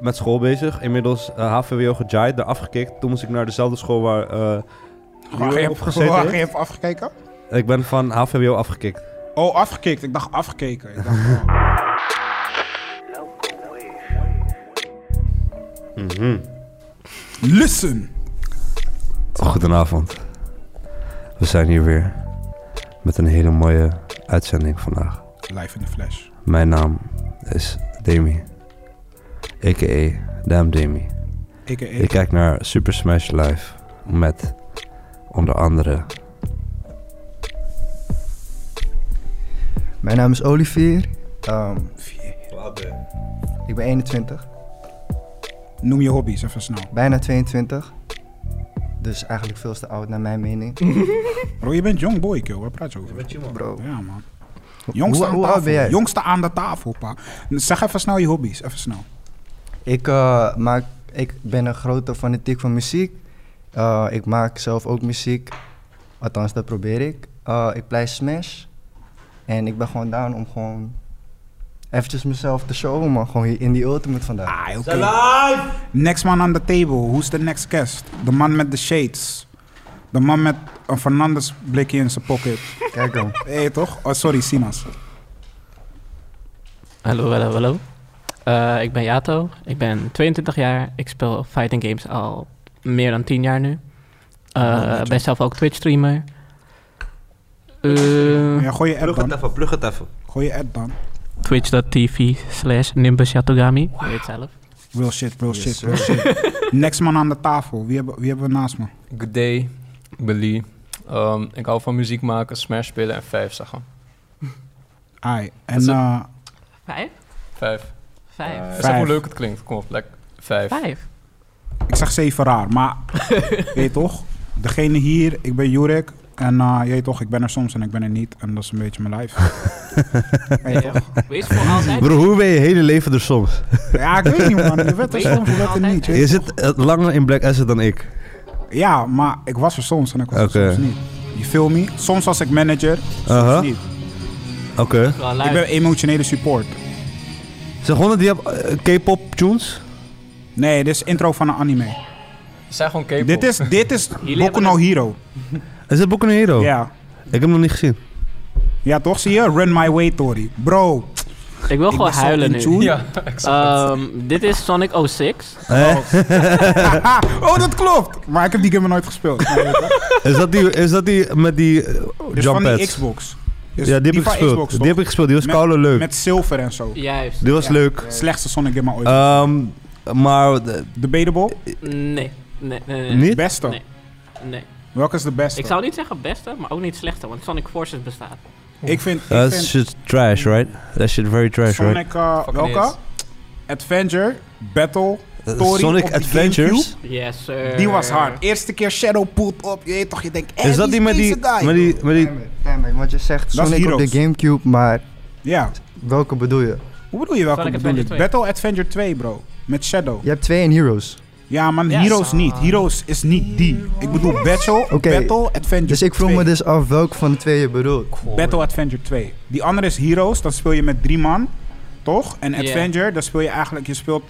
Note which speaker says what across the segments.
Speaker 1: met school bezig. Inmiddels eh, HVWO gejaid, daar afgekikt. Toen moest ik naar dezelfde school waar eh
Speaker 2: Waar je
Speaker 1: Rio op gezeten heeft.
Speaker 2: hebt afgekeken?
Speaker 1: Ik ben van HVWO afgekikt.
Speaker 2: Oh, afgekikt. Ik dacht afgekeken. Ik dacht, oh.
Speaker 3: Mhm.
Speaker 2: Listen.
Speaker 1: Goedenavond. We zijn hier weer met een hele mooie uitzending vandaag.
Speaker 2: Live in the flash.
Speaker 1: Mijn naam is Demi, a.k.a. Damn Demi.
Speaker 2: Ik, ik,
Speaker 1: Ik kijk naar Super Smash Live met onder andere...
Speaker 3: Mijn naam is Olivier. Ehm, ik ben 21,
Speaker 2: Noem je hobby's even snel.
Speaker 3: bijna 22. Dus eigenlijk veel te oud naar mijn mening.
Speaker 2: Bro, je bent jong boy, kill. Waar praat je over?
Speaker 3: Bro,
Speaker 2: Ja, man.
Speaker 3: hoe-
Speaker 2: Jongste
Speaker 3: hoe,
Speaker 2: aan
Speaker 3: hoe
Speaker 2: tafel.
Speaker 3: oud ben jij?
Speaker 2: Jongste aan de tafel, pa. Zeg even snel je hobby's. Even snel.
Speaker 3: Ik, eh, maak, ik ben een grote fanatiek van muziek. Eh, ik maak zelf ook muziek. Althans, dat probeer ik. Eh, ik play Smash. En ik ben gewoon down om gewoon eventjes mezelf te showen, man. Gewoon hier in die ultimate vandaag.
Speaker 2: Ah, oké. Next man on the table. Who's the next guest? De man met de shades. De man met een Fernandes blikje in zijn pocket.
Speaker 3: Kijk dan.
Speaker 2: Hé, toch? Oh, sorry, Sinas.
Speaker 4: Hallo, hallo, hallo. Eh, ik ben Jato, ik ben 22 jaar. Ik speel fighting games al meer dan 10 jaar nu. Eh,
Speaker 2: Oh,
Speaker 4: ben zelf ook Twitch streamer. Eh,
Speaker 2: Ja, gooi je app dan.
Speaker 1: even, plug het even.
Speaker 2: Gooi je app dan.
Speaker 4: Twitch.tv slash Nimbus Yatogami. Je weet zelf.
Speaker 2: Real shit, real
Speaker 3: Yes,
Speaker 2: shit,
Speaker 3: sir.
Speaker 2: real shit. Next man aan de tafel. Wie hebben, wie hebben we naast me?
Speaker 5: Good day, ik ben Lee. Ehm, ik hou van muziek maken, smash spelen en vijf zeggen.
Speaker 2: Ai. En
Speaker 5: Dat is-
Speaker 2: eh,
Speaker 4: Vijf?
Speaker 5: Vijf.
Speaker 4: Vijf.
Speaker 5: Zeg
Speaker 2: Vijf.
Speaker 5: hoe leuk het klinkt. Kom op, lekker. Vijf.
Speaker 4: Vijf.
Speaker 2: ik zeg zeven raar, maar weet je toch? Degene hier, ik ben Jurek. En eh je weet toch, ik ben er soms en ik ben er niet. En dat is een beetje mijn life. Weet je toch?
Speaker 4: Wees voor altijd.
Speaker 1: Bro, hoe ben je hele leven er soms?
Speaker 2: Ja, ik weet niet man. Je bent er
Speaker 4: Weet je
Speaker 2: soms, je bent er
Speaker 4: altijd,
Speaker 2: niet. je
Speaker 1: Je
Speaker 2: weet
Speaker 1: zit eh, langer in Black Asset dan ik.
Speaker 2: Ja, maar ik was er soms en ik was
Speaker 1: Oké.
Speaker 2: er soms niet. You feel me? Soms was ik manager, soms
Speaker 1: Aha.
Speaker 2: niet.
Speaker 1: Oké.
Speaker 4: Wel
Speaker 2: Ik
Speaker 4: luid.
Speaker 2: ben emotionele support.
Speaker 1: Zeg, honden die hebben eh, K-pop tunes?
Speaker 2: Nee, dit is intro van een anime.
Speaker 5: Het zijn gewoon K-pop.
Speaker 2: Dit is, dit is Boku
Speaker 4: hebben
Speaker 2: no
Speaker 4: het-
Speaker 2: Hero.
Speaker 1: Is het Boku no Hero?
Speaker 2: Ja.
Speaker 1: Ik heb hem nog niet gezien.
Speaker 2: ja, toch? Zie je? Run My Way, Tori. Bro.
Speaker 4: Ik wil gewoon
Speaker 2: ben zo
Speaker 4: huilen
Speaker 2: in
Speaker 4: nu.
Speaker 2: tune.
Speaker 5: Ja, ik zag het.
Speaker 4: Ehm, dit is Sonic 06.
Speaker 1: Eh?
Speaker 2: Oh. Haha, oh, dat klopt. Maar ik heb die game nooit gespeeld. Maar je weet toch?
Speaker 1: Is dat die, is dat die met die eh,
Speaker 2: Dit is
Speaker 1: jump
Speaker 2: van die
Speaker 1: pads?
Speaker 2: Xbox. Dit is
Speaker 1: Ja, die heb ik
Speaker 2: van
Speaker 1: gespeeld.
Speaker 2: Xbox,
Speaker 1: Die
Speaker 2: toch?
Speaker 1: heb ik gespeeld. Die was
Speaker 2: Met-
Speaker 1: koude leuk.
Speaker 2: Met zilver en zo.
Speaker 4: Juist.
Speaker 1: Die was
Speaker 2: Ja.
Speaker 1: leuk.
Speaker 2: Slechtste Sonic game ooit.
Speaker 1: Ehm, maar eh,
Speaker 2: Debatable?
Speaker 4: Nee. Nee, nee, nee.
Speaker 1: niet?
Speaker 2: Beste.
Speaker 4: Nee. nee.
Speaker 2: Welke is de beste?
Speaker 4: Ik zou niet zeggen beste, maar ook niet slechte, want Sonic Forces bestaat.
Speaker 2: ik vind, ik
Speaker 1: Dat
Speaker 2: vind
Speaker 1: shit trash, right? That shit very trash, right?
Speaker 2: Sonic... eh,
Speaker 5: Fucking
Speaker 2: welke?
Speaker 5: hits.
Speaker 2: Adventure, Battle,
Speaker 1: Eh,
Speaker 2: Story
Speaker 1: Sonic
Speaker 2: op die
Speaker 1: Adventures?
Speaker 4: Yes, sir.
Speaker 2: Die was hard. Eerste keer Shadow Poot op. Je weet toch, je denkt, eh,
Speaker 1: Is dat die met die,
Speaker 2: deze guy?
Speaker 1: met die, met die...
Speaker 3: Timer, timer, want je zegt
Speaker 2: Dat is
Speaker 3: Sonic op de
Speaker 2: Heroes.
Speaker 3: Gamecube, maar
Speaker 2: Ja.
Speaker 3: welke bedoel je?
Speaker 2: Hoe bedoel je welke
Speaker 4: Sonic
Speaker 2: bedoel ik?
Speaker 4: Adventure
Speaker 2: Battle Adventure 2, bro. Met Shadow.
Speaker 3: Je hebt twee in Heroes.
Speaker 2: Ja, man,
Speaker 4: Ja,
Speaker 2: Heroes
Speaker 4: son.
Speaker 2: niet. Heroes is niet die. Ik bedoel Battle,
Speaker 3: Oké,
Speaker 2: Battle Adventure
Speaker 3: Dus ik vroeg
Speaker 2: 2.
Speaker 3: me dus af welke van de twee je bedoelt.
Speaker 2: Battle Adventure 2. Die andere is Heroes, dat speel je met drie man, toch? En
Speaker 4: Ja.
Speaker 2: Adventure, dat speel je eigenlijk, je speelt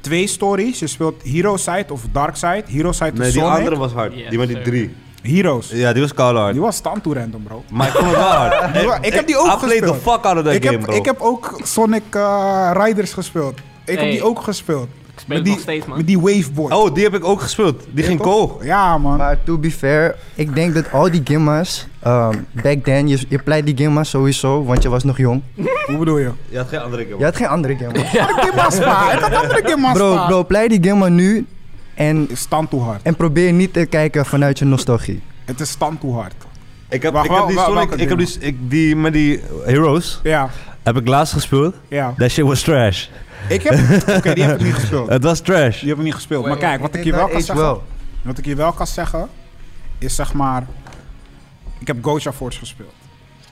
Speaker 2: twee stories. Je speelt Hero Side of Dark Side. Hero Side
Speaker 1: Nee,
Speaker 2: of
Speaker 1: die
Speaker 2: Sonic.
Speaker 1: andere was hard.
Speaker 4: Yes,
Speaker 1: Die met die
Speaker 4: sir.
Speaker 1: drie.
Speaker 2: Heroes.
Speaker 1: Ja, die was koude hard.
Speaker 2: Die was stand toe random, bro.
Speaker 1: Maar ik vond het wel hard.
Speaker 2: Die wa- ik heb die
Speaker 1: I
Speaker 2: ook
Speaker 1: played the
Speaker 2: gespeeld.
Speaker 1: fuck out of that
Speaker 2: ik,
Speaker 1: game,
Speaker 2: heb,
Speaker 1: bro.
Speaker 2: ik heb ook Sonic eh, Riders gespeeld. Ik heb
Speaker 4: Hey.
Speaker 2: die ook gespeeld.
Speaker 4: Ik
Speaker 2: Met
Speaker 4: speel het
Speaker 2: die,
Speaker 4: nog steeds, man.
Speaker 2: met die waveboard.
Speaker 1: Oh, die heb ik ook gespeeld. Die ging kool.
Speaker 2: Ja, man.
Speaker 3: Maar to be fair, ik denk dat al die gimmas, ehm, back then, je, je pleit die gimmas sowieso, want je was nog jong.
Speaker 2: Hoe bedoel je?
Speaker 1: Je had geen andere game.
Speaker 3: Je had geen andere gimma.
Speaker 2: Gimaspa. Ik had andere Gimaspa.
Speaker 3: Bro, bro, pleit die gimma nu en,
Speaker 2: Stand toe hard.
Speaker 3: en probeer niet te kijken vanuit je nostalgie.
Speaker 2: Het is stand toe hard.
Speaker 1: Ik heb,
Speaker 2: Wacht,
Speaker 1: ik heb
Speaker 2: wel-
Speaker 1: die
Speaker 2: wel-
Speaker 1: Sonic,
Speaker 2: welke
Speaker 1: ik heb
Speaker 2: game?
Speaker 1: die, ik, die met die Heroes,
Speaker 2: Ja,
Speaker 1: heb ik laatst gespeeld.
Speaker 2: ja.
Speaker 1: That shit was trash.
Speaker 2: Ik heb... Oké, die heb ik niet gespeeld.
Speaker 1: Het was trash.
Speaker 2: Die hebben we niet gespeeld. Maar kijk, wat ik hier wel kan
Speaker 3: Age
Speaker 2: zeggen... Wat ik hier wel kan zeggen, is zeg maar... Ik heb Goja Force gespeeld.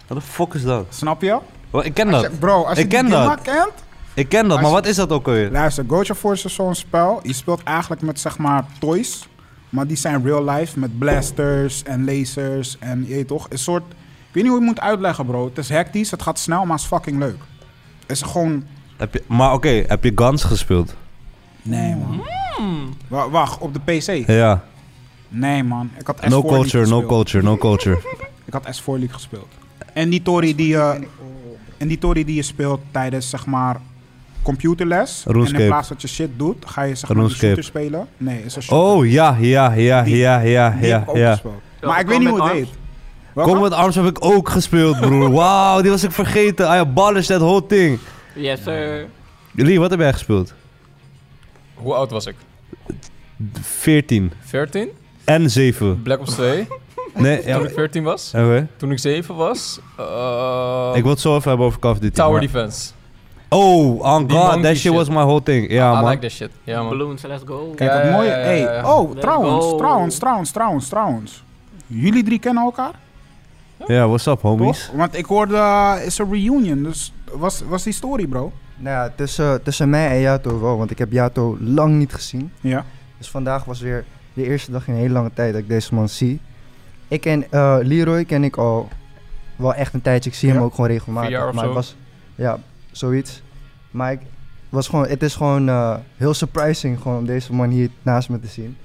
Speaker 1: What the fuck is dat?
Speaker 2: Snap je?
Speaker 1: Wel, ik ken dat.
Speaker 2: Bro, als je
Speaker 1: Ik
Speaker 2: die
Speaker 1: ken dat.
Speaker 2: game maar kent...
Speaker 1: Ik ken dat, maar wat is dat ook alweer?
Speaker 2: Luister, Goja Force is zo'n spel. Je speelt eigenlijk met zeg maar toys. Maar die zijn real life met blasters en lasers en je weet toch. Een soort... Ik weet niet hoe je het moet uitleggen, bro. Het is hectisch, het gaat snel, maar het is fucking leuk. Het is gewoon...
Speaker 1: Heb je, maar oké, heb je Guns gespeeld?
Speaker 2: Nee, man.
Speaker 4: Hmm.
Speaker 2: Wa- wacht, op de PC?
Speaker 1: Ja,
Speaker 2: Nee, man. Ik had S4
Speaker 1: no
Speaker 2: League
Speaker 1: culture, no
Speaker 2: gespeeld.
Speaker 1: culture, no culture.
Speaker 2: Ik had S4 League gespeeld. En die Tory die je, en die tory die je speelt tijdens, zeg maar, computerles. En
Speaker 1: RuneScape.
Speaker 2: in plaats dat je shit doet, ga je, zeg maar, een
Speaker 1: RuneScape.
Speaker 2: shooter spelen. Nee, is een shooter.
Speaker 1: Oh, ja, ja, ja, ja, ja,
Speaker 2: Die heb
Speaker 1: ja,
Speaker 2: ik ook
Speaker 1: ja.
Speaker 2: gespeeld.
Speaker 5: Welke
Speaker 2: Maar ik weet niet hoe
Speaker 5: Combat
Speaker 2: het heet. Welke?
Speaker 1: Combat Arms heb ik ook gespeeld, broer. Wauw, die was ik vergeten. I abolished that whole thing.
Speaker 4: Yes, sir.
Speaker 1: Lee, wat heb jij gespeeld?
Speaker 5: Hoe oud was ik?
Speaker 1: 14
Speaker 5: 14?
Speaker 1: en 7.
Speaker 5: Black Ops 2.
Speaker 1: Nee, ja,
Speaker 5: toen
Speaker 1: maar-
Speaker 5: ik 14 was.
Speaker 1: Oké.
Speaker 5: Toen ik 7 was. eh,
Speaker 1: Ik wil het zo even hebben over Call of Duty.
Speaker 5: Tower
Speaker 1: maar-
Speaker 5: Defense.
Speaker 1: Oh, on
Speaker 5: Die
Speaker 1: god,
Speaker 5: monkey
Speaker 1: that shit
Speaker 5: shit.
Speaker 1: was my whole thing.
Speaker 3: Ah,
Speaker 1: Ja,
Speaker 5: I
Speaker 1: man.
Speaker 5: like that shit. Ja, man.
Speaker 4: Balloons, let's go.
Speaker 2: Kijk,
Speaker 5: Ja,
Speaker 2: het
Speaker 5: ja,
Speaker 2: mooie...
Speaker 5: ja, ja,
Speaker 2: hey,
Speaker 5: ja.
Speaker 2: Oh,
Speaker 4: Let's
Speaker 2: trouwens,
Speaker 4: go.
Speaker 2: trouwens, trouwens, trouwens, trouwens. Jullie drie kennen elkaar,
Speaker 1: Ja, what's up, homies?
Speaker 2: toch? Want ik hoorde, eh, is een reunion, dus was, was die story, bro.
Speaker 3: Nou ja, tussen, tussen mij en Jato wel, want ik heb Jato lang niet gezien.
Speaker 2: Ja.
Speaker 3: Dus vandaag was weer de eerste dag in een hele lange tijd dat ik deze man zie. Ik ken eh, Leroy ken ik al wel echt een tijdje. Ik zie
Speaker 2: Ja?
Speaker 3: hem ook gewoon regelmatig.
Speaker 5: Vier jaar of
Speaker 3: maar
Speaker 5: zo?
Speaker 3: het was ja, zoiets. Maar ik was gewoon, het is gewoon eh, heel surprising gewoon om deze man hier naast me te zien.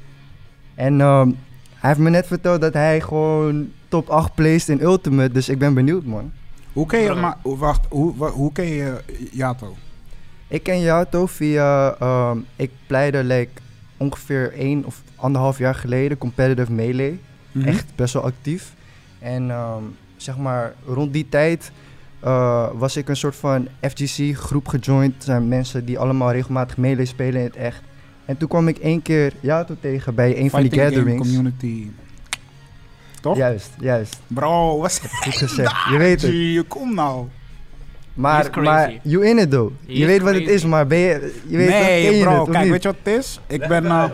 Speaker 3: En ehm, hij heeft me net verteld dat hij gewoon top 8 placed in Ultimate. Dus ik ben benieuwd man.
Speaker 2: Hoe ken je...
Speaker 4: Bro.
Speaker 2: Maar, wacht, hoe, wa- hoe ken je eh, Jato?
Speaker 3: Ik ken Jato via, ehm, ik pleide like, ongeveer één of anderhalf jaar geleden competitive melee.
Speaker 2: Mhm.
Speaker 3: Echt best wel actief. En ehm, zeg maar, rond die tijd eh, was ik een soort van FGC groep gejoind. Dat zijn mensen die allemaal regelmatig melee spelen in het echt. En toen kwam ik één keer Jato tegen bij een van die
Speaker 2: Fighting game
Speaker 3: gatherings.
Speaker 2: community. Toch?
Speaker 3: Juist, juist.
Speaker 2: Bro, wat is
Speaker 3: Goed gezegd. Je weet het.
Speaker 2: je? Kom nou.
Speaker 4: He is
Speaker 3: Maar,
Speaker 4: crazy.
Speaker 3: maar you in it though.
Speaker 4: He
Speaker 3: Je
Speaker 4: is
Speaker 3: weet wat het
Speaker 4: crazy.
Speaker 3: is, maar ben je, je weet
Speaker 2: nee,
Speaker 3: wat, ken je
Speaker 2: bro,
Speaker 3: het, of
Speaker 2: kijk,
Speaker 3: niet?
Speaker 2: weet je wat het is? Ik ben... eh,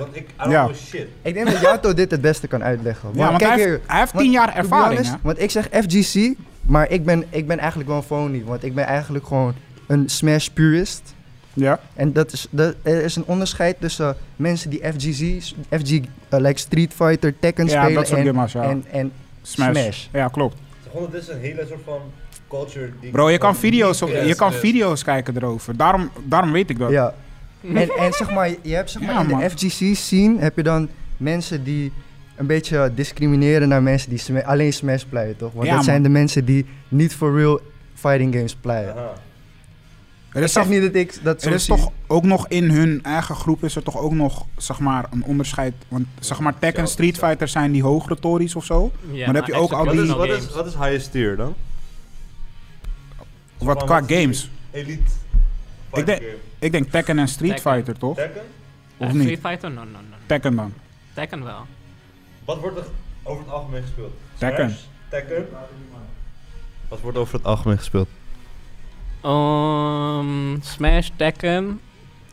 Speaker 2: ja.
Speaker 1: shit.
Speaker 3: Ik denk dat Jato dit het beste kan uitleggen.
Speaker 2: ja, want
Speaker 3: kijk
Speaker 2: hij,
Speaker 3: hier,
Speaker 2: heeft, hij heeft
Speaker 3: want-
Speaker 2: tien jaar
Speaker 3: to be
Speaker 2: ervaring,
Speaker 3: honest,
Speaker 2: hè?
Speaker 3: Want ik zeg FGC, maar ik ben, ik ben eigenlijk wel een phony. Want ik ben eigenlijk gewoon een Smash purist.
Speaker 2: Ja.
Speaker 3: En dat is, dat, er is een onderscheid tussen mensen die FGC, FG, eh, like Street Fighter, Tekken
Speaker 2: Ja,
Speaker 3: spelen
Speaker 2: dat soort
Speaker 3: en,
Speaker 2: gamma's, ja.
Speaker 3: en, en
Speaker 2: Smash.
Speaker 3: Smash.
Speaker 2: Ja, klopt.
Speaker 1: Het is een hele soort van culture die...
Speaker 2: Bro, je kan video's, op,
Speaker 5: Yes,
Speaker 2: je kan
Speaker 5: yes.
Speaker 2: video's kijken erover. Daarom, daarom weet ik dat.
Speaker 3: Ja. En, en zeg maar, je hebt zeg
Speaker 2: Ja,
Speaker 3: maar in
Speaker 2: man.
Speaker 3: de FGC-scene heb je dan mensen die een beetje discrimineren naar mensen die sma- alleen Smash playen, toch? Want
Speaker 2: Ja,
Speaker 3: dat
Speaker 2: man.
Speaker 3: zijn de mensen die niet for real fighting games playen.
Speaker 2: Er is,
Speaker 3: Ik zeg
Speaker 2: toch,
Speaker 3: niet dat ik dat zo
Speaker 2: er is
Speaker 3: zie.
Speaker 2: toch ook nog in hun eigen groep is er toch ook nog zeg maar een onderscheid. Want zeg maar Tekken en Street Fighter zijn die hogere tories of zo.
Speaker 4: Ja,
Speaker 2: Maar dan heb je ook al
Speaker 4: extra
Speaker 2: die-
Speaker 4: personal
Speaker 1: Wat is,
Speaker 4: games.
Speaker 1: wat is highest tier dan?
Speaker 2: Wat qua games.
Speaker 1: Elite.
Speaker 2: Ik denk, ik denk Tekken en Street
Speaker 4: Tekken.
Speaker 2: Fighter toch?
Speaker 4: Eh,
Speaker 2: of niet?
Speaker 4: Street Fighter? No, no, no.
Speaker 2: Tekken dan.
Speaker 4: Tekken wel.
Speaker 1: Wat wordt er over het algemeen gespeeld?
Speaker 2: Tekken.
Speaker 1: Tekken. Wat wordt over het algemeen gespeeld?
Speaker 4: Ehm, Smash, Tekken.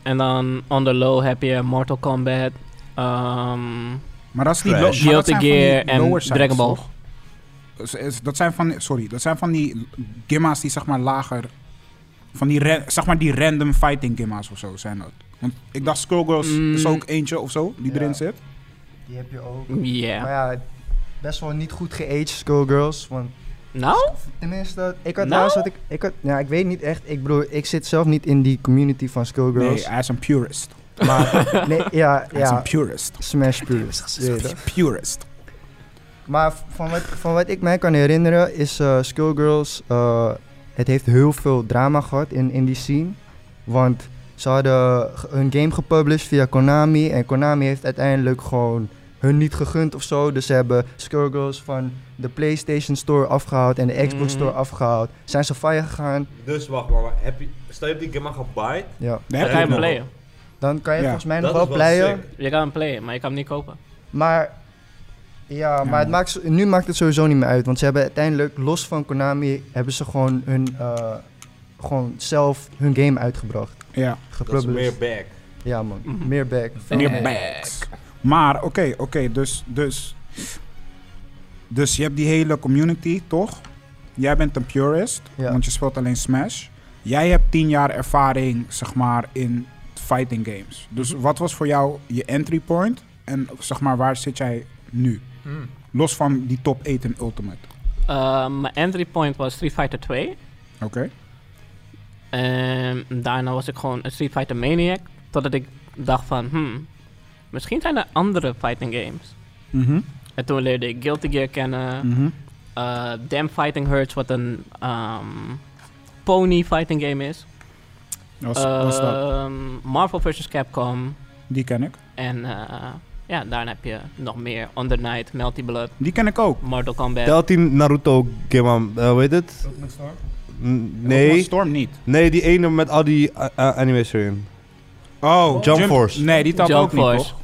Speaker 4: En dan on the low heb je Mortal Kombat. ehm,
Speaker 2: Maar dat is die
Speaker 1: Crash.
Speaker 2: lo- maar dat
Speaker 4: Guilty
Speaker 2: zijn van die
Speaker 4: Gear en
Speaker 2: lower sides,
Speaker 4: Dragon Ball.
Speaker 2: toch? Is- is- Dat zijn van sorry, dat zijn van die gimma's die zeg maar lager van die ra- zeg maar die random fighting gimma's of zo zijn dat. Want ik dacht Skullgirls is
Speaker 4: Mm.
Speaker 2: ook eentje of zo die
Speaker 3: Ja.
Speaker 2: erin zit.
Speaker 3: Die heb je ook.
Speaker 4: Yeah.
Speaker 3: Maar ja, best wel niet goed geaged schoolgirls. Want
Speaker 4: Nou?
Speaker 3: tenminste, ik had
Speaker 4: Nou?
Speaker 3: laatst had ik, ik had, ja, ik weet niet echt. Ik bedoel, ik zit zelf niet in die community van schoolgirls.
Speaker 2: Nee, hij is een purist.
Speaker 3: Maar nee, ja,
Speaker 2: Hij is een
Speaker 3: ja.
Speaker 2: purist.
Speaker 3: Smash purist. je weet het.
Speaker 2: Purist.
Speaker 3: Maar v- van wat, van wat ik mij kan herinneren is eh Skullgirls, eh, het heeft heel veel drama gehad in, in die scene. Want ze hadden ge- hun game gepublished via Konami en Konami heeft uiteindelijk gewoon hun niet gegund of zo. Dus ze hebben Skullgirls van de PlayStation Store afgehaald en de Xbox
Speaker 4: Mhm.
Speaker 3: Store afgehaald. Zijn ze fire gegaan?
Speaker 6: Dus wacht maar, maar heb je, stel je hebt die gamma gebaaid,
Speaker 3: Ja.
Speaker 4: Dan
Speaker 2: Daar
Speaker 4: kan je
Speaker 2: heb
Speaker 4: hem
Speaker 2: je
Speaker 4: playen.
Speaker 3: Dan kan je
Speaker 2: Ja.
Speaker 3: volgens mij nog
Speaker 6: dat
Speaker 3: wel
Speaker 6: is wel
Speaker 3: playen.
Speaker 6: sick.
Speaker 4: Je kan hem playen, maar je kan hem niet kopen.
Speaker 3: Maar ja, maar
Speaker 2: man.
Speaker 3: het maakt, zo- nu maakt het sowieso niet meer uit. Want ze hebben uiteindelijk, los van Konami, hebben ze gewoon hun eh, gewoon zelf hun game uitgebracht.
Speaker 2: Ja.
Speaker 6: dat is
Speaker 3: Gepublished.
Speaker 6: meer back.
Speaker 3: Ja man,
Speaker 4: Mhm.
Speaker 3: meer back.
Speaker 2: En
Speaker 4: Meer
Speaker 2: je
Speaker 4: Ja.
Speaker 2: bags. Maar oké, oké, dus, dus. Dus je hebt die hele community, toch? Jij bent een purist,
Speaker 3: Ja.
Speaker 2: want je speelt alleen Smash. Jij hebt tien jaar ervaring, zeg maar, in fighting games. Dus wat was voor jou je entry point? En zeg maar, waar zit jij nu?
Speaker 5: Hmm.
Speaker 2: Los van die top 8 in Ultimate.
Speaker 4: Ehm, Mijn entry point was Street Fighter 2.
Speaker 2: Oké?
Speaker 4: Ehm, En daarna was ik gewoon een Street Fighter Maniac. Totdat ik dacht van, hmm, misschien zijn er andere fighting games.
Speaker 2: Mhm,
Speaker 4: En toen leerde ik Guilty Gear kennen.
Speaker 2: mhm.
Speaker 4: eh, Damn Fighting Hurts, wat een ehm, pony fighting game is.
Speaker 2: Was, was dat.
Speaker 3: Eh,
Speaker 4: Ehm, Marvel vs. Capcom.
Speaker 2: Die ken ik.
Speaker 4: En eh, ja, daarna heb je nog meer On The Night, Melty Blood,
Speaker 2: Die ken ik ook.
Speaker 4: Mortal Kombat.
Speaker 1: Telt die Naruto game aan, eh, hoe heet het? N-
Speaker 2: Pokémon
Speaker 1: Nee,
Speaker 2: Storm niet.
Speaker 1: nee, die ene met al die eh, eh, animes erin.
Speaker 2: Oh,
Speaker 1: Jump Force.
Speaker 2: Nee, die telt
Speaker 4: Jump
Speaker 2: ook niet,
Speaker 4: Force.
Speaker 2: toch?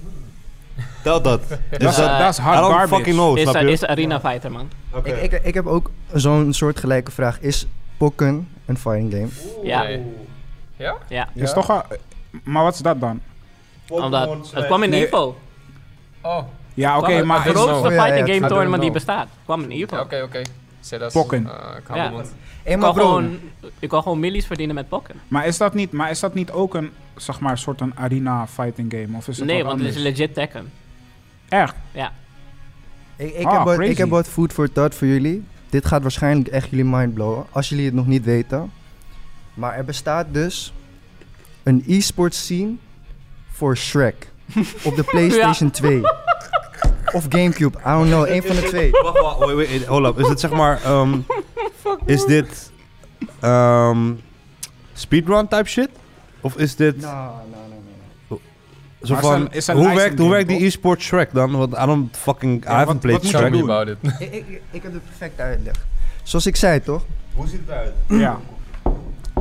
Speaker 1: Telt dat.
Speaker 2: Dat is-
Speaker 1: dat-
Speaker 4: eh,
Speaker 2: dat is
Speaker 1: Dus, I
Speaker 2: hard
Speaker 1: don't
Speaker 2: garbage.
Speaker 1: fucking know,
Speaker 4: is,
Speaker 1: snap
Speaker 4: eh,
Speaker 1: je?
Speaker 4: is Arena Fighter, man.
Speaker 6: Oké.
Speaker 3: Ik, ik, ik heb ook zo'n soort gelijke vraag. Is Pokken een fighting game?
Speaker 4: Ja.
Speaker 5: Nee. Ja?
Speaker 4: Ja.
Speaker 2: Is toch wel- maar wat is dat dan?
Speaker 6: Pokémon
Speaker 4: Omdat het
Speaker 6: slash-
Speaker 4: kwam in
Speaker 2: Nee.
Speaker 4: Evo.
Speaker 5: Oh,
Speaker 2: Ja, oké,
Speaker 4: Kwam-
Speaker 2: maar...
Speaker 4: Het
Speaker 5: I don't
Speaker 4: grootste
Speaker 3: Ah,
Speaker 5: know.
Speaker 3: Ja, ja,
Speaker 4: fighting
Speaker 3: I
Speaker 4: game
Speaker 3: don't
Speaker 4: tournament die
Speaker 3: know.
Speaker 4: bestaat. kwam in Evo.
Speaker 5: ja, oké, oké. Zelfs,
Speaker 2: Pokken.
Speaker 5: eh, ik hou
Speaker 4: Ja.
Speaker 5: mijn mond.
Speaker 3: Hey,
Speaker 4: Ik
Speaker 3: maar
Speaker 4: kan,
Speaker 3: bro,
Speaker 4: gewoon, ik kan gewoon millies verdienen met pokken.
Speaker 2: Maar is dat niet, maar is dat niet ook een, zeg maar, soort een arena fighting game? Of is het
Speaker 4: Nee,
Speaker 2: wat
Speaker 4: want het is
Speaker 2: anders?
Speaker 4: legit Tekken.
Speaker 2: Echt?
Speaker 3: ik, ik,
Speaker 2: Ah,
Speaker 3: heb wat,
Speaker 2: crazy.
Speaker 3: ik heb wat food for thought voor jullie. Dit gaat waarschijnlijk echt jullie mind blowen, als jullie het nog niet weten. Maar er bestaat dus een e-sports scene voor Shrek. Op de PlayStation 2. Of Gamecube, I don't know, één van de twee.
Speaker 1: Wacht, wacht, wait, wait, hold up. Is dit zeg maar, ehm, is dit ehm, speedrun type shit? Of is dit
Speaker 3: Nou, nou, nou, nou.
Speaker 1: zo
Speaker 2: Maar
Speaker 1: van,
Speaker 2: is een- is een
Speaker 1: hoe,
Speaker 2: licensing
Speaker 1: werkt, hoe werkt die
Speaker 2: toch?
Speaker 1: e-sport Shrek dan? Want I don't fucking, I
Speaker 2: Ja, wat-
Speaker 1: haven't played
Speaker 2: wat moet
Speaker 1: Shrek.
Speaker 5: Tell me
Speaker 2: doen?
Speaker 5: about it.
Speaker 3: nou. Ik, ik, ik heb de perfecte uitleg. Zoals ik zei toch,
Speaker 6: Hoe ziet het uit?
Speaker 2: Ja.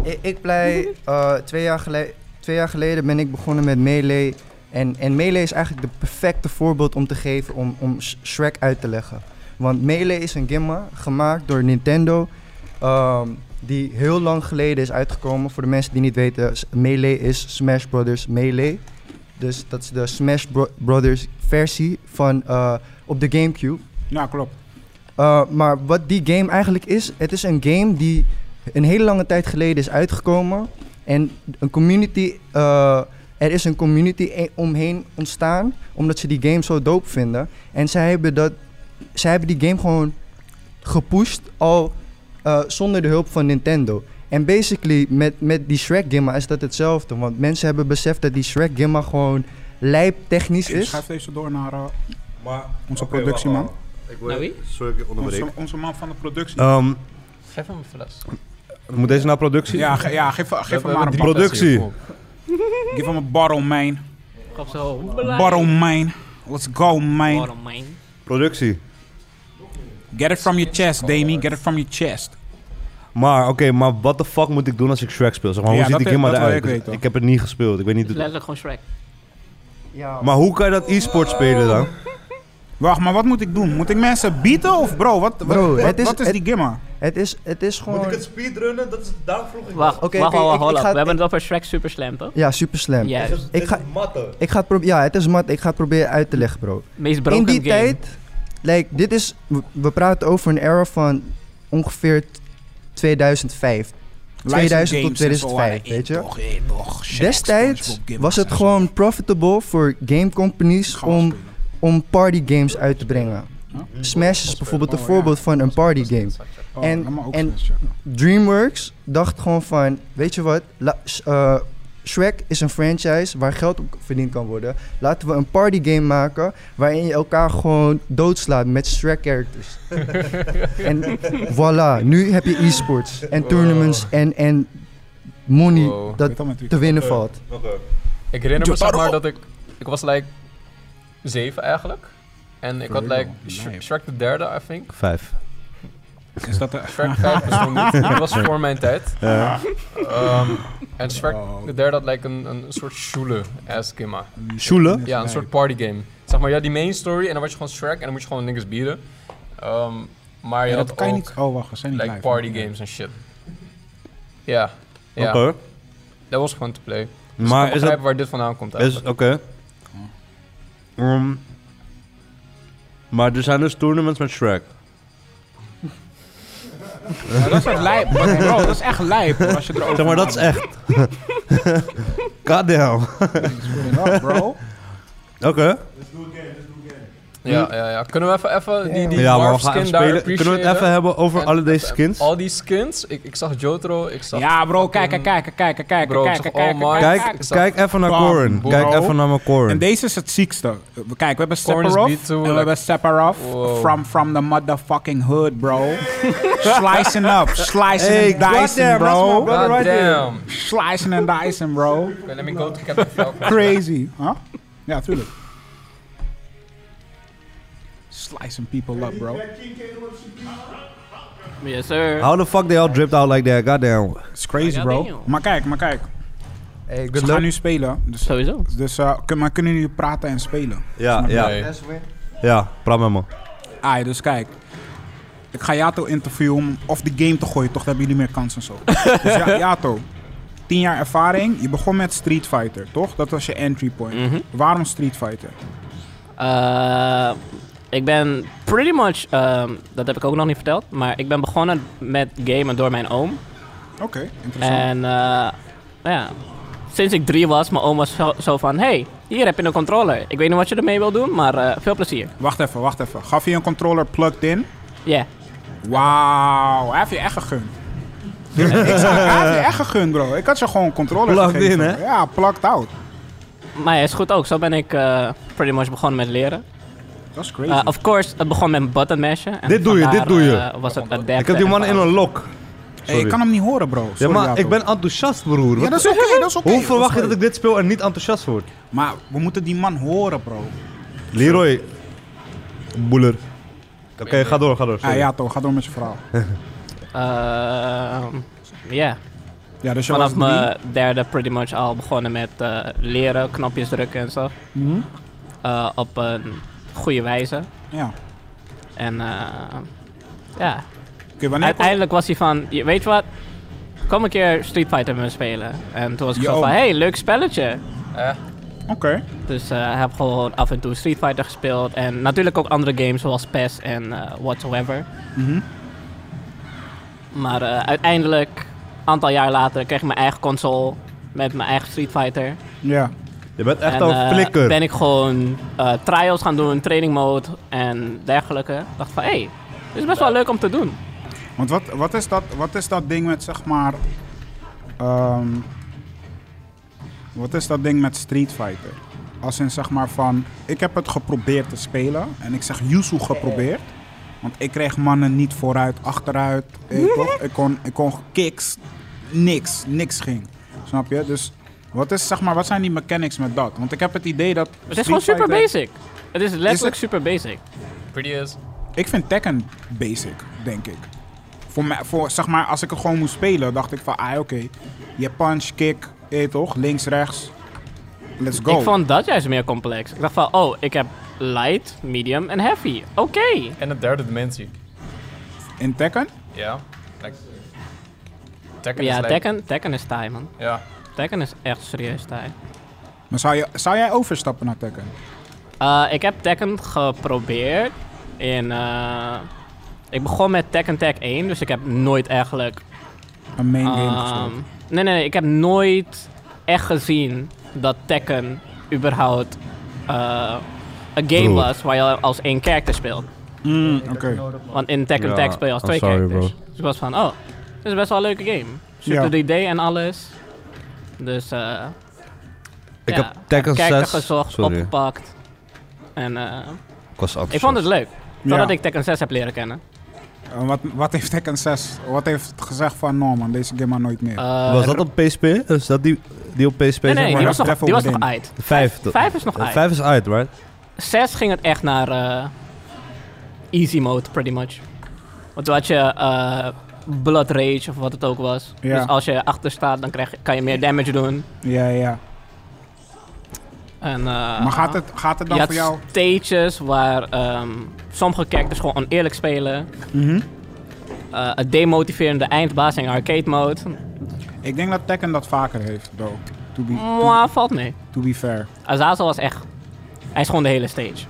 Speaker 3: ik, ik plei, eh, twee, jaar gele- twee jaar geleden ben ik begonnen met Melee. En, en Melee is eigenlijk de perfecte voorbeeld om te geven om, om Sh- Shrek uit te leggen. Want Melee is een gimma gemaakt door Nintendo. ehm, die heel lang geleden is uitgekomen. Voor de mensen die niet weten, S- Melee is Smash Brothers Melee. Dus dat is de Smash Bro- Brothers versie van eh, op de Gamecube.
Speaker 2: Ja, klopt.
Speaker 3: Uh, maar wat die game eigenlijk is, het is een game die een hele lange tijd geleden is uitgekomen. En een community, eh, er is een community e- omheen ontstaan, omdat ze die game zo dope vinden. En zij hebben, dat, zij hebben die game gewoon gepusht, al eh, zonder de hulp van Nintendo. En basically, met, met die Shrek Gimma is dat hetzelfde. Want mensen hebben beseft dat die Shrek Gimma gewoon lijp technisch is.
Speaker 2: Schrijf deze door naar eh,
Speaker 6: Maar,
Speaker 2: Onze
Speaker 6: oké,
Speaker 2: productieman.
Speaker 6: wacht, wacht. Ik wil
Speaker 2: Nou,
Speaker 4: Naar wie?
Speaker 1: Sorry, ik onderbreek.
Speaker 2: onze, onze man van de productie.
Speaker 1: Ehm,
Speaker 5: Geef hem een fles.
Speaker 1: moet deze naar productie?
Speaker 2: ja, ge- ja, geef,
Speaker 5: We
Speaker 2: geef hem
Speaker 5: hebben
Speaker 2: maar een
Speaker 5: drie
Speaker 2: bar.
Speaker 1: Productie.
Speaker 5: flessen hier, kom op.
Speaker 2: Geef hem een barrel, man.
Speaker 4: Ik op zo.
Speaker 2: Barrel, man. Let's go, man.
Speaker 4: Waarom, man?
Speaker 1: Productie.
Speaker 2: Get it from your chest, Damien. Get it from your chest.
Speaker 1: Maar oké, maar wat de fuck moet ik doen als ik Shrek speel? Zeg maar,
Speaker 2: Ja,
Speaker 1: hoe ziet
Speaker 2: dat
Speaker 1: die
Speaker 2: wil-
Speaker 1: game
Speaker 2: dat wil
Speaker 1: eruit?
Speaker 2: ik weten.
Speaker 1: heb het niet gespeeld. Ik weet niet.
Speaker 4: Het is letterlijk gewoon Shrek.
Speaker 3: Ja,
Speaker 1: Maar hoe kan je dat e-sport
Speaker 2: Oh,
Speaker 1: spelen dan?
Speaker 2: Wacht, maar wat moet ik doen? Moet ik mensen bieten of bro? Wat, wat-
Speaker 3: Bro,
Speaker 2: wat,
Speaker 3: het is-
Speaker 2: wat is
Speaker 3: het-
Speaker 2: die gimma?
Speaker 3: het, is, het is gewoon...
Speaker 6: Moet ik het speedrunnen? Dat is, daarom vroeg ik
Speaker 4: Wacht,
Speaker 3: Oké,
Speaker 4: wacht,
Speaker 3: oké,
Speaker 4: wacht,
Speaker 3: ik-
Speaker 4: wacht.
Speaker 3: ik
Speaker 4: We
Speaker 3: ga-
Speaker 4: hebben het over Shrek Super Slam, toch?
Speaker 3: Ja, super slam.
Speaker 6: dat.
Speaker 4: Juist.
Speaker 6: Dit is-
Speaker 3: Ik
Speaker 6: dit
Speaker 3: ga-
Speaker 6: is matten.
Speaker 3: Ik ga het proberen. Ja, het is mat. Ik ga het proberen uit te leggen, bro.
Speaker 4: Meest broken
Speaker 3: In die
Speaker 4: game.
Speaker 3: tijd, like, dit is. we- We praten over een era van ongeveer 2005. 2000 tot 2005, weet je?
Speaker 2: Toch, eh, toch. Shaq,
Speaker 3: Destijds
Speaker 2: SpongeBob, Gimma,
Speaker 3: was het
Speaker 2: Samson.
Speaker 3: gewoon profitable voor game companies
Speaker 2: Gaan we
Speaker 3: om,
Speaker 2: spelen.
Speaker 3: om party games uit te brengen.
Speaker 2: Huh?
Speaker 3: Smash is bijvoorbeeld een
Speaker 2: Oh, ja.
Speaker 3: voorbeeld van een party game.
Speaker 2: Oh,
Speaker 3: en-
Speaker 2: laat me ook
Speaker 3: en-
Speaker 2: eens checken.
Speaker 3: DreamWorks dacht gewoon van, weet je wat, la- s- eh, Shrek is een franchise waar geld op verdiend kan worden. Laten we een partygame maken waarin je elkaar gewoon doodslaat met Shrek-characters. en voilà, nu heb je e-sports en
Speaker 5: Wow.
Speaker 3: tournaments en, en money
Speaker 5: Wow. Eh,
Speaker 3: dat
Speaker 2: Weet al met wie-
Speaker 3: te winnen valt.
Speaker 6: Oké.
Speaker 5: Ik herinner me
Speaker 2: Jotaro!
Speaker 5: zeg maar dat ik... Ik was like zeven eigenlijk. En ik had
Speaker 2: Verdomme,
Speaker 5: like Sh-
Speaker 2: lijp.
Speaker 5: Shrek de derde, I think.
Speaker 1: Vijf.
Speaker 2: Is dat de-
Speaker 5: Shrek 5 bestond niet. Dat was voor mijn tijd.
Speaker 1: Eh,
Speaker 5: Ehm, en
Speaker 2: Oh,
Speaker 5: Shrek
Speaker 2: Wow.
Speaker 5: de derde had like een, een soort shoele ass gimma.
Speaker 1: Sjoelen?
Speaker 5: Ja, een soort partygame. Zeg maar, ja, die main story en dan was je gewoon Shrek en dan moet je gewoon niks bieden. Ehm, maar je
Speaker 2: Ja, dat
Speaker 5: had
Speaker 2: kan je
Speaker 5: ook
Speaker 2: niet. Oh, wacht, we zijn niet
Speaker 5: like
Speaker 2: live.
Speaker 5: party games en shit. Ja, ja.
Speaker 1: Oké.
Speaker 5: Dat was gewoon te play. Dus maar
Speaker 1: Maar is dat...
Speaker 5: begrijpen waar dit vandaan komt
Speaker 1: Is,
Speaker 5: eigenlijk.
Speaker 1: Oké. Ehm, maar er zijn dus tournaments met Shrek.
Speaker 2: Ja, dat is echt lijp, maar bro, dat is echt lijp hoor, als je erover
Speaker 1: Zeg maar, dat is
Speaker 2: nadenkt.
Speaker 1: echt. Goddamn. Oké.
Speaker 2: Ja, bro.
Speaker 1: Oké.
Speaker 5: Ja, ja, ja. Kunnen we even, even die, die
Speaker 1: Ja, maar we
Speaker 5: Marv
Speaker 1: gaan
Speaker 5: skin
Speaker 1: even
Speaker 5: daar
Speaker 1: spelen. Kunnen we het even
Speaker 5: appreciëren?
Speaker 1: hebben over
Speaker 5: En
Speaker 1: alle deze
Speaker 5: even-
Speaker 1: skins?
Speaker 5: Al die skins. Ik, ik zag Jotro, ik zag...
Speaker 4: Ja, bro, kijk, kijk, kijk, kijk, kijk, kijk,
Speaker 5: Bro, ik
Speaker 4: kijk,
Speaker 5: zag
Speaker 4: kijk,
Speaker 5: All Might.
Speaker 1: Kijk,
Speaker 5: Ik zag-
Speaker 1: kijk even naar
Speaker 2: Bam,
Speaker 1: Corin.
Speaker 2: bro.
Speaker 1: Kijk even naar mijn
Speaker 2: En
Speaker 1: Corin.
Speaker 2: deze is het ziekste. Kijk, we hebben
Speaker 5: Corn is
Speaker 2: Sephiroth.
Speaker 5: beat too,
Speaker 2: en we
Speaker 5: like-
Speaker 2: hebben Sephiroth.
Speaker 5: Wow.
Speaker 2: From, from the motherfucking hood, bro. slicing up. Slicing
Speaker 1: Hey,
Speaker 2: and dicing,
Speaker 1: goddamn, that's my
Speaker 2: bro.
Speaker 1: brother.
Speaker 5: God
Speaker 1: right there.
Speaker 5: Ah, damn. Okay,
Speaker 2: Slicing and dicing, bro.
Speaker 5: let me go to Captain Falcon.
Speaker 2: Crazy. Huh? Ja, tuurlijk. Slicing people up, bro.
Speaker 4: Yes, sir.
Speaker 1: How the fuck they all dripped out like that? Goddamn.
Speaker 2: It's crazy, bro.
Speaker 4: Goddamn.
Speaker 2: Maar kijk, maar kijk.
Speaker 3: Hey,
Speaker 2: Ze
Speaker 3: good
Speaker 2: gaan
Speaker 3: luck.
Speaker 2: nu spelen. Dus,
Speaker 4: Sowieso.
Speaker 2: dus eh, kun- maar kunnen jullie praten en spelen?
Speaker 1: Ja, ja,
Speaker 5: Nee.
Speaker 1: ja. Praat met me.
Speaker 2: Ah, dus kijk. Ik ga Jato interviewen om of de game te gooien. Toch dan hebben jullie meer kans en zo. dus ja, Jato. 10 jaar ervaring. Je begon met Street Fighter, toch? Dat was je entry point.
Speaker 4: Mhm.
Speaker 2: Waarom Street Fighter?
Speaker 4: Eh, ik ben pretty much, ehm, dat heb ik ook nog niet verteld, maar ik ben begonnen met gamen door mijn oom.
Speaker 2: Oké, interessant.
Speaker 4: En eh, nou ja, sinds ik drie was, mijn oom was zo, zo van, hey, hier heb je een controller. Ik weet niet wat je ermee wil doen, maar eh, veel plezier.
Speaker 2: Wacht even, wacht even. Gaf je een controller plugged in?
Speaker 4: Yeah.
Speaker 2: Wauw, hij heeft je echt gegund. ik zag, hij heeft je echt gegund, bro. Ik had je gewoon een controller
Speaker 1: Plugged
Speaker 2: gegeven.
Speaker 1: in, hè?
Speaker 2: Ja, plugged out.
Speaker 4: Maar ja, is goed ook. Zo ben ik eh, pretty much begonnen met leren.
Speaker 2: Dat is crazy.
Speaker 4: Eh, of course, het begon met button mashen. En
Speaker 1: Dit doe je,
Speaker 4: vandaar,
Speaker 1: dit doe je.
Speaker 4: eh, was het adapten
Speaker 1: Ik heb die
Speaker 4: en
Speaker 1: man in
Speaker 4: alles.
Speaker 1: een lok.
Speaker 2: hey, ik kan hem niet horen, bro.
Speaker 1: Ja,
Speaker 2: Sorry,
Speaker 1: maar
Speaker 2: Jato.
Speaker 1: ik ben enthousiast, broer.
Speaker 2: Ja,
Speaker 1: Wat-
Speaker 2: dat is oké, dat is oké.
Speaker 1: Hoe verwacht je
Speaker 2: is
Speaker 1: dat ik dit speel en niet enthousiast word?
Speaker 2: oké. Maar we moeten die man horen, bro.
Speaker 1: Leroy. Boeler. Oké, ga door, ga door.
Speaker 2: Ah,
Speaker 1: sorry.
Speaker 2: ja, toch. Ga door met je verhaal.
Speaker 4: Ehm, ja,
Speaker 2: Ja, dus je
Speaker 4: vanaf
Speaker 2: was drie.
Speaker 4: mijn derde pretty much al begonnen met eh, leren, knopjes drukken en zo.
Speaker 1: Mhm.
Speaker 4: Eh, op een goede wijze.
Speaker 2: Ja.
Speaker 4: En eh, ja,
Speaker 2: Oké, wanneer kwam-
Speaker 4: uiteindelijk was hij van, je weet wat, kom een keer Street Fighter met me spelen. En toen was ik
Speaker 2: Je
Speaker 4: zo van,
Speaker 2: oom.
Speaker 4: hey, leuk spelletje.
Speaker 5: Eh,
Speaker 2: Oké.
Speaker 4: Dus eh, ik heb gewoon af en toe Street Fighter gespeeld. En natuurlijk ook andere games zoals PES en eh, whatsoever.
Speaker 2: Mhm.
Speaker 4: Maar eh, uiteindelijk, een aantal jaar later, kreeg ik mijn eigen console. Met mijn eigen Street Fighter.
Speaker 2: Ja.
Speaker 1: Je bent echt
Speaker 4: en,
Speaker 1: al
Speaker 4: eh,
Speaker 1: flikker.
Speaker 4: ben ik gewoon eh, trials gaan doen, training mode en dergelijke. dacht van, hé, hey, dit is best wel leuk om te doen.
Speaker 2: Want wat, wat, is dat, wat is dat ding met, zeg maar... ehm, wat is dat ding met Street Fighter? Als in, zeg maar, van... Ik heb het geprobeerd te spelen. En ik zeg Yuzu geprobeerd. Want ik kreeg mannen niet vooruit, achteruit. weet je toch? Ik kon, ik kon kicks. Niks. Niks ging. Snap je? Dus... Wat, is, zeg maar, wat zijn die mechanics met dat? Want ik heb het idee dat...
Speaker 4: Het is gewoon super basic. Het is letterlijk
Speaker 2: het-
Speaker 4: super basic.
Speaker 5: pretty is.
Speaker 2: Ik vind Tekken basic, denk ik. Voor mij, voor, zeg maar, als ik het gewoon moest spelen, dacht ik van, ah, oké. Je punch, kick, eh, toch? Links, rechts. Let's go.
Speaker 4: Ik vond dat juist meer complex. Ik dacht van, oh, ik heb light, medium en heavy. Oké.
Speaker 5: En de derde dimensie.
Speaker 2: In Tekken?
Speaker 5: Ja. Like, Tekken is
Speaker 4: Ja,
Speaker 5: like-
Speaker 4: Tekken, Tekken is taai, man.
Speaker 5: Ja.
Speaker 4: Tekken is echt serieus taai.
Speaker 2: Maar zou, je, zou jij overstappen naar Tekken?
Speaker 4: Eh, ik heb Tekken geprobeerd in... eh, ik begon met Tekken Tag 1, dus ik heb nooit eigenlijk...
Speaker 2: Een main game
Speaker 4: ehm,
Speaker 2: gespeeld.
Speaker 4: nee, nee, nee, ik heb nooit echt gezien dat Tekken überhaupt eh, een game
Speaker 1: Broer.
Speaker 4: was waar je als één character speelt. Hmm,
Speaker 2: Mm, Oké.
Speaker 4: Want in Tekken
Speaker 1: Ja,
Speaker 4: Tag speel je als
Speaker 1: I'm
Speaker 4: twee
Speaker 1: sorry,
Speaker 4: characters.
Speaker 1: bro.
Speaker 4: Dus ik was van, oh, dit is best wel een leuke game.
Speaker 2: Ja.
Speaker 4: Super 3D en alles. Dus eh
Speaker 1: ik
Speaker 4: ja,
Speaker 1: heb Tekken
Speaker 4: character
Speaker 1: 6...
Speaker 4: gezocht,
Speaker 1: sorry,
Speaker 4: opgepakt. En eh,
Speaker 1: ik was enthousiast.
Speaker 4: ik vond het leuk. Totdat
Speaker 2: Ja.
Speaker 4: ik Tekken 6 heb leren kennen.
Speaker 2: En Eh, wat, wat heeft Tekken 6? Wat heeft het gezegd van, no man, deze game maar nooit meer?
Speaker 4: Eh,
Speaker 1: Was dat op PSP? Is dat die, die op PSP?
Speaker 4: Nee,
Speaker 1: zeg
Speaker 4: nee,
Speaker 1: maar?
Speaker 4: die was
Speaker 2: Zeg
Speaker 4: nog,
Speaker 2: even
Speaker 4: die was nog
Speaker 2: overdenken.
Speaker 4: uit.
Speaker 1: De vijf. de-
Speaker 4: Vijf is nog
Speaker 1: de
Speaker 4: uit.
Speaker 1: Vijf is uit, right?
Speaker 4: Zes ging het echt naar eh, easy mode, pretty much. Want toen had je eh, Blood Rage of wat het ook was.
Speaker 2: Ja.
Speaker 4: Dus als je achter staat, dan krijg, je- kan je meer damage doen.
Speaker 2: ja, ja.
Speaker 4: En, eh,
Speaker 2: maar gaat het, gaat het dan
Speaker 4: je
Speaker 2: voor
Speaker 4: had
Speaker 2: jou?
Speaker 4: stages waar ehm, sommige characters gewoon oneerlijk spelen.
Speaker 2: Mhm.
Speaker 4: Eh, het demotiverende eindbaas in arcade mode.
Speaker 2: Ik denk dat Tekken dat vaker heeft, though. To be, to,
Speaker 4: Mwah, valt mee.
Speaker 2: to be fair.
Speaker 4: Azazel was echt... Hij is gewoon de hele stage.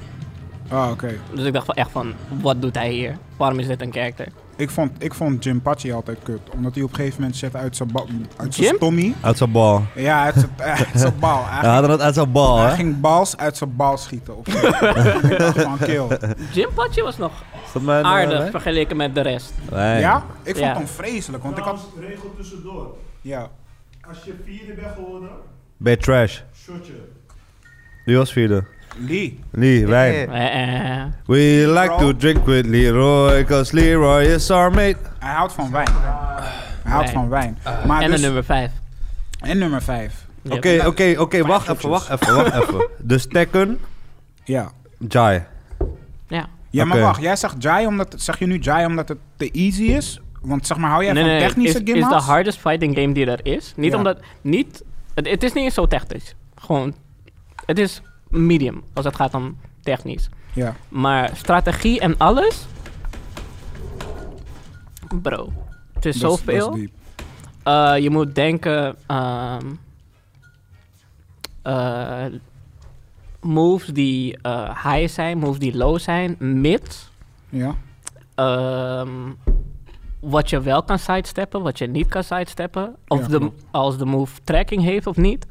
Speaker 2: Ah, oké.
Speaker 4: Dus ik dacht wel echt van, wat doet hij hier? Waarom is dit een character?
Speaker 2: Ik Ik vond, ik vond Jim Pachi altijd kut. Omdat hij op een gegeven moment zet uit zijn ba- uit
Speaker 4: Jim?
Speaker 2: zijn Tommy.
Speaker 1: Uit zijn bal.
Speaker 2: Ja, uit zijn- uit zijn bal. Hij,
Speaker 1: Hij had het uit zijn bal,
Speaker 2: hij
Speaker 1: hè?
Speaker 2: ging bals uit zijn bal schieten. Op ik dacht van, kill.
Speaker 4: Jim Pachi was nog
Speaker 1: Is dat mijn... eh,
Speaker 4: aardig
Speaker 1: lijn?
Speaker 4: vergeleken met de rest.
Speaker 1: Nee.
Speaker 2: Ja? Ik vond
Speaker 4: Ja.
Speaker 2: hem vreselijk. Want ik had...
Speaker 6: Trouwens, regel tussendoor.
Speaker 2: Ja.
Speaker 6: Als je vierde bent geworden,
Speaker 1: Ben je trash?
Speaker 6: shotje.
Speaker 1: Wie was vierde?
Speaker 2: Lee.
Speaker 1: Lee, wijn.
Speaker 3: Eh,
Speaker 4: Eh, eh.
Speaker 1: We like to drink with Leroy, cause Leroy is our mate.
Speaker 2: Hij houdt van wijn. Hij houdt
Speaker 4: Wijn.
Speaker 2: van wijn. Maar
Speaker 4: en
Speaker 2: dus,
Speaker 4: de nummer 5.
Speaker 2: en nummer 5.
Speaker 1: Oké, oké, oké, wacht even, wacht even, wacht even. Dus Tekken,
Speaker 2: Ja.
Speaker 1: Jai.
Speaker 4: Ja.
Speaker 2: Ja, maar
Speaker 1: Oké.
Speaker 2: wacht. Jij zegt Jai omdat... Zeg je nu Jai omdat het te easy is? Want zeg maar, hou jij
Speaker 4: Nee,
Speaker 2: van
Speaker 4: nee, nee. Is,
Speaker 2: technische
Speaker 4: is de
Speaker 2: gimmas?
Speaker 4: hardest fighting game die er is. Niet
Speaker 2: Ja.
Speaker 4: omdat... Niet, het, het is niet eens zo technisch. Gewoon... Het is medium als het gaat om technisch.
Speaker 2: Ja.
Speaker 4: Maar strategie en alles... Bro. Het is
Speaker 2: Dat is- dat is
Speaker 4: zoveel.
Speaker 2: diep.
Speaker 4: Eh, je moet denken. ehm, eh, moves die eh, high zijn, moves die low zijn, mid.
Speaker 2: Ja.
Speaker 4: ehm, wat je wel kan sidesteppen, wat je niet kan sidesteppen. Of
Speaker 2: Ja,
Speaker 4: de,
Speaker 2: klopt.
Speaker 4: als de move tracking heeft of niet.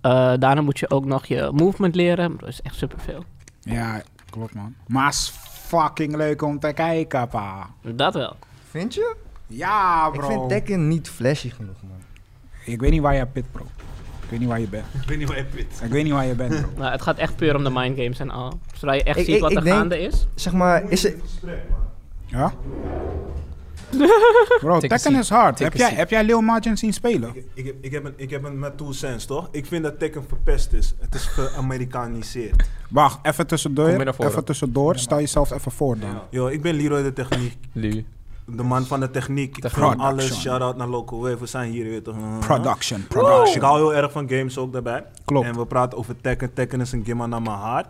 Speaker 4: Eh, daarna moet je ook nog je movement leren. Dat is echt superveel.
Speaker 2: Ja, klopt man. Maar is fucking leuk om te kijken, pa.
Speaker 4: Dat wel.
Speaker 3: Vind je?
Speaker 2: Ja,
Speaker 3: Ik
Speaker 2: bro.
Speaker 3: vind Tekken niet flashy genoeg, man.
Speaker 2: Ik weet niet waar jij pit, bro. Ik weet niet waar je bent.
Speaker 6: Ik weet niet waar je pit.
Speaker 2: Ik weet niet waar je bent, bro.
Speaker 4: Maar Nou, het gaat echt puur om de mindgames en al. Zodra je echt
Speaker 3: Ik-
Speaker 4: ziet
Speaker 3: ik-
Speaker 4: wat
Speaker 3: ik
Speaker 4: er
Speaker 3: denk-
Speaker 4: gaande is.
Speaker 3: Zeg maar, is het...
Speaker 6: Gesprek, man.
Speaker 2: Ja? Bro,
Speaker 5: Take a
Speaker 2: Tekken
Speaker 5: seat.
Speaker 2: is hard. Heb
Speaker 5: a
Speaker 2: jij,
Speaker 5: seat.
Speaker 2: heb jij Lil Margin zien spelen?
Speaker 6: Ik, ik, heb- ik, heb een, ik heb een met two cents, toch? Ik vind dat Tekken verpest is. Het is geamerikaniseerd.
Speaker 2: Wacht, even
Speaker 5: Kom weer
Speaker 2: tussendoor.
Speaker 5: naar voren.
Speaker 2: Even tussendoor. Stel jezelf even voor dan.
Speaker 6: Yo, ik ben Leroy de techniek.
Speaker 5: Lee.
Speaker 6: De man van de techniek. Ik
Speaker 5: Techniek.
Speaker 6: film alles.
Speaker 2: Production.
Speaker 6: Shout-out naar Local Wave. We zijn hier, je weet toch. uh,
Speaker 2: Production,
Speaker 6: Ik
Speaker 2: production.
Speaker 6: hou heel erg van games ook daarbij.
Speaker 2: Klopt.
Speaker 6: En we praten over Tekken. Tekken is een gimma naar mijn hart.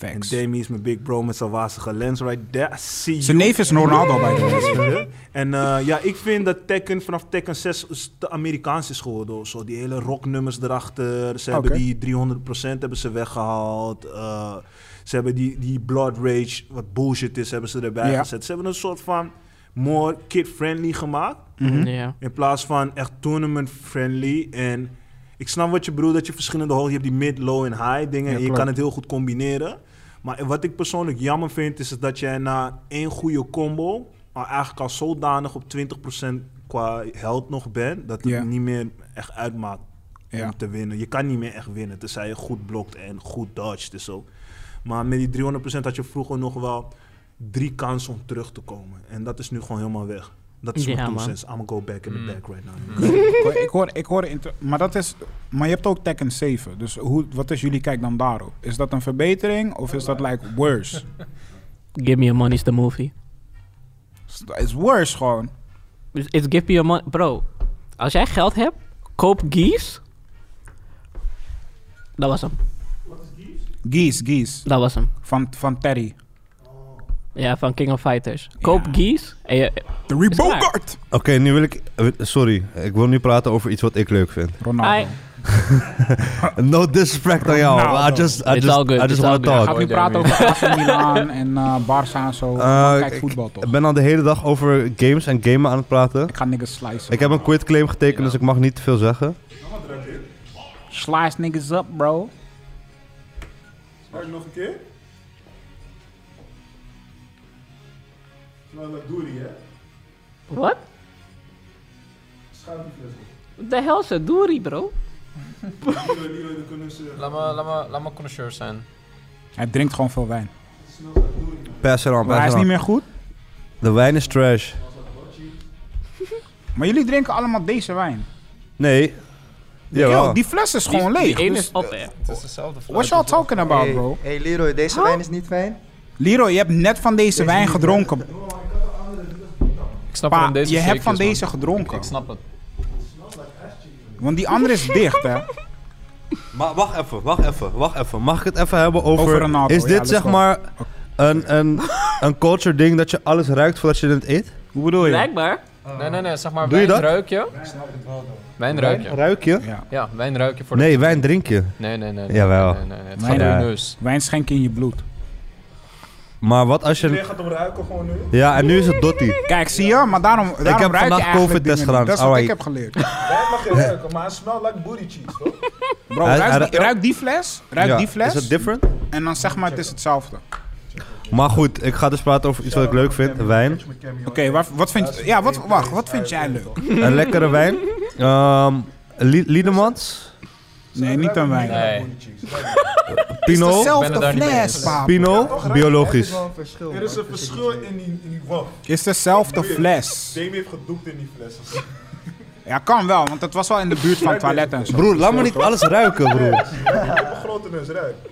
Speaker 6: En
Speaker 2: Facts.
Speaker 6: Demi is mijn big bro met zijn wazige lens right there. I see
Speaker 2: Zijn
Speaker 6: you.
Speaker 2: neef is Ronaldo, by the way.
Speaker 6: En eh, ja, ik vind dat Tekken vanaf Tekken 6 is te Amerikaans is geworden. of Zo. Die hele rocknummers erachter. Ze hebben
Speaker 2: Oké.
Speaker 6: die 300% hebben ze weggehaald. Eh, ze hebben die, die Blood Rage, wat bullshit is, hebben ze erbij
Speaker 2: Ja.
Speaker 6: gezet. Ze hebben een soort van more kid-friendly gemaakt.
Speaker 4: Mhm.
Speaker 3: Mhm.
Speaker 4: Ja.
Speaker 6: In plaats van echt tournament-friendly. En ik snap wat je bedoelt, dat je verschillende hoogte... Je hebt die mid, low en high dingen. en je
Speaker 3: klopt.
Speaker 6: kan het heel goed combineren. Maar wat ik persoonlijk jammer vind, is dat jij na één goede combo... maar eigenlijk al zodanig op 20% qua health nog bent... dat het
Speaker 2: Ja.
Speaker 6: niet meer echt uitmaakt om
Speaker 2: Ja.
Speaker 6: te winnen. Je kan niet meer echt winnen, tenzij je goed blokt en goed dodgt. Dus ook. Maar met die 300% had je vroeger nog wel drie kansen om terug te komen. En dat is nu gewoon helemaal weg. Dat is
Speaker 4: Ja,
Speaker 6: mijn two
Speaker 4: man.
Speaker 6: cents. I'm gonna go back in
Speaker 7: Mm.
Speaker 6: the back right now.
Speaker 2: Ik hoor- Ik hoor, ik hoor inter- maar dat is, maar je hebt ook Tekken 7. Dus hoe, wat is jullie kijk dan daarop? Is dat een verbetering of is dat like worse?
Speaker 4: Give me your money's the movie.
Speaker 2: Is worse gewoon.
Speaker 4: Dus it's give me your money. Bro, als jij geld hebt, koop Gies. Dat was hem.
Speaker 2: Geese, Geese
Speaker 4: Dat was hem.
Speaker 2: van, van Terry.
Speaker 4: Ja, van King of Fighters. Koop
Speaker 2: Ja.
Speaker 4: Gies. En je,
Speaker 2: De
Speaker 4: Rebogart!
Speaker 1: Oké, nu wil ik... eh, Sorry, ik wil nu praten over iets wat ik leuk vind.
Speaker 2: Ronaldo.
Speaker 4: Ai.
Speaker 1: No disrespect aan jou. I
Speaker 2: Ronaldo.
Speaker 1: just, I
Speaker 4: It's all
Speaker 1: just,
Speaker 4: good,
Speaker 1: I
Speaker 4: it's
Speaker 1: just
Speaker 4: all
Speaker 1: want to
Speaker 4: good.
Speaker 2: Hij
Speaker 1: talk.
Speaker 2: gaat nu
Speaker 5: Mooi,
Speaker 2: praten
Speaker 5: Damien.
Speaker 2: over AC Milan en eh, Barça en zo.
Speaker 1: Eh,
Speaker 2: kijk
Speaker 1: ik-
Speaker 2: voetbal toch?
Speaker 1: Ik ben al de hele dag over games en gamen aan het praten.
Speaker 2: Ik ga niggas slicen.
Speaker 1: Ik heb een quitclaim getekend, dus ik mag niet te veel zeggen.
Speaker 2: Slice niggas up, bro.
Speaker 6: nog een keer? Dat doe je, hè?
Speaker 4: Wat? De hel is het Doerie, bro.
Speaker 5: Laat me, laat me, laat me connoisseur zijn.
Speaker 2: Hij drinkt gewoon veel wijn.
Speaker 1: Pass it on,
Speaker 2: Maar hij
Speaker 1: pass it
Speaker 2: is niet
Speaker 1: on.
Speaker 2: meer goed.
Speaker 1: De wijn is trash.
Speaker 2: Maar jullie drinken allemaal deze wijn.
Speaker 1: Nee.
Speaker 2: Yo,
Speaker 1: Jawel.
Speaker 2: die fles is gewoon
Speaker 4: Die-
Speaker 2: leeg.
Speaker 4: Die één
Speaker 2: dus
Speaker 4: is op, hè.
Speaker 5: Het is dezelfde
Speaker 2: What's y'all talking about,
Speaker 3: Hey,
Speaker 2: bro?
Speaker 3: hey Leroy, deze wijn is niet fijn.
Speaker 2: Leroy, je hebt net van deze wijn gedronken.
Speaker 5: Ik snap
Speaker 2: Pa,
Speaker 5: van deze
Speaker 2: je hebt van
Speaker 5: shake is,
Speaker 2: deze
Speaker 5: man.
Speaker 2: gedronken.
Speaker 5: Ik snap het.
Speaker 2: Want die andere is dicht, hè?
Speaker 1: Maar wacht even, wacht even, wacht even. Mag ik het even hebben over...
Speaker 2: Over Ronaldo,
Speaker 1: is
Speaker 2: ja,
Speaker 1: dit
Speaker 2: let's
Speaker 1: zeg
Speaker 2: go.
Speaker 1: maar een, een, een culture ding dat je alles ruikt voordat je het eet?
Speaker 2: Hoe bedoel je?
Speaker 4: Blijkbaar.
Speaker 5: Nee, nee, nee. Zeg maar,
Speaker 1: Doe je
Speaker 5: wijn
Speaker 1: dat?
Speaker 5: ruik je. Ik snap het wel. Wijn ruik je.
Speaker 1: Ruik je?
Speaker 2: Ja.
Speaker 5: Ja, wijn ruik je voor
Speaker 1: Nee,
Speaker 5: de...
Speaker 1: wijn drink je.
Speaker 5: Nee, nee, nee. nee
Speaker 1: Jawel.
Speaker 5: Nee, nee, nee, Het
Speaker 2: Wijn
Speaker 5: gaat door je
Speaker 1: ruik-
Speaker 5: neus.
Speaker 2: Wijn schenken in je bloed.
Speaker 1: Maar wat als
Speaker 6: Iedereen
Speaker 1: je...
Speaker 6: gaat hem ruiken gewoon nu.
Speaker 1: Ja, en nu is het Dottie.
Speaker 2: Kijk, zie je? Maar daarom, daarom ruik je
Speaker 1: vandaag
Speaker 2: eigenlijk
Speaker 1: COVID-test
Speaker 2: dingen niet.
Speaker 1: gedaan,
Speaker 2: Dat is wat ik
Speaker 1: alright.
Speaker 2: heb geleerd.
Speaker 6: Wij mag je ruiken, maar hij smelt like booty cheese, toch?
Speaker 2: Bro,
Speaker 1: Hij-
Speaker 2: ruik,
Speaker 1: hij-
Speaker 2: die- ruik die fles, ruik
Speaker 1: Ja,
Speaker 2: die fles
Speaker 1: Is het different?
Speaker 2: en dan zeg maar het is hetzelfde.
Speaker 1: Maar goed, ik ga dus praten over iets wat ik leuk vind. Wijn.
Speaker 2: Oké, wat, wat vind je... Ja, wat, wacht, wat vind jij leuk?
Speaker 1: Een lekkere wijn. Ehm Lie- Liedemans.
Speaker 2: Nee, niet aan wijn. Het
Speaker 5: Nee.
Speaker 2: is
Speaker 1: Pinot.
Speaker 5: Ik ben het
Speaker 2: dezelfde
Speaker 5: daar niet mee
Speaker 2: fles,
Speaker 5: eens.
Speaker 2: paap.
Speaker 1: Pinot, biologisch.
Speaker 6: Er is een verschil in die, in die waf.
Speaker 2: is dezelfde fles.
Speaker 6: Dame heeft gedoekt in die flessen.
Speaker 2: Ja, kan wel, want het was wel in de buurt van het toilet en zo.
Speaker 1: Broer, laat me niet alles ruiken, broer.
Speaker 6: Een grote neus ruikt.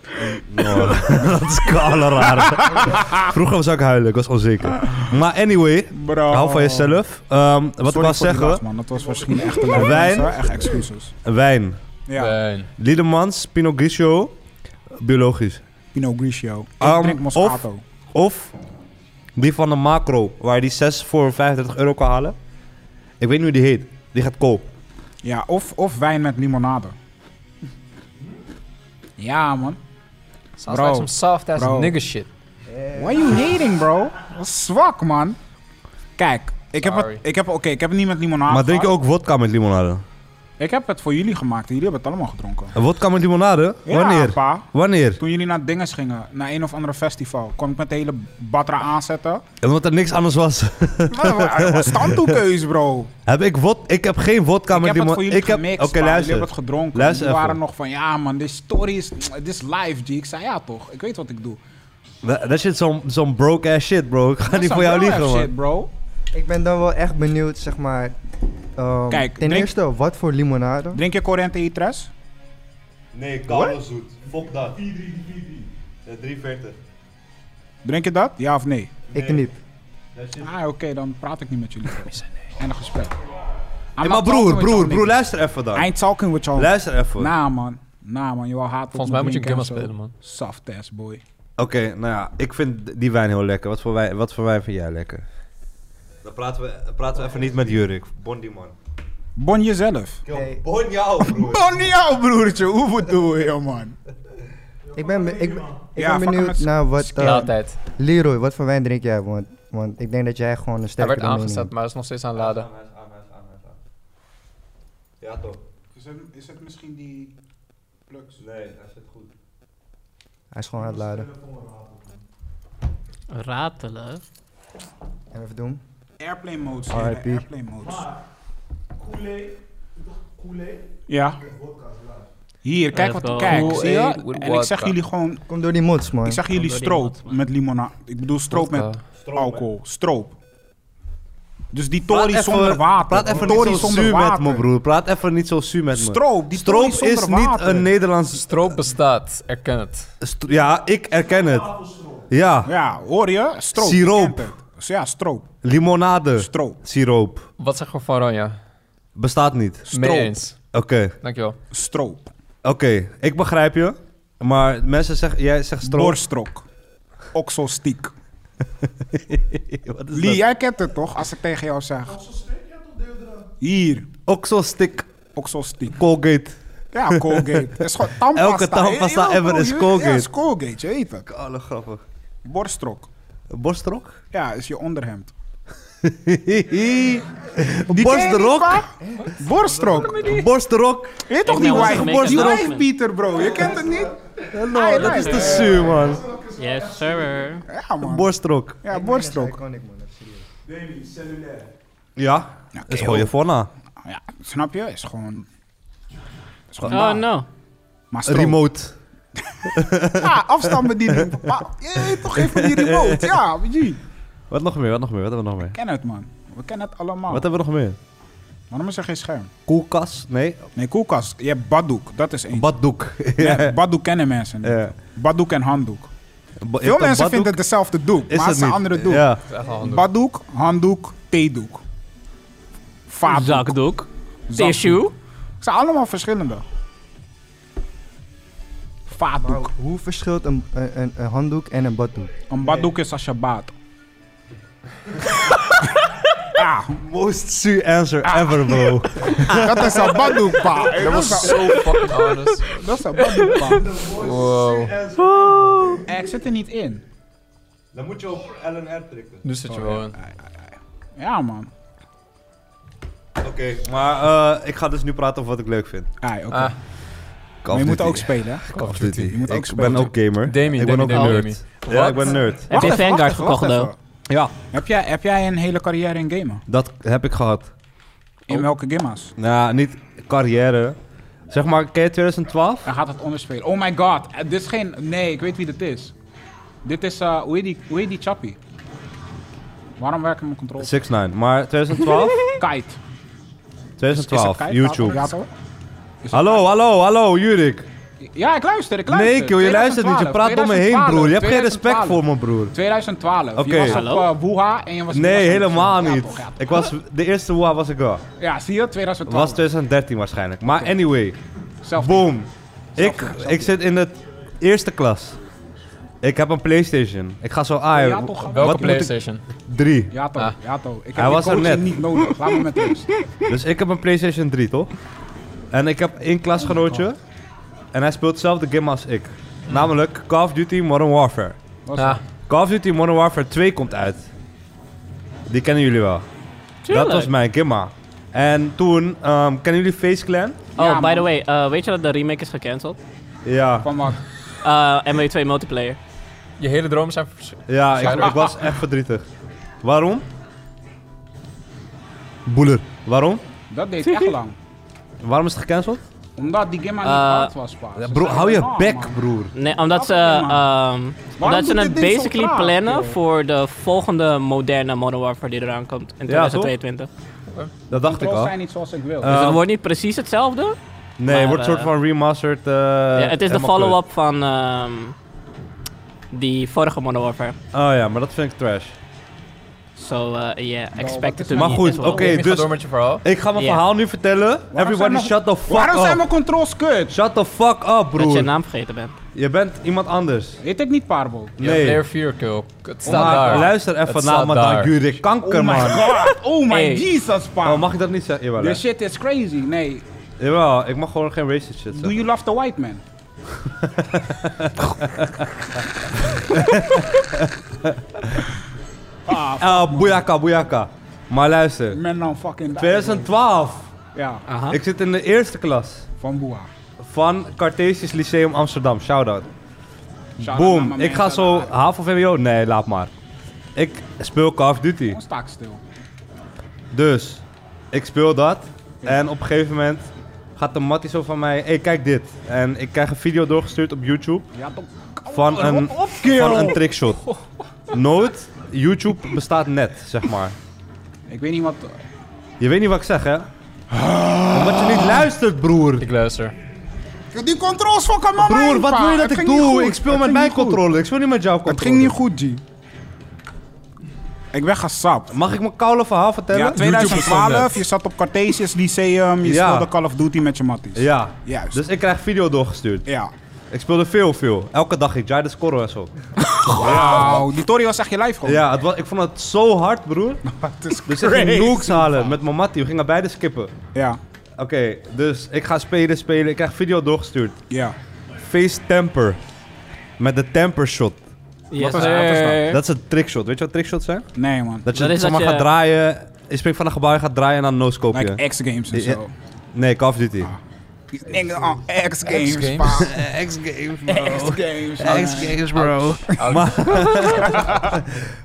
Speaker 1: Oh. dat is kale raar. Vroeger was ik huilen, ik was onzeker. Maar anyway,
Speaker 2: Bro.
Speaker 1: hou van jezelf. Ehm, wat ik wou
Speaker 2: Oh. Sorry voor die
Speaker 1: zeggen,
Speaker 2: lach, man. Dat was misschien echt een lach,
Speaker 1: Wijn.
Speaker 2: mensen. Echt excuses.
Speaker 1: wijn.
Speaker 2: Ja,
Speaker 5: Nee.
Speaker 1: Liedemans, Pinot Grigio, biologisch.
Speaker 2: Pinot Grigio. Ik
Speaker 1: Um,
Speaker 2: drink Moscato.
Speaker 1: Of die van de macro, waar je die 6 voor 35 euro kan halen. Ik weet niet hoe die heet. Die gaat koop.
Speaker 2: Ja, of, of wijn met limonade. Ja, man.
Speaker 5: Sounds
Speaker 2: Bro.
Speaker 5: like some soft ass
Speaker 2: Bro.
Speaker 5: nigga shit.
Speaker 2: Why you hating, bro? Dat is zwak, man. Kijk, ik heb het,
Speaker 5: Sorry.
Speaker 2: ik heb, oké, ik heb het niet met limonade
Speaker 1: Maar drink je
Speaker 2: gehad.
Speaker 1: ook vodka met limonade?
Speaker 2: Ik heb het voor jullie gemaakt en jullie hebben het allemaal gedronken.
Speaker 1: Een Vodka met limonade?
Speaker 2: Ja,
Speaker 1: Wanneer?
Speaker 2: pa.
Speaker 1: Wanneer?
Speaker 2: Toen jullie naar dinges gingen, naar een of andere festival, kwam ik met de hele batra aanzetten.
Speaker 1: Omdat er niks anders was.
Speaker 2: Wat een standtoekeus, bro.
Speaker 1: heb ik, wod ik heb geen vodka
Speaker 2: Ik
Speaker 1: met
Speaker 2: heb het voor
Speaker 1: limonade.
Speaker 2: jullie gemixt,
Speaker 1: Oké,
Speaker 2: maar jullie
Speaker 1: luister.
Speaker 2: hebben het gedronken.
Speaker 1: Luister
Speaker 2: jullie
Speaker 1: even.
Speaker 2: waren nog van, ja man, dit story is, dit is live, G. Ik zei, ja toch, ik weet wat ik doe.
Speaker 1: Da- Dat shit, zo'n zo'n broke ass shit, bro. Ik ga
Speaker 2: Dat
Speaker 1: niet
Speaker 2: is
Speaker 1: voor
Speaker 2: wel
Speaker 1: jou liegen,
Speaker 2: echt
Speaker 1: man.
Speaker 2: shit, bro.
Speaker 3: Ik ben dan wel echt benieuwd, zeg maar. ehm,
Speaker 2: Kijk,
Speaker 3: ten
Speaker 2: drink-
Speaker 3: eerste, wat voor limonade?
Speaker 2: Drink je Corente Itres?
Speaker 1: Nee, koude zoet. Fok dat. 4 340.
Speaker 2: Drink je dat? Ja of nee?
Speaker 3: Ik niet.
Speaker 2: Ah, oké, dan praat ik niet met jullie. Einde gesprek.
Speaker 1: Hey, maar broer, broer, broer, luister even dan.
Speaker 2: Eind talking with y'all.
Speaker 1: Luister even.
Speaker 2: Nah, man. Nah, man, je wil haat op
Speaker 5: Volgens
Speaker 2: me
Speaker 5: mij moet je
Speaker 2: drinken en
Speaker 5: Gimma
Speaker 2: zo.
Speaker 5: spelen, man.
Speaker 2: Soft ass boy.
Speaker 1: Oké, nou ja, ik vind d- die wijn heel lekker. Wat voor wijn, wat voor wijn vind jij lekker? Dan praten we, praten we even niet met Jurik. Bon die man.
Speaker 2: Bon jezelf.
Speaker 3: Hey.
Speaker 1: Bon jou, broer.
Speaker 2: Bon jou, broertje. Hoe bedoel je, man?
Speaker 3: Ik ben, be- ik, ben- ik
Speaker 2: Ja,
Speaker 3: ben
Speaker 2: fuck
Speaker 3: benieuwd
Speaker 2: met z'n-
Speaker 3: naar wat... eh,
Speaker 5: Altijd.
Speaker 3: Leroy, wat voor wijn drink jij? Want, want ik denk dat jij gewoon een
Speaker 5: Hij
Speaker 3: sterke
Speaker 5: werd
Speaker 3: mening
Speaker 5: aangezet,
Speaker 3: hebt.
Speaker 5: maar hij is nog steeds aan het laden.
Speaker 1: Ja toch?
Speaker 2: Is het, is het misschien die plugs?
Speaker 1: Nee, dat zit goed.
Speaker 3: Hij is gewoon aan het laden.
Speaker 4: Ratelen.
Speaker 3: En even doen.
Speaker 2: Airplane modes,
Speaker 3: heren,
Speaker 2: heren,
Speaker 3: R.I.P.
Speaker 2: airplane modes. Ja. Hier, kijk wat
Speaker 4: Let's go.
Speaker 2: kijk, zie
Speaker 5: Kool-Aid
Speaker 2: je?
Speaker 5: with
Speaker 2: En ik zeg
Speaker 5: vodka.
Speaker 2: jullie gewoon,
Speaker 3: Kom door die mods, man.
Speaker 2: ik zeg jullie
Speaker 4: door die
Speaker 2: stroop
Speaker 4: mat, man.
Speaker 2: met limonade. Ik bedoel stroop met
Speaker 5: Vodka.
Speaker 2: alcohol, stroop. Dus die
Speaker 1: Praat
Speaker 2: tory
Speaker 1: even-
Speaker 2: zonder water.
Speaker 1: Praat even
Speaker 2: die tory
Speaker 1: niet zo
Speaker 2: zonder
Speaker 1: zuur met
Speaker 2: water.
Speaker 1: me, broer. Praat even niet zo zuur met me.
Speaker 2: Stroop, die
Speaker 1: Stroop
Speaker 2: tory zonder
Speaker 1: is niet
Speaker 2: water.
Speaker 1: een Nederlands...
Speaker 5: Stroop bestaat, erken het.
Speaker 1: stro- ja, ik erken het. Ja,
Speaker 2: Ja, hoor je? Stroop. je
Speaker 1: Siroop.
Speaker 2: kent het. Dus ja, stroop.
Speaker 1: limonade.
Speaker 2: Stroop.
Speaker 1: Siroop.
Speaker 5: Wat zeggen we van Ranja?
Speaker 1: Bestaat niet.
Speaker 5: Mee
Speaker 2: Stroop.
Speaker 5: eens.
Speaker 1: Oké.
Speaker 5: Dankjewel.
Speaker 2: Stroop.
Speaker 1: Oké, ik begrijp je. Maar mensen zeggen... Jij zegt stroop.
Speaker 2: Borstrok. Oxostiek.
Speaker 1: Wat is
Speaker 2: Lee, jij kent het toch? Als ik tegen jou zeg. Oxostiek? Ja, toch Hier.
Speaker 1: dat? Oxostick.
Speaker 2: Oxostiek.
Speaker 1: Colgate.
Speaker 2: Ja, Colgate. Het is gewoon tandpasta.
Speaker 1: Elke tandpasta
Speaker 2: Ja,
Speaker 1: ever
Speaker 2: bro,
Speaker 1: is
Speaker 2: je-
Speaker 1: Colgate.
Speaker 2: Ja, is Colgate. Je weet het.
Speaker 1: Alle grappig.
Speaker 2: Borstrok.
Speaker 1: Borstrok?
Speaker 2: Ja, is je onderhemd.
Speaker 1: Borstrok?
Speaker 2: Borstrok.
Speaker 1: Borstrok?
Speaker 2: Je weet toch
Speaker 4: Ik
Speaker 2: die
Speaker 4: ben onze
Speaker 2: wife?
Speaker 4: Jamaican
Speaker 2: Die
Speaker 4: Dutchman.
Speaker 2: wife Peter, bro. Je kent het niet? Ah,
Speaker 1: Hello, dat Ah, is te zuur, man.
Speaker 4: Yes, sir.
Speaker 2: dus- Ja, man.
Speaker 1: Borstrok.
Speaker 2: Ja,
Speaker 3: Dat is
Speaker 2: borstrok.
Speaker 3: iconic, man. Dat is serieus.
Speaker 1: Ja,
Speaker 2: Ja,
Speaker 1: dat is gewoon je voornaam.
Speaker 2: Ja, snap je? Is gewoon... Is gewoon
Speaker 4: Oh
Speaker 2: daar.
Speaker 4: no.
Speaker 2: Maar stroop.
Speaker 1: Remote.
Speaker 2: Ja, afstandsbediening. Pa- Jee, toch even die remote. Ja, G.
Speaker 1: Wat nog meer, wat nog meer, wat hebben we nog meer?
Speaker 2: Ken het, man. We kennen het allemaal.
Speaker 1: Wat hebben we nog meer?
Speaker 2: Waarom is er geen scherm?
Speaker 1: Koelkast? Nee,
Speaker 2: Nee, koelkast. Je hebt baddoek. Dat is één.
Speaker 1: baddoek.
Speaker 2: Nee, baddoek kennen mensen niet.
Speaker 1: Ja.
Speaker 2: Baddoek en handdoek.
Speaker 1: Ba- je hebt
Speaker 2: Veel
Speaker 1: een
Speaker 2: mensen
Speaker 1: baddoek?
Speaker 2: vinden het dezelfde doek,
Speaker 1: Is
Speaker 2: maar het
Speaker 1: dat
Speaker 2: is een
Speaker 1: niet?
Speaker 2: andere doek.
Speaker 1: Ja.
Speaker 5: Het is echt wel handig.
Speaker 2: Baddoek, handdoek, theedoek. Vaatdoek.
Speaker 4: Zakdoek.
Speaker 2: zakdoek.
Speaker 4: Tissue.
Speaker 2: Het zijn allemaal verschillende. Vaatdoek.
Speaker 3: Maar hoe verschilt een, een, een- een handdoek en een baddoek?
Speaker 2: Een baddoek is als je baat. ja,
Speaker 1: Most zuur answer ever, bro.
Speaker 2: dat is een baddoek, pa. Dat
Speaker 5: Dat was zo fucking honest.
Speaker 2: Dat is een baddoek, pa.
Speaker 5: Wow.
Speaker 2: Eh, ik zit er niet in.
Speaker 1: Dan moet je op LNR prikken.
Speaker 5: Nu zit je wel in.
Speaker 2: Ja, man.
Speaker 1: Oké, maar eh, ik ga dus nu praten over wat ik leuk vind.
Speaker 2: Ah, oké.
Speaker 5: Ah,
Speaker 2: maar je moet ook spelen, hè?
Speaker 5: Call of
Speaker 1: Duty.
Speaker 5: Duty.
Speaker 2: Je moet ook
Speaker 1: ik
Speaker 2: spelen.
Speaker 1: ben ook gamer.
Speaker 5: Demi,
Speaker 1: ik
Speaker 5: Demi,
Speaker 1: ben ook
Speaker 5: Demi,
Speaker 1: een nerd.
Speaker 5: Demi.
Speaker 1: Ja,
Speaker 5: Wat?
Speaker 1: ik ben een nerd.
Speaker 4: Heb je
Speaker 2: Wacht even,
Speaker 4: Vanguard
Speaker 2: wacht even, wacht
Speaker 4: gekocht,
Speaker 2: even.
Speaker 4: though? Ja.
Speaker 2: Heb jij, heb jij een hele carrière in gamen?
Speaker 1: Dat heb ik gehad.
Speaker 2: In welke gamma's?
Speaker 1: Nou, niet carrière. Zeg maar, ken je 2012?
Speaker 2: Hij gaat het onderspelen. Oh my god, eh, dit is geen... Nee, ik weet wie dit is. Dit is, eh hoe heet die, hoe heet die chappie? Waarom werken mijn controles?
Speaker 1: 6 9 maar 2012?
Speaker 2: Kite. Is- is het
Speaker 1: 2012,
Speaker 2: Kite?
Speaker 1: YouTube.
Speaker 2: Ja, toch? Is het
Speaker 1: Hallo, hallo, hallo, Jurik.
Speaker 2: Kite? Ja, ik luister, ik luister.
Speaker 1: Nee, joh, je luistert niet. Je praat door me heen, broer. Je hebt geen respect voor me, broer.
Speaker 2: 2012.
Speaker 1: Oké.
Speaker 2: Je was op
Speaker 4: Hallo?
Speaker 2: eh, Wuha en je was... je
Speaker 1: Nee,
Speaker 2: was-
Speaker 1: helemaal
Speaker 2: Ja,
Speaker 1: niet.
Speaker 2: toch, ja, toch.
Speaker 1: Ik was, de eerste WA was ik al.
Speaker 2: Ja, zie je, 2012.
Speaker 1: Was 2013 waarschijnlijk. Maar anyway,
Speaker 2: Zelf
Speaker 1: boom. Ik,
Speaker 2: Zelfde, zelfde.
Speaker 1: ik zit in de eerste klas. Ik heb een Playstation. Ik ga zo aan.
Speaker 2: Ja, toch, gast.
Speaker 5: Welke
Speaker 1: Wat moet ik-
Speaker 5: PlayStation?
Speaker 1: Drie.
Speaker 2: Ja, toch.
Speaker 5: Ah.
Speaker 2: Ja, toch. Ik heb
Speaker 1: Hij
Speaker 2: die
Speaker 1: was er
Speaker 2: coaching
Speaker 1: net.
Speaker 2: niet nodig. Laat me met rust.
Speaker 1: Dus ik heb een PlayStation 3, toch? En ik heb één klasgenootje. en hij speelt hetzelfde game als ik. Namelijk Call of Duty Modern Warfare.
Speaker 2: Was
Speaker 1: Ah.
Speaker 5: Ja.
Speaker 1: Call of Duty Modern Warfare 2 komt uit. Die kennen jullie wel. Dat was mijn gimma. En toen, ehm, kennen jullie Face Clan?
Speaker 4: Oh,
Speaker 2: Ja,
Speaker 4: by
Speaker 2: man.
Speaker 4: the way, eh, weet je dat de remake is gecanceld?
Speaker 1: Ja,
Speaker 2: Van wat?
Speaker 4: Eh MW2 multiplayer.
Speaker 5: Je hele droom zijn... vers-
Speaker 1: ja ik, ik was echt verdrietig. Waarom? Boeler. Waarom?
Speaker 2: Dat deed echt lang.
Speaker 1: Waarom is het gecanceld?
Speaker 2: Omdat die Gimma
Speaker 4: Eh,
Speaker 2: niet hard was, pa. Ze
Speaker 1: Bro,
Speaker 2: zei,
Speaker 1: Ah. hou je
Speaker 2: "Oh, man."
Speaker 1: bek, broer.
Speaker 4: Nee, omdat ze,
Speaker 2: Oké, man.
Speaker 4: ehm, omdat ze
Speaker 2: doet
Speaker 4: het
Speaker 2: dit ding zo
Speaker 4: basically
Speaker 2: traag,
Speaker 4: plannen
Speaker 2: joh?
Speaker 4: voor de volgende moderne Modern Warfare die eraan komt in 2022.
Speaker 1: Dat dacht ik
Speaker 2: Controls
Speaker 1: al.
Speaker 2: zijn niet zoals ik wil.
Speaker 1: Eh,
Speaker 4: dus
Speaker 1: Ja.
Speaker 4: het wordt niet precies hetzelfde.
Speaker 1: Nee, het
Speaker 4: maar,
Speaker 1: wordt een soort
Speaker 4: eh,
Speaker 1: van remastered. eh,
Speaker 4: ja, het is de
Speaker 1: helemaal
Speaker 4: follow-up van ehm, die vorige Modern Warfare.
Speaker 1: kut. Oh ja, maar dat vind ik trash.
Speaker 4: So, eh, yeah,
Speaker 2: wat
Speaker 4: expect
Speaker 2: is
Speaker 4: it to
Speaker 1: nou- Maar
Speaker 4: be
Speaker 1: goed,
Speaker 4: as well.
Speaker 1: oké.
Speaker 5: Demi, ga
Speaker 1: dus-
Speaker 5: door met je verhaal.
Speaker 1: Ik ga mijn
Speaker 4: Ja.
Speaker 1: verhaal nu vertellen.
Speaker 2: zijn
Speaker 1: Everybody
Speaker 2: mijn-
Speaker 1: shut the fuck
Speaker 2: Waarom
Speaker 1: up.
Speaker 2: zijn mijn controls kut?
Speaker 1: Shut the fuck up, broer.
Speaker 4: Dat je
Speaker 1: Je,
Speaker 4: je naam vergeten bent.
Speaker 1: bent iemand anders.
Speaker 2: Weet ik niet, Parbo.
Speaker 5: Je hebt
Speaker 1: Nee.
Speaker 5: Player 4 kill. Het staat
Speaker 1: Maar
Speaker 5: daar.
Speaker 1: luister even
Speaker 5: Het
Speaker 1: naar
Speaker 5: staat
Speaker 1: me
Speaker 5: daar.
Speaker 1: dan, Jurik. Kanker,
Speaker 2: Oh my
Speaker 1: man.
Speaker 2: god. Oh my
Speaker 4: Hey.
Speaker 2: Jesus, pa.
Speaker 1: Oh, mag ik dat niet zeggen? Jawel, hè.
Speaker 2: This shit is crazy. Nee.
Speaker 1: Jawel, ik mag gewoon geen racist shit
Speaker 2: Do
Speaker 1: zeggen.
Speaker 2: you love the white man? ah, f-
Speaker 1: Ah, boeiaka, boeiaka. Maar luister.
Speaker 2: man dan fucking...
Speaker 1: 2012.
Speaker 2: Ja,
Speaker 4: Aha.
Speaker 1: Ik zit in de eerste klas
Speaker 2: van Boa.
Speaker 1: van Cartesius Lyceum Amsterdam. Shout-out.
Speaker 2: Shout-out naar
Speaker 1: Boom.
Speaker 2: mijn
Speaker 1: Ik ga
Speaker 2: mensen
Speaker 1: zo
Speaker 2: daar.
Speaker 1: HAVO VWO? Nee, laat maar. Ik speel Call of Duty.
Speaker 2: Gewoon sta ik stil.
Speaker 1: Dus, ik speel dat. En op een gegeven moment gaat de mattie zo van mij... Hé, hey, kijk dit. En ik krijg een video doorgestuurd op YouTube
Speaker 2: Ja, toch.
Speaker 1: van
Speaker 2: Oh,
Speaker 1: een, van een trickshot. Nood, YouTube bestaat net, zeg maar.
Speaker 2: Ik weet niet wat...
Speaker 1: Je weet niet wat ik zeg, hè? Omdat je niet luistert, broer.
Speaker 5: Ik luister.
Speaker 2: Die controls fucking mama
Speaker 1: Broer, wat wil je dat ik doe? Ik speel met mijn controller. Ik speel niet met jouw controller.
Speaker 2: Het ging niet goed, G. Ik ben gesapt.
Speaker 1: Mag ik mijn koude verhaal vertellen?
Speaker 2: Ja, 2012,
Speaker 5: bestond
Speaker 2: je zat op Cartesius Lyceum, je
Speaker 1: Ja.
Speaker 2: speelde Call of Duty met je matties.
Speaker 1: Ja.
Speaker 2: Juist.
Speaker 1: Dus ik krijg video doorgestuurd.
Speaker 2: Ja.
Speaker 1: Ik speelde veel, veel. Elke dag ik jaarde scoren en zo.
Speaker 2: Oh. Wauw, die Tory was echt je live gewoon.
Speaker 1: Ja, het was, ik vond het zo hard, broer.
Speaker 2: Het is
Speaker 1: Dus ik ging nukes halen met mijn mattie. We gingen beide skippen.
Speaker 2: Ja,
Speaker 1: Oké, dus ik ga spelen, spelen. Ik krijg video doorgestuurd.
Speaker 2: ja.
Speaker 1: Face temper. Met de temper shot.
Speaker 4: Yes,
Speaker 2: is- wat is dat?
Speaker 4: sir.
Speaker 1: Dat is een trickshot. Weet je wat trickshots zijn?
Speaker 2: Nee man.
Speaker 1: Dat je
Speaker 4: Dat is
Speaker 1: zeg maar
Speaker 4: dat je-
Speaker 1: gaat draaien. Je springt van een gebouw, je gaat draaien en dan no-scope je.
Speaker 2: Like X-Games en
Speaker 1: Ja.
Speaker 2: zo.
Speaker 1: Nee, Call of Duty.
Speaker 2: Die dingen aan X-Games,
Speaker 5: X-Games.
Speaker 2: pa. X-Games, man.
Speaker 1: bro. Maar,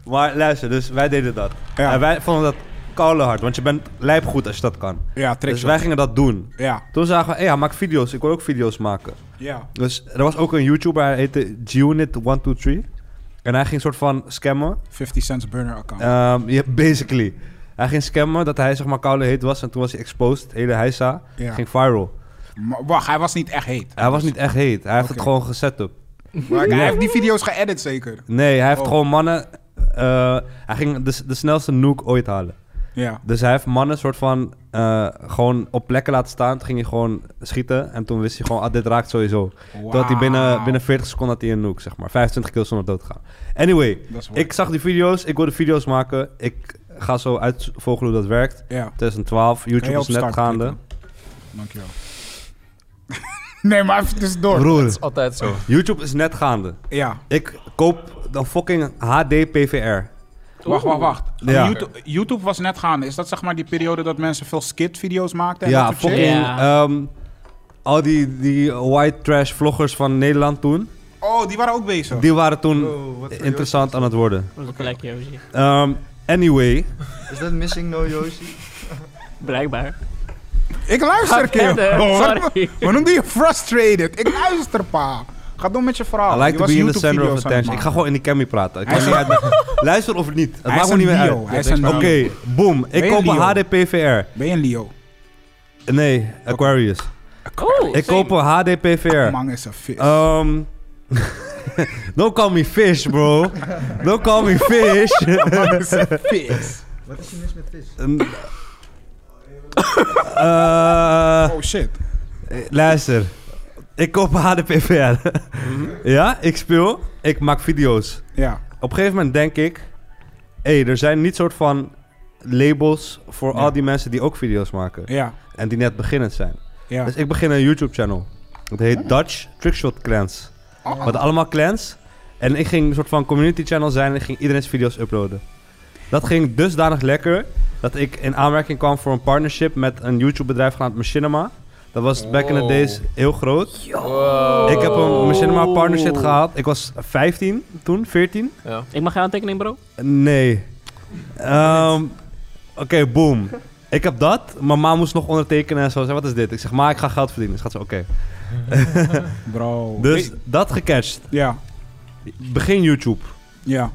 Speaker 1: maar luister, dus wij deden dat.
Speaker 2: Ja.
Speaker 1: En wij vonden dat koude hard, want je bent lijpgoed als je dat kan.
Speaker 2: Ja,
Speaker 1: Dus wij
Speaker 2: trickshot.
Speaker 1: gingen dat doen.
Speaker 2: Ja,
Speaker 1: Toen zagen we, hé, hij maakt video's. Ik wil ook video's maken.
Speaker 2: ja.
Speaker 1: Dus er was ook een YouTuber, hij heette Gunit123. En hij ging soort van scammen.
Speaker 2: 50 cents burner account.
Speaker 1: Ehm, ja, basically. Hij ging scammen dat hij zeg maar koude heet was. En toen was hij exposed, hele heisa.
Speaker 2: Ja.
Speaker 1: Ging viral.
Speaker 2: Maar wacht, hij was niet echt heet.
Speaker 1: Hij was niet echt heet. Hij heeft het
Speaker 2: Oké.
Speaker 1: gewoon gezet up.
Speaker 2: Hij heeft die video's geëdit zeker.
Speaker 1: Nee, hij heeft
Speaker 2: Oh.
Speaker 1: gewoon mannen... eh, hij ging de, de snelste nuke ooit halen.
Speaker 2: Ja.
Speaker 1: Dus hij heeft mannen soort van eh, gewoon op plekken laten staan. Toen ging hij gewoon schieten. En toen wist hij gewoon, ah, dit raakt sowieso.
Speaker 2: Wow.
Speaker 1: Dat hij binnen, binnen 40 seconden had hij een nuke, zeg maar. 25 kills zonder dood te gaan. Anyway,
Speaker 2: Dat is waar.
Speaker 1: ik zag die video's. Ik wilde video's maken. Ik ga zo uitvogelen hoe dat werkt.
Speaker 2: Ja,
Speaker 1: 2012,
Speaker 2: Kan
Speaker 1: YouTube
Speaker 2: je
Speaker 1: is
Speaker 2: op
Speaker 1: net
Speaker 2: start
Speaker 1: gaande.
Speaker 2: klikken? dankjewel. nee, maar even tussendoor.
Speaker 1: Broer,
Speaker 5: Altijd zo.
Speaker 1: YouTube is net gaande.
Speaker 2: Ja,
Speaker 1: Ik koop dan fucking HD-PVR.
Speaker 2: Wacht, wacht, wacht.
Speaker 1: Ja.
Speaker 2: YouTube, YouTube was net gaande. Is dat zeg maar die periode dat mensen veel skit-video's maakten? en
Speaker 1: Ja,
Speaker 2: dat soort shit?
Speaker 1: fucking...
Speaker 4: Ja.
Speaker 1: ehm, al die, die white trash vloggers van Nederland toen,
Speaker 2: Oh, die waren ook bezig.
Speaker 1: die waren toen interessant aan het worden.
Speaker 4: Look like Yoshi.
Speaker 1: Ehm, anyway,
Speaker 3: Is dat Missing No Yoshi?
Speaker 4: Blijkbaar.
Speaker 2: Ik luister,
Speaker 4: Ga
Speaker 2: Kim.
Speaker 4: verder,
Speaker 2: Oh, wat-
Speaker 4: sorry.
Speaker 2: Wat noemde je frustrated? Ik luister, pa. Ga door met Oh, je verhaal.
Speaker 1: I
Speaker 2: Die
Speaker 1: like to
Speaker 2: was
Speaker 1: be in the
Speaker 2: YouTube
Speaker 1: center of
Speaker 2: video's aan het
Speaker 1: attention. Ik ga
Speaker 2: maken.
Speaker 1: gewoon in die cammy praten. Ik
Speaker 2: Hij
Speaker 1: maak
Speaker 2: is
Speaker 1: me niet uit. Luister of niet. Het
Speaker 2: Hij
Speaker 1: maakt
Speaker 2: is
Speaker 1: me
Speaker 2: een
Speaker 1: niet meer
Speaker 2: Leo.
Speaker 1: uit.
Speaker 2: Hij is een
Speaker 1: Oké,
Speaker 2: Leo.
Speaker 1: boom. Ik
Speaker 2: Ben je
Speaker 1: koop een
Speaker 2: Leo?
Speaker 1: HDPVR.
Speaker 2: Ben je een Leo?
Speaker 1: Nee, Aquarius.
Speaker 4: Cool.
Speaker 1: Ik koop een HDPVR.
Speaker 2: Man is een vis.
Speaker 1: Ehm don't call me fish, bro. Don't call me fish.
Speaker 2: Man is een vis.
Speaker 3: Wat is je mis met vis?
Speaker 1: Eh,
Speaker 2: Oh, shit.
Speaker 1: luister. Ik koop een HDPVR. ja, ik speel. Ik maak video's.
Speaker 2: Ja.
Speaker 1: Op een gegeven moment denk ik... Hé, hey, er zijn niet soort van labels voor
Speaker 2: Ja.
Speaker 1: al die mensen die ook video's maken.
Speaker 2: Ja.
Speaker 1: En die net beginnend zijn.
Speaker 2: Ja. Ah.
Speaker 1: Dus ik begin een YouTube-channel. Dat heet Dutch Trickshot Clans. We hadden allemaal clans. En ik ging een soort van community channel zijn en ik ging iedereen's video's uploaden. Dat ging dusdanig lekker dat ik in aanmerking kwam voor een partnership met een YouTube-bedrijf genaamd Machinima. Dat was back in the
Speaker 2: Oh.
Speaker 5: Wow.
Speaker 1: days heel groot.
Speaker 5: Wow.
Speaker 1: Ik heb een Machinima partnership gehaald. Ik was 15 toen, 14.
Speaker 5: Ja.
Speaker 4: Ik mag geen aantekening, bro?
Speaker 1: Nee. Ehm, Oké, boom. Ik heb dat. Mijn ma moest nog ondertekenen en zo. Ze zei, wat is dit? Ik zeg, ma, ik ga geld verdienen. Ze gaat zo, oké.
Speaker 2: Bro.
Speaker 1: Dus dat gecatcht.
Speaker 2: Ja.
Speaker 1: Begin YouTube.
Speaker 2: Ja.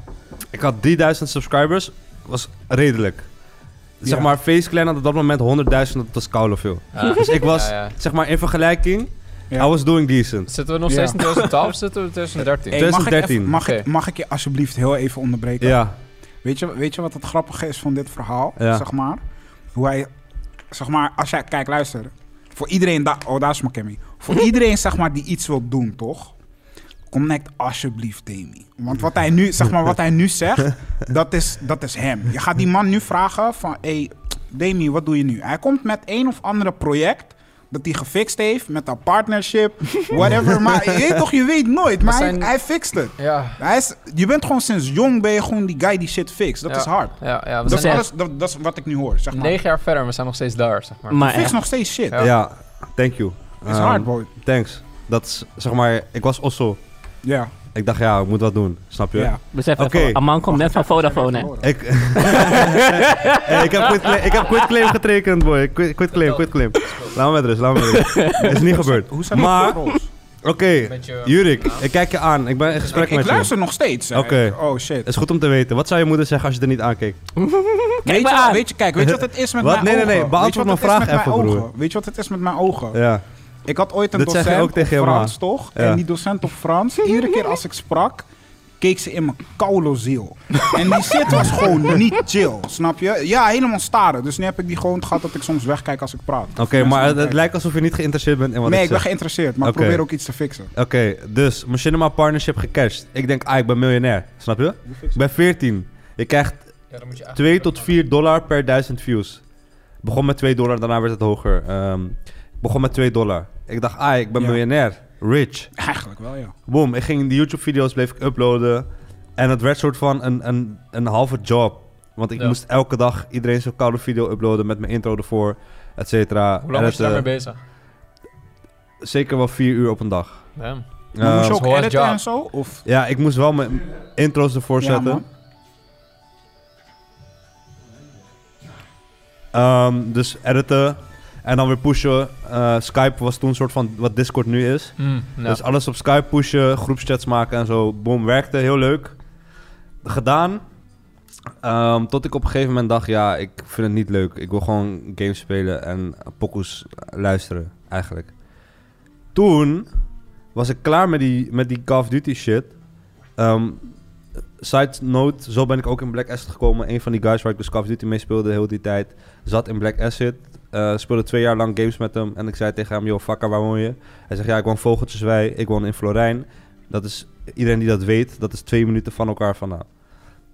Speaker 1: Ik had 3000 subscribers. Was redelijk. Zeg
Speaker 2: Ja.
Speaker 1: maar, FaceClan had op dat moment 100.000. Dat was koude veel.
Speaker 5: Ja.
Speaker 1: Dus ik was,
Speaker 5: Ja, ja.
Speaker 1: zeg maar, in vergelijking...
Speaker 2: Ja.
Speaker 1: I was doing decent.
Speaker 5: Zitten we nog
Speaker 2: Ja.
Speaker 5: steeds in 2012 of zitten we in 2013?
Speaker 2: Hey, mag ik
Speaker 1: 2013.
Speaker 2: even- Mag ik-
Speaker 5: Oké.
Speaker 2: mag ik je alsjeblieft heel even onderbreken?
Speaker 1: Ja.
Speaker 2: Weet je, weet je wat het grappige is van dit verhaal?
Speaker 1: Ja.
Speaker 2: Zeg maar. Hoe hij, zeg maar, als jij, kijk, luister. Voor iedereen, da- oh, daar is mijn Cammy. Voor iedereen, zeg maar, die iets wil doen, toch? Connect alsjeblieft, Demi. Want wat hij nu, zeg maar, wat hij nu zegt, dat is, dat is hem. Je gaat die man nu vragen van, hé, hey, Demi, wat doe je nu? Hij komt met een of andere project dat hij gefixt heeft met een partnership, whatever. maar je weet toch, je weet nooit, maar
Speaker 5: zijn-
Speaker 2: hij, hij fixt het.
Speaker 5: Ja.
Speaker 2: Hij is, je bent gewoon sinds jong ben je gewoon die guy die shit fixt. Dat
Speaker 5: Ja.
Speaker 2: is hard.
Speaker 5: Ja, ja, we
Speaker 2: Dat is,
Speaker 5: zijn
Speaker 2: alles, dat, dat is wat ik nu hoor, zeg maar.
Speaker 5: negen jaar verder en we zijn nog steeds daar, zeg maar.
Speaker 4: Maar eh,
Speaker 2: Fix
Speaker 4: echt.
Speaker 2: nog steeds shit.
Speaker 5: Ja.
Speaker 1: Ja. Thank you.
Speaker 2: is
Speaker 1: Ehm,
Speaker 2: hard, boy.
Speaker 1: Thanks. Dat is, zeg maar... Ik was osso.
Speaker 2: Ja,
Speaker 1: Ik dacht, ja, ik moet wat doen. Snap je?
Speaker 2: ja.
Speaker 4: Besef
Speaker 1: Oké.
Speaker 4: even, Aman komt net van
Speaker 5: Oh,
Speaker 4: Vodafone, hè?
Speaker 1: Ik, Hey, ik, heb quitclaim, ik heb quitclaim getekend, boy. Quit, quitclaim, quitclaim. Laat me met rust, laat me met rust. Het is niet gebeurd.
Speaker 2: Hoe zijn maar,
Speaker 1: Maar,
Speaker 2: de
Speaker 1: oké,
Speaker 2: controls?
Speaker 5: Met je-
Speaker 1: Jurik, ik kijk je aan. Ik ben in gesprek
Speaker 2: Ik, ik
Speaker 1: met je.
Speaker 2: luister nog steeds. hè.
Speaker 1: Oké.
Speaker 2: Oh
Speaker 1: Het
Speaker 2: shit.
Speaker 1: is goed om te weten. Wat zou je moeder zeggen als je er niet aankeek?
Speaker 2: Weet je,
Speaker 4: me
Speaker 2: wat-
Speaker 4: aan.
Speaker 2: weet je, kijk, weet je wat het is met
Speaker 1: Wat?
Speaker 2: mijn
Speaker 1: Nee, nee,
Speaker 2: ogen?
Speaker 1: nee,
Speaker 2: Weet je
Speaker 1: beantwoord
Speaker 2: wat het
Speaker 1: mijn
Speaker 2: is
Speaker 1: vraag
Speaker 2: met
Speaker 1: even,
Speaker 2: mijn
Speaker 1: broer.
Speaker 2: ogen? Weet je wat het is met mijn ogen?
Speaker 1: Ja.
Speaker 2: Ik had ooit een
Speaker 1: Dit zeg
Speaker 2: docent
Speaker 1: je ook tegen
Speaker 2: op
Speaker 1: je ma.
Speaker 2: Frans, toch?
Speaker 1: Ja.
Speaker 2: En die docent op Frans, iedere keer als ik sprak, keek ze in mijn kouloziel. En die shit was gewoon niet chill, snap je? Ja, helemaal staren. Dus nu heb ik die gewoon gehad dat ik soms wegkijk als ik praat.
Speaker 1: Oké, maar het, het lijkt alsof je niet geïnteresseerd bent in wat
Speaker 2: Nee, ik
Speaker 1: ik
Speaker 2: ben
Speaker 1: zeg.
Speaker 2: geïnteresseerd, maar ik
Speaker 1: Oké.
Speaker 2: probeer ook iets te fixen.
Speaker 1: Oké, dus Machinima Partnership gecashed. Ik denk, ah, ik ben miljonair. Snap je? Ik ben 14. Je krijgt
Speaker 5: Ja, dan moet je
Speaker 1: 2 tot 4 dollar per 1000 views. Begon met 2 dollar, daarna werd het hoger. Ehm, ik begon met 2 dollar. Ik dacht, ah, ik ben
Speaker 2: Ja.
Speaker 1: miljonair. Rich.
Speaker 2: Eigenlijk wel, ja.
Speaker 1: Boom, ik ging die YouTube-video's bleef ik uploaden. En het werd soort van een, een, een halve job. Want ik
Speaker 5: Ja.
Speaker 1: moest elke dag iedereen zo'n koude video uploaden met mijn intro ervoor, et cetera.
Speaker 5: Hoe lang was je
Speaker 1: Editen.
Speaker 5: daarmee bezig?
Speaker 1: Zeker wel vier uur op een dag.
Speaker 5: Damn.
Speaker 2: Maar moest je
Speaker 1: Ehm,
Speaker 2: ook
Speaker 5: zoals
Speaker 2: editen
Speaker 5: Jaap.
Speaker 2: en zo? Of?
Speaker 1: ja, ik moest wel mijn intro's ervoor
Speaker 2: Ja,
Speaker 1: zetten.
Speaker 2: man.
Speaker 1: Ehm, dus editen en dan weer pushen. Eh, Skype was toen een soort van wat Discord nu is.
Speaker 5: ja.
Speaker 1: Dus alles op Skype pushen, groepschats maken en zo. Boom, werkte heel leuk. Gedaan. Ehm, tot ik op een gegeven moment dacht, ja, ik vind het niet leuk. Ik wil gewoon games spelen en pokoes luisteren, eigenlijk. Toen was ik klaar met die, met die Call of Duty shit. Ehm, side note, zo ben ik ook in Black Asset gekomen. Een van die guys waar ik dus Call of Duty mee speelde heel die tijd, zat in Black Asset. eh, speelde twee jaar lang games met hem. En ik zei tegen hem, joh, fucker, waar woon je? Hij zegt, ja, ik woon Vogeltjeswei, ik woon in Florijn. Dat is, iedereen die dat weet, dat is twee minuten van elkaar vandaan.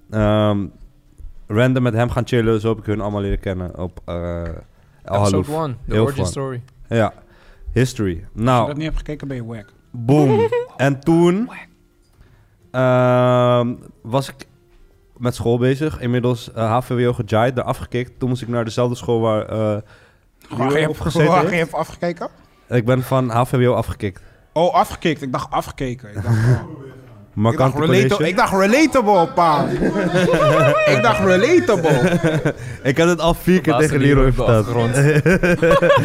Speaker 1: Ehm, random met hem gaan chillen, zo heb ik hun allemaal leren kennen op eh Al Hallouf.
Speaker 5: Episode 1, The
Speaker 1: Heel
Speaker 5: Origin
Speaker 1: fun.
Speaker 5: Story.
Speaker 1: Ja, history.
Speaker 2: Als je
Speaker 1: Nou,
Speaker 2: dat niet hebt gekeken, ben je wack.
Speaker 1: boom. en toen ehm, was ik met school bezig. Inmiddels eh, HVWO gejaaid, daar afgekikt. Toen moest ik naar dezelfde school waar eh
Speaker 2: Waar
Speaker 1: Jury
Speaker 2: je
Speaker 1: opgezeten
Speaker 2: waar je
Speaker 1: heeft.
Speaker 2: hebt afgekeken?
Speaker 1: Ik ben van HVWO afgekikt.
Speaker 2: Oh, afgekikt. Ik dacht afgekeken. Ik dacht, ik dacht,
Speaker 1: Markante
Speaker 2: relata-
Speaker 1: college.
Speaker 2: ik dacht relatable, pa. ik dacht relatable.
Speaker 1: Ik had het al vier keer tegen
Speaker 5: Verbaasde die
Speaker 1: Leroy
Speaker 5: op de
Speaker 1: verteld.
Speaker 5: achtergrond.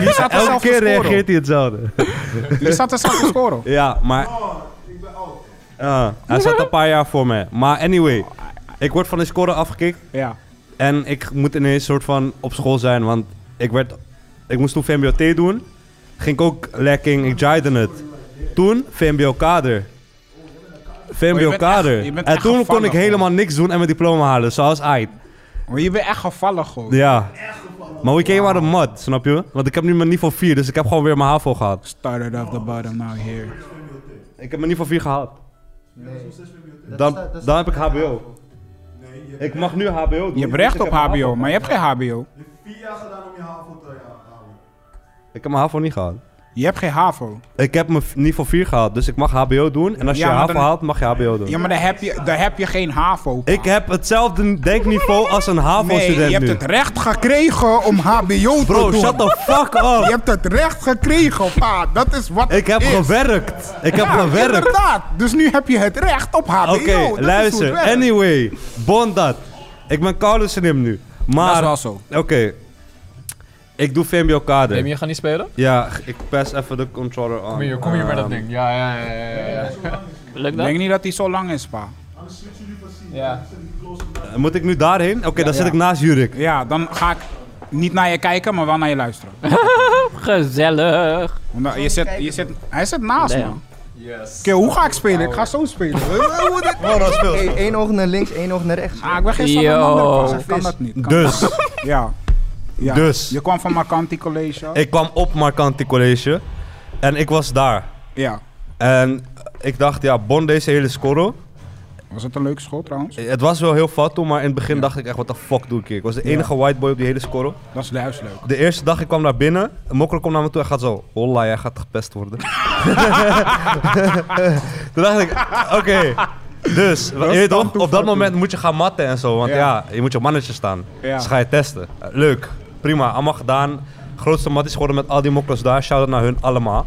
Speaker 2: Je staat er
Speaker 1: Elke
Speaker 2: zelf
Speaker 1: keer
Speaker 2: te
Speaker 1: reageert
Speaker 2: scoren.
Speaker 1: hij hetzelfde.
Speaker 2: Je staat er zelf te scoren.
Speaker 1: Ja, maar...
Speaker 2: Oh,
Speaker 1: Ah, hij zat een paar jaar voor mij. Maar anyway, ik word van de score afgekikt.
Speaker 2: Ja.
Speaker 1: En ik moet ineens soort van op school zijn, want ik, werd, ik moest toen VMBO-T doen. Ging ik ook lekking, ik jaaide het. Toen VMBO-kader.
Speaker 2: echt- je
Speaker 1: VMBO-kader.
Speaker 2: Oh, bent
Speaker 1: En
Speaker 2: echt
Speaker 1: toen kon
Speaker 2: gevallen,
Speaker 1: ik helemaal niks doen en mijn diploma halen, zoals Ait.
Speaker 2: Maar je bent echt gevallen, gewoon.
Speaker 1: Ja. Maar we came out of mud, snap je? Want ik heb nu mijn niveau 4, dus ik heb gewoon weer mijn HAVO gehad.
Speaker 2: Started off the bottom, now here.
Speaker 1: Ik heb mijn niveau 4 gehaald. Dan, dan heb ik HBO. Ik mag nu HBO doen.
Speaker 2: Je hebt
Speaker 1: Dus ik
Speaker 2: recht op
Speaker 1: heb mijn
Speaker 2: HBO, maar je hebt geen HBO.
Speaker 1: Ik heb mijn HAVO niet gehaald.
Speaker 2: Je hebt geen HAVO.
Speaker 1: Ik heb mijn v- niveau 4 gehaald, dus ik mag HBO doen. En als je
Speaker 2: Ja, maar
Speaker 1: HAVO
Speaker 2: dan-
Speaker 1: haalt, mag je HBO doen.
Speaker 2: Ja, maar daar heb je, daar heb je geen HAVO. pa.
Speaker 1: Ik heb hetzelfde denkniveau als een
Speaker 2: nee, je
Speaker 1: HAVO-student
Speaker 2: hebt
Speaker 1: nu.
Speaker 2: het recht gekregen om HBO te
Speaker 1: Bro,
Speaker 2: doen.
Speaker 1: shut the fuck
Speaker 2: Je
Speaker 1: up!
Speaker 2: hebt het recht gekregen, pa. Dat is wat
Speaker 1: Ik heb
Speaker 2: is.
Speaker 1: gewerkt! Ik heb
Speaker 2: Ja,
Speaker 1: gewerkt!
Speaker 2: Inderdaad. Dus nu heb je het recht op HBO.
Speaker 1: Oké,
Speaker 2: Dat is hoe het
Speaker 1: luister.
Speaker 2: werkt.
Speaker 1: Anyway, bond dat. Ik ben Carlos Slim nu. Maar,
Speaker 2: Dat is wel zo.
Speaker 1: Oké. Ik doe
Speaker 5: Neem
Speaker 1: VMBO-kader.
Speaker 5: je gaat niet spelen?
Speaker 1: Ja, g- ik pas even de controller aan.
Speaker 5: Kom hier, kom hier met dat
Speaker 1: Ehm,
Speaker 5: ding. Ja, ja, ja, ja. ja, ja.
Speaker 4: Lukt
Speaker 2: Ik
Speaker 4: dat?
Speaker 2: denk niet dat hij zo lang is, pa.
Speaker 5: ja.
Speaker 1: Moet ik nu daarheen? Oké, dan zit
Speaker 2: ja.
Speaker 1: ik naast Jurik.
Speaker 2: Ja, dan ga ik niet naar je kijken, maar wel naar je luisteren.
Speaker 4: Oh, Gezellig.
Speaker 2: Omdat Nou, je zit, je zit, hij zit naast
Speaker 4: Nee.
Speaker 2: me.
Speaker 5: Yes.
Speaker 2: Oké, hoe ga ik spelen? Ik ga zo spelen. Hoe dit-
Speaker 3: Eén oog naar links, één oog naar rechts.
Speaker 2: Ah, ik ben geen
Speaker 4: Yo.
Speaker 2: salamander. Ik kan dat niet. Kan-
Speaker 1: Dus,
Speaker 2: Ja. ja.
Speaker 1: Dus.
Speaker 2: Je kwam van Marcanti College.
Speaker 1: ik kwam op Marcanti College. En ik was daar.
Speaker 2: Ja.
Speaker 1: En ik dacht, ja, bon deze hele score.
Speaker 2: Was het een leuke school trouwens?
Speaker 1: Het was wel heel fat toen, maar in het begin dacht ik echt, wat de fuck doe ik hier? Ik was de enige white boy op die hele score.
Speaker 2: Dat is juist leuk.
Speaker 1: De eerste dag, ik kwam naar binnen. Mokker komt naar me toe en gaat zo, holla, jij gaat gepest worden. toen dacht ik, oké. Dus, je weet
Speaker 2: dan
Speaker 1: toch, op
Speaker 2: toeval
Speaker 1: dat moment moet je gaan matten en zo. Want ja,
Speaker 2: Ja.
Speaker 1: je moet je mannetje staan.
Speaker 2: Ja.
Speaker 1: Dus ga je testen. Eh, Leuk, prima, allemaal gedaan. Grootste mat is geworden met al die mokkers daar. Shout-out naar hun allemaal.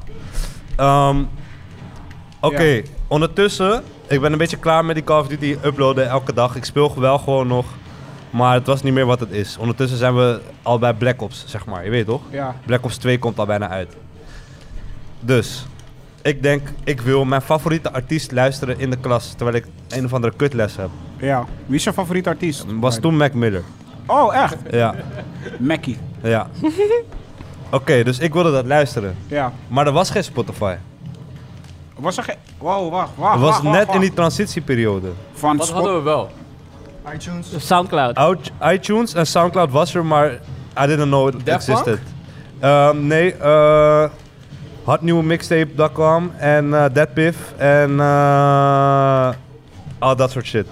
Speaker 1: Ehm, Oké,
Speaker 2: Ja.
Speaker 1: ondertussen, ik ben een beetje klaar met die Call of Duty uploaden elke dag. Ik speel wel gewoon nog, maar het was niet meer wat het is. Ondertussen zijn we al bij Black Ops, zeg maar, je weet toch?
Speaker 2: Ja.
Speaker 1: Black Ops 2 komt al bijna uit. Dus, ik denk, ik wil mijn favoriete artiest luisteren in de klas, terwijl ik een of andere kutles heb.
Speaker 2: Ja. Wie is je favoriete artiest?
Speaker 1: Was toen Mac Miller.
Speaker 2: Oh, echt?
Speaker 1: Ja,
Speaker 2: Mackie.
Speaker 1: ja. Oké, dus ik wilde dat luisteren.
Speaker 2: Ja.
Speaker 1: Maar er was geen Spotify.
Speaker 2: Was er geen... Wow, wacht, wacht,
Speaker 1: Er was
Speaker 2: wacht, wacht,
Speaker 1: net in die
Speaker 2: wacht.
Speaker 1: transitieperiode.
Speaker 2: Van
Speaker 5: Wat
Speaker 2: Spo-
Speaker 5: hadden we wel?
Speaker 3: iTunes.
Speaker 2: Ah,
Speaker 4: Soundcloud.
Speaker 1: Out- iTunes en Soundcloud was er, maar I didn't know it
Speaker 5: Daft Punk?
Speaker 1: existed. Ehm, nee, eh hotnieuwmixtape.com en eh, Deadpiff en eh, al dat soort shit.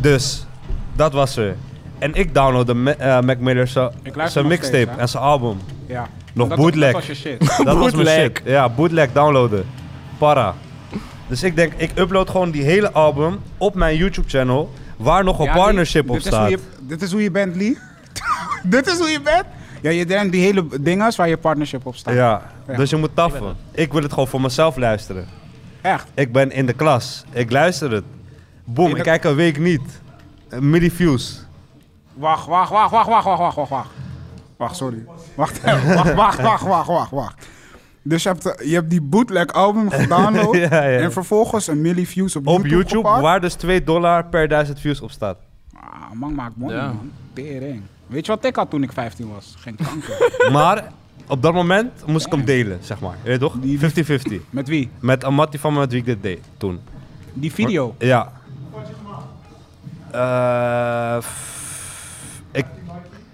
Speaker 1: Dus, dat was er. En ik downloadde Ma- eh, Mac Miller zijn
Speaker 2: Ik luister nog
Speaker 1: mixtape
Speaker 2: steeds, hè.
Speaker 1: en zijn album.
Speaker 2: Ja.
Speaker 1: Nog
Speaker 2: Dat-
Speaker 1: bootleg.
Speaker 2: Dat was je shit.
Speaker 1: Dat was mijn
Speaker 4: Bootleg.
Speaker 1: shit. Ja, bootleg downloaden. Para. Dus ik denk, ik upload gewoon die hele album op mijn YouTube-channel, waar nog een
Speaker 2: Ja,
Speaker 1: partnership
Speaker 2: dit-
Speaker 1: op
Speaker 2: dit is hoe
Speaker 1: staat.
Speaker 2: je- dit is hoe je bent, Lee. dit is hoe je bent. Ja, je denkt die hele dingen waar je partnership op staat.
Speaker 1: Ja,
Speaker 2: Ja.
Speaker 1: dus je moet taffen. Ik wil het gewoon voor mezelf luisteren.
Speaker 2: Echt.
Speaker 1: Ik ben in de klas. Ik luister het.
Speaker 2: In
Speaker 1: Boom, ik
Speaker 2: de-
Speaker 1: kijk een week niet. Eh, Millie views.
Speaker 2: Wacht, wacht, wacht, wacht, wacht, wacht, wacht, wacht, wacht. Wacht, sorry. Wacht, even. wacht, wacht, wacht, wacht, wacht, wacht. Dus je hebt, eh, je hebt die bootleg album gedownload
Speaker 1: Ja, ja.
Speaker 2: en vervolgens een milli views op,
Speaker 1: Op YouTube,
Speaker 2: gepakt.
Speaker 1: waar dus 2 dollar per 1000 views op staat.
Speaker 2: Ah, man maakt money,
Speaker 5: Ja.
Speaker 2: man. Tering. Weet je wat ik had toen ik 15 was? Geen kanker.
Speaker 1: Maar op dat moment moest ik hem delen, zeg maar. Je weet toch?
Speaker 2: Die-
Speaker 1: 50-50.
Speaker 2: Met wie?
Speaker 1: Met een mattie van me met wie ik dit deed toen.
Speaker 2: Die video.
Speaker 1: Ja. Eh, f- ik,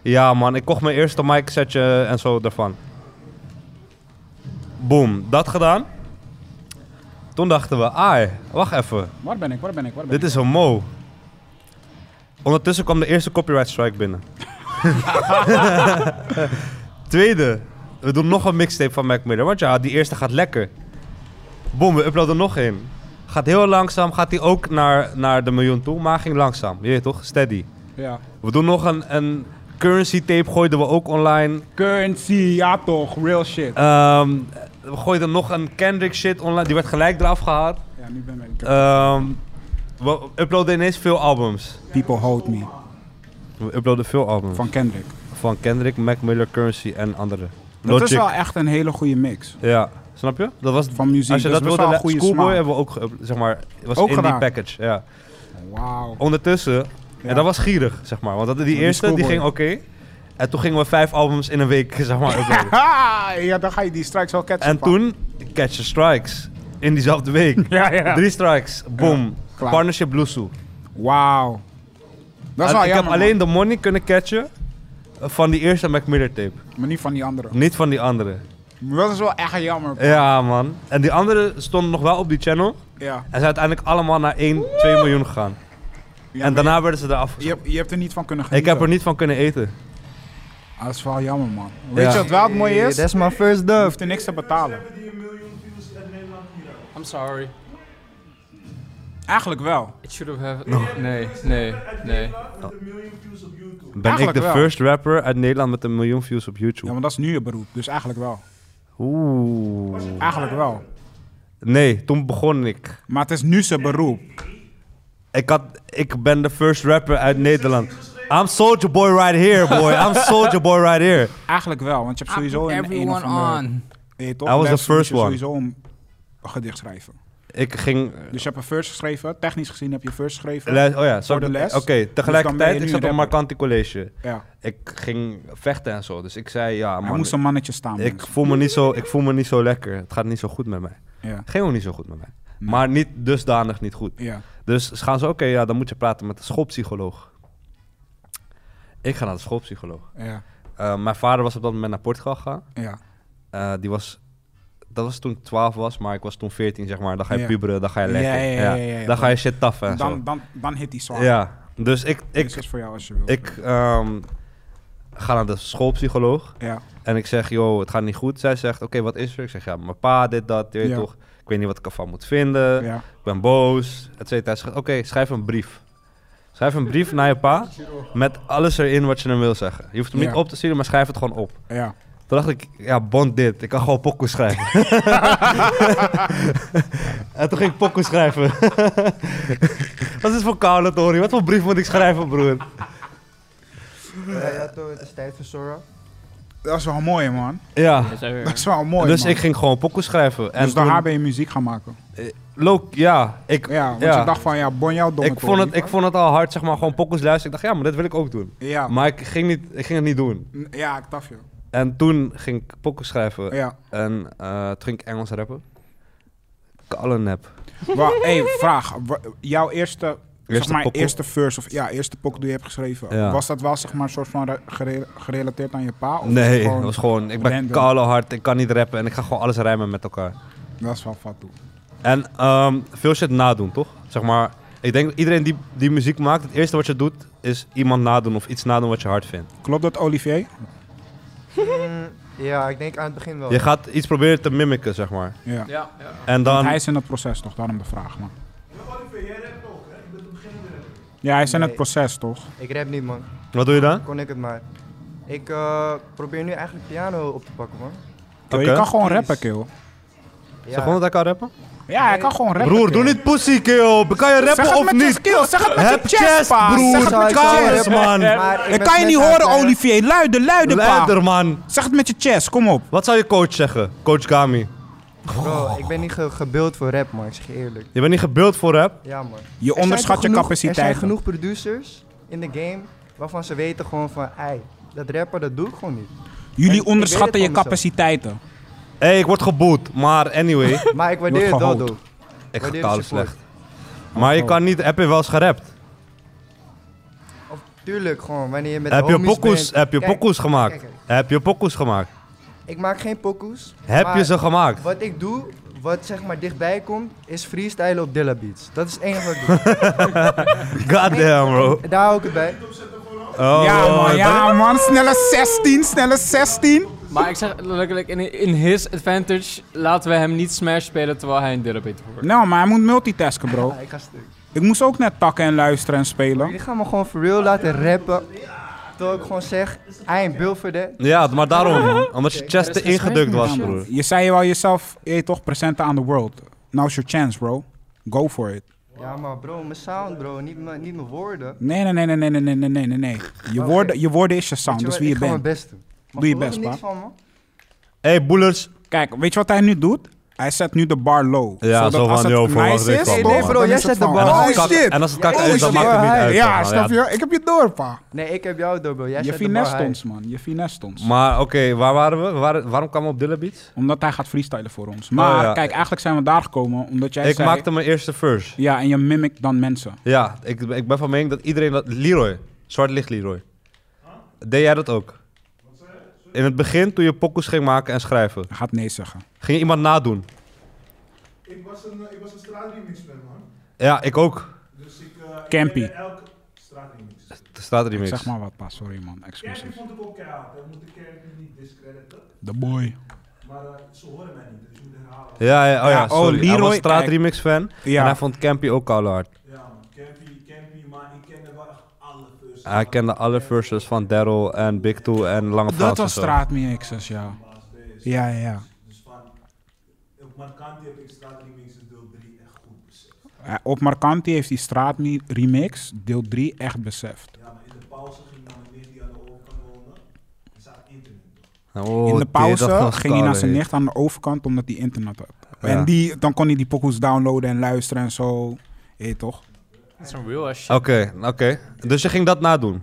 Speaker 1: ja man, ik kocht mijn eerste mic setje en zo daarvan. Boom, dat gedaan. Toen dachten we, ai, wacht even,
Speaker 2: Waar ben ik, waar ben ik, waar ben
Speaker 1: dit is een mo. Ondertussen kwam de eerste copyright strike binnen. Tweede, we doen nog een mixtape van Mac Miller, want ja, die eerste gaat lekker. Boom, we uploaden nog één. Gaat heel langzaam, gaat hij ook naar, naar de miljoen toe, maar ging langzaam. Je weet toch? Steady.
Speaker 2: Ja.
Speaker 1: We doen nog een, een currency tape, gooiden we ook online.
Speaker 2: Currency, ja toch, real shit.
Speaker 1: Ehm, we gooiden nog een Kendrick shit online, die werd gelijk eraf gehaald.
Speaker 2: Ja, nu ben ik.
Speaker 1: Ehm, we uploaden ineens veel albums.
Speaker 2: People Hold Me
Speaker 1: We uploaden veel albums.
Speaker 2: van Kendrick.
Speaker 1: Van Kendrick, Mac Miller, Currency en anderen.
Speaker 2: Dat
Speaker 1: Logic.
Speaker 2: is wel echt een hele goede mix
Speaker 1: Ja, snap je? Dat was,
Speaker 2: van muziek.
Speaker 1: als je
Speaker 2: Dus
Speaker 1: dat wilde,
Speaker 2: best wel een
Speaker 1: le-
Speaker 2: goede
Speaker 1: Schoolboy
Speaker 2: smaak.
Speaker 1: hebben we ook, ge- eh, zeg maar, was
Speaker 2: Ook
Speaker 1: in
Speaker 2: gedaan.
Speaker 1: die package. Ja.
Speaker 2: Wauw.
Speaker 1: Ondertussen,
Speaker 2: Ja.
Speaker 1: en dat was gierig, zeg maar. Want dat, die,
Speaker 2: die
Speaker 1: eerste, die
Speaker 2: Schoolboy.
Speaker 1: ging oké. En toen gingen we vijf albums in een week, zeg maar, uploaden.
Speaker 2: Haha, ja, dan ga je die strikes wel catchen.
Speaker 1: En
Speaker 2: pak.
Speaker 1: toen, Catch the Strikes. In diezelfde week.
Speaker 2: Ja, ja.
Speaker 1: Drie strikes, boom.
Speaker 2: klaar.
Speaker 1: Partnership Bluesu.
Speaker 2: Wauw. Dat is
Speaker 1: En
Speaker 2: wel
Speaker 1: ik
Speaker 2: jammer,
Speaker 1: heb alleen
Speaker 2: man.
Speaker 1: de money kunnen catchen eh, van die eerste Mac Miller tape.
Speaker 2: Maar niet van die andere.
Speaker 1: Niet van die andere.
Speaker 2: Maar dat is wel echt jammer.
Speaker 1: Ja, man. En die andere stonden nog wel op die channel.
Speaker 2: Ja.
Speaker 1: En zijn uiteindelijk allemaal naar 1, 2 miljoen gegaan.
Speaker 2: Ja,
Speaker 1: en
Speaker 2: maar
Speaker 1: daarna werden ze eraf.
Speaker 2: Je, je hebt er niet van kunnen
Speaker 1: Ik
Speaker 2: genieten.
Speaker 1: heb er niet van kunnen eten.
Speaker 2: Ah, dat is wel jammer, man.
Speaker 1: Ja.
Speaker 2: Weet je wat wel het mooie is?
Speaker 3: That's my first
Speaker 2: Je
Speaker 3: dub.
Speaker 2: hoeft er niks te betalen.
Speaker 5: I'm sorry.
Speaker 2: Eigenlijk wel.
Speaker 5: It should have happened. Nee, nee, nee.
Speaker 1: Ben
Speaker 2: Eigenlijk
Speaker 1: ik de
Speaker 2: wel.
Speaker 1: first rapper uit Nederland met een miljoen views op
Speaker 2: Ja,
Speaker 1: YouTube?
Speaker 2: maar dat is nu je beroep. Dus eigenlijk wel.
Speaker 1: Oeh.
Speaker 2: Eigenlijk wel.
Speaker 1: Nee, toen begon ik.
Speaker 2: Maar het is nu zijn beroep.
Speaker 1: Ik, had, ik ben de first rapper uit Nederland. I'm Soldier Boy right here, boy. I'm Soldier Boy right here.
Speaker 2: Eigenlijk wel, want je hebt sowieso een een of
Speaker 5: Everyone
Speaker 2: andere...
Speaker 5: on.
Speaker 2: Nee, toch?
Speaker 1: I was the
Speaker 2: Les moet
Speaker 1: first
Speaker 2: je
Speaker 1: one.
Speaker 2: sowieso een gedicht schrijven.
Speaker 1: Ik ging.
Speaker 2: Dus je hebt een first geschreven. Technisch gezien heb je first geschreven.
Speaker 1: les- oh ja,
Speaker 2: Voor
Speaker 1: sorry.
Speaker 2: de les. Dus
Speaker 1: Oké,
Speaker 2: ben je
Speaker 1: tegelijkertijd,
Speaker 2: nu
Speaker 1: ik
Speaker 2: een
Speaker 1: zat op
Speaker 2: rapper.
Speaker 1: Marcanti College.
Speaker 2: ja.
Speaker 1: Ik ging vechten en zo. Dus ik zei, ja,
Speaker 2: Hij
Speaker 1: man.
Speaker 2: moest een mannetje staan.
Speaker 1: Ik
Speaker 2: mensen.
Speaker 1: voel, me niet zo, ik voel me niet zo lekker. Het gaat niet zo goed met mij.
Speaker 2: Ja.
Speaker 1: Het ging ook niet zo goed met mij.
Speaker 2: Nee.
Speaker 1: Maar niet dusdanig niet goed.
Speaker 2: ja.
Speaker 1: Dus ze gaan ze, oké, ja, dan moet je praten met de schoolpsycholoog. Ik ga naar de schoolpsycholoog.
Speaker 2: Ja.
Speaker 1: Eh, mijn vader was op dat moment naar Portugal gegaan.
Speaker 2: Ja.
Speaker 1: Eh, die was, dat was toen ik 12 was, maar ik was toen 14, zeg maar. Dan ga je
Speaker 2: Ja.
Speaker 1: puberen, dan ga je
Speaker 2: Ja,
Speaker 1: lekker.
Speaker 2: ja, ja, ja, ja, ja.
Speaker 1: Dan ga je shit taffen en
Speaker 2: Dan, dan, dan hit die
Speaker 1: zo.
Speaker 2: zwaar.
Speaker 1: Ja, dus ik,
Speaker 2: Dit
Speaker 1: ik,
Speaker 2: is voor jou als je wil.
Speaker 1: ik ehm, ga naar de schoolpsycholoog
Speaker 2: Ja.
Speaker 1: en ik zeg, joh, het gaat niet goed. Zij zegt, oké, wat is er? Ik zeg, ja, mijn pa, dit, dat, je weet
Speaker 2: Ja.
Speaker 1: toch. Ik weet niet wat ik ervan moet vinden.
Speaker 2: Ja.
Speaker 1: Ik ben boos, et cetera. Hij zegt, Oké, schrijf een brief. Schrijf een brief naar je pa met alles erin wat je hem wil zeggen. Je hoeft hem
Speaker 2: Ja.
Speaker 1: niet op te sturen, maar schrijf het gewoon op.
Speaker 2: Ja.
Speaker 1: Toen dacht ik, ja, bond dit. Ik kan gewoon pokoe schrijven. en toen ging ik pokoe schrijven. Wat is voor koude, Tori? Wat voor brief moet ik schrijven, broer?
Speaker 3: Ja, ja, toch, het is tijd voor Sora.
Speaker 2: Dat is wel mooi, man.
Speaker 1: Ja,
Speaker 4: Is er weer.
Speaker 2: Dat is wel mooi,
Speaker 1: dus
Speaker 2: man.
Speaker 1: ik ging gewoon pokoe schrijven. En
Speaker 2: dus daar
Speaker 1: toen-
Speaker 2: ben je muziek gaan maken.
Speaker 1: Look, ja, ik,
Speaker 2: Ja, want
Speaker 1: Ja.
Speaker 2: je dacht van, ja, bon jouw domme
Speaker 1: ik, vond het,
Speaker 2: Tony.
Speaker 1: ik vond het al hard, zeg maar, gewoon pokoes luisteren. Ik dacht, ja, maar dat wil ik ook doen.
Speaker 2: Ja.
Speaker 1: Maar ik ging, niet, ik ging het niet doen.
Speaker 2: N- Ja, ik dacht je.
Speaker 1: En toen ging ik pokken schrijven
Speaker 2: Ja.
Speaker 1: en eh, toen ging ik Engels rappen. Kalle nep.
Speaker 2: Wa- hey, vraag. Wa- jouw eerste,
Speaker 1: Eerste
Speaker 2: zeg maar,
Speaker 1: pokoe?
Speaker 2: eerste verse of ja, eerste pok die je hebt geschreven.
Speaker 1: Ja.
Speaker 2: Was dat wel zeg maar een soort van re- gere- gerelateerd aan je pa? Of
Speaker 1: Nee,
Speaker 2: gewoon-
Speaker 1: dat was gewoon, ik ben
Speaker 2: random?
Speaker 1: Kalle hard, ik kan niet rappen en ik ga gewoon alles rijmen met elkaar.
Speaker 2: Dat is wel fat toe.
Speaker 1: En ehm, veel shit nadoen, toch? Zeg maar, ik denk dat iedereen die, die muziek maakt, het eerste wat je doet is iemand nadoen of iets nadoen wat je hard vindt.
Speaker 2: Klopt dat, Olivier?
Speaker 3: Ja, ik denk aan het begin wel.
Speaker 1: Je gaat iets proberen te mimiken, zeg maar.
Speaker 2: Ja.
Speaker 5: Ja, ja.
Speaker 1: En
Speaker 2: Want
Speaker 1: dan,
Speaker 2: Hij is in het proces toch, daarom de vraag, man. Ja, hij is in
Speaker 3: Nee.
Speaker 2: het proces toch?
Speaker 3: Ik rap niet, man.
Speaker 1: wat doe je dan?
Speaker 3: Kon ik het maar. Ik eh, probeer nu eigenlijk piano op te pakken, man.
Speaker 2: Kill,
Speaker 1: Oké.
Speaker 2: Je kan gewoon rappen, kill.
Speaker 1: Zeg gewoon dat hij kan rappen?
Speaker 2: Ja, hij kan gewoon rappen.
Speaker 1: Broer, doe
Speaker 2: kill.
Speaker 1: niet pussy, kill. Kan je
Speaker 2: Zeg
Speaker 1: rappen
Speaker 2: het
Speaker 1: of
Speaker 2: met je
Speaker 1: niet?
Speaker 2: skill, zeg het met
Speaker 1: Heb
Speaker 2: je chest,
Speaker 1: chest,
Speaker 2: pa.
Speaker 1: broer.
Speaker 2: Zeg het met
Speaker 3: Zou
Speaker 2: je
Speaker 3: ik wel
Speaker 2: chest.
Speaker 1: Kaas,
Speaker 3: rappen?
Speaker 1: man.
Speaker 3: Maar ik
Speaker 2: Ik
Speaker 3: ben
Speaker 2: kan je
Speaker 3: net eh,
Speaker 2: niet
Speaker 3: aan het
Speaker 2: horen,
Speaker 3: leren.
Speaker 2: Olivier. Luide, luide, pa.
Speaker 1: Leider, man.
Speaker 2: Zeg het met je chest, kom op.
Speaker 1: Wat zou je coach zeggen? Coach Gami.
Speaker 3: Bro, ik ben niet ge- gebeeld voor rap, man. Ik zeg je eerlijk.
Speaker 1: Je bent niet gebeeld voor rap.
Speaker 3: Ja, man.
Speaker 2: Je
Speaker 3: Er zijn
Speaker 2: onderschat
Speaker 3: toch
Speaker 2: je
Speaker 3: genoeg- Er zijn
Speaker 2: capaciteit.
Speaker 3: genoeg producers in de game waarvan ze weten gewoon van, ei, dat rapper dat doe ik gewoon niet. En
Speaker 2: Jullie
Speaker 3: ik weet
Speaker 2: onderschatten
Speaker 3: het
Speaker 2: je
Speaker 3: van mezelf.
Speaker 2: capaciteiten.
Speaker 1: Hé, hey, ik word geboet. Maar anyway,
Speaker 3: Maar ik waardeer het wel,
Speaker 2: gehoond.
Speaker 3: doe.
Speaker 1: ik ga
Speaker 3: Waardeer
Speaker 1: talen
Speaker 3: de support.
Speaker 1: slecht. Maar
Speaker 3: Oh.
Speaker 1: je kan niet, heb je wel eens gerapt?
Speaker 3: Of tuurlijk gewoon, wanneer je met
Speaker 1: Heb je
Speaker 3: homies
Speaker 1: pokoes,
Speaker 3: bent.
Speaker 1: heb je
Speaker 3: Kijk,
Speaker 1: pokoes gemaakt?
Speaker 3: kijk,
Speaker 1: Heb je pokoes gemaakt?
Speaker 3: Ik maak geen pokoes.
Speaker 1: Heb je
Speaker 3: maar
Speaker 1: ze gemaakt?
Speaker 3: Wat ik doe, wat zeg maar dichtbij komt, is freestylen op Dilla Beats. Dat is het enige wat ik doe.
Speaker 1: Goddamn, bro.
Speaker 3: Daar hou ik het bij.
Speaker 1: Oh,
Speaker 2: ja,
Speaker 1: oh,
Speaker 2: man,
Speaker 1: ik
Speaker 2: ja, man. Snelle 16, snelle 16.
Speaker 5: Maar ik zeg letterlijk, in, in his advantage laten we hem niet Smash spelen terwijl hij een therapeuter wordt.
Speaker 2: Nou, maar hij moet multitasken, bro.
Speaker 3: Ah, ik ga stuk.
Speaker 2: Ik moest ook net takken en luisteren en spelen.
Speaker 3: Jullie gaan me gewoon for real laten rappen. Terwijl ik gewoon zeg, I am built for that.
Speaker 1: Ja, maar daarom. Omdat je chest te
Speaker 5: geen
Speaker 1: ingedukt
Speaker 5: schrijving,
Speaker 1: was,
Speaker 5: man.
Speaker 1: broer.
Speaker 2: Je zei wel jezelf, je toch, presenten aan de world. Now's your chance, bro. Go for it.
Speaker 3: Ja, maar bro, mijn sound, bro. Niet mijn niet mijn woorden.
Speaker 2: Nee, nee, nee, nee, nee, nee, nee, nee, nee, nee. Je woorden, je woorden is je sound,
Speaker 3: Weet
Speaker 2: dus
Speaker 3: wat,
Speaker 2: wie je
Speaker 3: ik ga mijn
Speaker 2: bent.
Speaker 3: best doen. Maar
Speaker 2: Doe je
Speaker 3: geloof
Speaker 2: best,
Speaker 3: niks van me.
Speaker 1: hey, boelers.
Speaker 2: Kijk, weet je wat hij nu doet? Hij zet nu de bar low.
Speaker 1: Ja,
Speaker 2: zodat
Speaker 1: zo van,
Speaker 2: als het
Speaker 1: yo, verwacht
Speaker 2: nice
Speaker 1: ik
Speaker 2: is,
Speaker 1: van,
Speaker 2: toch,
Speaker 1: man. Nee,
Speaker 3: bro,
Speaker 2: dan is
Speaker 3: jij
Speaker 2: het
Speaker 3: zet de
Speaker 2: van,
Speaker 3: bar
Speaker 1: En
Speaker 3: low.
Speaker 2: oh,
Speaker 1: als het
Speaker 3: shit.
Speaker 1: kak- en als het kak
Speaker 3: Oh,
Speaker 1: is, dan
Speaker 3: shit.
Speaker 1: maakt het niet
Speaker 3: Ja,
Speaker 1: uit.
Speaker 2: Ja,
Speaker 1: man.
Speaker 2: snap je? Ik heb je door, pa.
Speaker 3: Nee, ik heb jou door, bro. Jij
Speaker 2: Je
Speaker 3: zet de bar
Speaker 2: finest
Speaker 3: high.
Speaker 2: ons, man. Je finest ons.
Speaker 1: Maar oké, waar waren we? Waar- waarom kwamen we op Dilla Beats?
Speaker 2: Omdat hij gaat freestylen voor ons. Maar
Speaker 1: Oh, ja.
Speaker 2: kijk, eigenlijk zijn we daar gekomen omdat jij
Speaker 1: Ik
Speaker 2: zei...
Speaker 1: maakte mijn eerste verse.
Speaker 2: Ja, en je mimikt dan mensen.
Speaker 1: Ja, ik, ik ben van mening dat iedereen dat... Leroy, zwart licht Leroy. Deed jij dat ook? In het begin, toen je pokus ging maken en schrijven,
Speaker 2: Hij gaat nee zeggen.
Speaker 1: ging je iemand nadoen.
Speaker 7: Ik was een, eh, ik was een straatremixer, man.
Speaker 1: Ja, ik ook.
Speaker 7: Dus ik... eh, ik
Speaker 2: Campy.
Speaker 7: deed elke straatremix.
Speaker 1: Er staat er niet
Speaker 2: Zeg maar wat, pa. Sorry, man.
Speaker 7: Campy
Speaker 2: Excuses.
Speaker 7: vond ik ook keihard. Dat moet ik Campy niet discrediten.
Speaker 2: The boy.
Speaker 7: Maar eh, ze horen mij niet, dus ik moet herhalen.
Speaker 1: Ja, ja, oh ja,
Speaker 2: Ja, oh,
Speaker 1: sorry. hij
Speaker 2: Leroy,
Speaker 1: was straatremix fan.
Speaker 2: Ja.
Speaker 1: En hij vond Campy ook al hard.
Speaker 7: Ja, man. Campy, Campy, maar ik kende wel echt alle verses.
Speaker 1: Hij kende alle verses van Daryl en Big Two en Lange Frans
Speaker 2: Dat
Speaker 1: en
Speaker 2: was
Speaker 1: zo.
Speaker 2: straatmixes, ja. Ja, ja, ja.
Speaker 7: Dus van... Op Markanti heb ik straatremixes deel 3 echt goed beseft.
Speaker 2: Eh, Op Marcanti heeft die straatremix deel 3 echt beseft.
Speaker 7: Ja, maar in de pauze ging dan een nicht die aan de overkant woonde. Er staat internet.
Speaker 1: Oh,
Speaker 2: In de
Speaker 1: dit, dat
Speaker 2: pauze
Speaker 1: was
Speaker 2: ging hij naar zijn
Speaker 1: kale,
Speaker 2: nicht aan de overkant omdat hij internet had.
Speaker 1: Ja.
Speaker 2: En die, dan kon hij die pokoes downloaden en luisteren en zo. Hé, toch?
Speaker 5: Dat is een real ass
Speaker 1: hé.
Speaker 5: shit.
Speaker 1: Oké, oké. Dus je ging dat nadoen?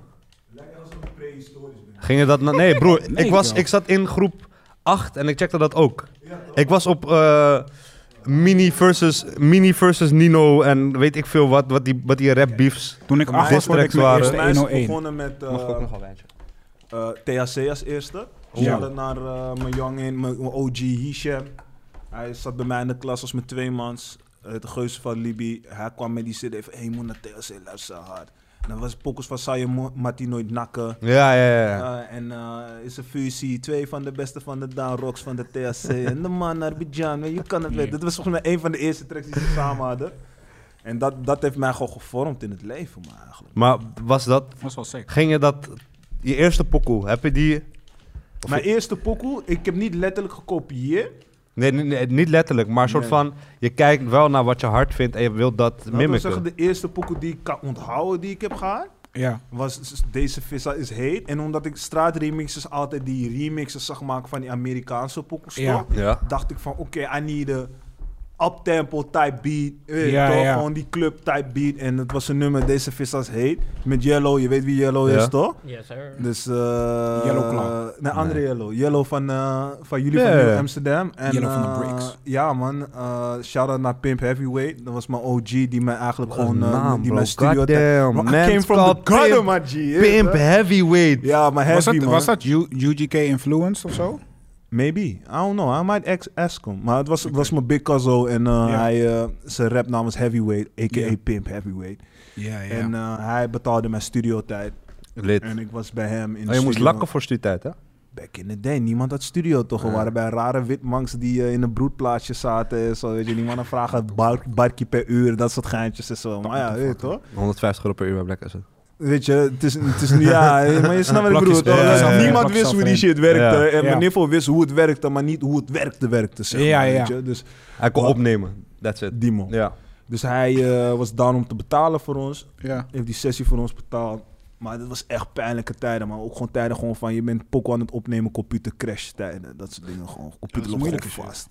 Speaker 7: Lekker als een prehistorisch ben.
Speaker 1: Ging je dat na- Nee, broer,
Speaker 2: Nee,
Speaker 1: ik, was,
Speaker 2: bro.
Speaker 1: ik zat in groep 8 en ik checkte dat ook. Ik was op eh, mini, versus, mini versus Nino en weet ik veel wat, wat die, wat die rap beefs.
Speaker 2: Toen ik acht was,
Speaker 1: Distracts
Speaker 2: hoorde ik mijn
Speaker 1: waren-
Speaker 2: eerste
Speaker 1: Volgens
Speaker 6: Mij is
Speaker 2: 101.
Speaker 6: het begonnen met eh,
Speaker 1: wel wijntje?
Speaker 6: eh, THC als eerste.
Speaker 2: Ja.
Speaker 6: Ze hadden naar eh, mijn jongen, mijn mijn OG Hisham. Hij zat bij mij in de klas als mijn tweemans. Het geuze Eh, van Libi. Hij kwam met die CD van, hey, je moet naar THC luisteren hard. En dan was Pokus van, zou je Mo- Mattie nooit nakken?
Speaker 1: Ja, ja, ja. ja.
Speaker 6: Eh, en eh, is een fusie, twee van de beste van de Daan Rocks van de THC en de man naar Bijan, je kan het weten. Dat was volgens mij een van de eerste tracks die ze samen hadden. En dat, dat heeft mij gewoon gevormd in het leven, maar eigenlijk.
Speaker 1: Maar was dat...
Speaker 2: Dat is wel sick.
Speaker 1: Ging je dat... Je eerste pokoe, heb je die...
Speaker 6: Mijn eerste pokoe, ik heb niet letterlijk gekopieerd.
Speaker 1: Nee, nee, nee, niet letterlijk, maar een soort
Speaker 6: Nee.
Speaker 1: van... Je kijkt wel naar wat je hard vindt en je wilt dat
Speaker 6: Laten we
Speaker 1: mimiken.
Speaker 6: zeggen, de eerste pokoe die ik kan onthouden die ik heb gehad,
Speaker 2: Ja.
Speaker 6: was s- s- Deze Vissa is Heet. En omdat ik straatremixes altijd die remixes zag maken van die Amerikaanse pokoes,
Speaker 2: Ja.
Speaker 6: toch,
Speaker 1: Ja.
Speaker 6: dacht ik van, oké, I need a uptempo type beat. eh,
Speaker 2: Ja,
Speaker 6: toch?
Speaker 2: ja.
Speaker 6: Gewoon die club type beat. En dat was een nummer, Deze Vissa's Heet, met Yellow. Je weet wie Yellow
Speaker 1: Ja.
Speaker 6: is, toch?
Speaker 4: Yes, sir.
Speaker 6: Dus, eh
Speaker 2: Yellow Claw.
Speaker 6: Nee, andere Yellow. Yellow van, eh, van jullie
Speaker 1: Ja,
Speaker 6: van
Speaker 1: ja.
Speaker 6: Nieuw Amsterdam. En,
Speaker 2: Yellow van de
Speaker 6: eh,
Speaker 2: Bricks.
Speaker 6: ja, man. eh Shout-out naar Pimp Heavyweight. Dat was mijn OG die mij eigenlijk
Speaker 1: Een
Speaker 6: gewoon... eh,
Speaker 1: naam,
Speaker 6: die
Speaker 1: bro.
Speaker 6: mijn studio...
Speaker 1: Goddamn,
Speaker 6: Bro, I
Speaker 1: man's
Speaker 6: came from
Speaker 1: called
Speaker 6: the gutter,
Speaker 1: Pimp.
Speaker 6: my G. eh,
Speaker 1: Pimp
Speaker 6: bro.
Speaker 1: heavyweight.
Speaker 6: Ja, maar
Speaker 2: Was
Speaker 6: heavy,
Speaker 2: dat,
Speaker 6: man.
Speaker 2: was dat U- UGK influence of zo?
Speaker 6: Maybe. I don't know. I might ex- ask him. Maar het was, het was mijn big cuzzo. En eh, hij, eh, zijn rapnaam is Heavyweight, a.k.a.
Speaker 2: Ja.
Speaker 6: Pimp Heavyweight.
Speaker 2: Ja, ja.
Speaker 6: En eh, hij betaalde mijn studiotijd.
Speaker 1: Lid.
Speaker 6: En ik was bij hem in de
Speaker 1: Oh, je moest
Speaker 6: studio.
Speaker 1: lakken voor studietijd, hè?
Speaker 6: Back in the day, niemand had studio toch? We
Speaker 1: Ja.
Speaker 6: waren bij rare witmanks die eh, in een broedplaatsje zaten. en Zo, weet je, die mannen vragen bar, barkie per uur, dat soort geintjes en zo. Maar ja, weet je toch?
Speaker 1: 150 euro per uur bij Black Asset.
Speaker 6: Weet je, het is, het is nu, ja, eh, maar je snapt wat ik
Speaker 1: Blokjes
Speaker 6: bedoel. toch?
Speaker 1: per-
Speaker 6: Dus
Speaker 1: ja, ja, ja.
Speaker 6: Niemand
Speaker 2: Blokjes
Speaker 6: wist hoe die
Speaker 2: erin.
Speaker 6: shit werkte.
Speaker 1: Ja.
Speaker 6: En
Speaker 2: Ja.
Speaker 6: mijn niveau wist hoe het werkte, maar niet hoe het werkte, werkte, zeg maar.
Speaker 2: Ja, ja.
Speaker 6: Weet je? Dus
Speaker 1: Hij kon
Speaker 6: Wat?
Speaker 1: opnemen. That's it.
Speaker 6: die man.
Speaker 1: Ja.
Speaker 6: Dus hij eh, was down om te betalen voor ons.
Speaker 2: ja.
Speaker 6: Heeft die sessie voor ons betaald. Maar dat was echt pijnlijke tijden, maar ook gewoon tijden gewoon van je bent poko aan het opnemen, computer crash tijden. Dat soort dingen gewoon. Computer loopt gewoon
Speaker 2: moeilijke shit.
Speaker 6: vast.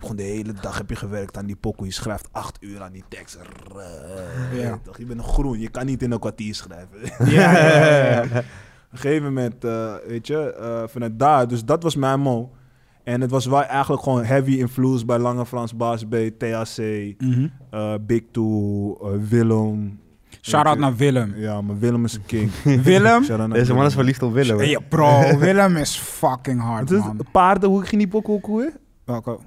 Speaker 6: Gewoon de hele dag heb je gewerkt aan die poko. Je schrijft acht uur aan die tekst. Rrrr,
Speaker 2: Ja.
Speaker 6: toch? Je bent nog groen, je kan niet in een kwartier schrijven.
Speaker 2: Ja, ja,
Speaker 6: Op een gegeven moment, eh, weet je, eh, vanuit daar, dus dat was mijn mo. En het was wel eigenlijk gewoon heavy influence bij Lange Frans, Baas B, THC,
Speaker 2: Mhm.
Speaker 6: eh, Big Two, eh, Willem.
Speaker 2: Shout-out naar Willem.
Speaker 6: Ja, maar Willem is een king.
Speaker 2: Willem?
Speaker 6: Shout-out naar
Speaker 1: Deze man is
Speaker 6: Willem.
Speaker 1: verliefd op Willem. hè?
Speaker 2: Ja, bro, Willem is fucking hard,
Speaker 6: Het is-
Speaker 2: man.
Speaker 6: Paarden, hoe ging die pokoe ook weer?
Speaker 2: Welke?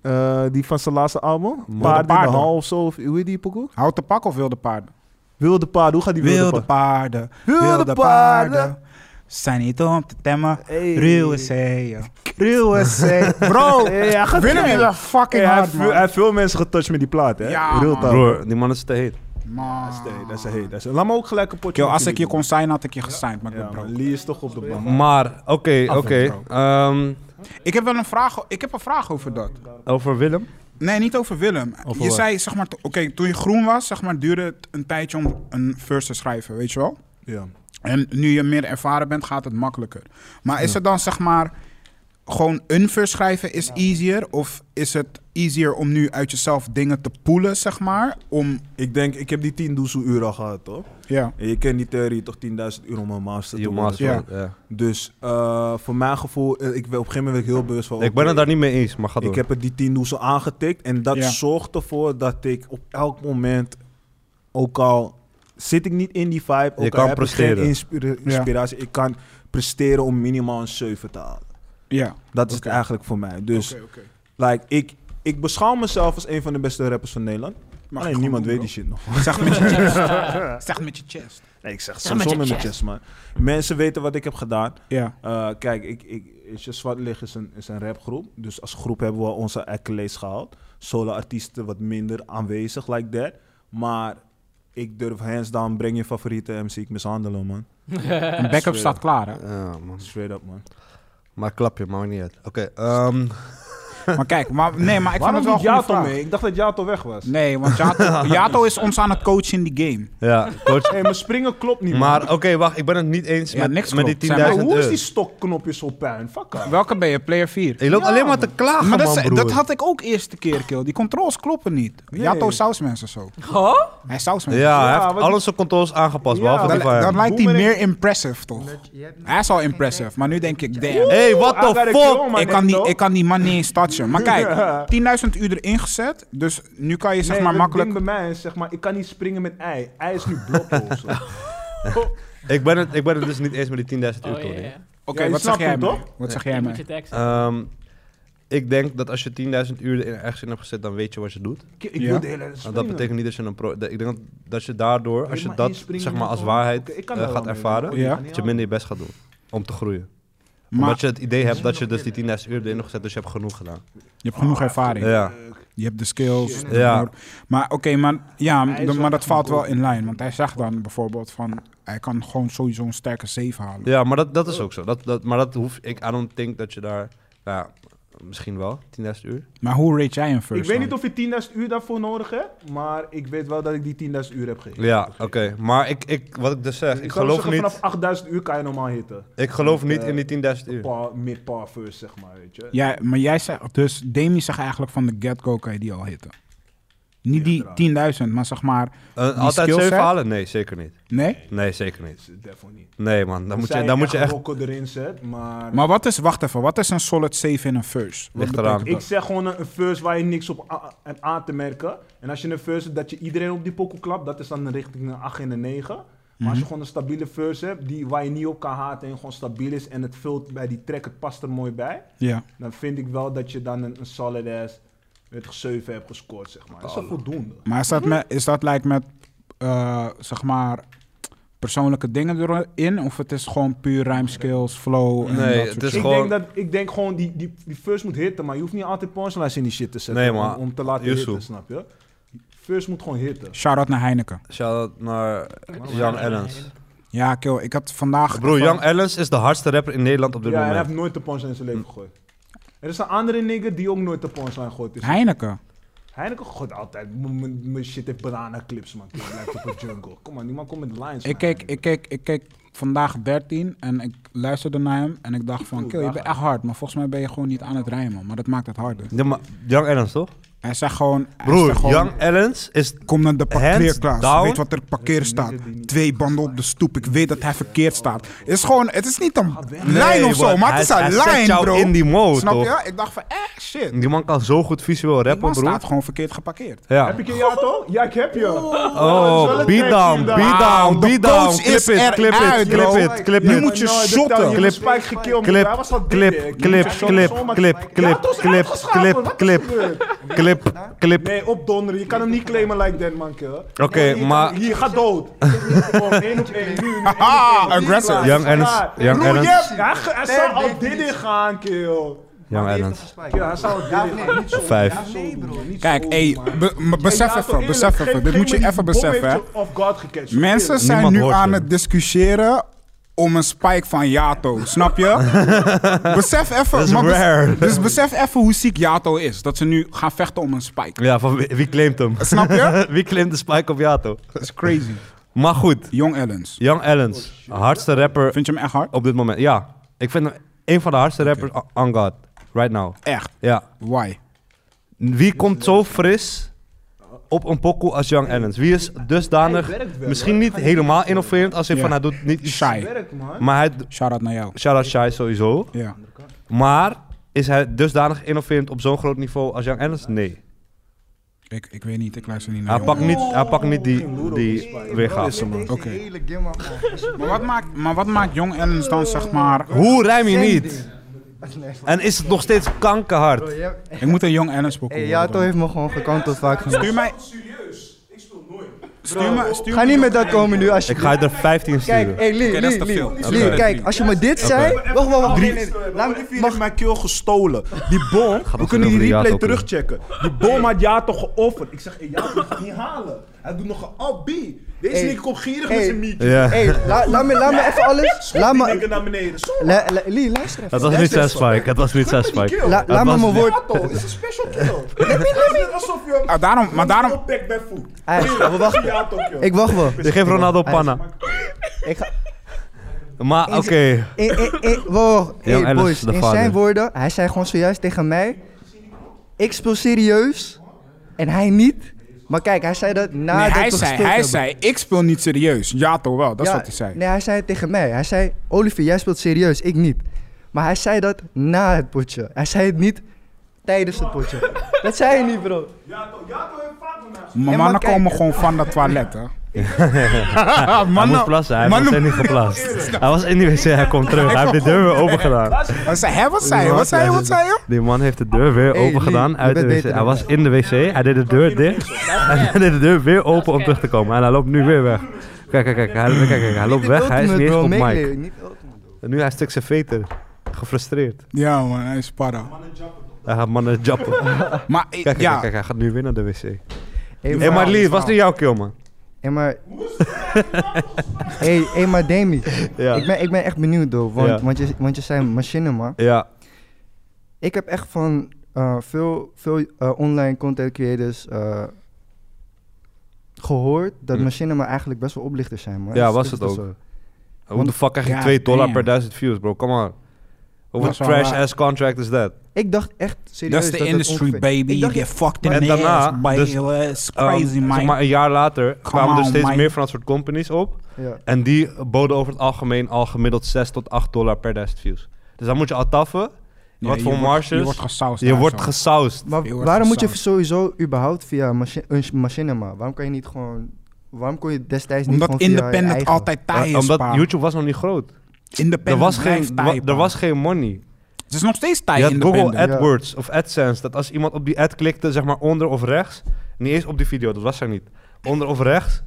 Speaker 6: Eh, die van zijn laatste album?
Speaker 1: Wilde
Speaker 6: Paarden, in de
Speaker 2: Paarden.
Speaker 6: hal of zo, of- hoe heet die pokoe?
Speaker 2: Houten pak of wilde paarden?
Speaker 6: Wilde paarden, hoe gaat die wilde,
Speaker 2: Wilde
Speaker 6: paarden?
Speaker 2: paarden.
Speaker 6: Wilde paarden.
Speaker 2: Zijn niet om te temmen.
Speaker 8: Hey.
Speaker 2: Ruwe zee, Ruwe zee.
Speaker 6: Bro!
Speaker 8: Ja, gaat
Speaker 2: Willem is wel fucking
Speaker 6: hij,
Speaker 2: hard,
Speaker 6: heeft, hij
Speaker 2: man.
Speaker 6: heeft veel mensen getouched met die plaat, hè?
Speaker 2: Ja,
Speaker 6: Real
Speaker 2: man.
Speaker 6: talk.
Speaker 1: Broer, die man is te heet.
Speaker 6: Dat is
Speaker 2: Man.
Speaker 6: de heet, dat is de heet. dat is de- Laat me ook gelijk een potje.
Speaker 2: Yo,
Speaker 6: met
Speaker 2: als ik je
Speaker 6: jullie
Speaker 2: kon zijn, had ik je gesigned, maar
Speaker 6: doen.
Speaker 2: ik
Speaker 6: Ja,
Speaker 2: ben broke.
Speaker 6: man, Lee is toch op de bank.
Speaker 1: Maar, oké, oké.
Speaker 2: bro.
Speaker 1: ehm,
Speaker 2: Ik heb wel een vraag, ik heb een vraag over dat.
Speaker 1: over Willem.
Speaker 2: Nee, niet over Willem.
Speaker 5: Over
Speaker 2: je
Speaker 5: wat?
Speaker 2: zei, zeg maar, t- oké, toen je groen was, zeg maar, duurde het een tijdje om een verse te schrijven, weet je wel?
Speaker 6: Ja.
Speaker 2: En nu je meer ervaren bent, gaat het makkelijker. Maar is het dan, zeg maar, gewoon een verse schrijven is easier? Of is het easier om nu uit jezelf dingen te poelen, zeg maar? Om,
Speaker 6: Ik denk, ik heb die 10 doezoe-uur al gehad, toch?
Speaker 2: ja.
Speaker 6: En je kent die theorie, toch 10.000 uur om een master te
Speaker 1: Je
Speaker 6: worden.
Speaker 1: master,
Speaker 2: Ja.
Speaker 1: ja.
Speaker 6: Dus eh, voor mijn gevoel, eh, ik, ben- op een gegeven moment werd ik heel bewust van...
Speaker 1: Ik ben
Speaker 6: oké,
Speaker 1: het daar niet mee eens, maar ga door.
Speaker 6: Ik heb het die tien doezel aangetikt. En dat
Speaker 2: Ja.
Speaker 6: zorgt ervoor dat ik op elk moment, ook al zit ik niet in die vibe, ook
Speaker 1: Je
Speaker 6: al
Speaker 1: kan
Speaker 6: heb ik geen
Speaker 1: presteren.
Speaker 6: inspira- inspiratie, ik kan presteren om minimaal een 7 te halen.
Speaker 2: Ja.
Speaker 6: Dat is
Speaker 2: Oké.
Speaker 6: het eigenlijk voor mij. Dus
Speaker 2: Oké, oké.
Speaker 6: like, ik, ik beschouw mezelf als een van de beste rappers van Nederland.
Speaker 2: Mag
Speaker 6: Maar
Speaker 2: ik
Speaker 6: Alleen
Speaker 2: gewoon
Speaker 6: niemand
Speaker 2: doen,
Speaker 6: weet die shit nog.
Speaker 2: bro. Zeg met je chest. Zeg met je chest.
Speaker 6: Nee, ik zeg
Speaker 4: Zeg maar
Speaker 6: soms met
Speaker 4: je
Speaker 6: mijn
Speaker 4: chest.
Speaker 6: chest, man. Mensen weten wat ik heb gedaan.
Speaker 2: Ja.
Speaker 6: Eh, kijk, ik, ik, is je Zwart Licht is een, is een rapgroep. Dus als groep hebben we onze accolades gehaald. Solo-artiesten wat minder aanwezig, like that. Maar ik durf hands down, breng je favoriete MC, ik mishandelen, man.
Speaker 2: Een backup
Speaker 6: Zweer.
Speaker 2: staat klaar, hè?
Speaker 1: Ja, man.
Speaker 6: Straight up, man.
Speaker 1: Maar klap je, maar niet uit. Oké, ehm,
Speaker 2: Maar kijk, maar, nee, maar ik vond het wel een goede
Speaker 6: Jato
Speaker 2: vraag.
Speaker 6: mee? Ik dacht dat Jato weg was. Nee.
Speaker 2: Nee, want Jato, Jato is ons aan het coachen in die game.
Speaker 1: ja, coach.
Speaker 6: Hey, mijn springen klopt niet,
Speaker 1: Maar
Speaker 6: man.
Speaker 1: oké, wacht, ik ben het niet eens
Speaker 2: Ja,
Speaker 1: met,
Speaker 2: niks
Speaker 1: met die 10.000
Speaker 2: klopt. Zijn maar
Speaker 6: Maar hoe is
Speaker 1: euro.
Speaker 6: die stokknopje zo puin? Fuck off.
Speaker 2: Welke ben je? Player 4?
Speaker 1: Je loopt alleen maar te klagen,
Speaker 2: maar dat,
Speaker 1: man,
Speaker 2: is-
Speaker 1: broer.
Speaker 2: dat had ik ook eerste keer, kill. Die controls kloppen niet. Jato saus mensen zo.
Speaker 4: Huh?
Speaker 2: Hij is saus mensen.
Speaker 1: Ja,
Speaker 6: Ja,
Speaker 1: hij heeft
Speaker 6: wat-
Speaker 1: alle zijn controls aangepast,
Speaker 6: Ja,
Speaker 1: behalve
Speaker 2: Dan,
Speaker 1: die van
Speaker 2: dan
Speaker 1: hem.
Speaker 2: lijkt hij
Speaker 6: Boemerang-
Speaker 2: meer impressive, toch? Hij is al impressive, maar nu denk ik, damn.
Speaker 1: Hey, what
Speaker 6: I got
Speaker 1: the
Speaker 6: a
Speaker 1: fuck?
Speaker 6: clone, man.
Speaker 2: Ik kan, die,
Speaker 6: Nendo.
Speaker 2: ik kan die man niet eens touchen. Maar kijk, 10.000 uur erin gezet. Dus nu kan je zeg
Speaker 6: Nee,
Speaker 2: maar
Speaker 6: het
Speaker 2: makkelijk...
Speaker 6: ding bij mij is, zeg maar, ik kan niet springen met ei. Ei is nu blokhoofd.
Speaker 1: Ik ben, het, ik ben het dus niet eens met die 10.000 euro.
Speaker 4: Oh,
Speaker 1: Tony.
Speaker 4: ja, ja.
Speaker 2: Oké,
Speaker 6: Ja, je
Speaker 2: wat zeg
Speaker 6: snapt
Speaker 2: jij
Speaker 6: hem,
Speaker 2: mij?
Speaker 6: toch?
Speaker 2: Wat zeg jij
Speaker 4: Je moet je
Speaker 2: mij?
Speaker 4: tekst.
Speaker 1: Ehm, ik denk dat als je 10.000 uur er ergens in hebt gezet, dan weet je wat je doet.
Speaker 6: Ik, ik
Speaker 2: Ja.
Speaker 6: wil de hele tijd
Speaker 1: En
Speaker 6: springen.
Speaker 1: dat betekent niet dat je een pro... dat- Ik denk dat, dat je daardoor, als
Speaker 6: Hey,
Speaker 1: je
Speaker 6: maar
Speaker 1: dat
Speaker 6: één springen
Speaker 1: zeg maar
Speaker 6: moet
Speaker 1: als
Speaker 6: gewoon.
Speaker 1: waarheid
Speaker 6: Oké, ik kan
Speaker 1: eh,
Speaker 6: daar wel
Speaker 1: gaat
Speaker 6: mee.
Speaker 1: ervaren,
Speaker 2: Ja.
Speaker 1: dat je minder je best gaat doen om te groeien.
Speaker 2: Maar
Speaker 1: Omdat je het idee hebt dat je dus die 10.000 uur erin hebt gezet, dus je hebt genoeg gedaan.
Speaker 2: je hebt genoeg ervaring.
Speaker 1: Ja.
Speaker 2: Je hebt de skills. de
Speaker 1: Ja.
Speaker 2: know- Maar oké, maar, ja,
Speaker 6: Hij is
Speaker 2: de-
Speaker 6: wel
Speaker 2: maar dat
Speaker 6: echt een
Speaker 2: valt wel
Speaker 6: goal.
Speaker 2: in lijn. Want hij zegt dan bijvoorbeeld van... Hij kan gewoon sowieso een sterke 7 halen.
Speaker 1: Ja, maar dat, dat is ook zo. Dat, dat, maar dat hoef ik, I don't think dat je daar, nou ja, misschien wel, 10.000 uur.
Speaker 2: Maar hoe rate jij een first?
Speaker 6: Ik weet
Speaker 2: dan?
Speaker 6: niet of je 10.000 uur daarvoor nodig hebt, maar ik weet wel dat ik die 10.000 uur heb gegeven.
Speaker 1: Ja, oké. Maar ik, ik, wat ik dus zeg, ik
Speaker 6: zou
Speaker 1: geloof
Speaker 6: zeggen,
Speaker 1: niet,
Speaker 6: Vanaf 8000 uur kan je normaal hitten.
Speaker 1: ik geloof niet
Speaker 6: eh,
Speaker 1: in die 10.000 uur.
Speaker 6: Par, mid par first, zeg maar, weet je.
Speaker 2: Ja, maar jij zegt... Dus Demi zegt eigenlijk van de get-go kan je die al hitten. Niet
Speaker 6: eraan.
Speaker 2: die 10.000, maar zeg maar...
Speaker 1: Eh, altijd
Speaker 2: skillset?
Speaker 1: zeven halen? Nee, zeker niet.
Speaker 2: Nee?
Speaker 1: Nee, zeker niet.
Speaker 6: Is het Daarvoor Dus, eh, niet.
Speaker 1: Nee, man. Dan moet
Speaker 6: Zij
Speaker 1: je, dan moet je echt...
Speaker 6: rokken erin zet, maar...
Speaker 2: Maar wat is... Wacht even. Wat is een solid 7 in een first? Wat
Speaker 1: Ligt
Speaker 2: betekent
Speaker 1: eraan.
Speaker 6: ik zeg gewoon een een first waar je niks op a- hebt aan te merken. En als je een first hebt dat je iedereen op die pokoe klapt, dat is dan richting een 8 en een 9. Maar
Speaker 1: Mhm.
Speaker 6: als je gewoon een stabiele first hebt, die, waar je niet op kan haten en gewoon stabiel is en het vult bij die track, het past er mooi bij.
Speaker 2: Ja.
Speaker 6: dan vind ik wel dat je dan een, een solid ass weet ik, 7 hebt gescoord, zeg maar. Dat is wel voldoende.
Speaker 2: Maar is dat, met, is dat lijkt met... eh, zeg maar... Persoonlijke dingen erin? Of het is gewoon puur rijmskills, flow? en
Speaker 1: Nee,
Speaker 2: dat
Speaker 1: het
Speaker 2: soort
Speaker 1: is
Speaker 2: shit?
Speaker 6: ik,
Speaker 1: gewoon-
Speaker 6: denk dat, ik denk gewoon, die, die, die first moet hitten, maar je hoeft niet altijd punchlines in die shit te zetten
Speaker 1: Nee, maar-
Speaker 6: om, om te laten
Speaker 1: Yusu.
Speaker 6: hitten, snap je? First moet gewoon hitten.
Speaker 2: Shout-out naar Heineken.
Speaker 1: Shout-out naar Young Ellens.
Speaker 2: Ja, kill. Ik had vandaag...
Speaker 1: Bro, Young Ellens is de hardste rapper in Nederland op dit
Speaker 6: Ja, en hij heeft
Speaker 1: moment. Hm.
Speaker 6: nooit de punchline in zijn leven gegooid. Er is een andere nigger die ook nooit de punchline gooit. Is
Speaker 2: Heineken.
Speaker 6: Heineken gooit altijd. M- m- Mijn shit heeft banana clips, man. Het lijkt op een jungle. Kom maar, niemand komt met lines.
Speaker 2: Ik
Speaker 6: man.
Speaker 2: keek, ik, keek, ik keek vandaag 13 en ik luisterde naar hem en ik dacht van...
Speaker 6: Oeh,
Speaker 2: Kill, je
Speaker 6: daar
Speaker 2: bent
Speaker 6: gaat
Speaker 2: echt hard, maar volgens mij ben je gewoon niet aan het rijmen. Maar dat maakt het harder.
Speaker 1: Ja, maar Young Ellens, toch?
Speaker 2: Hij zegt gewoon... hij
Speaker 1: Broer,
Speaker 2: zegt gewoon,
Speaker 1: Young Ellens is...
Speaker 2: Kom naar de parkeerplaats.
Speaker 1: down.
Speaker 2: Weet wat er parkeer staat. Twee banden op de stoep. Ik weet dat hij verkeerd staat. is gewoon, het is niet een lijn of zo,
Speaker 1: want
Speaker 2: maar
Speaker 1: hij-
Speaker 2: het is een
Speaker 1: hij zet
Speaker 2: lijn,
Speaker 1: jou
Speaker 2: bro.
Speaker 1: in die mode,
Speaker 2: Snap
Speaker 1: toch?
Speaker 2: je? Ik dacht van, eh, shit. Die
Speaker 1: Die man kan zo goed visueel rappen,
Speaker 2: man
Speaker 1: broer.
Speaker 2: staat gewoon verkeerd geparkeerd.
Speaker 1: Ja.
Speaker 6: Heb ik je ja toch? Ja, ik heb je.
Speaker 1: Oh, beat down, beat down,
Speaker 2: de
Speaker 1: beat
Speaker 2: coach
Speaker 1: down. Clip
Speaker 2: is
Speaker 1: it, clip
Speaker 2: eruit,
Speaker 1: it,
Speaker 2: bro.
Speaker 1: clip it, clip
Speaker 2: Nu
Speaker 1: it.
Speaker 2: moet je shotten.
Speaker 6: shotten.
Speaker 1: Clip,
Speaker 6: spike gekild.
Speaker 1: Clip,
Speaker 6: Hij was al
Speaker 1: clip,
Speaker 6: dik, hè.
Speaker 1: clip,
Speaker 6: Hij kon
Speaker 1: clip,
Speaker 6: zomaar-
Speaker 1: clip,
Speaker 6: Ja,
Speaker 1: clip,
Speaker 6: het was
Speaker 1: clip,
Speaker 6: uitgeschakeld.
Speaker 1: clip,
Speaker 6: Wat is
Speaker 1: clip,
Speaker 6: gebeurd?
Speaker 1: clip, clip.
Speaker 7: Nee, opdonderen. Je kan hem niet claimen like that, man, kill.
Speaker 1: Oké,
Speaker 7: Nee, je
Speaker 1: maar-
Speaker 7: kan- Hier, ga dood. Gewoon één op één. Nu, nu, één op
Speaker 2: Haha,
Speaker 7: één.
Speaker 2: aggressive.
Speaker 7: Klaar,
Speaker 1: Young
Speaker 7: klaar.
Speaker 1: Ernest, Young
Speaker 7: Broer, je
Speaker 1: Ernest,
Speaker 7: hebt- Hij, ge- hij
Speaker 3: Nee,
Speaker 7: zou al
Speaker 3: weet
Speaker 7: dit
Speaker 3: niet.
Speaker 7: in gaan, kill.
Speaker 1: Young
Speaker 3: Maar die
Speaker 1: Ernest.
Speaker 3: heeft een
Speaker 7: Kill,
Speaker 3: gespike.
Speaker 7: hij zou al dit
Speaker 3: Ja,
Speaker 7: in
Speaker 3: nee,
Speaker 7: gaan.
Speaker 3: niet zo.
Speaker 1: Vijf.
Speaker 7: Ja, nee, bro. niet
Speaker 2: Kijk,
Speaker 7: zo,
Speaker 2: ey,
Speaker 7: man.
Speaker 2: be- me-
Speaker 7: Hey,
Speaker 2: besef
Speaker 7: ja, toch
Speaker 2: even,
Speaker 7: eerlijk,
Speaker 2: besef
Speaker 7: geen-
Speaker 2: even. Dit
Speaker 7: geen
Speaker 2: moet je
Speaker 7: manier.
Speaker 2: even
Speaker 7: Bom
Speaker 2: beseffen,
Speaker 7: heeft
Speaker 2: hè.
Speaker 7: je Off guard gecatcht.
Speaker 2: Mensen zijn
Speaker 1: Niemand
Speaker 2: nu
Speaker 1: hoort
Speaker 2: aan
Speaker 1: je.
Speaker 2: het discussiëren om een spike van Yato, snap je? besef even...
Speaker 1: Dat is
Speaker 2: maar bes-
Speaker 1: rare.
Speaker 2: Dus besef even hoe ziek Yato is. Dat ze nu gaan vechten om een spike.
Speaker 1: Ja, van wie, wie claimt hem?
Speaker 2: Snap je?
Speaker 1: wie claimt de spike op Yato?
Speaker 2: Dat is crazy.
Speaker 1: Maar goed,
Speaker 2: Young Ellens.
Speaker 1: Young Allens, hardste rapper
Speaker 2: Vind je hem echt hard?
Speaker 1: op dit moment. Ja, ik vind hem een van de hardste rappers on God. Right now.
Speaker 2: Echt.
Speaker 1: Ja.
Speaker 2: Why?
Speaker 1: Wie komt zo fris op een pokoe als Young Allens? Wie is dusdanig,
Speaker 7: Hij werkt wel,
Speaker 1: misschien
Speaker 7: hoor.
Speaker 1: niet helemaal innoverend, als in
Speaker 2: Ja.
Speaker 1: van hij doet niet iets-
Speaker 2: Shy.
Speaker 7: Werk, man.
Speaker 1: Maar hij,
Speaker 2: Shout-out naar jou.
Speaker 1: shout out Shy sowieso.
Speaker 2: Ja.
Speaker 1: Maar is hij dusdanig innoverend op zo'n groot niveau als Young Allens? Nee.
Speaker 2: Ik, ik weet niet, ik luister niet naar
Speaker 1: Hij
Speaker 2: Young
Speaker 1: pakt niet,
Speaker 2: Ellens.
Speaker 1: hij pakt niet die, die weergave.
Speaker 3: Deze
Speaker 2: Oké.
Speaker 3: hele game af, man.
Speaker 2: Maar wat, maakt, maar wat maakt Young Ellens dan, zeg maar...
Speaker 1: Hoe rijm je
Speaker 3: Same
Speaker 1: niet?
Speaker 3: ding. Nee.
Speaker 1: En is het nog steeds
Speaker 3: Bro,
Speaker 1: kankerhard?
Speaker 3: je hebt-
Speaker 2: Ik moet een Young Ellens boeken.
Speaker 3: Hey, Yato heeft me gewoon gekanteld vaak genoeg.
Speaker 2: Stuur mij...
Speaker 7: Serieus, ik speel nooit.
Speaker 2: Stuur mij... Stuur
Speaker 3: Ga
Speaker 2: mij-
Speaker 3: niet met dat komen nu,
Speaker 1: Ik
Speaker 3: alsjeblieft.
Speaker 1: ga je er 15
Speaker 3: Kijk, eh,
Speaker 1: sturen.
Speaker 3: hey, Lee,
Speaker 2: Oké, dat is
Speaker 3: Lee,
Speaker 2: te
Speaker 3: Lee,
Speaker 2: veel.
Speaker 3: Lee,
Speaker 2: Dat is te veel.
Speaker 3: kijk, als je me dit zei... Wacht, wacht, wacht. nee, nee, nee. Laat
Speaker 7: Laat
Speaker 3: me-
Speaker 7: me
Speaker 3: mag-
Speaker 7: heeft mijn keel gestolen. Die bom, we
Speaker 1: nog
Speaker 7: kunnen
Speaker 1: een
Speaker 7: die
Speaker 1: Jato
Speaker 7: replay
Speaker 1: opnemen.
Speaker 7: terugchecken. Die bom had Jato geofferd. Ik zeg, hey, Jato gaat het niet halen. Hij doet nog een up B. Deze
Speaker 3: Hey.
Speaker 7: nigger komt gierig
Speaker 3: Hey.
Speaker 7: met zijn mietje.
Speaker 1: Ja.
Speaker 3: Hey, la- laat me, laat me even alles... Laat
Speaker 7: Die
Speaker 3: me...
Speaker 7: nigger naar beneden. Zo,
Speaker 3: La- la- Lee, luister even.
Speaker 1: Dat was niet zijn
Speaker 3: Luister even.
Speaker 1: spike. Het was niet zijn
Speaker 7: die
Speaker 1: spike.
Speaker 7: kill.
Speaker 3: La-
Speaker 1: Dat
Speaker 3: Laat me
Speaker 1: was
Speaker 3: mijn
Speaker 1: niet-
Speaker 3: woord...
Speaker 7: Jato is een special kill. Het is alsof je
Speaker 2: Ah, daarom, maar daarom...
Speaker 7: back bij voet.
Speaker 3: Hey, we wachten.
Speaker 7: Jato kill.
Speaker 3: Ik wacht wel.
Speaker 2: Dus-
Speaker 1: Je geeft Ronaldo panna.
Speaker 3: Ik ga...
Speaker 1: Maar oké.
Speaker 3: In, in, in, wow, hey,
Speaker 1: Young Alice,
Speaker 3: boys,
Speaker 1: de
Speaker 3: in
Speaker 1: vader.
Speaker 3: zijn woorden, hij zei gewoon zojuist tegen mij, ik speel serieus en hij niet. Maar kijk, hij zei dat na
Speaker 2: Nee,
Speaker 3: dat
Speaker 2: hij
Speaker 3: we
Speaker 2: zei,
Speaker 3: gespeeld
Speaker 2: hij
Speaker 3: hebben.
Speaker 2: zei, ik speel niet serieus. Ja, toch wel, dat is
Speaker 3: Ja,
Speaker 2: wat hij zei.
Speaker 3: Nee, hij zei het tegen mij. Hij zei, Olivier, jij speelt serieus, ik niet. Maar hij zei dat na het potje. Hij zei het niet tijdens het potje. dat zei hij niet, bro.
Speaker 7: Jato, Jato heeft vaak een
Speaker 2: Mijn
Speaker 3: En
Speaker 2: mannen
Speaker 3: maar kijk- eh,
Speaker 2: komen gewoon van dat toilet, hè.
Speaker 1: Hij moest
Speaker 2: mannen,
Speaker 1: plassen, hij was
Speaker 2: mannen-
Speaker 1: er niet geplast. Hij was in die wc, hij komt terug. Hij heeft de deur weer open gedaan.
Speaker 2: Wat zei hij, wat zei je, wat zei je, wat zei je?
Speaker 1: Die man heeft de deur weer
Speaker 3: Hey,
Speaker 1: open
Speaker 3: Lee,
Speaker 1: gedaan
Speaker 3: je
Speaker 1: uit de
Speaker 3: bent
Speaker 1: wc.
Speaker 3: beter
Speaker 1: Hij
Speaker 3: dan
Speaker 1: was in de wc, hij deed de deur dicht. Hij deed de deur weer open om terug te komen. En hij loopt nu weer weg. Kijk, kijk, kijk, hij, kijk, kijk, hij loopt
Speaker 3: Dit
Speaker 1: weg, hij is niet
Speaker 3: ultimate,
Speaker 1: eens
Speaker 3: bro,
Speaker 1: op mic.
Speaker 3: meeleven, niet ultimate.
Speaker 1: En nu hij is stuk zijn veter. Gefrustreerd.
Speaker 2: Ja, man, hij is para.
Speaker 1: Hij gaat mannen jappen. Kijk,
Speaker 2: Maar, ik-
Speaker 1: kijk,
Speaker 2: ja,
Speaker 1: kijk, kijk, hij gaat nu weer naar de wc. Hé,
Speaker 3: Hey,
Speaker 2: Hey,
Speaker 1: maar
Speaker 2: Verhaal,
Speaker 1: Lee, het was
Speaker 2: verhaal.
Speaker 1: niet jouw kill, man.
Speaker 3: Hé, maar... hey, hey, maar Demi.
Speaker 1: Ja.
Speaker 3: Ik, ben, ik ben echt benieuwd, though. Want,
Speaker 1: Ja.
Speaker 3: want, je, want je zei machine, man.
Speaker 1: Ja,
Speaker 3: Ik heb echt van eh, veel, veel eh, online content creators eh, gehoord... dat
Speaker 1: Hm.
Speaker 3: machine maar eigenlijk best wel oplichters zijn, man.
Speaker 1: Ja,
Speaker 3: Is-
Speaker 1: was
Speaker 3: is
Speaker 1: het
Speaker 3: dat
Speaker 1: ook.
Speaker 3: zo?
Speaker 1: Hoe de fuck krijg je
Speaker 2: Ja,
Speaker 1: 2 dollar
Speaker 2: damn.
Speaker 1: per 1000 views, bro? Come on. Hoe
Speaker 2: Dat
Speaker 1: een
Speaker 2: is wel waar.
Speaker 1: trash ass contract is dat?
Speaker 3: Ik dacht echt serieus
Speaker 2: that's
Speaker 3: dat
Speaker 2: the
Speaker 3: het
Speaker 2: industry,
Speaker 3: ongeveer-
Speaker 2: baby.
Speaker 3: Ik dacht,
Speaker 2: Je fucked in
Speaker 1: En
Speaker 2: the
Speaker 1: daarna,
Speaker 2: ass, by
Speaker 1: dus,
Speaker 2: your ass.
Speaker 1: Um,
Speaker 2: Crazy,
Speaker 1: zeg
Speaker 2: man.
Speaker 1: maar een jaar later kwamen er
Speaker 2: on,
Speaker 1: steeds
Speaker 2: man.
Speaker 1: meer van dat soort companies op.
Speaker 3: ja.
Speaker 1: En die boden over het algemeen al gemiddeld 6 tot 8 dollar per 1000 views. Dus dan moet je al taffen.
Speaker 2: Ja,
Speaker 1: wat
Speaker 2: je
Speaker 1: voor
Speaker 2: wordt-
Speaker 1: marges?
Speaker 2: Je wordt gesausd.
Speaker 1: Je
Speaker 2: daar
Speaker 1: wordt
Speaker 2: zo.
Speaker 1: gesausd.
Speaker 3: Maar
Speaker 2: Je wordt
Speaker 3: waarom moet je
Speaker 2: gesausd.
Speaker 3: sowieso überhaupt via machi- een machine, man? Waarom kan je niet gewoon... Waarom kon je destijds niet
Speaker 2: Omdat
Speaker 3: gewoon via je
Speaker 2: independent
Speaker 3: eigen-
Speaker 2: altijd taai is,
Speaker 1: Eh, omdat
Speaker 2: pa.
Speaker 1: YouTube was nog niet groot. Er
Speaker 2: Independent
Speaker 1: was, geen,
Speaker 2: blijft taai,
Speaker 1: wa- er
Speaker 2: pa.
Speaker 1: was geen money.
Speaker 2: Het is nog steeds taai
Speaker 1: Je had Google
Speaker 2: independent.
Speaker 3: ja.
Speaker 1: AdWords of AdSense. Dat als iemand op die ad klikte, zeg maar onder of rechts. Niet eens op die video, dat was er niet. Onder of rechts.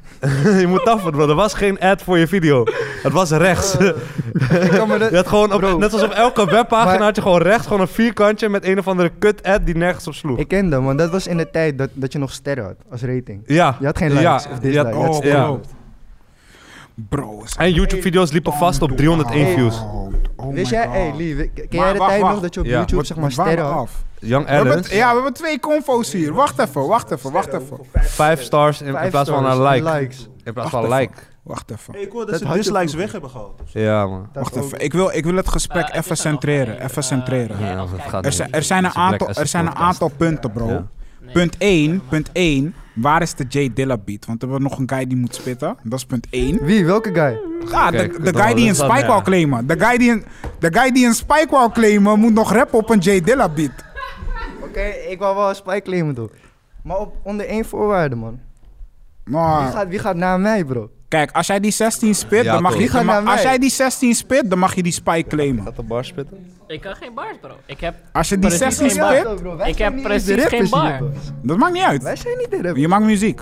Speaker 1: je moet taffen, bro. Er was geen ad voor je video. Het was rechts.
Speaker 2: Eh,
Speaker 3: Ik kan me dat-
Speaker 1: Je had gewoon op,
Speaker 3: Bro.
Speaker 1: net zoals op elke webpagina
Speaker 3: Maar-
Speaker 1: had je gewoon rechts gewoon een vierkantje met een of andere kut-ad die nergens op sloeg.
Speaker 3: Ik ken dat, want dat was in de tijd dat, dat je nog sterren had als rating.
Speaker 1: ja.
Speaker 3: Je had geen
Speaker 1: Ja,
Speaker 3: likes of
Speaker 1: je had-
Speaker 3: dislikes. Je had
Speaker 2: Oh,
Speaker 3: sterren.
Speaker 1: Ja.
Speaker 2: klopt. Bro, is
Speaker 1: En YouTube-video's liepen vast op 301 views.
Speaker 2: Oh, oh
Speaker 3: Wist
Speaker 2: my
Speaker 3: jij,
Speaker 2: God.
Speaker 3: hey, Lee, we- ken
Speaker 2: Maar
Speaker 3: jij de
Speaker 2: wacht,
Speaker 3: tijd
Speaker 2: wacht.
Speaker 3: nog dat je op
Speaker 1: Ja.
Speaker 3: YouTube
Speaker 2: Wat-
Speaker 3: zeg maar
Speaker 2: wat waren
Speaker 3: sterren
Speaker 2: we
Speaker 3: had?
Speaker 2: af?
Speaker 1: Young
Speaker 2: We hebben, t-
Speaker 1: Ellen,
Speaker 2: ja, we hebben twee confo's hier. Wacht even, wacht even, wacht even.
Speaker 1: 5 stars in, in
Speaker 3: Vijf
Speaker 1: plaats van
Speaker 3: stars
Speaker 1: een
Speaker 3: en
Speaker 1: like.
Speaker 3: likes.
Speaker 1: In plaats
Speaker 2: Wacht
Speaker 1: van
Speaker 2: even.
Speaker 1: like.
Speaker 2: Wacht even.
Speaker 7: Ik hoor
Speaker 3: Dat
Speaker 7: dat,
Speaker 3: had
Speaker 7: ze
Speaker 3: je
Speaker 7: dislikes
Speaker 3: vroeger.
Speaker 7: weg hebben gehaald.
Speaker 1: Ja, man.
Speaker 3: Dat
Speaker 2: Wacht
Speaker 3: ook.
Speaker 2: even. Ik wil, ik wil het gesprek
Speaker 4: Eh, het
Speaker 2: even
Speaker 4: is er nog
Speaker 2: centreren.
Speaker 4: één,
Speaker 2: Even
Speaker 4: eh,
Speaker 2: centreren.
Speaker 4: jij
Speaker 1: Ja,
Speaker 4: als
Speaker 1: dat
Speaker 4: kijker.
Speaker 1: gaat
Speaker 2: Er
Speaker 1: niet.
Speaker 2: zijn, er zijn een
Speaker 1: Het is een
Speaker 2: aantal,
Speaker 1: Black
Speaker 2: er zijn een
Speaker 1: Asset
Speaker 2: aantal punten, bro.
Speaker 1: Ja.
Speaker 4: Nee.
Speaker 2: Punt 1, punt 1. Waar is de J Dilla beat? Want er wordt nog een guy die moet spitten. Dat is punt 1.
Speaker 3: Wie? Welke guy?
Speaker 2: Ja,
Speaker 1: Kijk,
Speaker 2: de, de
Speaker 1: dat-
Speaker 2: guy die een
Speaker 1: dat- dat-
Speaker 2: spike
Speaker 1: ja.
Speaker 2: wou claimen. De guy die een, de guy die een spike wou claimen moet nog rappen op een J Dilla beat.
Speaker 3: Oké, ik wou wel een spike claimen, toch? Maar op, onder één voorwaarde, man. Wie
Speaker 2: Nou,
Speaker 3: gaat, wie gaat na mij, bro?
Speaker 2: Kijk, als jij die 16 spit,
Speaker 1: Ja,
Speaker 2: dan mag
Speaker 1: toch.
Speaker 2: je,
Speaker 1: Die
Speaker 3: gaan
Speaker 2: dan ma-
Speaker 3: naar
Speaker 2: als
Speaker 3: mij.
Speaker 2: jij die 16 spit, dan mag je die spike claimen.
Speaker 1: Gaat de bar spitten?
Speaker 4: Ik kan geen bars, bro. Ik heb...
Speaker 2: Als je die
Speaker 4: Maar dat is
Speaker 2: 16
Speaker 4: niet waar.
Speaker 2: spit,
Speaker 4: Ik heb precies geen bar.
Speaker 2: dat maakt niet
Speaker 3: Wij
Speaker 2: uit.
Speaker 3: zijn niet de
Speaker 2: Je
Speaker 3: rappers.
Speaker 2: maakt muziek.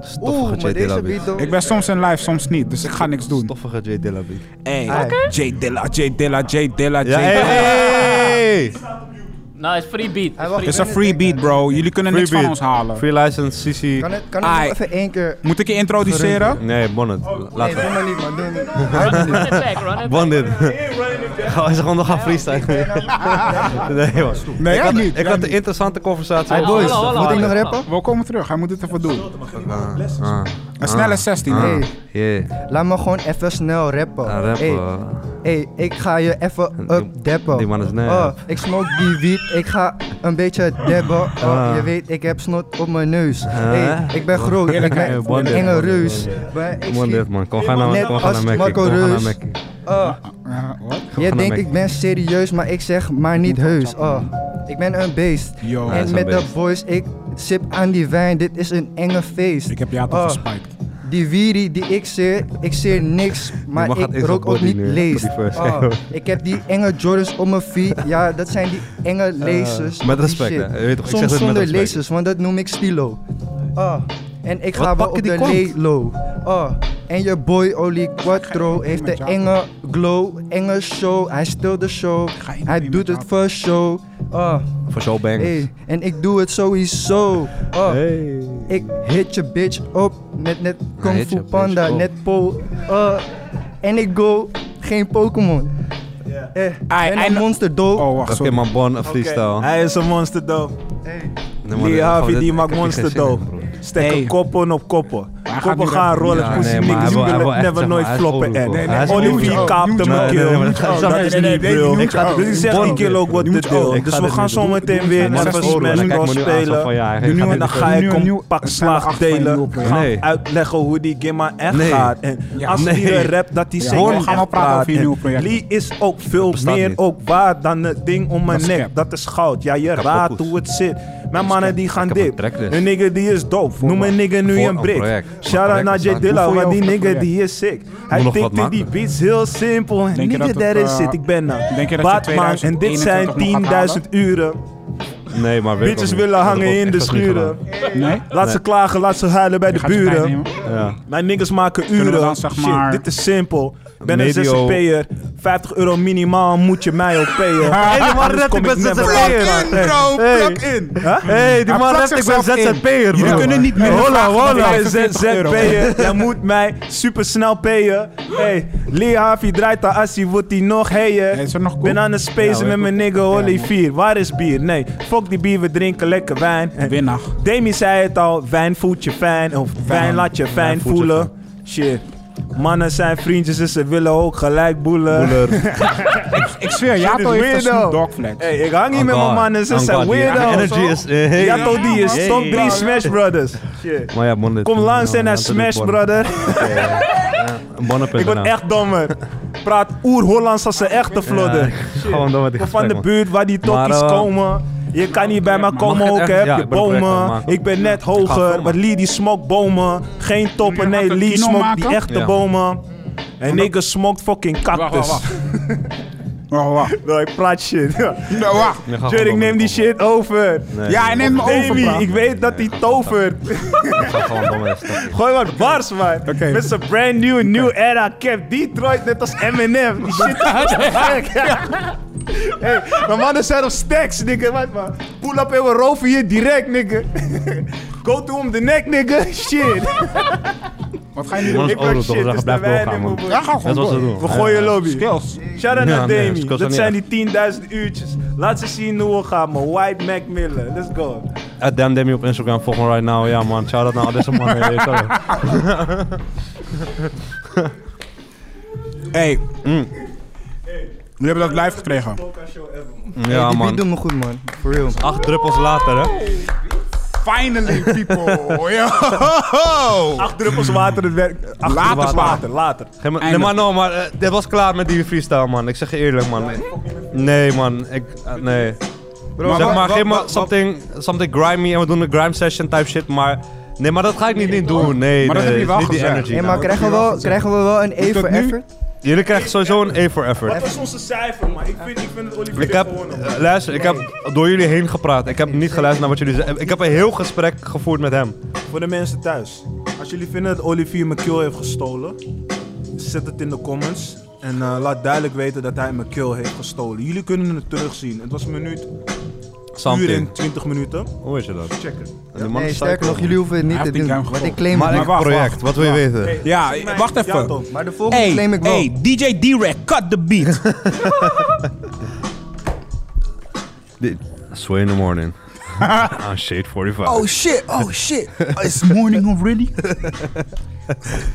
Speaker 1: Stoffige
Speaker 3: Oeh, maar
Speaker 1: J Dilla
Speaker 3: deze
Speaker 1: beat.
Speaker 3: beat dan-
Speaker 2: Ik ben soms in live, soms niet, dus ik ga niks doen.
Speaker 1: Stoffige J Dilla beat.
Speaker 2: Hey,
Speaker 3: Oké.
Speaker 2: J Dilla, J Dilla, J Dilla, J
Speaker 1: Ja, hey,
Speaker 2: Dilla.
Speaker 1: hey, hey.
Speaker 4: Nou, het is free beat.
Speaker 3: Hij
Speaker 4: Het is
Speaker 3: wacht-
Speaker 4: free
Speaker 2: Het is een free beat, bro. Jullie kunnen
Speaker 1: Free
Speaker 2: niks van
Speaker 1: beat.
Speaker 2: ons halen.
Speaker 1: Free license, CC.
Speaker 3: Kan het, kan het
Speaker 2: Ai.
Speaker 3: nog even één keer...
Speaker 2: Moet ik je introduceren?
Speaker 1: Nee, bonnet.
Speaker 3: Nee,
Speaker 1: Laten
Speaker 3: doe
Speaker 1: we.
Speaker 3: maar niet, man. Doe maar niet.
Speaker 4: beat. Dus Run it back, run it back.
Speaker 1: Bandit. Gaan we ze gewoon nog gaan freestylen? Nee, man.
Speaker 2: Nee,
Speaker 1: ik
Speaker 2: jij
Speaker 1: had,
Speaker 2: niet.
Speaker 1: ik
Speaker 2: jij
Speaker 1: had een
Speaker 2: niet.
Speaker 1: interessante conversatie.
Speaker 4: Hey,
Speaker 3: Boys,
Speaker 4: hallo, hallo,
Speaker 3: moet ik nog
Speaker 4: hallo.
Speaker 3: rappen?
Speaker 2: We komen terug, hij moet het even doen.
Speaker 1: Ah,
Speaker 2: Een snelle 16,
Speaker 1: ah,
Speaker 2: hey.
Speaker 1: yeah.
Speaker 3: Laat me gewoon even snel rappen.
Speaker 1: Ah, rappen.
Speaker 3: Hey, hey, ik ga je even
Speaker 1: Die-
Speaker 3: updeppen.
Speaker 1: die man is nep.
Speaker 3: Oh, ik smoke die wiet, ik ga een beetje debben. Oh,
Speaker 1: Ah.
Speaker 3: Je weet, ik heb snot op mijn neus. Hey, ik ben groot, ik
Speaker 1: Eerlijkheid.
Speaker 3: ben
Speaker 1: One
Speaker 3: een
Speaker 1: day.
Speaker 3: enge reus. Maar ik schiet,
Speaker 1: Bonnet, man. Kom, ga naar,
Speaker 3: Net
Speaker 1: kom, ga
Speaker 3: als
Speaker 1: naar Mackie.
Speaker 3: Marco
Speaker 1: Kom, ga naar
Speaker 3: Reus.
Speaker 1: Mackie.
Speaker 2: Ah,
Speaker 3: oh,
Speaker 2: Ja, wat?
Speaker 3: je
Speaker 1: gaan
Speaker 3: denkt
Speaker 1: naar
Speaker 3: ik ben serieus, maar ik zeg maar niet heus. Oh, ik ben een beest.
Speaker 2: Yo.
Speaker 1: hij is
Speaker 3: En
Speaker 1: een
Speaker 3: met de
Speaker 1: beest.
Speaker 3: boys, ik sip aan die wijn, dit is een enge feest.
Speaker 2: Ik heb
Speaker 1: Ah.
Speaker 2: jou toch
Speaker 3: Oh.
Speaker 2: gespiked.
Speaker 3: Die wiri die ik zeer, ik zeer niks, maar
Speaker 1: mag
Speaker 3: ik
Speaker 1: het eens
Speaker 3: rook
Speaker 1: op
Speaker 3: ook niet
Speaker 1: body nu, hè,
Speaker 3: lees.
Speaker 1: voor die first.
Speaker 3: Ah, ik heb die enge Jordans op mijn feet, ja dat zijn die enge lasers.
Speaker 1: Eh, met
Speaker 3: die
Speaker 1: respect,
Speaker 3: shit.
Speaker 1: hè. Je weet toch, ik
Speaker 3: Soms
Speaker 1: zeg dit met
Speaker 3: zonder
Speaker 1: respect.
Speaker 3: lasers, want dat noem ik stilo. Ah, en ik ga wel
Speaker 1: pakken
Speaker 3: op
Speaker 1: die
Speaker 3: de
Speaker 1: kont?
Speaker 3: lelo. Ah, en je boy Oli Quattro heeft de
Speaker 2: met jou
Speaker 3: enge glow, enge show. Hij stilt de show,
Speaker 2: ga hier
Speaker 3: hij
Speaker 2: niet
Speaker 3: doet
Speaker 2: met
Speaker 3: het
Speaker 2: jou.
Speaker 3: voor show. Ah,
Speaker 1: Voor Soul Bangers.
Speaker 3: hey, en ik doe het sowieso. Ah,
Speaker 1: Hey.
Speaker 3: ik hit je bitch op met net Kung
Speaker 1: hit
Speaker 3: Fu
Speaker 1: je bitch
Speaker 3: Panda,
Speaker 1: op.
Speaker 3: net Po. eh, en ik go geen Pokémon. Eh,
Speaker 2: Ai,
Speaker 3: en
Speaker 2: en-
Speaker 3: een monster dood.
Speaker 2: Oh, wacht,
Speaker 1: Oké,
Speaker 2: sorry.
Speaker 1: man, Bon, een freestyle.
Speaker 6: Hij is een monster dope.
Speaker 3: Hey,
Speaker 1: Nee, maar
Speaker 6: Lee
Speaker 1: dit-
Speaker 6: Harvey
Speaker 1: gewoon
Speaker 6: die
Speaker 1: dit-
Speaker 6: maakt
Speaker 1: ik heb hier geen
Speaker 6: monster
Speaker 1: zin in,
Speaker 6: dope.
Speaker 1: broer.
Speaker 6: Stekken
Speaker 2: Hey.
Speaker 6: koppen op koppen.
Speaker 2: gaat
Speaker 6: Koppen
Speaker 2: nu
Speaker 6: gaan
Speaker 2: rappen.
Speaker 6: rollen.
Speaker 1: Ja,
Speaker 6: Pussy
Speaker 1: nee, maar
Speaker 6: niggas
Speaker 1: hij wil- hij
Speaker 6: willen
Speaker 1: wil echt,
Speaker 6: never
Speaker 1: zeg maar,
Speaker 6: nooit
Speaker 1: hij is
Speaker 6: floppen.
Speaker 1: oldschool,
Speaker 6: en
Speaker 1: bro.
Speaker 2: Hij is
Speaker 6: Olivier
Speaker 2: oldschool.
Speaker 6: kaapte
Speaker 2: Nee,
Speaker 6: mijn
Speaker 1: nee, nee,
Speaker 6: kill.
Speaker 1: maar dat ga- dat
Speaker 6: Dat
Speaker 1: is
Speaker 6: is
Speaker 1: niet,
Speaker 6: niet
Speaker 2: bro.
Speaker 6: real. Ik ga- Dus ik zeg die kill ook wat de deal.
Speaker 1: Ik
Speaker 6: Dus
Speaker 1: ga
Speaker 6: we
Speaker 1: dit
Speaker 6: gaan
Speaker 1: niet doen.
Speaker 6: zo meteen weer net
Speaker 2: Zes
Speaker 6: als
Speaker 2: oren,
Speaker 1: dan
Speaker 6: Smash
Speaker 1: kijk ik
Speaker 6: Bros
Speaker 1: me nu aan, zo
Speaker 6: spelen.
Speaker 1: van, ja, hij
Speaker 2: Nu
Speaker 1: gaat
Speaker 2: nieuwe-
Speaker 6: En dan
Speaker 1: dit-
Speaker 6: ga ik
Speaker 2: Nieuw-
Speaker 6: een
Speaker 2: nieuw-
Speaker 6: pak
Speaker 2: een snelle
Speaker 6: slaag
Speaker 2: achterlijn
Speaker 6: delen.
Speaker 2: lopen, ja.
Speaker 1: Nee.
Speaker 6: Gaan uitleggen hoe die Gimma echt
Speaker 1: Nee.
Speaker 6: gaat. En als
Speaker 1: Nee.
Speaker 6: die rap, dat die
Speaker 2: Ja,
Speaker 6: zingen
Speaker 2: we
Speaker 6: echt
Speaker 2: gaan wel praten
Speaker 6: praat.
Speaker 2: over je
Speaker 6: En
Speaker 2: nieuwe project.
Speaker 6: Lee is ook veel
Speaker 1: bestaat
Speaker 6: meer
Speaker 1: niet.
Speaker 6: ook waar dan het ding om mijn
Speaker 2: Dat is
Speaker 6: nek.
Speaker 2: cap.
Speaker 6: Dat is goud. Ja, je raadt
Speaker 1: poes.
Speaker 6: hoe het zit. Mijn mannen die gaan
Speaker 1: Ik heb een
Speaker 6: dip.
Speaker 1: tracklist.
Speaker 6: Een nigger die is dope. Noem een nigger nu
Speaker 1: voor
Speaker 6: een
Speaker 1: een
Speaker 6: brick.
Speaker 1: project.
Speaker 6: Shout
Speaker 1: Project
Speaker 6: out naar J
Speaker 1: bestaat.
Speaker 6: Dilla,
Speaker 2: Hoe voel je
Speaker 6: want die
Speaker 2: over het
Speaker 6: nigger
Speaker 2: project?
Speaker 6: die is sick. Hij
Speaker 1: nog wat
Speaker 6: tikte die
Speaker 1: makkelijker.
Speaker 6: beats heel simpel. En
Speaker 2: Denk je
Speaker 6: nigger
Speaker 2: dat het,
Speaker 6: daarin
Speaker 2: eh,
Speaker 6: zit. Ik ben nou
Speaker 2: denk je dat je
Speaker 6: Batman. En dit zijn
Speaker 2: 2021 nog gaat halen?
Speaker 6: 10.000 uren.
Speaker 1: Nee, maar weet ik
Speaker 6: Bitches
Speaker 1: ook niet.
Speaker 6: willen
Speaker 1: Dat
Speaker 6: hangen
Speaker 1: heb ik
Speaker 6: in
Speaker 1: ook
Speaker 6: de
Speaker 1: expres niet
Speaker 6: schuren.
Speaker 1: gedaan.
Speaker 2: Nee?
Speaker 6: Laat ze klagen, laat ze huilen bij de
Speaker 2: Gaat je tijd
Speaker 6: buren.
Speaker 2: nemen?
Speaker 1: Ja.
Speaker 6: Mijn niggas maken
Speaker 2: we
Speaker 6: uren.
Speaker 2: dan, zeg maar,
Speaker 6: Shit, dit is simpel. Ben
Speaker 1: medio-
Speaker 6: een zzp'er. 50 euro minimaal moet je mij ook payen.
Speaker 1: Hey, maar
Speaker 6: Anders
Speaker 1: dat ik
Speaker 6: kom
Speaker 1: ben
Speaker 6: ik never
Speaker 2: Plug
Speaker 1: ZZP'er.
Speaker 2: in, bro.
Speaker 1: Hey.
Speaker 2: Plug in.
Speaker 1: Hey, die
Speaker 2: Hij
Speaker 1: man
Speaker 2: plakt
Speaker 1: rapt, ik ben
Speaker 2: zichzelf in.
Speaker 1: ZZP'er,
Speaker 2: Jullie
Speaker 1: bro.
Speaker 2: kunnen niet meer
Speaker 1: Holla,
Speaker 2: vragen
Speaker 1: holla.
Speaker 2: wat hij
Speaker 6: Jij
Speaker 2: is.
Speaker 6: ZZP'er, jij moet mij super snel payen. Hey, Lee Harvey draait de assie, wordt die nog
Speaker 2: Hey,
Speaker 6: heyen.
Speaker 2: is er nog
Speaker 6: Ben
Speaker 2: cool?
Speaker 6: aan het spacen met mijn nigga Olivier. Waar is bier? Nee, fuck die bier, we drinken lekker wijn. Eh,
Speaker 2: Winnaar.
Speaker 6: Demi zei het al, wijn voelt je fijn. Of wijn laat je fijn
Speaker 1: voelt je
Speaker 6: voelen. Shit. Mannen zijn vriendjes, dus ze willen ook gelijk boelen.
Speaker 2: Ik zweer, Jato
Speaker 6: is
Speaker 2: heeft een
Speaker 6: weirdo.
Speaker 2: Snoop Dogg flex.
Speaker 6: Hey, ik hang niet
Speaker 1: On
Speaker 6: met mijn
Speaker 1: God.
Speaker 6: mannen, ze
Speaker 1: On
Speaker 6: zijn
Speaker 1: God, die
Speaker 6: weirdo's.
Speaker 1: Energy is... eh, hey.
Speaker 6: Ja, toch, die is
Speaker 1: Hey.
Speaker 6: top 3 Smash Brothers. Shit.
Speaker 1: Maar ja, bon, dit- nou,
Speaker 6: Kom langs
Speaker 1: ja,
Speaker 6: en hij
Speaker 1: dat doet
Speaker 6: Smash
Speaker 1: Bon.
Speaker 6: Brother.
Speaker 1: Bon op
Speaker 6: Ik word echt dommer. Praat oer-Hollands als een echte vlodder.
Speaker 1: Gewoon door met die
Speaker 6: Kom van
Speaker 1: gesprek,
Speaker 6: de
Speaker 1: man.
Speaker 6: buurt waar die
Speaker 1: Maar,
Speaker 6: tokkies
Speaker 1: eh,
Speaker 6: komen. Je kan niet bij me
Speaker 1: Mag
Speaker 6: komen,
Speaker 1: ik het echt-
Speaker 6: ook heb
Speaker 1: ja,
Speaker 6: je
Speaker 1: ik ben een project aan het
Speaker 6: bomen.
Speaker 1: maken.
Speaker 6: Ik ben net hoger,
Speaker 1: filmen.
Speaker 6: maar Lee die smokt bomen. Geen toppen,
Speaker 2: Jullie gaan
Speaker 6: nee,
Speaker 2: een
Speaker 6: Lee
Speaker 2: kino
Speaker 6: smokt
Speaker 2: maken?
Speaker 6: die echte
Speaker 1: Ja.
Speaker 6: bomen. En nigga smokt fucking cactus.
Speaker 2: Oh, wacht.
Speaker 6: Nou, ik praat shit.
Speaker 2: Nou, wacht.
Speaker 1: Ja, ga gewoon
Speaker 6: Jerry, ik
Speaker 1: door
Speaker 6: neem
Speaker 1: met
Speaker 6: die
Speaker 1: Bon.
Speaker 6: shit over.
Speaker 1: Nee,
Speaker 2: Ja,
Speaker 1: ik
Speaker 2: en neem me over,
Speaker 6: Davy,
Speaker 2: bro.
Speaker 6: ik weet dat hij tovert.
Speaker 1: ga gewoon door met die stapje.
Speaker 6: Gooi wat bars, man.
Speaker 2: Oké.
Speaker 6: Met zijn brand new, new era cap. Detroit net als Eminem. Die shit is echt gek. Hey, mijn mannen zijn op stacks, nigga. Wat, man. Pull up en we roven hier direct, nigga. Go to om de nek, nigga. Shit.
Speaker 2: Wat ga je nu
Speaker 1: Die man
Speaker 2: doen?
Speaker 1: is
Speaker 6: Ik
Speaker 1: oorlog,
Speaker 6: word
Speaker 1: toch? We
Speaker 6: shit,
Speaker 1: zeggen,
Speaker 6: dus
Speaker 1: blijf
Speaker 6: de wijn
Speaker 1: doorgaan,
Speaker 6: in
Speaker 1: man.
Speaker 6: mijn
Speaker 2: Ja,
Speaker 6: broek.
Speaker 2: ga gewoon
Speaker 1: Dat was het
Speaker 2: door.
Speaker 1: doel.
Speaker 6: We gooien lobby.
Speaker 2: Skills.
Speaker 6: Shout out
Speaker 1: Ja,
Speaker 6: naar
Speaker 1: nee,
Speaker 6: Demi.
Speaker 1: dat kost
Speaker 6: dat
Speaker 1: niet
Speaker 6: zijn die 10.000 uurtjes. Laat ze zien hoe we gaan, man. White Mac Miller. Let's go.
Speaker 1: At Eh, damn Demi op Instagram, volg me right now. Ja, man. Shout out naar al deze mannen. ja, je kan het.
Speaker 2: Hey. We hebben dat live gekregen.
Speaker 3: hey,
Speaker 1: Ja,
Speaker 3: die beat
Speaker 1: man.
Speaker 3: doet me goed, man. For real.
Speaker 1: Acht druppels later, hè?
Speaker 2: Finally, people. Oh, Yo.
Speaker 6: Acht druppels water, het werkt. Acht
Speaker 2: Later
Speaker 6: druppels
Speaker 2: water.
Speaker 6: water, later.
Speaker 1: Geen maar- Nee,
Speaker 2: Eindelijk.
Speaker 1: maar no, maar eh, dit was klaar met die freestyle, man. Ik zeg je eerlijk, man. Nee, man. Ik, eh, nee.
Speaker 3: Bro,
Speaker 1: zeg
Speaker 3: wa-
Speaker 1: maar,
Speaker 3: wa-
Speaker 1: geef me
Speaker 3: wa- wa-
Speaker 1: something, something grimy en we doen een grime session type shit, maar Nee, maar dat ga ik niet, niet doen. Nee,
Speaker 2: Maar dat
Speaker 1: nee,
Speaker 2: heb je nou? wel
Speaker 1: niet die
Speaker 2: gezegd.
Speaker 1: energy.
Speaker 3: Nee, maar
Speaker 1: man.
Speaker 3: krijgen we, wel, krijgen we wel een E
Speaker 2: Is dat
Speaker 3: voor
Speaker 2: nu?
Speaker 3: effort?
Speaker 1: Jullie krijgen sowieso een A for effort.
Speaker 7: Wat was onze cijfer, man? Ik vind, ik vind het Olivier
Speaker 1: Ik heb,
Speaker 7: gewonnen,
Speaker 1: eh,
Speaker 7: man.
Speaker 1: luister, ik heb door jullie heen gepraat. Ik heb niet geluisterd naar wat jullie zeiden. Ik heb een heel gesprek gevoerd met hem.
Speaker 6: Voor de mensen thuis. Als jullie vinden dat Olivier mijn kill heeft gestolen, zet het in de comments. En eh, laat duidelijk weten dat hij mijn kill heeft gestolen. Jullie kunnen het terugzien. Het was een minuut, uur en
Speaker 1: Something. Ah,
Speaker 6: 20 minuten.
Speaker 1: Hoe is je dat?
Speaker 6: Check het.
Speaker 1: Die man
Speaker 3: Nee,
Speaker 1: is
Speaker 3: sterker nog, jullie hoeven het niet
Speaker 2: Hij
Speaker 3: te
Speaker 2: heeft die
Speaker 3: doen.
Speaker 2: ruim
Speaker 3: Want ik
Speaker 2: gekocht.
Speaker 3: claim
Speaker 1: Maar
Speaker 3: het
Speaker 1: een
Speaker 3: niet.
Speaker 2: wacht,
Speaker 1: project,
Speaker 2: wacht.
Speaker 1: wat wil je weten?
Speaker 2: Ja,
Speaker 6: Volgens mij-
Speaker 2: wacht
Speaker 6: Ja,
Speaker 2: even.
Speaker 6: Tom.
Speaker 3: Maar de volgende
Speaker 2: Hey,
Speaker 3: claim ik wel.
Speaker 2: hey, DJ D-Rack, cut the beat.
Speaker 1: Dit- Sway in the morning. Ah, shade 45.
Speaker 2: Oh shit, oh shit. It's morning already.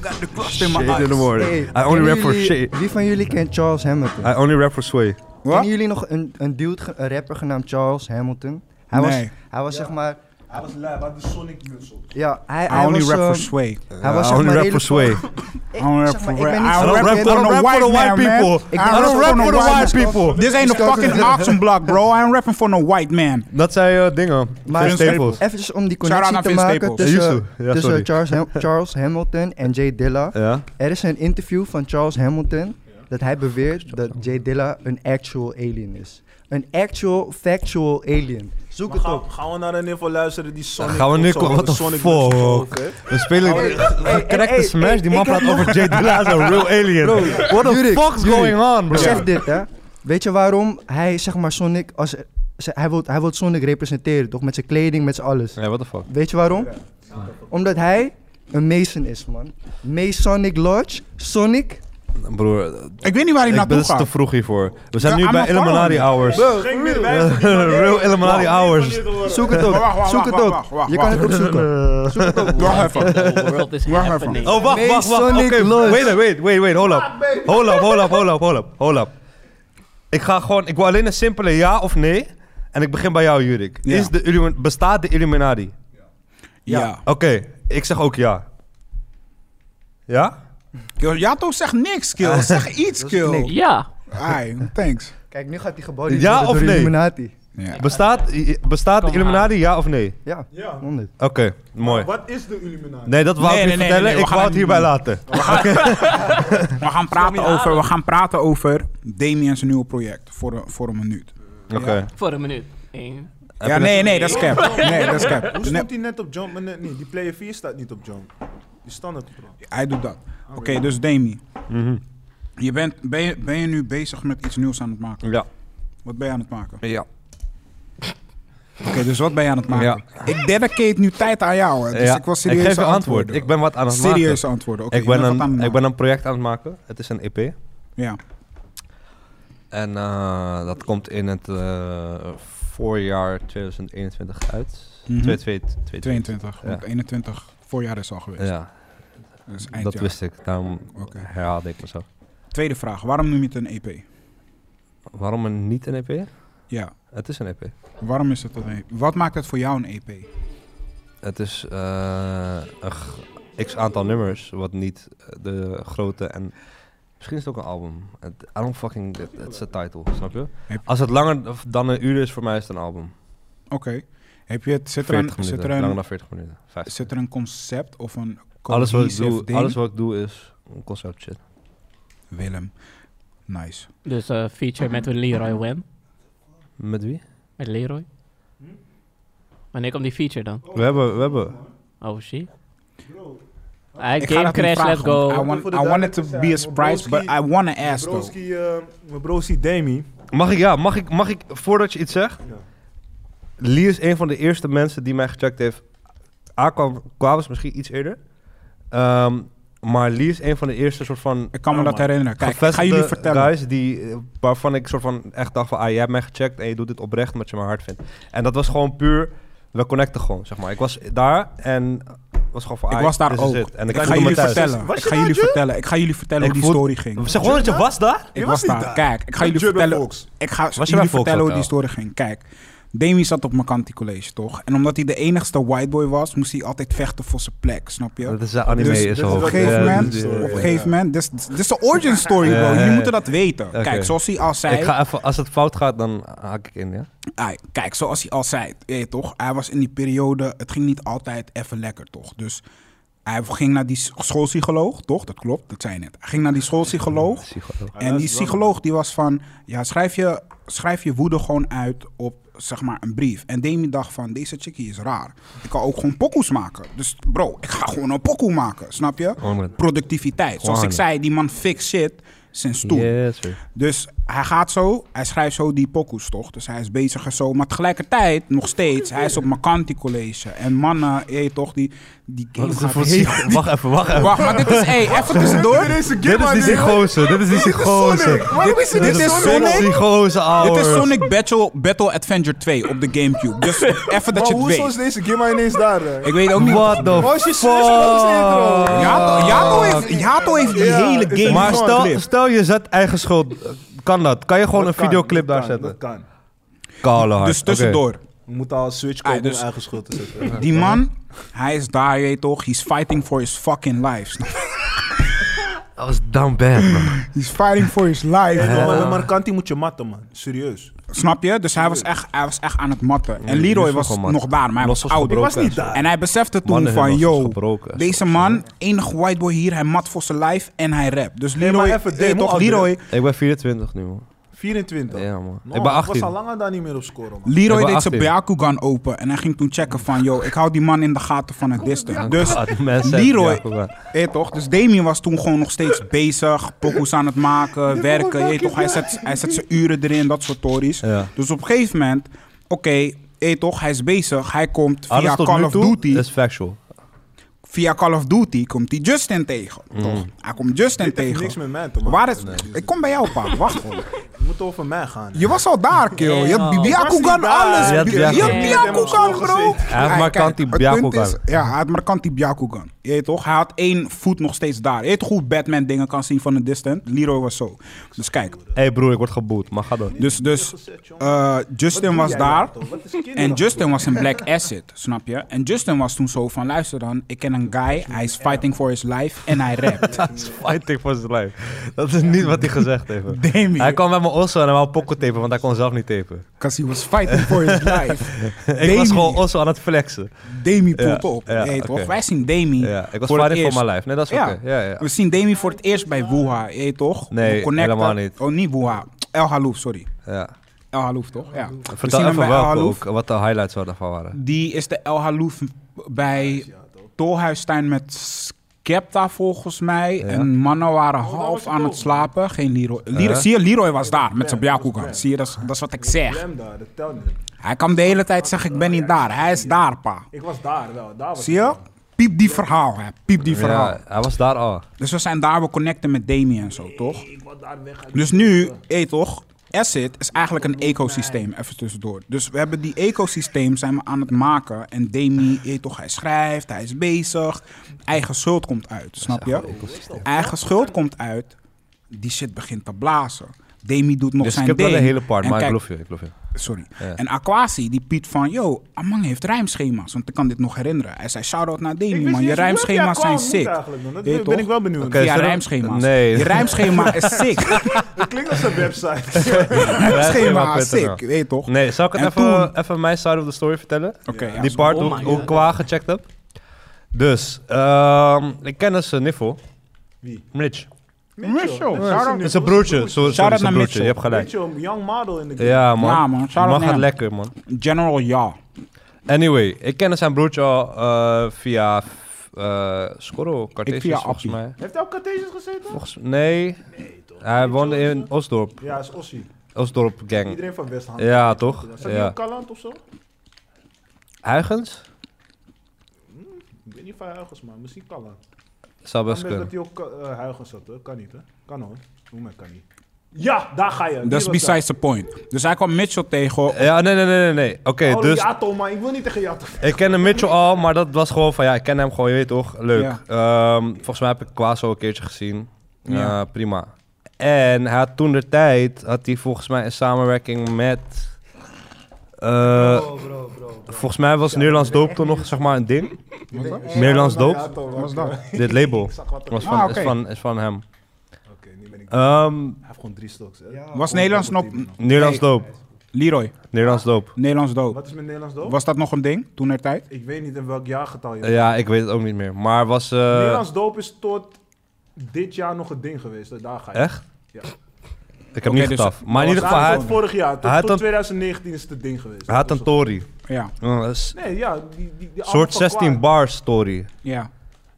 Speaker 2: Got the crust in my
Speaker 1: shade in the
Speaker 2: eyes.
Speaker 1: morning.
Speaker 3: Hey,
Speaker 1: I only
Speaker 3: kennen
Speaker 1: rap for
Speaker 3: jullie-
Speaker 1: shade.
Speaker 3: Wie van jullie kent Charles Hamilton?
Speaker 1: I only rap for Sway.
Speaker 3: Kennen jullie nog een, een dude, ge- een rapper genaamd Charles Hamilton? Hij was,
Speaker 2: Nee.
Speaker 3: hij was zeg maar,
Speaker 7: Hij was lui, hij had de Sonic muts op.
Speaker 3: ja, hij,
Speaker 2: I
Speaker 3: hij
Speaker 2: only
Speaker 3: was,
Speaker 2: rap
Speaker 3: ehm,
Speaker 2: for sway.
Speaker 3: hij was
Speaker 1: I
Speaker 3: zeg
Speaker 1: only
Speaker 3: maar
Speaker 1: rap for
Speaker 3: hele-
Speaker 1: Sway.
Speaker 2: I
Speaker 3: Ik-
Speaker 2: don't
Speaker 3: zeg
Speaker 2: rap
Speaker 3: maar,
Speaker 2: for
Speaker 3: ik ben
Speaker 2: rap.
Speaker 3: niet
Speaker 2: I
Speaker 3: zo-
Speaker 1: don't
Speaker 2: rap
Speaker 1: rap-
Speaker 2: for
Speaker 1: I don't
Speaker 2: the
Speaker 1: rap for the
Speaker 2: white
Speaker 1: white
Speaker 2: man, man.
Speaker 1: people.
Speaker 3: Ik
Speaker 2: I
Speaker 3: ben
Speaker 2: rap
Speaker 3: niet
Speaker 2: for
Speaker 3: zo-
Speaker 2: the
Speaker 1: for the white
Speaker 2: white man.
Speaker 1: people.
Speaker 2: This ain't a fucking auction block, bro. I ain't rapping for no white man.
Speaker 1: Dat zijn eh, dingen.
Speaker 3: Maar dus
Speaker 1: Vince Staples.
Speaker 2: eh,
Speaker 3: even om die
Speaker 2: Shout-out
Speaker 3: connectie
Speaker 2: aan
Speaker 3: te
Speaker 2: Vince
Speaker 3: maken
Speaker 2: Staples.
Speaker 1: Ja,
Speaker 3: tussen,
Speaker 1: Yusuf. Ja, sorry.
Speaker 3: tussen Charles, Ham- Charles Hamilton en Jay Dilla.
Speaker 2: eh,
Speaker 1: Ja.
Speaker 3: Er is een interview van Charles Hamilton dat hij beweert dat Jay Dilla een actual alien is. Een actual, factual alien. Zoek
Speaker 6: Maar
Speaker 3: het
Speaker 6: gaan,
Speaker 3: op.
Speaker 6: gaan we naar een info luisteren die Sonic...
Speaker 1: Gaan we nu-
Speaker 6: of zo,
Speaker 1: what the
Speaker 6: Sonic
Speaker 1: fuck?
Speaker 6: muts op heeft?
Speaker 1: We spelen
Speaker 2: oh, eh,
Speaker 3: hey,
Speaker 1: crack de
Speaker 3: hey,
Speaker 1: smash. Die man
Speaker 3: ik heb
Speaker 1: praat over Jay Dilla als een real alien. What the
Speaker 3: Jurik,
Speaker 1: fuck's
Speaker 3: Jurik,
Speaker 1: going on, bro?
Speaker 3: Besef dit, hè. Weet je waarom hij, zeg maar, Sonic... Als, ze- hij, wil, hij wil Sonic representeren, toch? Met zijn kleding, met zijn alles.
Speaker 1: Ja, what the fuck.
Speaker 3: Weet je waarom? Omdat hij een Mason is, man. Masonic Lodge, Sonic...
Speaker 1: Broer,
Speaker 2: Ik weet niet waar hij
Speaker 1: ik ben
Speaker 2: naartoe
Speaker 1: het is te
Speaker 2: gaat.
Speaker 1: vroeg hiervoor. We zijn
Speaker 2: Ja,
Speaker 1: nu
Speaker 2: I'm
Speaker 1: bij
Speaker 2: a follower.
Speaker 1: Illuminati Hours.
Speaker 7: Geen middenwijzer.
Speaker 1: Real Illuminati Hours.
Speaker 3: Zoek het op,
Speaker 2: Wacht, wacht, wacht,
Speaker 3: zoek het
Speaker 2: wacht,
Speaker 3: op.
Speaker 2: wacht, wacht,
Speaker 3: Je kan het opzoeken. Zoek het op.
Speaker 2: Wacht even.
Speaker 4: The world is
Speaker 2: Wacht even.
Speaker 4: happening.
Speaker 1: Oh, wacht, wacht, wacht. Oké,
Speaker 3: Masonic lodge.
Speaker 1: wait, wait, wait, wait. Hold up. Hold up, hold up, hold up, hold up. Hold up. Ik ga gewoon... Ik wil alleen een simpele ja of nee. En ik begin bij jou, Jurik.
Speaker 2: Ja.
Speaker 1: Is de, Illumi- bestaat de Illuminati?
Speaker 2: Ja.
Speaker 1: Oké, ik zeg ook ja. Ja?
Speaker 2: Kill, Jato zegt niks, Kill. Zeg iets, Kill.
Speaker 4: Ja.
Speaker 2: Ai, thanks.
Speaker 3: Kijk, nu gaat hij gebouwd
Speaker 1: Ja
Speaker 3: worden
Speaker 1: of
Speaker 3: door
Speaker 1: nee?
Speaker 3: Illuminati.
Speaker 2: Ja.
Speaker 1: Bestaat, i- bestaat de
Speaker 4: Kom
Speaker 1: Illuminati ja of nee?
Speaker 3: Ja,
Speaker 7: Ja.
Speaker 3: 100.
Speaker 1: Oké, mooi.
Speaker 7: Wat is de Illuminati?
Speaker 1: Nee, dat wou
Speaker 2: Nee,
Speaker 1: ik niet
Speaker 2: nee, nee,
Speaker 1: vertellen.
Speaker 2: nee, we
Speaker 1: ik
Speaker 2: gaan
Speaker 1: wou het
Speaker 2: het
Speaker 1: hierbij
Speaker 2: niet
Speaker 1: laten.
Speaker 2: We gaan praten over, we gaan praten over Damien's nieuwe project voor een, voor een minuut.
Speaker 1: Oké.
Speaker 4: Voor een minuut. Eén.
Speaker 2: Ja, nee, nee, dat is cap. Nee, dat is cap.
Speaker 6: Hoe
Speaker 2: Nee,
Speaker 6: stond hij net op jump en net niet? Die player 4 staat niet op jump. Die standaard bro.
Speaker 2: hij doet dat. Oké, dus Dami. Je bent, ben, je, ben je nu bezig met iets nieuws aan het maken?
Speaker 1: Ja.
Speaker 2: Wat ben je aan het maken?
Speaker 1: Ja.
Speaker 2: Oké, dus wat ben je aan het maken?
Speaker 1: Ja.
Speaker 2: Ik dedicate nu tijd aan jou, hè. dus
Speaker 1: Ja,
Speaker 2: ik wil serieus
Speaker 1: geef je antwoord. Ik ben wat aan het maken.
Speaker 2: Serieuze antwoorden. Oké,
Speaker 1: ik, ben
Speaker 2: je bent wat aan
Speaker 1: een,
Speaker 2: het
Speaker 1: ik ben
Speaker 2: maken.
Speaker 1: een project aan het maken. Het is een E EP.
Speaker 2: Ja.
Speaker 1: En eh, dat komt in het eh, voorjaar 2021 uit.
Speaker 2: Mhm.
Speaker 1: 2022.
Speaker 2: 22, want
Speaker 1: Ja.
Speaker 2: 21 voorjaar is al geweest.
Speaker 1: Ja,
Speaker 2: Dus
Speaker 1: dat
Speaker 2: eindjaar.
Speaker 1: wist ik. Daarom
Speaker 2: Oké.
Speaker 1: herhaalde ik mezelf.
Speaker 2: Tweede vraag, waarom noem je het een E EP?
Speaker 1: Waarom een, niet een EP?
Speaker 2: Ja,
Speaker 1: Het is een E EP.
Speaker 2: waarom is het een EP? Wat maakt het voor jou een E EP?
Speaker 1: Het is eh, een g- x aantal nummers, wat niet eh, de grote en misschien is het ook een album. Het- I don't fucking, het- het is de title, snap je?
Speaker 2: Heb-
Speaker 1: Als het langer dan een uur is, voor mij is het een album.
Speaker 2: Oké. Heb je het, zit er
Speaker 1: 40
Speaker 2: een, zit er
Speaker 1: minuten, langer
Speaker 2: een,
Speaker 1: dan 40 minuten. 50.
Speaker 2: zit er een concept of een
Speaker 1: alles, wat ik
Speaker 2: cohesive
Speaker 1: doe,
Speaker 2: ding?
Speaker 1: alles wat ik doe is een concept shit.
Speaker 2: Willem, nice.
Speaker 4: Dus eh, feature met Leroy Wem.
Speaker 1: Met wie?
Speaker 4: Met Leroy. Hm? Wanneer komt die feature dan?
Speaker 1: We hebben, we hebben.
Speaker 4: Oh shit. Hij
Speaker 2: Ik ga
Speaker 4: game
Speaker 2: dat niet
Speaker 4: crash, let's
Speaker 2: vragen, want
Speaker 4: go.
Speaker 2: I, want,
Speaker 6: Voor
Speaker 2: I
Speaker 6: de
Speaker 2: want it to
Speaker 6: duidelijkheid
Speaker 2: be a
Speaker 6: zijn,
Speaker 2: surprise, but I want to ask though.
Speaker 6: Broski, eh, mijn broski Demi.
Speaker 1: Mag ik, ja, mag ik, mag ik, voordat je iets zegt.
Speaker 6: Ja.
Speaker 1: Lee is een van de eerste mensen die mij gecheckt heeft. A kwam, kwam is misschien iets eerder. Ehm, maar Lee is een van de eerste soort van
Speaker 2: Ik kan me
Speaker 6: Ja,
Speaker 2: dat
Speaker 6: man.
Speaker 2: herinneren. Kijk, ik ga
Speaker 1: gevestigde
Speaker 2: jullie vertellen.
Speaker 1: guys die, eh, waarvan ik soort van echt dacht van, ah, jij hebt mij gecheckt en je doet dit oprecht omdat je me hard vindt. En dat was gewoon puur, we connecten gewoon, zeg maar. Ik was daar en was gewoon van,
Speaker 2: Ik
Speaker 1: ah,
Speaker 2: was daar
Speaker 1: dit is
Speaker 2: ook.
Speaker 1: het. En
Speaker 2: ik,
Speaker 1: ik,
Speaker 2: ga
Speaker 1: voelde me
Speaker 2: jullie
Speaker 1: thuis.
Speaker 2: vertellen.
Speaker 6: Was
Speaker 2: Ik ga
Speaker 6: je daar,
Speaker 2: jullie
Speaker 6: Jules?
Speaker 2: vertellen. Ik ga jullie vertellen
Speaker 1: Ik
Speaker 2: hoe die
Speaker 1: voel-
Speaker 2: story ging.
Speaker 1: Zeg gewoon dat je was daar?
Speaker 2: Ik
Speaker 6: Je
Speaker 2: was
Speaker 6: was niet
Speaker 2: daar.
Speaker 6: daar.
Speaker 2: Kijk, ik ga jullie
Speaker 6: Jules bij
Speaker 2: vertellen.
Speaker 6: Volks.
Speaker 2: Ik ga
Speaker 1: bij
Speaker 2: jullie
Speaker 1: Volks
Speaker 2: vertellen hoe die
Speaker 1: Hotel?
Speaker 2: story ging. Kijk, Demi zat op Makanti College, toch? En omdat hij de enigste white boy was, moest hij altijd vechten voor zijn plek, snap je?
Speaker 1: Dat is een anime
Speaker 2: Dus-
Speaker 1: is
Speaker 2: dus
Speaker 1: al.
Speaker 2: op een gegeven moment,
Speaker 1: eh,
Speaker 2: op een gegeven moment, dit is- dit is de origin story, bro.
Speaker 1: Ja, ja,
Speaker 2: Jullie
Speaker 1: ja.
Speaker 2: moeten dat weten.
Speaker 1: Oké.
Speaker 2: Kijk, zoals hij al zei,
Speaker 1: Ik ga even, als het fout gaat, dan haak ik in, ja?
Speaker 2: Ai, kijk, zoals hij al zei, je weet toch? Hij was in die periode, het ging niet altijd even lekker, toch? Dus hij ging naar die s- schoolpsycholoog, toch? Dat klopt, dat zei je net. Hij ging naar die schoolpsycholoog
Speaker 1: Psycholoog.
Speaker 2: en die psycholoog die was van, ja, schrijf je, schrijf je woede gewoon uit op, zeg maar, een brief. En Demi dacht van, deze chickie is raar. Ik kan ook gewoon pokoes maken. Dus bro, ik ga gewoon een pokoe maken, snap je?
Speaker 1: Honderd.
Speaker 2: Productiviteit. Zoals ik
Speaker 1: Gewoon.
Speaker 2: zei, die man fix shit sinds toen.
Speaker 1: Yes, sir.
Speaker 2: Dus hij gaat zo, hij schrijft zo die pokoes toch? Dus hij is bezig en zo. Maar tegelijkertijd, nog steeds, hij is op Makanti College. En mannen, je weet toch, die... die
Speaker 1: Wat is
Speaker 2: game
Speaker 1: er voor
Speaker 2: gaat
Speaker 1: psycho? Wacht even, wacht even.
Speaker 2: Wacht, maar dit is... Hey, even tussendoor. Dit is
Speaker 1: Dit is die psychose, dit is die psychose.
Speaker 2: Dit, is Sonic.
Speaker 1: Psychose, ouwe.
Speaker 2: Dit is Sonic Battle, Battle Adventure 2 op de Gamecube. Dus even dat je
Speaker 9: Maar
Speaker 2: het
Speaker 9: hoezo is
Speaker 2: weet.
Speaker 9: deze Gimma ineens daar?
Speaker 6: eh?
Speaker 9: hè?
Speaker 2: Ik weet ook niet... Oh,
Speaker 1: What the
Speaker 9: Waar is je zus?
Speaker 1: fuck?
Speaker 2: Yato, Yato heeft, Yato heeft die
Speaker 9: Ja,
Speaker 2: hele
Speaker 9: is dat
Speaker 2: game...
Speaker 9: niet
Speaker 1: Maar
Speaker 9: Gewoon
Speaker 1: stel,
Speaker 9: clip.
Speaker 1: stel je zet eigen schuld. Kan dat? Kan je gewoon
Speaker 9: Dat
Speaker 1: een
Speaker 9: kan,
Speaker 1: videoclip daar
Speaker 9: dat kan,
Speaker 1: zetten?
Speaker 9: Dat kan.
Speaker 1: Kale hard.
Speaker 2: Dus tussendoor.
Speaker 6: We moeten al een Switch
Speaker 2: Ah,
Speaker 6: kopen
Speaker 2: dus-
Speaker 6: om eigen schuld te zetten.
Speaker 2: Die man, hij is daar, je weet toch? He's fighting for his fucking life. snap je?
Speaker 1: Dat was damn bad, man.
Speaker 2: He's fighting for his life.
Speaker 6: Ja, maar, maar Kanti moet je matten, man. Serieus.
Speaker 2: Snap je? Dus hij was echt, hij was echt aan het matten. En Leroy
Speaker 1: was
Speaker 2: was
Speaker 1: gewoon mat.
Speaker 2: nog daar, maar hij was
Speaker 4: Los was
Speaker 2: ouder.
Speaker 4: gebroken.
Speaker 6: was niet daar.
Speaker 2: En hij besefte toen
Speaker 4: Mannen
Speaker 2: van,
Speaker 4: hebben was
Speaker 2: yo,
Speaker 4: gebroken en
Speaker 2: deze man, enige white boy hier, hij mat voor zijn lijf en hij rapt. Dus
Speaker 6: Nee,
Speaker 2: Leroy,
Speaker 6: maar even,
Speaker 2: eh,
Speaker 6: Dave,
Speaker 2: toch,
Speaker 6: hoe oud
Speaker 2: Leroy,
Speaker 4: Ik ben 24 nu, man.
Speaker 6: 24.
Speaker 1: Ja, man.
Speaker 6: No,
Speaker 1: Ik ben
Speaker 6: Ik
Speaker 1: 18.
Speaker 6: was al langer daar niet meer op scoren, man.
Speaker 2: Leroy
Speaker 1: Ik ben
Speaker 2: deed zijn
Speaker 1: 18.
Speaker 2: Byakugan open en hij ging toen checken van, yo, ik hou die man in de gaten van het distance. Dus,
Speaker 1: Ah, die mensen hebben
Speaker 2: Leroy,
Speaker 1: Jacob, man. Ah,
Speaker 2: eh, toch? Dus Damien was toen gewoon nog steeds bezig, pokoes aan het maken, werken, eh, toch? Hij zet, hij zet zijn uren erin, dat soort tories.
Speaker 4: Ja.
Speaker 2: Dus op een gegeven moment, oké, eh, toch? Hij is bezig, hij komt
Speaker 4: Alles
Speaker 2: via
Speaker 4: tot
Speaker 2: Call
Speaker 4: nu
Speaker 2: of
Speaker 4: toe
Speaker 2: Duty.
Speaker 4: is factual.
Speaker 2: via Call of Duty komt hij Justin tegen. Toch? Hij komt Justin
Speaker 6: Dit heeft
Speaker 2: tegen.
Speaker 6: niks met mij te maken.
Speaker 2: Waar is...
Speaker 6: Nee.
Speaker 2: Ik kom bij jou, pa. Wacht gewoon.
Speaker 6: Het moet over mij gaan.
Speaker 2: Je was al daar, kill. Je
Speaker 4: oh,
Speaker 2: had
Speaker 10: Ja.
Speaker 2: Byakugan, alles.
Speaker 4: Je had
Speaker 2: Je had
Speaker 4: Byakugan.
Speaker 2: Byakugan, bro.
Speaker 4: Hij
Speaker 2: Kijk,
Speaker 4: heeft maar
Speaker 2: kijk,
Speaker 4: Kanti
Speaker 2: het punt
Speaker 4: Byakugan.
Speaker 2: is- Ja, hij had maar Kanti Byakugan. Je weet toch? Hij had één voet nog steeds daar. Je weet toch hoe Batman dingen kan zien van een distant? Leroy was zo. Dus kijk.
Speaker 4: Hé hey broer, ik word geboet, maar ga door.
Speaker 2: Dus, dus eh, Justin was daar. En Justin was een black asset, snap je? En Justin was toen zo van, luister dan, ik ken een guy, hij is fighting for his life en hij rapt.
Speaker 1: Hij is fighting voor zijn lijf. Dat is niet wat hij gezegd heeft. man.
Speaker 2: Damien.
Speaker 1: Hij kwam bij mijn osso en hij wou pokken tapen, want hij kon zelf niet tapen.
Speaker 2: Because he was fighting for his life.
Speaker 1: Ik was gewoon osso aan het flexen.
Speaker 2: Demi
Speaker 1: Ja,
Speaker 2: popt op.
Speaker 1: ja,
Speaker 2: Hey, toch?
Speaker 1: oké.
Speaker 2: Wij zien Demi.
Speaker 1: Ja, ik was
Speaker 2: voor het
Speaker 1: fighting voor
Speaker 2: eerst.
Speaker 1: mijn lijf. Nee, dat is oké.
Speaker 2: Ja.
Speaker 1: Ja, ja.
Speaker 2: We zien Demi voor het eerst bij Wuha. Hey, toch? We
Speaker 1: Nee,
Speaker 2: connecten.
Speaker 1: helemaal niet.
Speaker 2: Oh, niet Wuha. El Halouf, sorry.
Speaker 1: ja.
Speaker 2: El Halouf, toch? Ja. We zien
Speaker 1: Vertel
Speaker 2: hem
Speaker 1: even
Speaker 2: bij El
Speaker 1: welke
Speaker 2: Halouf.
Speaker 1: ook, wat de highlights wel daarvan waren.
Speaker 2: Die is de El Halouf bij Tolhuistuin met Skepta volgens mij. En mannen waren half aan het slapen. Geen Leroy. Leroy-
Speaker 1: Eh?
Speaker 2: Zie je, Leroy was daar met zijn Byakugan. Zie je, dat is- dat is wat ik zeg.
Speaker 6: Rem daar, dat telt niet.
Speaker 2: Hij kan de hele tijd zeggen, ik ben niet daar. Hij is daar, pa.
Speaker 6: Ik was daar wel. Daar was
Speaker 2: Zie je? Piep die verhaal, hè. Piep die verhaal.
Speaker 1: Ja, hij was daar oh. al.
Speaker 2: Dus we zijn daar, we connecten met Demi en zo, toch?
Speaker 6: Ik was daar weg. uit-
Speaker 2: Dus nu, hé toch, Acid is eigenlijk een ecosysteem, even tussendoor. Dus we hebben die ecosysteem zijn we aan het maken. En Demi, hé toch, hij schrijft, hij is bezig. Eigen schuld komt uit, snap je? Eigen schuld komt uit, die shit begint te blazen. Demi doet nog
Speaker 1: Dus ik
Speaker 2: zijn
Speaker 1: heb
Speaker 2: ding.
Speaker 1: wel de hele part,
Speaker 2: En
Speaker 1: maar ik
Speaker 2: kijk,
Speaker 1: beloof je, ik beloof je.
Speaker 2: Sorry.
Speaker 1: Ja.
Speaker 2: En Aquasi, die piet van, yo, Amang heeft rijmschema's. Want ik kan dit nog herinneren. Hij zei, shout-out naar
Speaker 6: Ik
Speaker 2: Demi,
Speaker 6: wist
Speaker 2: man.
Speaker 6: niet
Speaker 2: Je
Speaker 6: eens hoe het
Speaker 2: rijmschema's
Speaker 6: jaar kwam,
Speaker 2: zijn
Speaker 6: moet
Speaker 2: sick.
Speaker 6: eigenlijk, man. Dat
Speaker 2: Weet
Speaker 6: ben,
Speaker 2: toch?
Speaker 6: ik wel benieuwd.
Speaker 1: Oké,
Speaker 2: ja,
Speaker 1: zullen we-
Speaker 2: rijmschema's.
Speaker 1: Nee.
Speaker 2: Je rijmschema is sick.
Speaker 6: Het klinkt als een website.
Speaker 2: rijmschema is
Speaker 1: Rijmschema.nl.
Speaker 2: sick, weet je toch?
Speaker 1: Nee, zal ik het
Speaker 2: En
Speaker 1: even, even mijn side of the story vertellen?
Speaker 2: Oké, ja.
Speaker 1: die part
Speaker 10: oh
Speaker 1: hoe,
Speaker 10: my
Speaker 1: hoe
Speaker 10: God.
Speaker 1: ik qua gecheckt heb. Dus, ehm, ik ken dus eh, Niffel.
Speaker 6: Wie?
Speaker 1: Mitch.
Speaker 2: Mitchell.
Speaker 1: Dat is een broertje. Zo,
Speaker 2: Shout-out
Speaker 1: sorry,
Speaker 2: naar
Speaker 1: zijn broertje.
Speaker 2: Mitchell.
Speaker 1: Je hebt gelijk.
Speaker 6: Beetje young model in de game.
Speaker 1: Ja, man.
Speaker 2: Ja, man. Shout-out
Speaker 1: Mag
Speaker 2: naar
Speaker 1: gaat
Speaker 2: hem.
Speaker 1: lekker, man.
Speaker 2: General Ja.
Speaker 1: Anyway, ik ken dus zijn broertje al eh, via eh Scorro Cartesius,
Speaker 2: via
Speaker 1: volgens
Speaker 2: Appie.
Speaker 1: mij.
Speaker 6: Heeft hij ook Cartesius gezeten?
Speaker 1: Volgens, nee, hij woonde in Osdorp.
Speaker 6: Ja, is Ossie.
Speaker 1: Osdorp gang.
Speaker 6: Iedereen van West Ham.
Speaker 1: Ja, toch?
Speaker 6: Zat hij
Speaker 1: Ja.
Speaker 6: op Kaland of zo?
Speaker 1: Huygens?
Speaker 6: Ik weet niet of hij Huygens, maar misschien Kaland.
Speaker 1: Zou best
Speaker 6: Anders
Speaker 1: kunnen.
Speaker 6: dat hij ook eh Huygens zat, hè? kan niet hè? Kan hoor. Hoe mij kan niet. Ja, daar ga je.
Speaker 2: Dat is besides the point. Dus hij kwam Mitchell tegen.
Speaker 1: Ja, nee, nee, nee, nee. nee. Oké,
Speaker 2: eh,
Speaker 6: dus...
Speaker 1: dus
Speaker 6: Jato, maar ik wil niet tegen Jato.
Speaker 1: ik kende Mitchell al, maar dat was gewoon van ja, ik ken hem gewoon, je weet toch, leuk.
Speaker 2: Ja.
Speaker 1: Ehm, volgens mij heb ik Kwaso een keertje gezien. Ja,
Speaker 2: Ja.
Speaker 1: prima. En hij had toen de tijd, had hij volgens mij een samenwerking met Eh, Volgens mij was Nederlands Doop toen nog zeg maar een ding. Nederlands Doop,
Speaker 2: Wat was dat?
Speaker 1: dit label, was van,
Speaker 2: Ah, oké.
Speaker 1: is, van, is van hem.
Speaker 6: Oké, nu ben ik...
Speaker 1: Ehm,
Speaker 6: Hij heeft gewoon drie stocks, hè?
Speaker 2: Was Nederlands nog...
Speaker 1: Nederlands
Speaker 2: Nee.
Speaker 1: Doop,
Speaker 2: Leroy,
Speaker 1: Nederlands Doop.
Speaker 2: Nederlands doop.
Speaker 6: Wat is met Nederlands doop?
Speaker 2: Was dat nog een ding toen er tijd?
Speaker 6: Ik weet niet in welk jaargetal je...
Speaker 1: Eh, ja, ik weet het ook niet meer. Maar was... eh,
Speaker 6: Nederlands doop is tot dit jaar nog een ding geweest. hè, Daar ga je.
Speaker 1: Echt?
Speaker 6: Ja.
Speaker 1: Ik heb
Speaker 2: Oké,
Speaker 1: niet
Speaker 2: dus-
Speaker 1: getaf. maar in ieder geval, hij
Speaker 6: Daar
Speaker 1: had,
Speaker 6: tot vorig jaar. Tot,
Speaker 1: hij had
Speaker 6: tot
Speaker 1: een-
Speaker 6: 2019 is het een ding geweest.
Speaker 1: hij had een Tory.
Speaker 2: Ja,
Speaker 1: Eh, dat is
Speaker 6: Nee, ja. Die, die, die
Speaker 1: Een soort 16 bars Tory.
Speaker 2: ja.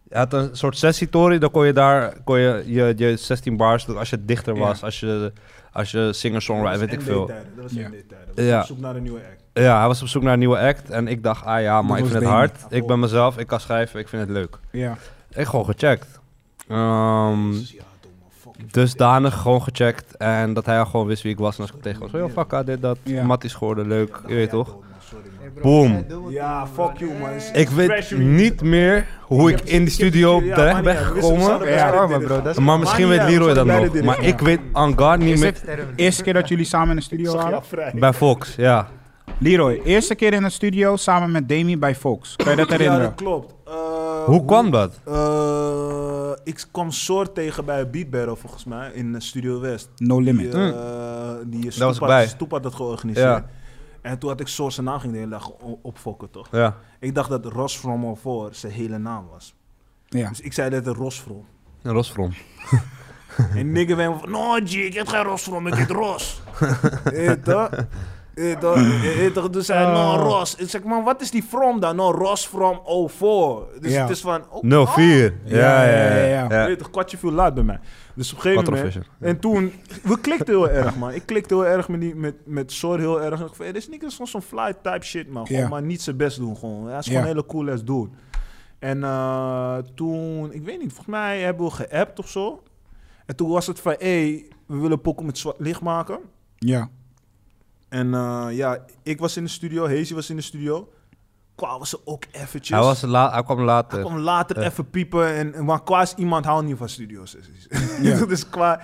Speaker 1: Hij had een soort sessie Tory, dan kon je daar kon je, je, je 16 bars, dat als je dichter
Speaker 2: Ja.
Speaker 1: was, als je, als je singer-songwriter, weet ik veel.
Speaker 6: Dat was
Speaker 2: Ja.
Speaker 6: in dit tijd.
Speaker 1: Ja.
Speaker 6: Op zoek naar een nieuwe act.
Speaker 1: Ja, hij was op zoek naar een nieuwe act en ik dacht, ah ja, maar ik vind
Speaker 2: was
Speaker 1: het
Speaker 2: Benny.
Speaker 1: hard. Ik
Speaker 6: Oh.
Speaker 1: ben mezelf, ik kan schrijven, ik vind het leuk.
Speaker 2: ja.
Speaker 1: Ik gewoon gecheckt. Ehm,
Speaker 6: Jezus, ja, doe maar, fucking
Speaker 1: dusdanig gewoon gecheckt en dat hij al gewoon wist wie ik was en als ik tegen was, oh fuck, ah, dit, dat,
Speaker 2: Ja.
Speaker 1: Matties geworden, leuk, je weet toch?
Speaker 6: dood, man, sorry, man.
Speaker 1: Boom.
Speaker 6: Ja, fuck you, man. Is-
Speaker 1: Ik weet
Speaker 6: Fresh
Speaker 1: niet meer hoe ik in de studio
Speaker 6: Ja,
Speaker 1: terecht
Speaker 6: maar
Speaker 1: ben
Speaker 6: niet uit. We wisten, we
Speaker 1: gekomen.
Speaker 6: zouden
Speaker 2: Ja,
Speaker 6: bij
Speaker 3: arme
Speaker 6: dit
Speaker 3: bro,
Speaker 6: gaan.
Speaker 3: dat is-
Speaker 1: Maar misschien
Speaker 6: niet
Speaker 1: weet
Speaker 6: uit, we
Speaker 1: Leroy dat
Speaker 6: zouden bij
Speaker 1: nog.
Speaker 6: dit
Speaker 1: Maar
Speaker 6: gaan.
Speaker 1: ik weet Angar niet
Speaker 2: Is
Speaker 1: meer.
Speaker 2: het de eerste keer dat jullie samen in de studio waren?
Speaker 6: Ja, vrij.
Speaker 1: Bij Fox, ja.
Speaker 2: Leroy, eerste keer in de studio samen met Demi bij Fox. Kan je dat
Speaker 6: Ja,
Speaker 2: herinneren?
Speaker 6: dat klopt. Eh,
Speaker 2: Oh.
Speaker 1: Hoe kwam dat?
Speaker 6: Eh, ik kwam soort tegen bij een Beat Battle volgens mij in eh, Studio West.
Speaker 2: No
Speaker 6: Die,
Speaker 2: Limit.
Speaker 6: eh, die
Speaker 1: was
Speaker 6: Stoep
Speaker 1: ik bij.
Speaker 6: had, Stoep had dat georganiseerd.
Speaker 1: Ja.
Speaker 6: En toen had ik Source zijn naam ging de hele dag o- opfokken, toch?
Speaker 1: Ja.
Speaker 6: Ik dacht dat Ros from All Four zijn hele naam was.
Speaker 2: Ja.
Speaker 6: Dus ik zei dat het Ros from.
Speaker 1: Een rosvrom.
Speaker 6: En nigger werd me van, no G, ik heb geen Ros from, ik heb Ros. Eet toch? Eet toch? Eet toch? Dus hij,
Speaker 1: Oh.
Speaker 6: no Ros. Ik zeg, man, wat is die from dan? No, Ros from 04. Dus
Speaker 2: Ja.
Speaker 6: het is van... oh,
Speaker 1: 04. Ja, ja, ja.
Speaker 2: ja,
Speaker 1: ja.
Speaker 6: Weet je, een kwartje viel laat bij mij. Dus op een gegeven moment...
Speaker 1: Quattrovision.
Speaker 6: En toen... We klikten heel erg, man. Ik klikte heel erg met, die, met, met Sor heel erg. En ik van, hey, dit is niet eens gewoon zo'n fly type shit, man. Gewoon
Speaker 2: Ja.
Speaker 6: maar niet zijn best doen, gewoon. Hij is gewoon
Speaker 2: Ja.
Speaker 6: een hele cool as dude. En eh, toen... Ik weet niet, volgens mij hebben we geappt of zo. En toen was het van, hé, hey, we willen Poco met zwart licht maken.
Speaker 2: Ja.
Speaker 6: En eh, ja, ik was in de studio, Hazy was in de studio. Kwamen ze ook eventjes.
Speaker 1: Hij, was la hij kwam
Speaker 2: Eh,
Speaker 6: Ik
Speaker 1: later.
Speaker 6: kwam later even piepen. En, en- maar qua is iemand houdt niet van studio sessies.
Speaker 2: Ja.
Speaker 6: dus qua,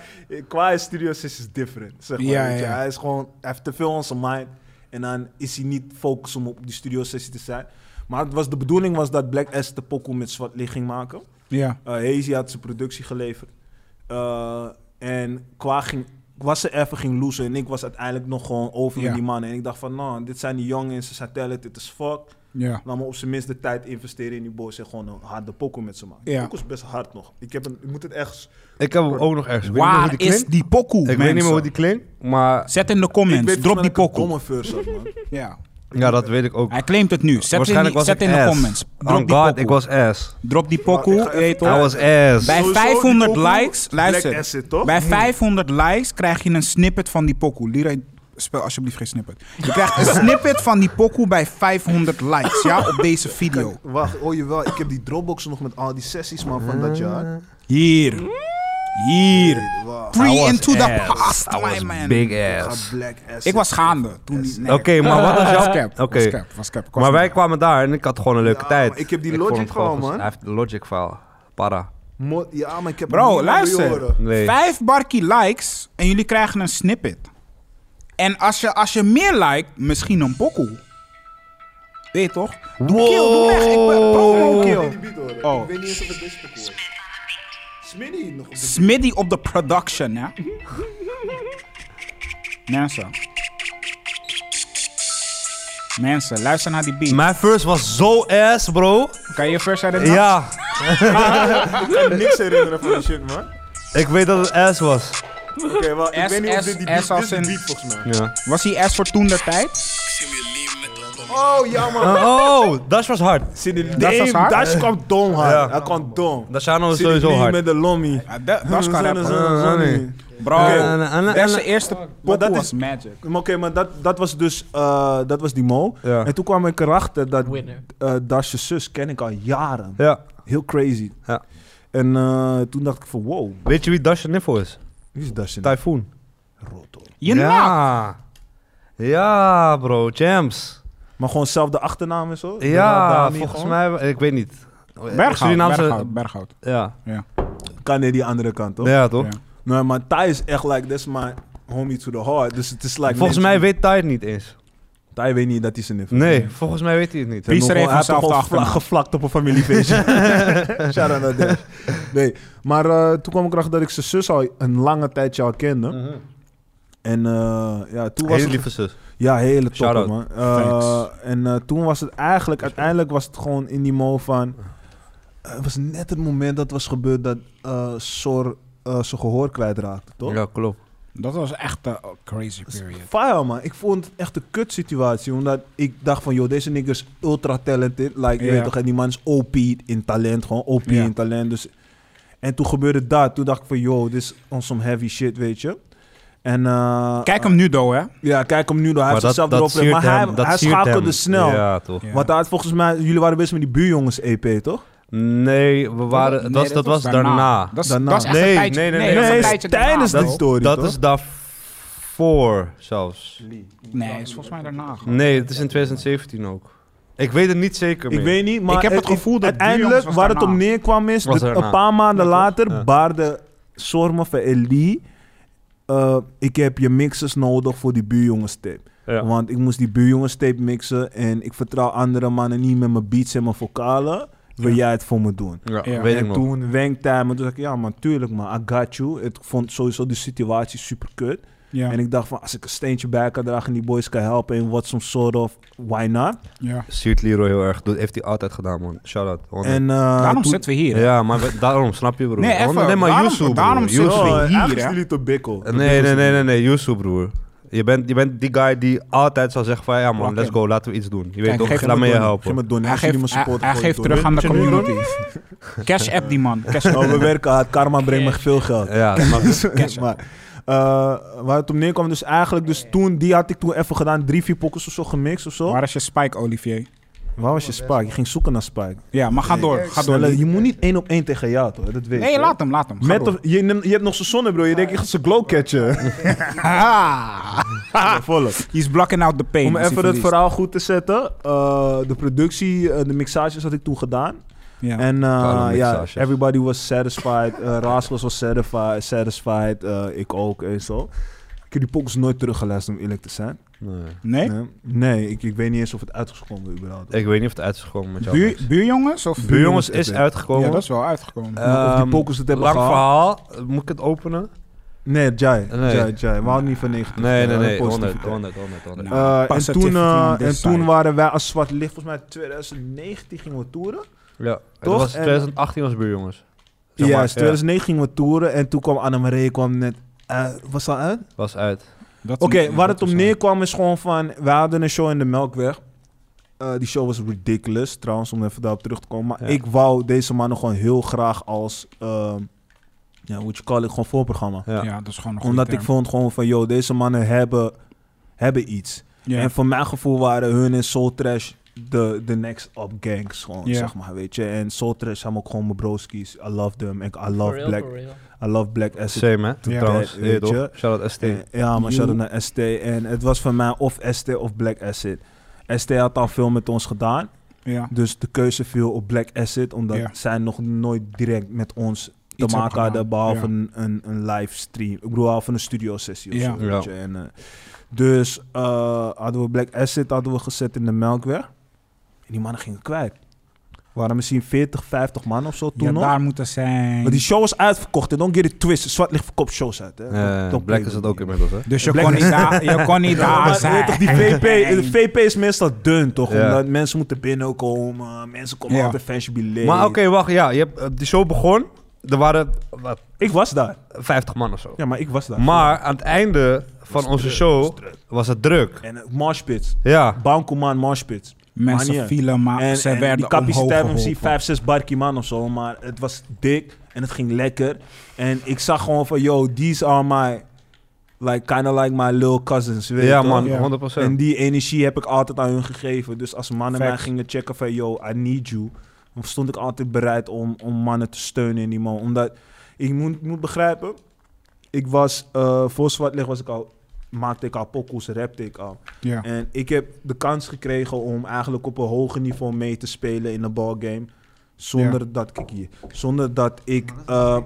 Speaker 6: qua is studio sessies different. Zeg maar,
Speaker 2: Ja,
Speaker 6: weet je.
Speaker 2: ja.
Speaker 6: Hij is gewoon, hij heeft te veel on zijn mind. En dan is hij niet focus om op die studio sessie te zijn. Maar het was, de bedoeling was dat Black S de pokoe met zwart licht ging maken.
Speaker 2: Ja.
Speaker 6: Eh, Hazy had zijn productie geleverd. Eh, en qua ging, was ze even ging loesen. En ik was uiteindelijk nog gewoon over
Speaker 2: Ja.
Speaker 6: met die mannen. En ik dacht van, nou, dit zijn die jongens. Ze zijn talented as fuck.
Speaker 2: Ja.
Speaker 6: Laat me op zijn minst de tijd investeren in die boys en gewoon een harde poko met ze maken.
Speaker 2: Ja.
Speaker 6: Ja. Poko is best hard nog. Ik, heb een, ik moet het echt...
Speaker 1: Ik heb hem ook nog ergens. Ik weet niet meer hoe
Speaker 2: Waar
Speaker 1: die
Speaker 2: is
Speaker 1: klinkt.
Speaker 2: die pokoe,
Speaker 1: Ik weet niet meer hoe die klinkt, maar
Speaker 2: Zet in de
Speaker 6: ik
Speaker 2: comments, drop die
Speaker 6: volgens mij dat ik een
Speaker 2: pokoe.
Speaker 6: domme verse had, man.
Speaker 2: Ja.
Speaker 1: ja, dat weet ik ook.
Speaker 2: Hij claimt het nu. Zet in,
Speaker 1: Waarschijnlijk was
Speaker 2: die, zet
Speaker 1: ik
Speaker 2: in de
Speaker 1: ass.
Speaker 2: comments. Drop
Speaker 1: Oh
Speaker 2: die
Speaker 1: god, ik
Speaker 2: pokoe.
Speaker 1: was ass.
Speaker 2: Drop die pokoe.
Speaker 6: Maar ik ga even-
Speaker 2: weet je
Speaker 1: Hij
Speaker 2: toch?
Speaker 1: was ass.
Speaker 2: Bij
Speaker 6: Sowieso die
Speaker 2: 500
Speaker 6: pokoe,
Speaker 2: likes, luister.
Speaker 6: Black Acid, toch? Hmm.
Speaker 2: Bij 500 likes krijg je een snippet van die pokoe. Leroy, spel alsjeblieft geen snippet. Je krijgt een snippet van die pokoe bij 500 likes, ja, op deze video.
Speaker 6: Wacht, oh jawel. Ik heb die Dropbox nog met al die sessies, man, van dat jaar.
Speaker 2: Hier. Hier.
Speaker 6: Wacht,
Speaker 2: Free
Speaker 1: I was
Speaker 2: into the
Speaker 1: ass.
Speaker 2: past,
Speaker 1: I was
Speaker 2: my man.
Speaker 1: Big
Speaker 6: ik ga
Speaker 1: ass.
Speaker 6: Black Acid.
Speaker 2: Ik was gaande toen die... nee.
Speaker 1: Oké, maar wat was
Speaker 2: Was
Speaker 1: jouw...
Speaker 2: cap,
Speaker 1: Eh, Oké.
Speaker 2: was cap, was cap. Ik was
Speaker 1: Maar wij
Speaker 2: niet-
Speaker 1: kwamen daar en ik had gewoon een leuke
Speaker 6: Ja,
Speaker 1: tijd.
Speaker 6: maar ik heb die
Speaker 1: Ik vond
Speaker 6: Logic
Speaker 1: het gewoon
Speaker 6: gewoon,
Speaker 1: ges-
Speaker 6: man.
Speaker 1: Hij heeft de Logic file. Para.
Speaker 6: Mo- ja, maar ik heb...
Speaker 2: Bro,
Speaker 6: hem niet
Speaker 2: luister.
Speaker 6: willen horen.
Speaker 1: Nee.
Speaker 2: Vijf barkie likes en jullie krijgen een snippet. En als je, als je meer liked, misschien een pokoe. Weet je toch? Doe kill, doe weg. Ik ben promo
Speaker 6: Die
Speaker 2: kill.
Speaker 6: beat horen.
Speaker 2: Oh.
Speaker 6: Ik weet niet eens of het deze pokoe is. Smitty nog op de...
Speaker 2: Smitty op de production, hè? Mensen. Mensen, luister naar die beat.
Speaker 1: Mijn first was zo ass, bro.
Speaker 2: Kan je first uit het
Speaker 1: Ja,
Speaker 6: Ik kan me niks herinneren van die shit, man. Oké,
Speaker 1: ik weet dat het ass was.
Speaker 6: wel. Ik
Speaker 2: S,
Speaker 6: weet niet of
Speaker 2: S,
Speaker 6: dit
Speaker 2: S
Speaker 6: die beat... Dit
Speaker 2: als
Speaker 6: is die
Speaker 2: in-
Speaker 6: beat, volgens mij.
Speaker 1: Ja.
Speaker 2: Was hij S voor toen der tijd?
Speaker 6: Oh, ja, man.
Speaker 1: oh, Dash was hard.
Speaker 6: Sidney
Speaker 2: Dat was
Speaker 6: Dame,
Speaker 2: hard?
Speaker 6: Dash kwam dom hard.
Speaker 1: Ja.
Speaker 6: Hij kwam dom.
Speaker 1: Dashano is
Speaker 6: Sidney
Speaker 1: sowieso
Speaker 6: Lee
Speaker 1: hard.
Speaker 6: met de lommy.
Speaker 2: Dat was kan
Speaker 6: Zonne,
Speaker 2: rappen.
Speaker 6: zonne, zonne.
Speaker 1: nee.
Speaker 2: Bro,
Speaker 1: Eh, eh, eh,
Speaker 2: dat is
Speaker 1: eh,
Speaker 2: de eerste pokoe
Speaker 6: dat is-
Speaker 2: was magic.
Speaker 6: Maar Oké, maar dat, dat was dus, eh, dat was die Mo.
Speaker 1: Ja.
Speaker 6: En toen kwam ik erachter dat
Speaker 4: Winner.
Speaker 6: eh Dash's zus ken ik al jaren.
Speaker 1: Ja.
Speaker 6: Heel crazy.
Speaker 1: Ja.
Speaker 6: En eh, toen dacht ik van wow,
Speaker 1: Weet je wie Dash Niffo is?
Speaker 6: wie is Dash?
Speaker 1: Typhoon.
Speaker 6: Roto.
Speaker 2: Je naakt.
Speaker 1: ja. Ja, bro. Jams.
Speaker 6: Maar gewoon zelfde achternaam en zo?
Speaker 1: Ja,
Speaker 6: Dami
Speaker 1: volgens
Speaker 6: gewoon?
Speaker 1: mij... Ik weet niet.
Speaker 2: Berghout,
Speaker 1: Surinaamse-
Speaker 2: Berghout, Berghout.
Speaker 1: Ja. nou
Speaker 6: Kan hij die andere kant toch?
Speaker 1: Ja, toch?
Speaker 2: Ja.
Speaker 6: Nee, maar Thai is echt like, that's my homie to the heart. Dus het is like...
Speaker 1: Volgens mij weet Ty het niet eens.
Speaker 6: Thij weet niet dat hij zijn neef is.
Speaker 8: Nee, volgens mij weet hij het niet.
Speaker 6: Hij heeft
Speaker 2: Wie schreef
Speaker 6: nog wel- hij
Speaker 2: vanzelf
Speaker 6: heeft toch
Speaker 2: de achternaam?
Speaker 6: wel vla- gevlakt op een familiefeestje. Shout out naar Dash. Nee, maar eh, toen kwam ik erachter dat ik zijn zus al een lange tijdje al kende. En eh, ja, toen Mhm. was
Speaker 1: Mm. Hele
Speaker 6: het...
Speaker 1: lieve zus.
Speaker 6: Ja, hele top
Speaker 1: Shout-out.
Speaker 6: man. Eh,
Speaker 2: Thanks.
Speaker 6: en eh, toen was het eigenlijk, uiteindelijk was het gewoon in die mode van... eh, het was net het moment dat was gebeurd dat eh, Sor eh, zijn gehoor kwijtraakte, toch?
Speaker 8: Ja, klopt.
Speaker 2: Dat was echt een crazy
Speaker 6: Dat is
Speaker 2: period.
Speaker 6: Fire man, ik vond het echt een kut situatie. Omdat ik dacht van, joh, deze nigger is ultra talented. Like, je
Speaker 2: Ja.
Speaker 6: weet toch, en die man is OP in talent. Gewoon OP
Speaker 2: Ja.
Speaker 6: in talent. Dus, en toen gebeurde dat. Toen dacht ik van, joh, dit is on some heavy shit, weet je. En, eh,
Speaker 2: Kijk hem nu, door, hè?
Speaker 6: Ja, kijk hem nu. door. Hij heeft zichzelf erop. gezet, Maar hij, hij
Speaker 1: siert
Speaker 6: schakelde
Speaker 1: hem.
Speaker 6: snel.
Speaker 1: Ja, toch.
Speaker 2: Ja.
Speaker 6: Want daar had volgens mij, jullie waren bezig met die buurjongens EP, toch?
Speaker 1: Nee, we waren,
Speaker 2: Nee,
Speaker 1: dat, was- dat was daarna.
Speaker 2: Dat is,
Speaker 6: Daarna.
Speaker 2: dat is echt
Speaker 1: Nee,
Speaker 2: een tijdje,
Speaker 1: nee, nee,
Speaker 2: dat is een
Speaker 6: nee,
Speaker 2: tijdje
Speaker 6: tijdens
Speaker 2: daarna,
Speaker 6: die
Speaker 2: bro.
Speaker 6: story,
Speaker 1: Dat
Speaker 6: toch?
Speaker 1: is daarvoor zelfs.
Speaker 2: Nee, is volgens mij daarna. gewoon.
Speaker 8: Nee, het is in 2017 ook. Ik weet het niet zeker meer.
Speaker 6: Ik weet niet, maar
Speaker 2: Ik heb het gevoel dat
Speaker 6: uiteindelijk
Speaker 2: buurjongens was
Speaker 6: waar het
Speaker 2: daarna.
Speaker 6: om neerkwam is,
Speaker 8: Was
Speaker 6: dat
Speaker 8: daarna.
Speaker 6: een paar maanden later
Speaker 8: Ja.
Speaker 6: baarde eh, Sorma van Elie, eh, ik heb je mixers nodig voor die buurjongens tape.
Speaker 8: Ja.
Speaker 6: Want ik moest die buurjongens tape mixen en ik vertrouw andere mannen niet met mijn beats en mijn vocalen. Wil jij het voor me doen?
Speaker 8: Ja,
Speaker 2: Ja.
Speaker 8: weet
Speaker 6: en
Speaker 8: ik nog.
Speaker 6: toen wenkte hij me, toen zei ik, ja man, tuurlijk man, I got you. Ik vond sowieso de situatie super kut.
Speaker 2: Ja,
Speaker 6: En ik dacht van, als ik een steentje bij kan dragen en die boys kan helpen in wat some sort of, why not?
Speaker 2: ja.
Speaker 1: Siert Leroy heel erg. Dat heeft hij altijd gedaan, man. Shout-out.
Speaker 6: En, eh,
Speaker 2: Daarom
Speaker 6: toen-
Speaker 2: zitten we hier.
Speaker 1: Ja, maar we- daarom snap je, broer.
Speaker 2: Nee, even.
Speaker 1: Honderd- Nee, maar
Speaker 2: Daarom-
Speaker 1: Yusu, broer.
Speaker 2: daarom zitten
Speaker 1: Yusu.
Speaker 2: we
Speaker 6: Oh, eh,
Speaker 2: hier,
Speaker 6: eigenlijk
Speaker 2: hè?
Speaker 6: jullie te bikkel.
Speaker 1: Nee, nee, nee, nee, nee, Yusu, broer. Je bent, je bent die guy die altijd zal zeggen van... Ja, man,
Speaker 2: Fuck
Speaker 1: let's
Speaker 2: him.
Speaker 1: go. Laten we iets doen. Je weet
Speaker 2: Kijk,
Speaker 1: toch,
Speaker 2: geef
Speaker 1: laat me je
Speaker 6: Geef
Speaker 1: helpen.
Speaker 6: me donatie,
Speaker 2: Hij geeft,
Speaker 6: jullie me
Speaker 2: hij,
Speaker 6: support.
Speaker 2: hij
Speaker 6: gewoon
Speaker 2: geeft
Speaker 6: door.
Speaker 2: terug aan de
Speaker 6: Weet je nu,
Speaker 2: community. Cash app die man. Cash app.
Speaker 6: Oh, we werken hard. Karma brengt me veel geld.
Speaker 1: Ja, snap je?
Speaker 6: maar, eh, waar het om neerkwam, dus eigenlijk, dus toen, die had ik toen even gedaan. Drie, vier pokkers of zo gemixt of zo.
Speaker 2: Waar is je spike, Olivier?
Speaker 6: Waar was je Spike? Je ging zoeken naar Spike.
Speaker 2: Ja, maar ga door. Ga door.
Speaker 6: Snelle, je moet niet één op één tegen jou, toch? Dat weet
Speaker 2: Nee,
Speaker 6: je.
Speaker 2: laat hem, laat hem. Ga
Speaker 6: Met
Speaker 2: door.
Speaker 6: of, je, neemt- je hebt nog zijn zonnebroer. Je denkt, ik ga zijn glow catchen. Ja, Volop.
Speaker 2: He's blocking out the pain.
Speaker 6: Om
Speaker 2: als hij
Speaker 6: even het
Speaker 2: verliest.
Speaker 6: verhaal goed te zetten. eh, de productie, eh, de mixages had ik toen gedaan.
Speaker 2: Ja.
Speaker 6: En eh,
Speaker 1: Koude
Speaker 6: ja,
Speaker 1: mixages.
Speaker 6: everybody was satisfied. eh Raskos was satisfied, satisfied eh, ik ook en zo. Ik heb die pokers nooit teruggeluisterd, om eerlijk te zijn.
Speaker 1: Nee.
Speaker 2: Nee?
Speaker 6: Nee, nee ik, ik weet niet eens of het uitgekomen is überhaupt.
Speaker 1: Ik weet niet of het uit is gekomen met jou.
Speaker 2: Buur, buurjongens? Of
Speaker 1: Buurjongens is uitgekomen.
Speaker 2: Ja, dat is wel uitgekomen.
Speaker 6: of
Speaker 1: Ehm,
Speaker 6: die pokers het hebben
Speaker 1: Lang
Speaker 6: gehad.
Speaker 1: verhaal. Moet ik het openen?
Speaker 6: Nee, Jai,
Speaker 1: Nee.
Speaker 6: Jai, Jai. We houden niet van negatief.
Speaker 1: Nee,
Speaker 6: eh,
Speaker 1: nee, nee.
Speaker 6: positiviteit.
Speaker 1: 100, 100, 100, 100.
Speaker 2: Nou,
Speaker 6: Eh, en
Speaker 2: Positivity
Speaker 6: toen, eh,
Speaker 2: on
Speaker 6: en
Speaker 2: this
Speaker 6: toen
Speaker 2: side.
Speaker 6: waren wij als Zwart Licht, volgens mij 2019 gingen we toeren.
Speaker 1: Ja, het
Speaker 6: Toch?
Speaker 1: was
Speaker 6: En-
Speaker 1: 2018 was buurjongens. Zeg
Speaker 6: Ja,
Speaker 1: maar,
Speaker 6: dus 2009 gingen we toeren en toen kwam Annemarie, kwam net... eh, was dat uit?
Speaker 1: was uit.
Speaker 2: Dat
Speaker 6: Oké,
Speaker 2: moet-
Speaker 6: waar
Speaker 2: dat
Speaker 6: het om
Speaker 2: is-
Speaker 6: neerkwam is gewoon van... We hadden een show in de Melkweg. Eh, die show was ridiculous, trouwens, om even daarop terug te komen. Maar
Speaker 1: Ja.
Speaker 6: ik wou deze mannen gewoon heel graag als... ehm ja, hoe je call it, gewoon voorprogramma.
Speaker 1: Ja.
Speaker 2: Ja, dat is gewoon een goede
Speaker 6: Omdat
Speaker 2: term.
Speaker 6: ik vond gewoon van, yo, deze mannen hebben, hebben iets.
Speaker 2: Ja.
Speaker 6: En voor mijn gevoel waren hun en Soul Trash de, de next up gangs gewoon,
Speaker 2: Ja.
Speaker 6: zeg maar, weet je. En Soul Trash zijn ook gewoon mijn broskies. I love them. Ik, I
Speaker 4: For
Speaker 6: love
Speaker 4: real,
Speaker 6: Black,
Speaker 4: for real.
Speaker 6: I love Black Acid
Speaker 1: Same, hè?
Speaker 2: Ja.
Speaker 1: Trouwens,
Speaker 6: Weet
Speaker 1: weet je
Speaker 6: je.
Speaker 1: toch? Shout-out ST.
Speaker 6: Eh, Ja, maar shout naar ST. En het was voor mij of ST of Black Acid. ST had al veel met ons gedaan.
Speaker 2: Ja.
Speaker 6: Dus de keuze viel op Black Acid. Omdat
Speaker 2: Ja.
Speaker 6: zij nog nooit direct met ons te
Speaker 2: Iets
Speaker 6: maken
Speaker 2: hebben
Speaker 6: hadden.
Speaker 2: gedaan,
Speaker 6: Behalve
Speaker 2: ja.
Speaker 6: een, een, een livestream. Ik bedoel, behalve een studio sessie of
Speaker 2: Ja.
Speaker 6: zo. weet
Speaker 1: Ja.
Speaker 6: je. En, eh, dus eh, hadden we Black Acid hadden we gezet in de Melkweg. En die mannen gingen kwijt. Waren misschien 40, 50 man of zo toen
Speaker 2: ja,
Speaker 6: nog.
Speaker 2: daar moeten zijn.
Speaker 6: Maar die show was uitverkocht. En don't get it twisted. Zwart licht verkoopt shows uit. Hè.
Speaker 1: Eh,
Speaker 6: Don't
Speaker 1: Black
Speaker 6: play
Speaker 1: is
Speaker 6: with
Speaker 1: het
Speaker 6: me.
Speaker 1: ook inmiddels, hè?
Speaker 2: Dus je
Speaker 6: Black
Speaker 2: kon, niet
Speaker 6: is-
Speaker 2: daar, je kon niet
Speaker 6: Ja,
Speaker 2: daar
Speaker 6: maar
Speaker 2: zijn.
Speaker 6: weet Ah, toch, die VP, de VP is meestal dun, toch?
Speaker 1: Ja.
Speaker 6: Omdat mensen moeten binnenkomen, mensen komen
Speaker 2: Ja.
Speaker 6: altijd fansje billet.
Speaker 1: Maar oké, wacht. Ja, je hebt, eh, die show begon. Er waren wat,
Speaker 6: Ik was daar.
Speaker 1: 50 man of zo.
Speaker 6: Ja, maar ik was daar.
Speaker 1: Maar aan het einde van
Speaker 6: Was
Speaker 1: onze
Speaker 6: druk,
Speaker 1: show
Speaker 6: was druk.
Speaker 1: was het druk.
Speaker 6: En uh, marshpits.
Speaker 1: Ja.
Speaker 6: Bankoman marshpits. Maar niet
Speaker 2: Mensen
Speaker 6: uit.
Speaker 2: vielen, maar
Speaker 6: En,
Speaker 2: ze
Speaker 6: en
Speaker 2: werden
Speaker 6: die
Speaker 2: omhoog
Speaker 6: capaciteit was misschien
Speaker 2: geholpen.
Speaker 6: 5, 6 barkie man of zo. Maar het was dik en het ging lekker. En ik zag gewoon van, yo, these are my... Like, kind of like my little cousins, weet je
Speaker 1: Ja,
Speaker 6: toch?
Speaker 1: man,
Speaker 2: Ja.
Speaker 1: 100
Speaker 6: En die energie heb ik altijd aan hun gegeven. Dus als mannen mij
Speaker 2: Facts.
Speaker 6: gingen checken van, yo, I need you. Dan stond ik altijd bereid om, om mannen te steunen in die man. Omdat, ik moet, moet begrijpen, ik was, eh, voor Zwart Licht was ik al, maakte ik al pokoes, rapte ik al.
Speaker 2: Ja.
Speaker 6: En ik heb de kans gekregen om eigenlijk op een hoger niveau mee te spelen in de ballgame. Zonder dat, kijk hier, zonder dat ik... eh,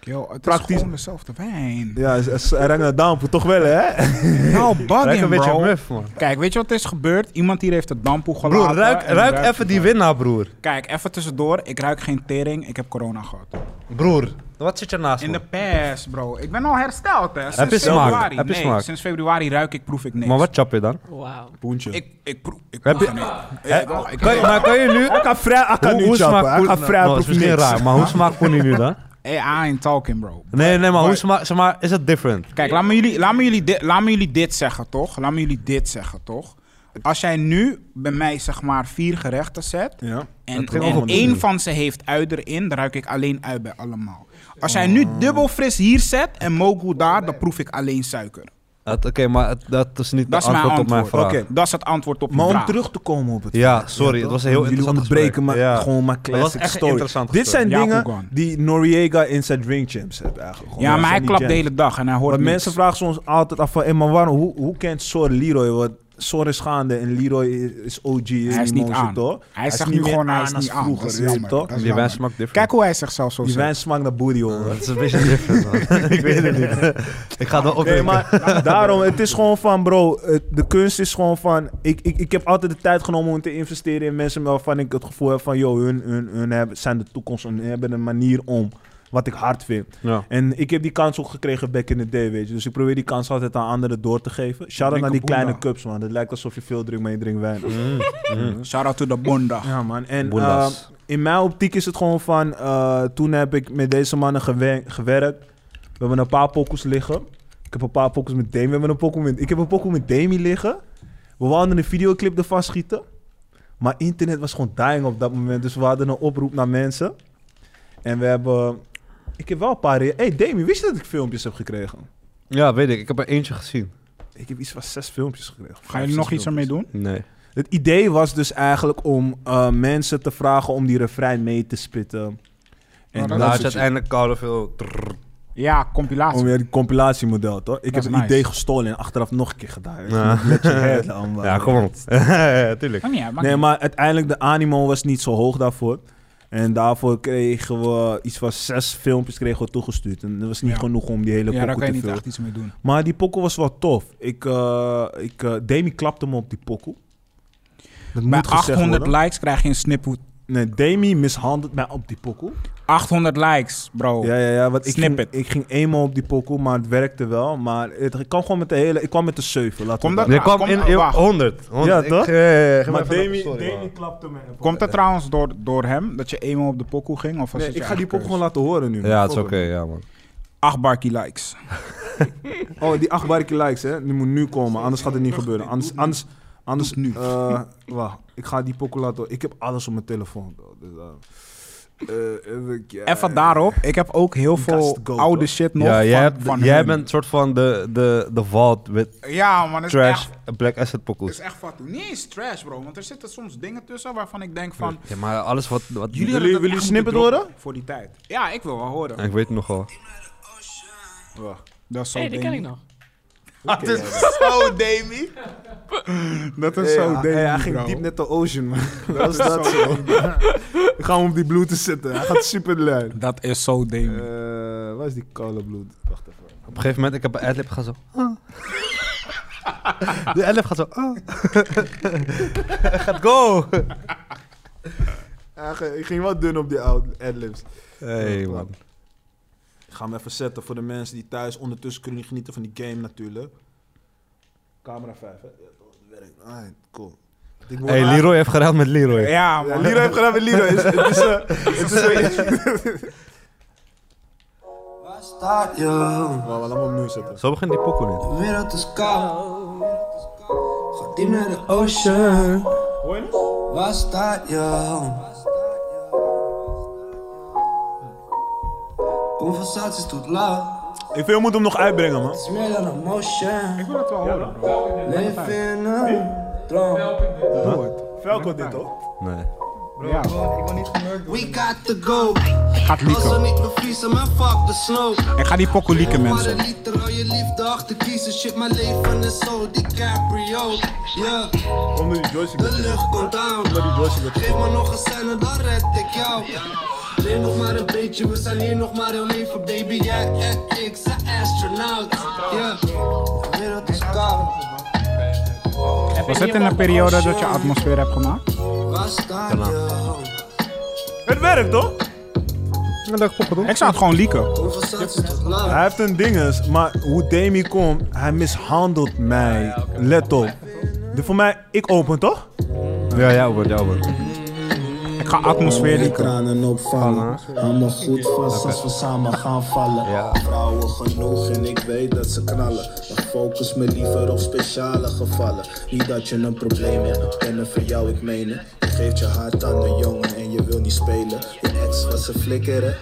Speaker 2: Yo, het is
Speaker 6: Praktisch.
Speaker 2: gewoon dezelfde wijn.
Speaker 6: Ja, s- s- rengen dampen toch wel, hè?
Speaker 2: Nou,
Speaker 8: Ruik
Speaker 2: bugging,
Speaker 8: een beetje
Speaker 2: bro.
Speaker 8: muf, man.
Speaker 2: Kijk, weet je wat is gebeurd? Iemand hier heeft het dampoe gelaten.
Speaker 8: Broer, ruik,
Speaker 2: en
Speaker 8: ruik
Speaker 2: ruikt
Speaker 8: even
Speaker 2: het
Speaker 8: die
Speaker 2: wel.
Speaker 8: winnaar, broer.
Speaker 2: Kijk, even tussendoor. Ik ruik geen tering. Ik heb corona gehad.
Speaker 8: Broer, wat zit er naast
Speaker 2: In
Speaker 8: me?
Speaker 2: de pers, bro. Ik ben al hersteld, hè. Sinds
Speaker 8: Heb je smaak?
Speaker 2: februari.
Speaker 8: Heb je
Speaker 2: nee,
Speaker 8: smaak?
Speaker 2: sinds februari ruik ik, proef ik niks.
Speaker 8: Maar wat chap je dan?
Speaker 4: Wauw.
Speaker 6: Poentje.
Speaker 2: Ik, ik proef, ik
Speaker 8: Heb
Speaker 2: proef
Speaker 8: je-
Speaker 2: niks.
Speaker 8: Hè?
Speaker 2: Ik- ik-
Speaker 8: Kan je- maar kan je nu...
Speaker 6: Hij kan vrij, hij kan
Speaker 8: Hoe-
Speaker 6: nu
Speaker 8: hoe
Speaker 6: chappen. Hij
Speaker 8: hoe-
Speaker 6: kan vrij,
Speaker 8: nou, dat is
Speaker 6: proef je
Speaker 8: misschien
Speaker 6: niks.
Speaker 8: raar, maar hoe smaakt Pony nu dan?
Speaker 2: Hey, I ain't talking, bro.
Speaker 8: Nee, nee, maar hoe smaakt... Zeg maar, is het different?
Speaker 2: Kijk, laat me, jullie, laat, me jullie dit, laat me jullie dit zeggen, toch? Laat me jullie dit zeggen, toch? Als jij nu bij mij, zeg maar, vier gerechten zet...
Speaker 6: Ja.
Speaker 2: en,
Speaker 8: ging
Speaker 2: en
Speaker 8: over
Speaker 2: één
Speaker 8: Pony.
Speaker 2: van ze heeft ui erin, dan ruik ik alleen ui bij allemaal. Als jij nu dubbel fris hier zet en mogul daar, dan proef ik alleen suiker.
Speaker 1: Het- Oké, maar het- dat is niet
Speaker 2: Dat is
Speaker 1: de
Speaker 2: mijn
Speaker 1: antwoord op mijn
Speaker 2: antwoord.
Speaker 1: vraag.
Speaker 6: Oké.
Speaker 2: Dat is het antwoord op
Speaker 6: Maar
Speaker 2: mijn
Speaker 6: om
Speaker 2: vraag.
Speaker 6: terug te komen op het...
Speaker 1: Ja, sorry, het was een heel
Speaker 6: Jullie
Speaker 1: interessant
Speaker 6: onderbreken, maar
Speaker 1: gesprek. Ja.
Speaker 6: gewoon maar
Speaker 1: was
Speaker 6: classic
Speaker 1: echt een
Speaker 6: story.
Speaker 1: interessant
Speaker 6: Dit zijn
Speaker 2: gesprek.
Speaker 6: dingen
Speaker 2: Jacob Gun.
Speaker 6: die Noriega in zijn drink champs heeft eigenlijk. Gewoon,
Speaker 2: Ja,
Speaker 6: dat
Speaker 2: maar hij
Speaker 6: zijn die
Speaker 2: klapt de
Speaker 6: gems.
Speaker 2: hele dag en hij hoort
Speaker 6: Want
Speaker 2: niks.
Speaker 6: mensen vragen soms altijd af van, hey, maar waarom, hoe, hoe kent Sor Leroy? Want Sor is gaande en Leroy is- is OG.
Speaker 2: Hij is
Speaker 6: die
Speaker 2: niet
Speaker 6: motion,
Speaker 2: aan.
Speaker 6: toch?
Speaker 2: Hij zegt
Speaker 6: niet
Speaker 2: nu
Speaker 6: meer
Speaker 2: gewoon, hij is
Speaker 6: aan als
Speaker 2: niet aan.
Speaker 6: vroeger,
Speaker 2: Dat is
Speaker 6: weet je
Speaker 2: jammer,
Speaker 6: toch?
Speaker 2: dat is
Speaker 1: Die
Speaker 2: jammer.
Speaker 1: wijn smaakt different.
Speaker 2: Kijk hoe hij zichzelf zo
Speaker 6: Die
Speaker 2: zegt.
Speaker 6: wijn smaakt naar booty, hoor.
Speaker 1: Dat is een beetje different, man. Ik weet het niet. Ik ga het wel
Speaker 6: Nee,
Speaker 1: opdrinken.
Speaker 6: maar daarom, het is gewoon van, bro, het- de kunst is gewoon van, ik, ik, ik heb altijd de tijd genomen om te investeren in mensen waarvan ik het gevoel heb van, joh, hun, hun, hun hebben, zijn de toekomst en hebben een manier om, wat ik hard vind.
Speaker 1: Ja.
Speaker 6: En ik heb die kans ook gekregen back in the day, weet je. Dus ik probeer die kans altijd aan anderen door te geven. Shout-out naar die
Speaker 2: Boenda.
Speaker 6: kleine cups, man. Het lijkt alsof je veel drinkt, maar je drinkt wijn.
Speaker 8: Mm.
Speaker 2: Shout out to de Bonda.
Speaker 6: Ja, man. En
Speaker 1: Boendas.
Speaker 6: eh, in mijn optiek is het gewoon van... eh, toen heb ik met deze mannen gewer- gewerkt. We hebben een paar pokus liggen. Ik heb een paar pokus met Demi. We hebben een pokoe met, ik heb een pokoe met Demi liggen. We wilden een videoclip ervan schieten. Maar internet was gewoon dying op dat moment. Dus we hadden een oproep naar mensen. En we hebben... Ik heb wel een paar... re- hey, Demi, wist je dat ik filmpjes heb gekregen?
Speaker 1: Ja, weet ik. Ik heb er eentje gezien.
Speaker 6: Ik heb iets van zes filmpjes gekregen.
Speaker 2: Gaan jullie nog iets ermee doen?
Speaker 1: Nee.
Speaker 8: Oh,
Speaker 6: Het idee was dus eigenlijk om eh, mensen te vragen om die refrein mee te spitten.
Speaker 2: Ja,
Speaker 6: En
Speaker 2: dat
Speaker 1: Daar
Speaker 2: is
Speaker 1: is uiteindelijk koude veel... trrr.
Speaker 2: Oh, Ja, compilatie.
Speaker 6: om weer die compilatiemodel, toch? Ik
Speaker 2: Dat
Speaker 6: heb
Speaker 2: is
Speaker 6: een
Speaker 2: nice.
Speaker 6: idee gestolen en achteraf nog een keer gedaan.
Speaker 1: Ja.
Speaker 6: Let your head down, man.
Speaker 1: Ja, kom op. Ja, Tuurlijk.
Speaker 2: Maakt niet uit, maakt
Speaker 6: Nee,
Speaker 2: niet
Speaker 6: maar uiteindelijk, de animo was niet zo hoog daarvoor. En daarvoor kregen we iets van zes filmpjes kregen we toegestuurd. En dat was niet
Speaker 2: Ja.
Speaker 6: genoeg om die hele
Speaker 2: uit. Ja, daar
Speaker 6: pokoe
Speaker 2: kan je niet
Speaker 6: te vullen.
Speaker 2: echt iets mee doen.
Speaker 6: Maar die pokkel was wel tof. Ik, eh, ik, eh, Demi klapte me op die pokkel.
Speaker 2: Bij
Speaker 6: Dat moet gezegd
Speaker 2: 800
Speaker 6: worden.
Speaker 2: likes krijg je een sniphoed.
Speaker 6: Nee, Demi mishandelt mij op die pokkel.
Speaker 2: 800 likes, bro.
Speaker 6: Ja, ja, ja. Want ik, ging,
Speaker 2: Snippet.
Speaker 6: ik ging eenmaal op die pokkel, maar het werkte wel. Maar het, ik kwam gewoon met de hele... Ik kwam met de 7. Laten we
Speaker 2: Komt dat-
Speaker 1: Nee, kwam
Speaker 2: Kom,
Speaker 1: in
Speaker 2: eh,
Speaker 1: eeuw
Speaker 2: wacht.
Speaker 1: 100. 100.
Speaker 6: Ja,
Speaker 1: Ik,
Speaker 6: toch?
Speaker 1: eh, geef me
Speaker 6: Maar
Speaker 1: even-
Speaker 6: Demi,
Speaker 1: sorry,
Speaker 6: Demi
Speaker 1: man.
Speaker 6: klapte me. even.
Speaker 2: Komt dat trouwens door, door hem, dat je eenmaal op de pokoe ging? Of was
Speaker 6: Nee,
Speaker 2: het je
Speaker 6: ik ga die
Speaker 2: eigen
Speaker 6: pop gewoon
Speaker 2: keus?
Speaker 6: laten horen nu.
Speaker 1: Ja, het is oké, ja, man.
Speaker 2: 8 barkie likes.
Speaker 6: Oh, die acht barkie likes, hè. Die moet nu komen, anders gaat het niet gebeuren. Anders, anders, anders...
Speaker 2: Doe het nu.
Speaker 6: eh, wacht, ik ga die pokkel laten horen. Ik heb alles op mijn telefoon. bro. Dus, eh, eh, even kijken.
Speaker 2: Even daarop, ik heb ook heel veel
Speaker 6: Kast go,
Speaker 2: oude
Speaker 6: toch?
Speaker 2: shit nog
Speaker 1: Ja,
Speaker 2: van,
Speaker 1: jij, hebt,
Speaker 2: van
Speaker 1: jij
Speaker 2: hun.
Speaker 1: bent een soort van de, de, de vault met
Speaker 2: Ja, man, het is
Speaker 1: trash
Speaker 2: echt,
Speaker 1: black asset
Speaker 2: het
Speaker 1: pokoes.
Speaker 2: is echt fatu. Niet eens trash, bro, want er zitten soms dingen tussen waarvan ik denk van...
Speaker 1: Ja, maar alles wat... wat
Speaker 2: Jullie
Speaker 6: Wil je-
Speaker 2: hadden dat
Speaker 6: wil je
Speaker 2: echt moeten
Speaker 6: snippet
Speaker 2: droppen
Speaker 6: horen?
Speaker 2: Voor die tijd. Ja, ik wil wel horen.
Speaker 1: Ja, ik weet het nog wel.
Speaker 2: Dat is zo
Speaker 4: Hé, hey, die ken
Speaker 2: Demi.
Speaker 4: ik nog.
Speaker 2: Dat is zo Demi. Dat is zo Demi,
Speaker 6: hij ging
Speaker 2: bro.
Speaker 6: diep net de ocean, man. Dat is dat zo. Ik ga hem op die bloed te zitten. Hij gaat super luid.
Speaker 2: Dat is zo Demi.
Speaker 6: Eh, waar is die koude bloed? Wacht even.
Speaker 1: Op een gegeven moment, ik heb een adlib gaat zo... ah. De adlib gaat zo... ah. gaat go!
Speaker 6: Ja, ge- ik ging wel dun op die ad- adlibs.
Speaker 1: Hey, man.
Speaker 6: Ik ga hem even zetten voor de mensen die thuis ondertussen kunnen genieten van die game natuurlijk. Camera 5, hè? Ja, toch, dat werkt. Alright, cool. Ik moet-
Speaker 1: Hey,
Speaker 6: Ah,
Speaker 1: Leroy heeft geraakt met Leroy.
Speaker 2: Ja,
Speaker 6: Ja,
Speaker 2: man.
Speaker 6: Leroy heeft gedaan met Leroy. Het is- het is, eh, Het is een...
Speaker 11: Waar staat je?
Speaker 6: Wacht, wacht, laat me opnieuw zetten.
Speaker 1: Zo begint die pokoe niet.
Speaker 11: De wereld is koud. Ga diep naar de ocean.
Speaker 6: Hoor je het?
Speaker 11: Waar staat je? Conversaties tot love.
Speaker 6: Ik vind, je moet hem nog uitbrengen, man.
Speaker 11: Het is meer dan emotion.
Speaker 2: wil het wel horen, bro.
Speaker 11: Leven in een droom.
Speaker 6: Velko dit, toch?
Speaker 1: Nee.
Speaker 2: Ja.
Speaker 11: We got to go.
Speaker 2: Gaat
Speaker 11: Als we
Speaker 2: Lico.
Speaker 11: niet bevriezen, maar fuck the snow.
Speaker 2: Ik ga die pokoe lieken,
Speaker 11: Maar
Speaker 2: mensen.
Speaker 11: een liter al je liefde achter kiezen. Shit, mijn leven is zo DiCaprio. Yeah.
Speaker 6: Onder die joystick.
Speaker 11: De lucht komt aan.
Speaker 6: Onder die joystick.
Speaker 11: Geef me nog een scène, dan red ik jou. Leer nog maar een beetje, we zijn hier nog maar heel leven, baby. Jij en ik zijn astronaut. Ja, de wereld is koud.
Speaker 2: Was het in een periode dat je atmosfeer hebt gemaakt?
Speaker 11: Waar sta je?
Speaker 6: Het werkt toch?
Speaker 2: Ik zou het gewoon leaken.
Speaker 11: Hoeveel staat ze toch laag?
Speaker 6: Hij heeft een dinges, maar hoe Demi komt, hij mishandelt mij. Let op. De, voor mij, ik open toch?
Speaker 1: Ja, ja, wordt jou wordt.
Speaker 2: Ik ga atmosfeer
Speaker 11: Mijn
Speaker 2: leaken.
Speaker 11: tranen opvangen. Hou me goed vast als we samen gaan vallen. Vrouwen genoeg en ik weet dat ze knallen. Maar focus me liever op speciale gevallen. Niet dat je een probleem hebt, kennen voor jou, ik meen het. Je geeft je hart aan de jongen en je wil niet spelen. Je ex was een flikkeren.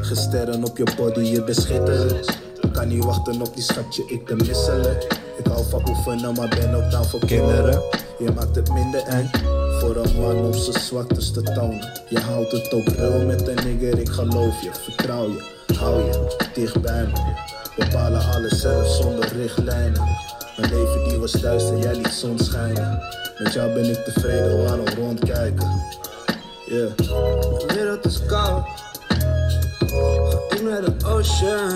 Speaker 11: Gesterren op je body, je beschitterend. Kan niet wachten op die schatje, ik te misselijk. Ik hou van oefenen, maar ben ook down voor kinderen. Je maakt het minder eng voor een man op zijn zwaktes te tonen. Je houdt het ook real met een nigger, ik geloof je, vertrouw je, hou je dicht bij me. Bepalen alles zelf zonder richtlijnen. Mijn leven die was duister, jij liet zon schijnen. Met jou ben ik tevreden, waarom rondkijken? Yeah. De wereld is koud, ik naar de ocean.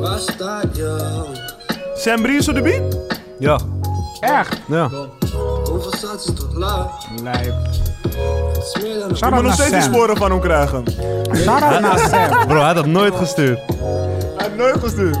Speaker 11: Waar sta je?
Speaker 6: Sam Breeze op de beat?
Speaker 1: Ja.
Speaker 2: Echt?
Speaker 11: Hoeveel staat ze tot laat?
Speaker 2: Lijp.
Speaker 11: Smeer dan
Speaker 6: Ik moet
Speaker 2: Shout-out
Speaker 6: nog
Speaker 2: naar
Speaker 6: steeds die
Speaker 2: Sam.
Speaker 6: sporen van hem krijgen.
Speaker 2: Shout-out naar Sam.
Speaker 1: Bro, hij had dat nooit gestuurd.
Speaker 6: Hij heeft nooit gestuurd.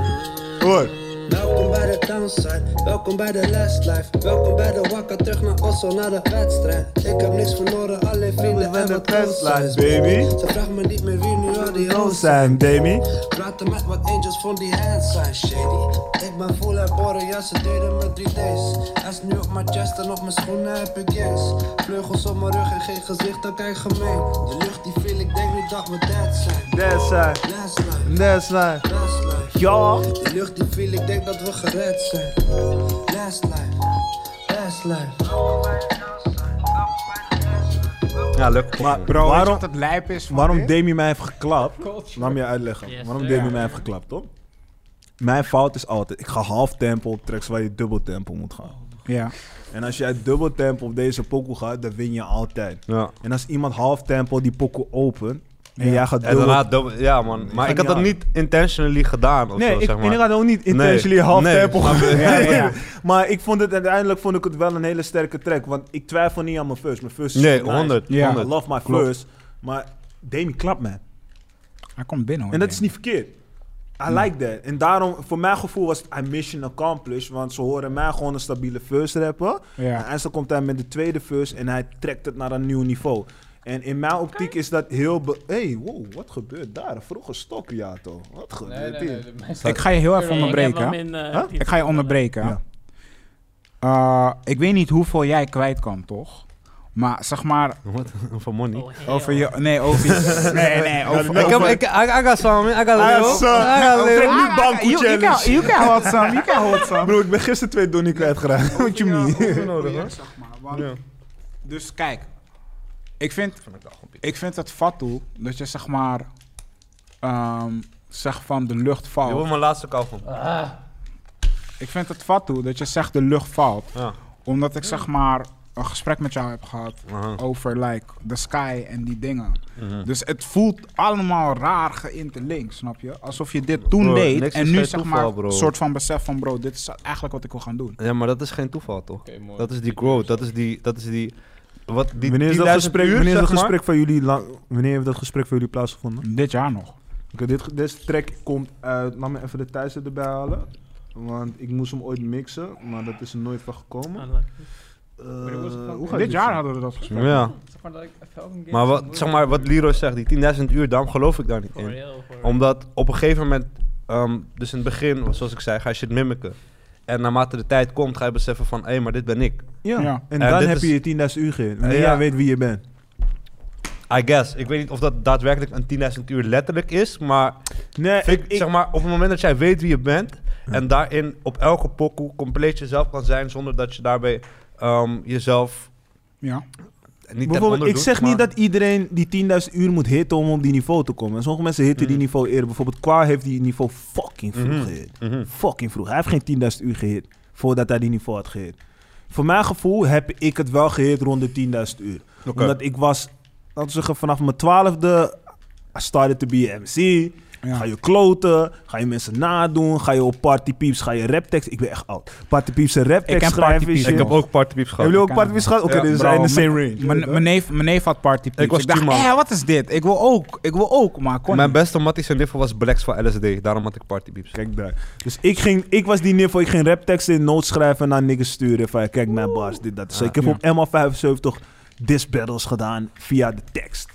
Speaker 6: Hoor.
Speaker 11: Welkom bij de downside, welkom bij de last life. Welkom bij de wakka, terug naar Oslo, naar de wedstrijd. Ik heb niks verloren, alleen vrienden en wat
Speaker 6: Tesla,
Speaker 11: conslides,
Speaker 6: baby.
Speaker 11: Ze vragen me niet meer wie nu al die hoes zijn.
Speaker 6: Zijn, Demi.
Speaker 11: Praten met wat angels van die hands zijn shady. Ik ben vol herboren, ja ze duren me drie days. Hij is nu op mijn chest en op mijn schoenen heb ik yes. Vleugels op mijn rug en geen gezicht, dat kijk gemeen. De lucht die viel, ik denk nu dat we dead zijn.
Speaker 6: Tesla.
Speaker 11: Last life,
Speaker 6: Tesla.
Speaker 11: last life.
Speaker 6: Ja.
Speaker 11: De lucht die viel, ik denk dat we gered zijn. Last life, last life.
Speaker 1: Ja, leuk.
Speaker 6: Maar
Speaker 2: Bro, waarom,
Speaker 6: waarom,
Speaker 2: wat het lijp is van
Speaker 6: waarom
Speaker 2: dit?
Speaker 6: Demi mij heeft geklapt? Laat me je uitleggen.
Speaker 4: Yes,
Speaker 6: waarom
Speaker 4: sir.
Speaker 6: Demi mij heeft geklapt, toch? Mijn fout is altijd, ik ga half tempo op tracks waar je dubbel tempo moet gaan.
Speaker 2: Ja.
Speaker 6: En als jij dubbel tempo op deze pokoe gaat, dan win je altijd.
Speaker 1: Ja.
Speaker 6: En als iemand half tempo die pokoe opent, en jij gaat
Speaker 1: En
Speaker 6: dubbel...
Speaker 1: daarna dubbel- ja man, maar
Speaker 6: ga
Speaker 1: ik had
Speaker 6: niet
Speaker 1: dat
Speaker 6: aan.
Speaker 1: niet intentionally gedaan of
Speaker 6: nee,
Speaker 1: zo,
Speaker 6: ik,
Speaker 1: zeg maar.
Speaker 6: inderdaad ook niet
Speaker 1: Nee.
Speaker 6: intentionally half
Speaker 1: Nee,
Speaker 6: tempo.
Speaker 1: snap je.
Speaker 2: Ja, ja, ja.
Speaker 6: maar ik vond het, uiteindelijk vond ik het wel een hele sterke track. Want ik twijfel niet aan mijn first. Mijn first is
Speaker 1: Nee,
Speaker 6: nice.
Speaker 1: 100,
Speaker 6: I
Speaker 1: 100.
Speaker 6: love my
Speaker 1: Klopt.
Speaker 6: first. Maar Demi klapt me.
Speaker 2: Hij komt binnen hoor.
Speaker 6: En dat is niet verkeerd. I like that. En daarom, voor mijn gevoel was het I mission accomplished. Want ze horen mij gewoon een stabiele first rappen.
Speaker 2: Ja.
Speaker 6: En zo komt hij met de tweede verse en hij trekt het naar een nieuw niveau. En in mijn optiek is dat heel... be- hey, wow, wat gebeurt daar? Vroeger stok, Jato. Wat gebeurt hier?
Speaker 2: Ik ga je heel even
Speaker 4: Ik
Speaker 2: onderbreken.
Speaker 4: heb
Speaker 2: hè.
Speaker 4: hem in, eh,
Speaker 6: Huh?
Speaker 4: die-
Speaker 2: Ik ga je onderbreken.
Speaker 6: Ja.
Speaker 2: Eh, ik weet niet hoeveel jij kwijt kan, toch? Maar zeg maar
Speaker 1: Van money.
Speaker 4: Oh, hell.
Speaker 2: over je. Nee, over je. Nee, nee, over.
Speaker 1: Ik heb, ik, I, I got something, I got a
Speaker 6: Ah,
Speaker 1: little. I got a little.
Speaker 6: Trek niet banko
Speaker 2: Ah, You, you,
Speaker 6: challenge.
Speaker 2: can, you can hold some, you can hold some.
Speaker 6: Bro, ik ben gisteren twee Donnie kwijtgeraakt. What you mean?
Speaker 2: project, zeg maar. Want- Dus kijk, ik vind, ik vind het fat toe dat je zeg maar ehm, zeg van de lucht
Speaker 1: Je
Speaker 2: valt.
Speaker 1: wordt mijn laatste kou
Speaker 5: Ah.
Speaker 1: van.
Speaker 2: Ik vind het fat toe dat je zegt de lucht valt.
Speaker 1: Ja.
Speaker 2: Omdat ik zeg maar een gesprek met jou heb gehad
Speaker 1: Aha.
Speaker 2: over like the sky en die dingen.
Speaker 1: Mhm.
Speaker 2: Dus het voelt allemaal raar geïnterlinkt, snap je? Alsof je dit toen
Speaker 1: Bro,
Speaker 2: deed
Speaker 1: niks
Speaker 2: en
Speaker 1: is
Speaker 2: nu
Speaker 1: geen
Speaker 2: zeg
Speaker 1: toeval,
Speaker 2: maar
Speaker 1: bro.
Speaker 2: een soort van besef van bro, dit is eigenlijk wat ik wil gaan doen.
Speaker 1: Ja, maar dat is geen toeval toch?
Speaker 5: Oké, mooi.
Speaker 1: Dat is die growth, dat is die, dat is die, wat die,
Speaker 6: Wanneer is dat
Speaker 1: 10.000
Speaker 6: gesprek,
Speaker 1: uur,
Speaker 6: wanneer is dat
Speaker 1: zeg maar.
Speaker 6: gesprek van jullie lang, wanneer heeft dat gesprek van jullie plaatsgevonden?
Speaker 2: Dit jaar nog.
Speaker 6: Oké, dit, ge- deze track komt uit, laat me even de thuis erbij halen. Want ik moest hem ooit mixen, maar dat is er nooit van gekomen.
Speaker 4: Unlucky.
Speaker 6: Eh,
Speaker 5: hoe was het dan?
Speaker 6: hoe gaat
Speaker 2: Dit jaar
Speaker 6: zijn?
Speaker 2: hadden we dat gesprek.
Speaker 1: Ja, maar wat, zeg maar wat Leroy zegt, die 10.000 uur, daarom geloof ik daar niet
Speaker 5: Oh,
Speaker 1: in.
Speaker 4: For real, for real.
Speaker 1: Omdat op een gegeven moment, ehm, dus in het begin, zoals ik zei, ga je shit mimiken. En naarmate de tijd komt, ga je beseffen van, hé, maar dit ben ik.
Speaker 6: Ja.
Speaker 2: Ja.
Speaker 6: En
Speaker 1: En
Speaker 6: dan
Speaker 1: dit
Speaker 6: heb
Speaker 1: is-
Speaker 6: je je 10.000 uur gegeven. Wanneer
Speaker 1: Ja.
Speaker 6: jij weet wie je bent.
Speaker 1: I guess. Ik weet niet of dat daadwerkelijk een 10.000 uur letterlijk is, maar,
Speaker 6: Nee,
Speaker 1: ik, zeg maar op het moment dat jij weet wie je bent en daarin op elke pokoe compleet jezelf kan zijn zonder dat je daarbij ehm, jezelf
Speaker 2: Ja.
Speaker 1: niet ten onder
Speaker 6: Bijvoorbeeld, ik
Speaker 1: doet,
Speaker 6: zeg niet
Speaker 1: maar-
Speaker 6: dat iedereen die 10.000 uur moet hitten om op die niveau te komen. En sommige mensen hitten
Speaker 2: Mm.
Speaker 6: die niveau eerder. Bijvoorbeeld, Kwa heeft die niveau fucking vroeg
Speaker 1: Mhm.
Speaker 6: gehit.
Speaker 1: Mhm.
Speaker 6: Fucking vroeg. Hij heeft geen 10.000 uur gehit voordat hij die niveau had gehit. Voor mijn gevoel heb ik het wel gehit rond de 10.000 uur.
Speaker 1: Oké.
Speaker 6: Omdat ik was laten we zeggen, vanaf mijn twaalfde I started to be an MC.
Speaker 2: Ja.
Speaker 6: Ga je kloten, ga je mensen nadoen, ga je op Party Peeps, ga je raptekst. Ik ben echt oud. Party Peeps en
Speaker 2: Ik
Speaker 6: raptekst
Speaker 2: ken Party
Speaker 6: schrijven en
Speaker 2: Peeps,
Speaker 6: shit.
Speaker 2: ik heb
Speaker 1: Ook partypieps gehad.
Speaker 6: Hebben jullie ook
Speaker 2: Ik
Speaker 6: Party
Speaker 2: ken
Speaker 6: Peeps gehad? Oké,
Speaker 2: Ja,
Speaker 6: dit is in
Speaker 2: bro,
Speaker 6: the same range.
Speaker 2: Mijn, mijn, neef, mijn neef had party
Speaker 1: Ik was
Speaker 2: Ik dacht,
Speaker 1: tien man.
Speaker 2: hé, wat is dit? Ik wil ook. Ik wil ook, maar kon
Speaker 1: Mijn
Speaker 2: niet.
Speaker 1: beste matties en niffel was Blacks van LSD. Daarom had ik partypieps.
Speaker 6: Kijk daar. Dus ik, ging, ik was die niffel, ik ging rapteksten in nood schrijven en naar niggas sturen. Van kijk mijn bars, dit, dat. Dus ik heb
Speaker 2: ja.
Speaker 6: op MA75 diss battles gedaan via de tekst.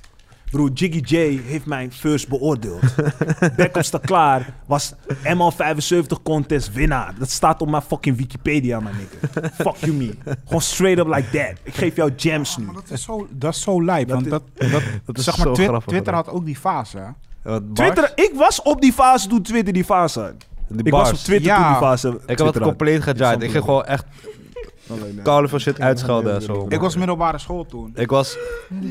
Speaker 6: Broer, Jiggy J heeft mijn first beoordeeld. Back op klaar was ML75 contest winnaar. Dat staat op mijn fucking Wikipedia, mijn nigga. Fuck you me. Gewoon straight up like that. Ik geef jou jams nu.
Speaker 2: Maar dat is zo, dat is zo lijp. want
Speaker 6: is-
Speaker 2: dat, dat,
Speaker 1: dat is
Speaker 2: zeg maar,
Speaker 1: zo
Speaker 2: Twi-
Speaker 1: grappig,
Speaker 2: Twitter
Speaker 1: hè.
Speaker 2: had ook die fase. hè?
Speaker 1: Wat, bars?
Speaker 6: Twitter, ik was op die fase toen Twitter die fase had.
Speaker 1: Die
Speaker 6: Ik
Speaker 1: bars.
Speaker 6: was op Twitter
Speaker 2: Ja.
Speaker 6: toen die fase.
Speaker 1: Ik
Speaker 6: Twitter
Speaker 1: had het
Speaker 6: had.
Speaker 1: compleet gejaaid. Ik ging gewoon echt koude veel shit uitschelden en zo.
Speaker 2: Ik was middelbare school toen.
Speaker 1: Ik was...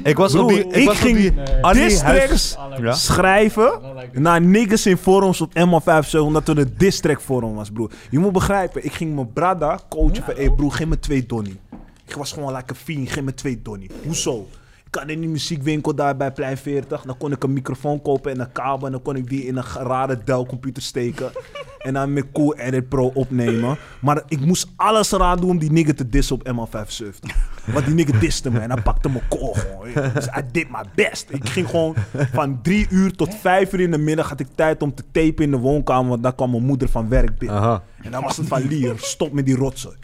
Speaker 1: Ik was op
Speaker 6: Broer,
Speaker 1: die...
Speaker 6: ik
Speaker 1: was op
Speaker 6: ging
Speaker 1: die Annie
Speaker 6: districts
Speaker 1: Huis- Ja?
Speaker 6: schrijven naar niggas in forums op ML5 omdat het een district forum was, broer. Je moet begrijpen, ik ging mijn brada coachen van, hey broer, geef me twee donnie. Ik was gewoon lekker fiend, geef me twee donnie. Hoezo? Ik kan in die muziekwinkel daar bij Plein 40, dan kon ik een microfoon kopen en een kabel en dan kon ik die in een rare Dell computer steken. En dan met Cool Edit Pro opnemen. Maar ik moest alles eraan doen om die nigger te dissen op ML75. Want die nigger diste me en hij pakte mijn kool gewoon. weet je. Dus I did my best. Ik ging gewoon van drie uur tot vijf uur in de middag had ik tijd om te tapen in de woonkamer. Want dan kwam mijn moeder van werk binnen.
Speaker 1: Aha.
Speaker 6: En dan was het van Lier, stop met die rotzooi.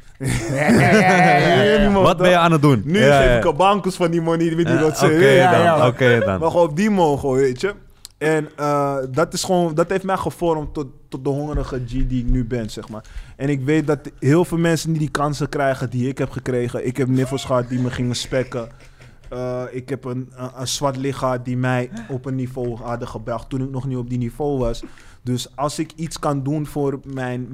Speaker 1: Wat ben je aan het doen?
Speaker 6: Nu
Speaker 1: Ja, ja.
Speaker 6: geef ik een bankers van die money met die
Speaker 1: Eh,
Speaker 6: rotzooi.
Speaker 1: Oké
Speaker 6: Ja, ja,
Speaker 1: dan,
Speaker 6: ja.
Speaker 1: oké dan.
Speaker 6: Maar gewoon op die mogel, weet je. En eh, dat, is gewoon, dat heeft mij gevormd tot, tot de hongerige G die ik nu ben, zeg maar. En ik weet dat heel veel mensen niet die kansen krijgen die ik heb gekregen. Ik heb niffels gehad die me gingen spekken. Eh, ik heb een, een, een zwart lichaam die mij op een niveau hadden gebracht toen ik nog niet op die niveau was. Dus als ik iets kan doen voor mijn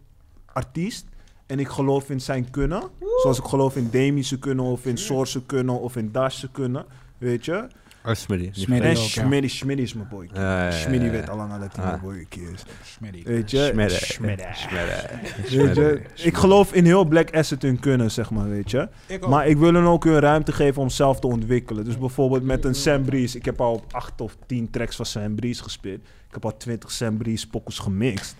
Speaker 6: mede-artiest en ik geloof in zijn kunnen, zoals ik geloof in Demi's kunnen of in Source kunnen of in Dash's kunnen, weet je,
Speaker 1: Oh, Smitty. Die
Speaker 2: Smitty.
Speaker 1: vlees.
Speaker 6: en
Speaker 2: ook, ja.
Speaker 6: Schmiddy, Schmiddy is mijn boy.
Speaker 1: Ja, ja, ja, ja.
Speaker 6: Schmiddy weet al lang al dat hij
Speaker 1: Ah.
Speaker 6: mijn boy is.
Speaker 2: Smitty.
Speaker 6: Weet je?
Speaker 1: Schmiddy.
Speaker 6: Schmiddy. Weet je?
Speaker 1: Schmiddy.
Speaker 6: Ik geloof in heel Black Asset hun kunnen, zeg maar, weet je.
Speaker 2: Ik ook.
Speaker 6: Maar ik wil hen ook hun ruimte geven om zelf te ontwikkelen. Dus bijvoorbeeld met een Sam Breeze. Ik heb al op 8 of 10 tracks van Sam Breeze gespeeld. Ik heb al 20 Sam Breeze pokkels gemixt.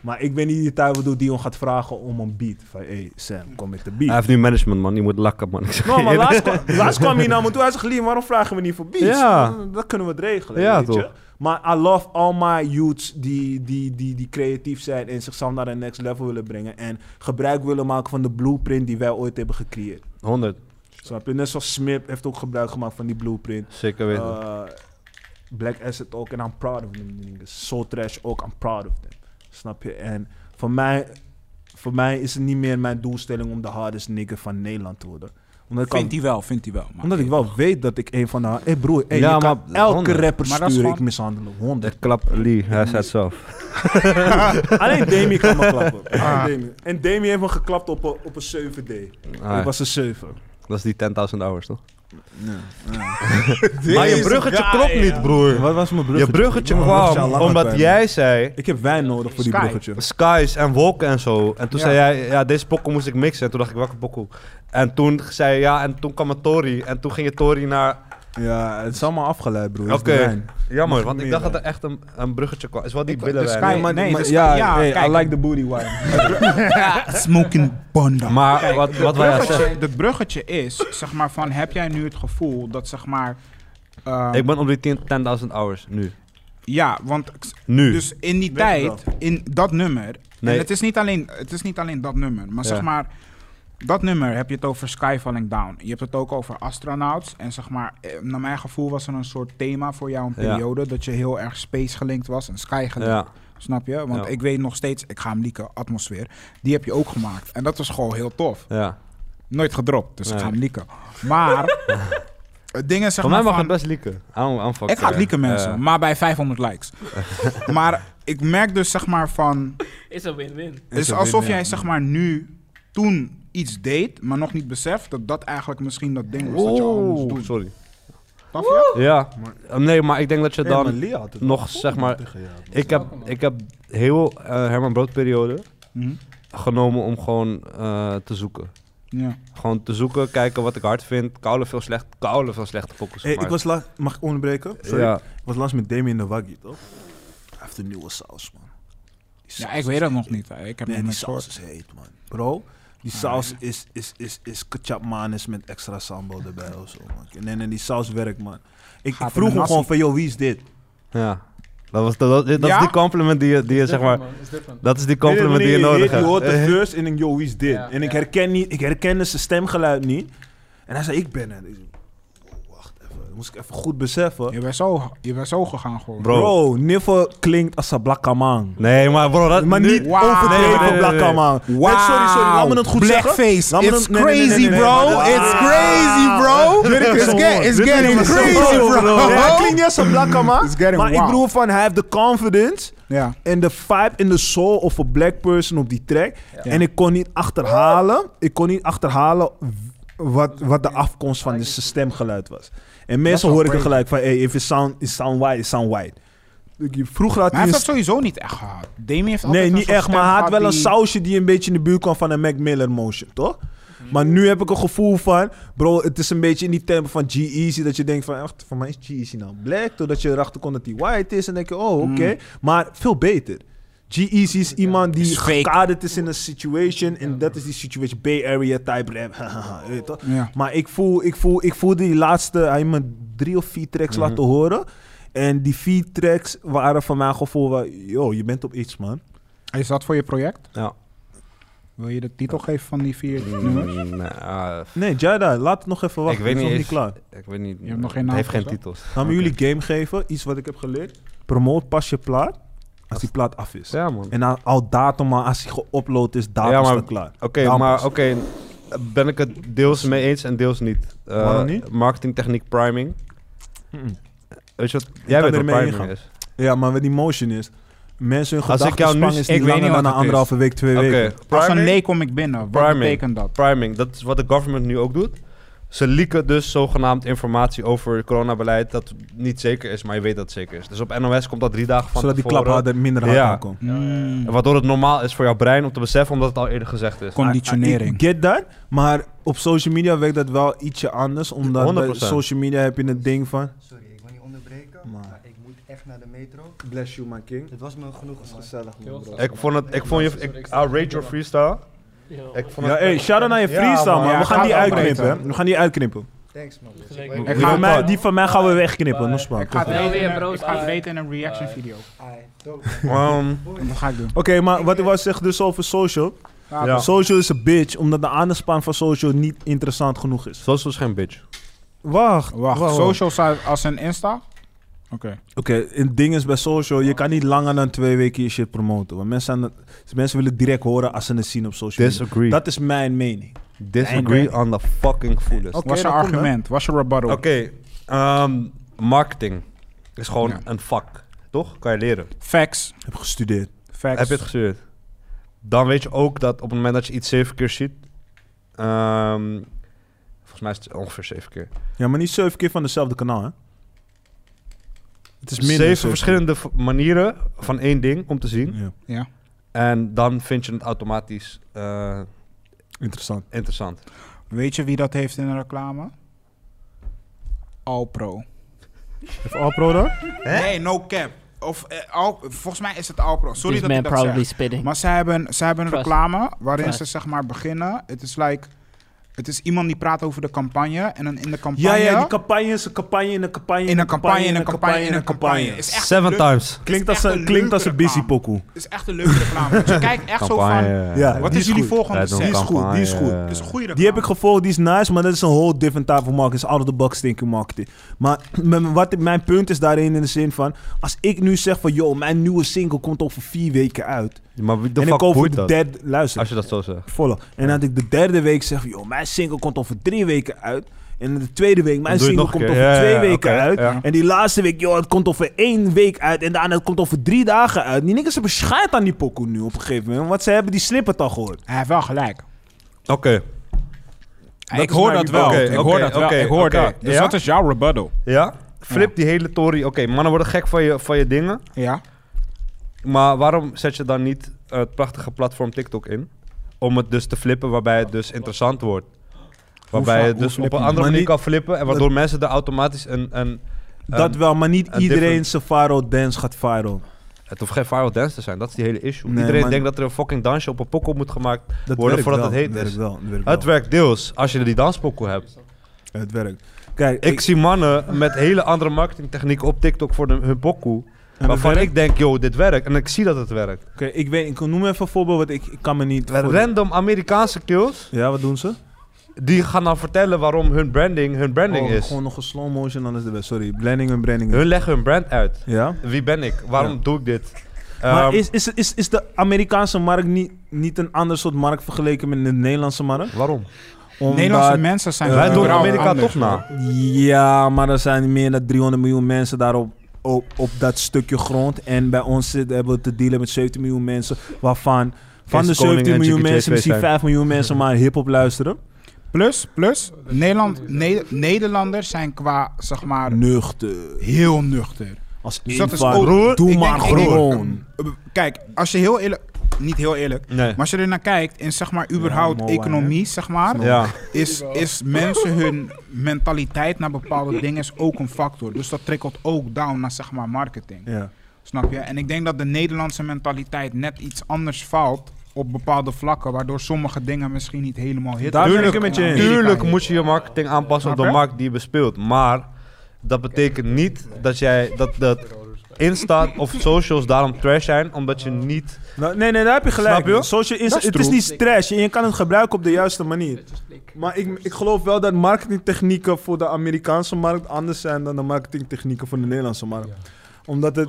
Speaker 6: Maar ik ben niet die tijd waardoor Dion gaat vragen om een beat. Van, hey Sam, kom met de beat.
Speaker 1: Hij heeft nu management, man. Die moet lakken, man. Ik zeg
Speaker 6: No, maar
Speaker 1: je.
Speaker 6: laatst kwam, laatst kwam hij naar me toe. Hij zegt, Liam, waarom vragen we niet voor beats?
Speaker 1: Ja.
Speaker 6: Dan- Dan kunnen we het regelen,
Speaker 1: Ja,
Speaker 6: weet je.
Speaker 1: toch.
Speaker 6: Maar I love all my youths die, die, die, die creatief zijn... en zichzelf naar een next level willen brengen... en gebruik willen maken van de blueprint die wij ooit hebben gecreëerd.
Speaker 1: 100.
Speaker 6: Snap je? Net zoals Smip heeft ook gebruik gemaakt van die blueprint.
Speaker 1: Zeker weten.
Speaker 6: Eh, Black Asset ook, en I'm proud of them niggas. Soul Trash ook, I'm proud of them. Snap je? En voor mij, voor mij is het niet meer mijn doelstelling om de hardest nigger van Nederland te worden. Omdat ik al-
Speaker 2: Vindt hij wel, vindt hij wel. maar-
Speaker 6: omdat ik wel weet dat ik een van de... Hé hey broer, hey,
Speaker 1: Ja,
Speaker 6: je kan
Speaker 1: maar
Speaker 6: elke
Speaker 1: honderd.
Speaker 6: rapper
Speaker 2: Maar dat is
Speaker 6: sturen, ik
Speaker 2: gewoon-
Speaker 6: mishandelen. 100.
Speaker 1: Dat klap Lee, hij zei het zelf.
Speaker 6: Alleen Demi kan me klappen. Alleen Demi. En Demi heeft me geklapt op een, op een 7D.
Speaker 1: Ah,
Speaker 6: Ik was een 7.
Speaker 1: Dat is die 10.000 hours, toch? maar je bruggetje klopt niet, broer.
Speaker 6: Wat was mijn
Speaker 1: Je
Speaker 6: bruggetje?
Speaker 1: bruggetje
Speaker 6: Ik was al
Speaker 1: kwam
Speaker 6: lang aan
Speaker 1: omdat
Speaker 6: het
Speaker 1: jij zei...
Speaker 6: Ik heb wijn nodig voor die
Speaker 2: Sky.
Speaker 6: bruggetje.
Speaker 1: Skies en wolken en zo. En toen
Speaker 2: Ja.
Speaker 1: zei jij, ja, deze pokken moest ik mixen. En toen dacht ik, welke pokken? En toen zei je, ja, en toen kwam het Tori. En toen ging je Tori naar...
Speaker 6: Ja, het is allemaal afgeleid, broer.
Speaker 1: Oké,
Speaker 6: Het is de wijn.
Speaker 1: jammer,
Speaker 6: Mag
Speaker 1: want
Speaker 6: niet
Speaker 1: ik
Speaker 6: meer,
Speaker 1: dacht dat er echt een, een bruggetje kwam. Is wel die
Speaker 2: Ik-
Speaker 1: billen
Speaker 2: de
Speaker 1: wijn,
Speaker 2: Sky-
Speaker 1: hè?
Speaker 2: maar- nee,
Speaker 6: maar-
Speaker 2: dus-
Speaker 6: ja,
Speaker 2: ja,
Speaker 6: hey,
Speaker 2: kijk.
Speaker 6: I like the booty wine.
Speaker 2: Smoking Banda.
Speaker 1: Maar wat, wat wij al zeggen...
Speaker 2: bruggetje, de bruggetje is, zeg maar, van heb jij nu het gevoel dat, zeg maar... eh,
Speaker 1: Ik ben op die 10 10.000 hours, nu.
Speaker 2: Ja, want
Speaker 1: Nu.
Speaker 2: dus in die
Speaker 6: Weet ik
Speaker 2: tijd, in dat nummer...
Speaker 1: Nee.
Speaker 2: En het, is niet alleen, het is niet alleen dat nummer, maar
Speaker 1: Ja.
Speaker 2: zeg maar... Dat nummer heb je het over Sky Falling Down. Je hebt het ook over astronauts. En zeg maar, eh, naar mijn gevoel was er een soort thema voor jou een
Speaker 1: Ja.
Speaker 2: periode... dat je heel erg space gelinkt was en sky gelinkt.
Speaker 1: ja.
Speaker 2: Snap je? Want
Speaker 1: Ja.
Speaker 2: ik weet nog steeds, ik ga hem leaken, atmosfeer. Die heb je ook gemaakt. En dat was gewoon heel tof.
Speaker 1: Ja.
Speaker 2: Nooit gedropt, dus ik
Speaker 1: Nee.
Speaker 2: ga hem leaken. Maar het ding is zeg
Speaker 1: Voor mij
Speaker 2: maar
Speaker 1: mag
Speaker 2: van,
Speaker 1: het best lieken.
Speaker 2: ik ga het
Speaker 1: eh,
Speaker 2: leaken mensen,
Speaker 1: Ja.
Speaker 2: maar bij 500 likes. maar ik merk dus zeg maar van,
Speaker 4: Is een win-win.
Speaker 2: het is
Speaker 6: een
Speaker 2: alsof
Speaker 6: win-win,
Speaker 2: jij zeg maar nu toen iets deed, maar nog niet beseft dat dat eigenlijk misschien dat ding was dat je al moest
Speaker 1: Oeh,
Speaker 2: doen.
Speaker 1: sorry.
Speaker 2: Snap je?
Speaker 1: Ja, nee, maar ik denk dat je
Speaker 6: Hey, maar
Speaker 1: dan
Speaker 6: Lee had het
Speaker 1: nog, zeg maar... Ik heb, ik heb heel eh, Herman Brood periode
Speaker 2: Mhm.
Speaker 1: genomen om gewoon eh, te zoeken.
Speaker 2: Ja.
Speaker 1: Gewoon te zoeken, kijken wat ik hard vind. Koude veel slecht, koude veel slechte pokkels
Speaker 2: Eh,
Speaker 6: Hey, ik
Speaker 1: gemaakt.
Speaker 6: was laat, mag ik onderbreken? Sorry.
Speaker 1: Ja.
Speaker 6: Ik was laatst met Damien de Waggy, toch? Hij heeft een nieuwe saus, man. Die
Speaker 2: Ja,
Speaker 6: saus
Speaker 2: ik
Speaker 6: is
Speaker 2: weet dat nog
Speaker 6: heet.
Speaker 2: niet. hè. Ik heb
Speaker 6: Nee,
Speaker 2: nog niet
Speaker 6: die saus
Speaker 2: gehoord.
Speaker 6: is heet, man. Bro, die saus is, is, is, is kachapmanis met extra sambal erbij of zo, man. Nee, nee, die saus werkt, man. Ik
Speaker 2: Gaat
Speaker 6: vroeg
Speaker 2: in de
Speaker 6: hem gewoon
Speaker 2: nasi.
Speaker 6: van, joh, wie is dit?
Speaker 1: Ja. Dat, was, dat, dat
Speaker 2: Ja?
Speaker 1: is die compliment die je, die je zeg maar... Dat is die compliment
Speaker 6: Nee,
Speaker 1: die je
Speaker 6: nee, nee,
Speaker 1: nodig
Speaker 6: Je
Speaker 1: hebt.
Speaker 6: hoort de
Speaker 1: Eh,
Speaker 6: verse en ik, joh, wie is dit?
Speaker 5: Ja,
Speaker 6: en ik,
Speaker 5: ja.
Speaker 6: herken niet, ik herkende zijn stemgeluid niet. En hij zei, ik ben het. Ik zei, wow, wacht even, dat moest ik even goed beseffen.
Speaker 2: Je bent zo, je bent zo gegaan gewoon.
Speaker 1: Bro.
Speaker 6: Bro, Niffel klinkt als een blakke man.
Speaker 1: Nee, maar bro, dat...
Speaker 6: Maar
Speaker 1: nu-
Speaker 6: niet
Speaker 2: Wauw.
Speaker 1: Nee, nee,
Speaker 6: overdreven
Speaker 1: nee,
Speaker 6: blakke
Speaker 1: nee.
Speaker 6: man. Nee, sorry, sorry, laat me het goed zeggen.
Speaker 2: Blackface.
Speaker 6: Laat me
Speaker 2: It's
Speaker 6: dat- nee, nee, nee, nee,
Speaker 2: crazy,
Speaker 6: nee, nee,
Speaker 2: bro.
Speaker 6: nee, nee.
Speaker 2: It's crazy, bro. It's, get- it's getting crazy, bro.
Speaker 6: Nee, hij klinkt niet als een blakke man.
Speaker 2: It's getting
Speaker 6: Maar ik
Speaker 2: wild.
Speaker 6: bedoel van, hij heeft de confidence
Speaker 2: Ja.
Speaker 6: en de vibe en de soul of a black person op die track. En ik kon niet achterhalen, ik kon niet achterhalen wat, wat de afkomst van zijn stemgeluid was. En meestal
Speaker 2: wel
Speaker 6: hoor ik het
Speaker 2: crazy.
Speaker 6: gelijk van, hey, if it sound, it sound white, it sound white. Ik- Vroeger had
Speaker 2: Maar
Speaker 6: hij
Speaker 2: hij
Speaker 6: een
Speaker 2: heeft dat sowieso niet echt gehad. Demi heeft altijd
Speaker 6: Nee,
Speaker 2: een
Speaker 6: niet
Speaker 2: soort
Speaker 6: echt,
Speaker 2: stem
Speaker 6: maar hij had
Speaker 2: gehad
Speaker 6: wel een
Speaker 2: die-
Speaker 6: sausje die een beetje in de buurt kwam van een Mac Miller motion, toch?
Speaker 2: Mhm.
Speaker 6: Maar nu heb ik een gevoel van, bro, het is een beetje in die tempo van G-Eazy. Dat je denkt van, echt, van mij is G-Eazy nou black. Doordat je erachter komt dat hij white is. En denk je, oh, oké. Maar veel beter. G-Eazy is iemand die
Speaker 2: Mm. Is fake.
Speaker 6: gekaderd is in een situation. En dat is die situation, Bay Area type rap. haha, weet je toch?
Speaker 2: Ja.
Speaker 6: Maar ik voel, ik voel, ik voel die laatste, hij heeft me drie of vier tracks
Speaker 2: Mhm.
Speaker 6: laten horen. En die vier tracks waren van mijn gevoel van, yo, je bent op iets, man.
Speaker 2: Is dat voor je project?
Speaker 1: Ja.
Speaker 2: Wil je de titel geven van die vier nummers?
Speaker 1: Nee, ah,
Speaker 6: Nee, Jada, laat het nog even wachten.
Speaker 1: Ik weet
Speaker 6: het
Speaker 1: niet
Speaker 6: is nog niet
Speaker 1: eens-
Speaker 6: klaar.
Speaker 1: ik weet niet.
Speaker 2: Je hebt nog geen
Speaker 1: het
Speaker 2: naam
Speaker 1: heeft geen
Speaker 2: gezegd?
Speaker 1: titels.
Speaker 6: Gaan we jullie game geven, iets wat ik heb geleerd. Promote pas je plaat als die plaat af is.
Speaker 1: Ja, man.
Speaker 6: En dan al datum, maar als die geüpload is, datum
Speaker 1: Ja, maar-
Speaker 6: staat klaar.
Speaker 1: Oké,
Speaker 6: Daarom
Speaker 1: maar
Speaker 6: pas.
Speaker 1: oké. ben ik het deels mee eens en deels niet. Eh,
Speaker 6: Waarom niet?
Speaker 1: Marketingtechniek priming.
Speaker 6: Mm-mm.
Speaker 1: Weet je wat? Jij weet
Speaker 6: er
Speaker 1: wat
Speaker 6: mee
Speaker 1: priming
Speaker 6: ingaan.
Speaker 1: is.
Speaker 6: Ja, maar wat die motion is. Mensen hun
Speaker 1: Als ik
Speaker 6: gedachten
Speaker 1: jou nu-
Speaker 6: spangen is
Speaker 1: ik
Speaker 6: niet
Speaker 1: weet
Speaker 6: langer
Speaker 1: niet
Speaker 6: dan
Speaker 1: wat
Speaker 6: een
Speaker 1: het is.
Speaker 6: anderhalve week, twee
Speaker 1: Oké,
Speaker 6: weken.
Speaker 2: Als een
Speaker 1: priming-
Speaker 2: nee kom ik binnen. Wat
Speaker 1: Priming.
Speaker 2: betekent dat?
Speaker 1: Priming, dat is wat de government nu ook doet. Ze leaken dus zogenaamd informatie over coronabeleid dat niet zeker is, maar je weet dat het zeker is. Dus op NOS komt dat drie dagen van
Speaker 6: Zodat die klap
Speaker 1: tevoren.
Speaker 6: harder, minder hard
Speaker 1: Ja.
Speaker 6: aankomt.
Speaker 2: Mm.
Speaker 1: Waardoor het normaal is voor jouw brein om te beseffen, omdat het al eerder gezegd is.
Speaker 2: Conditionering.
Speaker 6: Ik get that, maar op social media werkt dat wel ietsje anders. Omdat bij
Speaker 1: 100%.
Speaker 6: social media heb je het ding van...
Speaker 3: Sorry, ik wil niet onderbreken,
Speaker 6: Maar-
Speaker 3: maar, ik moet echt naar de metro.
Speaker 6: Bless you, my king.
Speaker 3: Het was me genoeg. man.
Speaker 1: Ik vond het, ik vond je, ik, I rate your freestyle. Ik vond
Speaker 6: Ja,
Speaker 1: het,
Speaker 6: hey, shout-out naar je
Speaker 1: Ja,
Speaker 6: freestyle,
Speaker 1: man.
Speaker 6: man.
Speaker 2: Ja,
Speaker 6: We gaan die
Speaker 2: gaat wel
Speaker 6: uitknippen.
Speaker 2: beter.
Speaker 6: hè. We gaan die uitknippen.
Speaker 3: Thanks man.
Speaker 2: Ik
Speaker 6: Die
Speaker 2: ga
Speaker 6: van, mij,
Speaker 2: het-
Speaker 6: die van mij gaan we wegknippen, Noesman.
Speaker 2: Eh, Ik ga het
Speaker 4: Wel
Speaker 2: weten
Speaker 4: weer,
Speaker 2: in een-
Speaker 4: bro.
Speaker 2: ik ga het weten in een reaction video.
Speaker 3: Ai, dope.
Speaker 1: Ehm,
Speaker 2: En Dat ga ik doen.
Speaker 6: Oké, maar wat ik was zeggen dus over social.
Speaker 2: Ja.
Speaker 1: Ja.
Speaker 6: Social is een bitch, omdat de aandachtspan van social niet interessant genoeg is.
Speaker 1: social is geen bitch.
Speaker 6: Wacht,
Speaker 2: Wacht, social site als een Insta? Oké.
Speaker 6: Oké, het ding is bij social, je kan niet langer dan twee weken je shit promoten. Want mensen, zijn, mensen willen direct horen als ze het zien op social media.
Speaker 1: Disagree.
Speaker 6: Dat is mijn mening.
Speaker 1: Disagree on the fucking fullest.
Speaker 6: Oké,
Speaker 2: Wat is je
Speaker 6: dan kom, hè.
Speaker 2: argument? Wat is je rebuttal?
Speaker 1: Oké, ehm, marketing is gewoon
Speaker 2: Ja.
Speaker 1: een vak, toch? Kan je leren.
Speaker 2: Facts.
Speaker 6: Ik heb gestudeerd.
Speaker 2: Facts.
Speaker 1: Heb je het gestuurd? Dan weet je ook dat op het moment dat je iets zeven keer ziet, ehm, volgens mij is het ongeveer zeven keer.
Speaker 6: Ja, maar niet zeven keer van dezelfde kanaal, hè? Het is minder.
Speaker 1: zeven
Speaker 6: dan
Speaker 1: verschillende v- manieren van één ding om te zien.
Speaker 6: Ja,
Speaker 1: En dan vind je het automatisch eh,
Speaker 6: interessant.
Speaker 1: interessant.
Speaker 2: Weet je wie dat heeft in de reclame? Alpro.
Speaker 6: Even Alpro dan?
Speaker 2: Nee, no cap. Of, eh, Al- volgens mij is het Alpro. Sorry
Speaker 4: This
Speaker 2: dat ik
Speaker 4: man
Speaker 2: dat
Speaker 4: probably
Speaker 2: zeg.
Speaker 4: spitting.
Speaker 2: Maar zij hebben, zij hebben een
Speaker 4: Trust.
Speaker 2: reclame waarin
Speaker 4: Trust.
Speaker 2: ze zeg maar beginnen. Het is like... Het is iemand die praat over de campagne. En dan in de campagne...
Speaker 6: Ja, ja, die campagne is een campagne in een campagne
Speaker 2: in een campagne, in een campagne, in een campagne. Is echt
Speaker 1: Seven
Speaker 2: een leuk-
Speaker 1: times.
Speaker 6: Klinkt
Speaker 2: Is
Speaker 6: als
Speaker 2: echt
Speaker 6: een,
Speaker 2: een
Speaker 6: klinkt als een
Speaker 2: leuke
Speaker 6: busy
Speaker 2: reclame.
Speaker 6: pokoe.
Speaker 2: is echt een leuke reclame. Want je kijkt echt zo van...
Speaker 6: Ja,
Speaker 2: Wat
Speaker 6: die
Speaker 2: is jullie
Speaker 6: goed.
Speaker 2: volgende set?
Speaker 6: Die is goed, die is goed.
Speaker 2: Het is een goede reclame.
Speaker 6: Die heb ik gevolgd, die is nice, maar dat is een whole different type van marketing. is out of the box thinking marketing. Maar m- wat, mijn punt is daarin in de zin van... Als ik nu zeg van, joh, mijn nieuwe single komt over vier weken uit.
Speaker 1: Maar wie de
Speaker 6: en ik
Speaker 1: fuck
Speaker 6: over
Speaker 1: boeit
Speaker 6: de
Speaker 1: dat?
Speaker 6: derde... Luister,
Speaker 1: Als je dat zo zegt.
Speaker 6: follow. En dat ik de derde week zeg van, joh, mijn single komt over drie weken uit. En de tweede week, mijn
Speaker 1: doe je het
Speaker 6: single
Speaker 1: nog een
Speaker 6: komt over
Speaker 1: keer. Ja,
Speaker 6: twee
Speaker 1: ja, ja,
Speaker 6: weken
Speaker 1: oké,
Speaker 6: uit.
Speaker 1: ja.
Speaker 6: En die laatste week, joh, het komt over één week uit. En daarna het komt over drie dagen uit. Die niks hebben schijt aan die pokoe nu op een gegeven moment. Want ze hebben die snippet al gehoord.
Speaker 2: Hij heeft wel gelijk.
Speaker 1: Oké.
Speaker 2: ik hoor dat wel.
Speaker 1: Oké,
Speaker 2: ik
Speaker 1: oké,
Speaker 2: hoor dat wel.
Speaker 1: oké,
Speaker 2: ik hoor
Speaker 1: oké.
Speaker 2: dat. Dus
Speaker 1: Ja?
Speaker 2: wat is jouw rebuttal?
Speaker 1: Ja? Flip die hele tory. Oké, mannen worden gek van je, van je dingen.
Speaker 2: Ja.
Speaker 1: Maar waarom zet je dan niet het prachtige platform TikTok in? om het dus te flippen, waarbij het dus interessant wordt.
Speaker 2: vaak-
Speaker 1: Waarbij je
Speaker 2: hoe
Speaker 1: dus op
Speaker 2: flip
Speaker 1: een
Speaker 2: je?
Speaker 1: andere
Speaker 6: Maar
Speaker 1: manier
Speaker 6: niet-
Speaker 1: kan flippen en waardoor mensen er automatisch een... een
Speaker 6: Dat
Speaker 1: een-
Speaker 6: wel, maar niet
Speaker 1: een
Speaker 6: iedereen
Speaker 1: different-
Speaker 6: zijn viral dance gaat viral.
Speaker 1: Het hoeft geen viral dance te zijn, dat is die hele issue.
Speaker 6: Nee,
Speaker 1: Iedereen
Speaker 6: maar-
Speaker 1: denkt dat er een fucking dansje op een pokkel moet gemaakt
Speaker 6: Dat
Speaker 1: worden
Speaker 6: werkt
Speaker 1: voordat
Speaker 6: wel,
Speaker 1: het heet
Speaker 6: werkt
Speaker 1: is.
Speaker 6: wel, het werkt
Speaker 1: Het
Speaker 6: wel.
Speaker 1: werkt deels als je die danspokkel hebt.
Speaker 6: Het werkt. Kijk,
Speaker 1: Ik zie mannen met hele andere marketingtechnieken op TikTok voor de- hun pokkel.
Speaker 6: het
Speaker 1: Waarvan
Speaker 6: werkt?
Speaker 1: ik denk, yo, dit werkt. En ik zie dat het werkt.
Speaker 6: oké, ik weet, ik noem even een voorbeeld, want ik, ik kan me niet. voor-
Speaker 1: Random Amerikaanse kills,
Speaker 6: Ja, wat doen ze?
Speaker 1: die gaan dan vertellen waarom hun branding hun branding
Speaker 6: Oh,
Speaker 1: is.
Speaker 6: Gewoon nog een slow motion, dan is de best. Sorry, blending en branding.
Speaker 1: Hun leggen hun brand uit.
Speaker 6: Ja.
Speaker 1: Wie ben ik? Waarom doe ik dit?
Speaker 6: maar
Speaker 1: Ehm,
Speaker 6: is, is, is, is de Amerikaanse markt niet, niet een ander soort markt vergeleken met de Nederlandse markt?
Speaker 1: Waarom?
Speaker 6: Omdat-
Speaker 2: Nederlandse mensen
Speaker 6: Eh,
Speaker 2: zijn
Speaker 1: Wij doen
Speaker 2: overal
Speaker 1: Amerika
Speaker 2: anders,
Speaker 1: toch na.
Speaker 2: hoor.
Speaker 6: Ja, maar er zijn meer dan 300 miljoen mensen daarop. Op, op dat stukje grond. En bij ons zit, hebben we te dealen met 17 miljoen mensen. Waarvan van
Speaker 1: Kees
Speaker 6: de
Speaker 1: Koning
Speaker 6: 17
Speaker 1: en
Speaker 6: miljoen
Speaker 1: GK2
Speaker 6: mensen misschien
Speaker 1: zijn.
Speaker 6: 5 miljoen mensen maar hip-hop luisteren.
Speaker 2: Plus, plus Nederland, Ne- Nederlanders zijn qua, zeg maar,
Speaker 6: Nuchter.
Speaker 2: heel nuchter.
Speaker 6: Als
Speaker 2: Dus dat is
Speaker 6: inval.
Speaker 2: ook-
Speaker 6: Doe
Speaker 2: ik
Speaker 6: maar
Speaker 2: denk- ik denk-
Speaker 6: gewoon.
Speaker 2: Kijk, als je heel eerlijk... Niet heel eerlijk.
Speaker 1: Nee.
Speaker 2: Maar als je er naar kijkt, in zeg maar überhaupt
Speaker 6: mooi,
Speaker 2: economie, zeg maar,
Speaker 1: Ja.
Speaker 2: is, is mensen hun mentaliteit naar bepaalde dingen is ook een factor. Dus dat trickelt ook down naar zeg maar marketing.
Speaker 6: Ja.
Speaker 2: Snap je? En ik denk dat de Nederlandse mentaliteit net iets anders valt op bepaalde vlakken, waardoor sommige dingen misschien niet helemaal hit.
Speaker 6: Daar ben ik
Speaker 2: worden.
Speaker 6: het met je eens.
Speaker 2: Amerika
Speaker 1: Tuurlijk
Speaker 2: hit.
Speaker 1: moet je je marketing aanpassen op de
Speaker 2: Snap je?
Speaker 1: markt die je bespeelt. Maar dat betekent niet dat jij dat, dat Insta of socials daarom trash zijn, omdat je niet.
Speaker 6: Nou, nee, nee, daar heb je gelijk.
Speaker 1: Snap je?
Speaker 6: Social is,
Speaker 1: Dat is
Speaker 6: het is
Speaker 1: true.
Speaker 6: niet trash en je kan het gebruiken op de juiste manier. Maar ik, ik geloof wel dat marketingtechnieken voor de Amerikaanse markt anders zijn dan de marketingtechnieken voor de Nederlandse markt. Omdat het.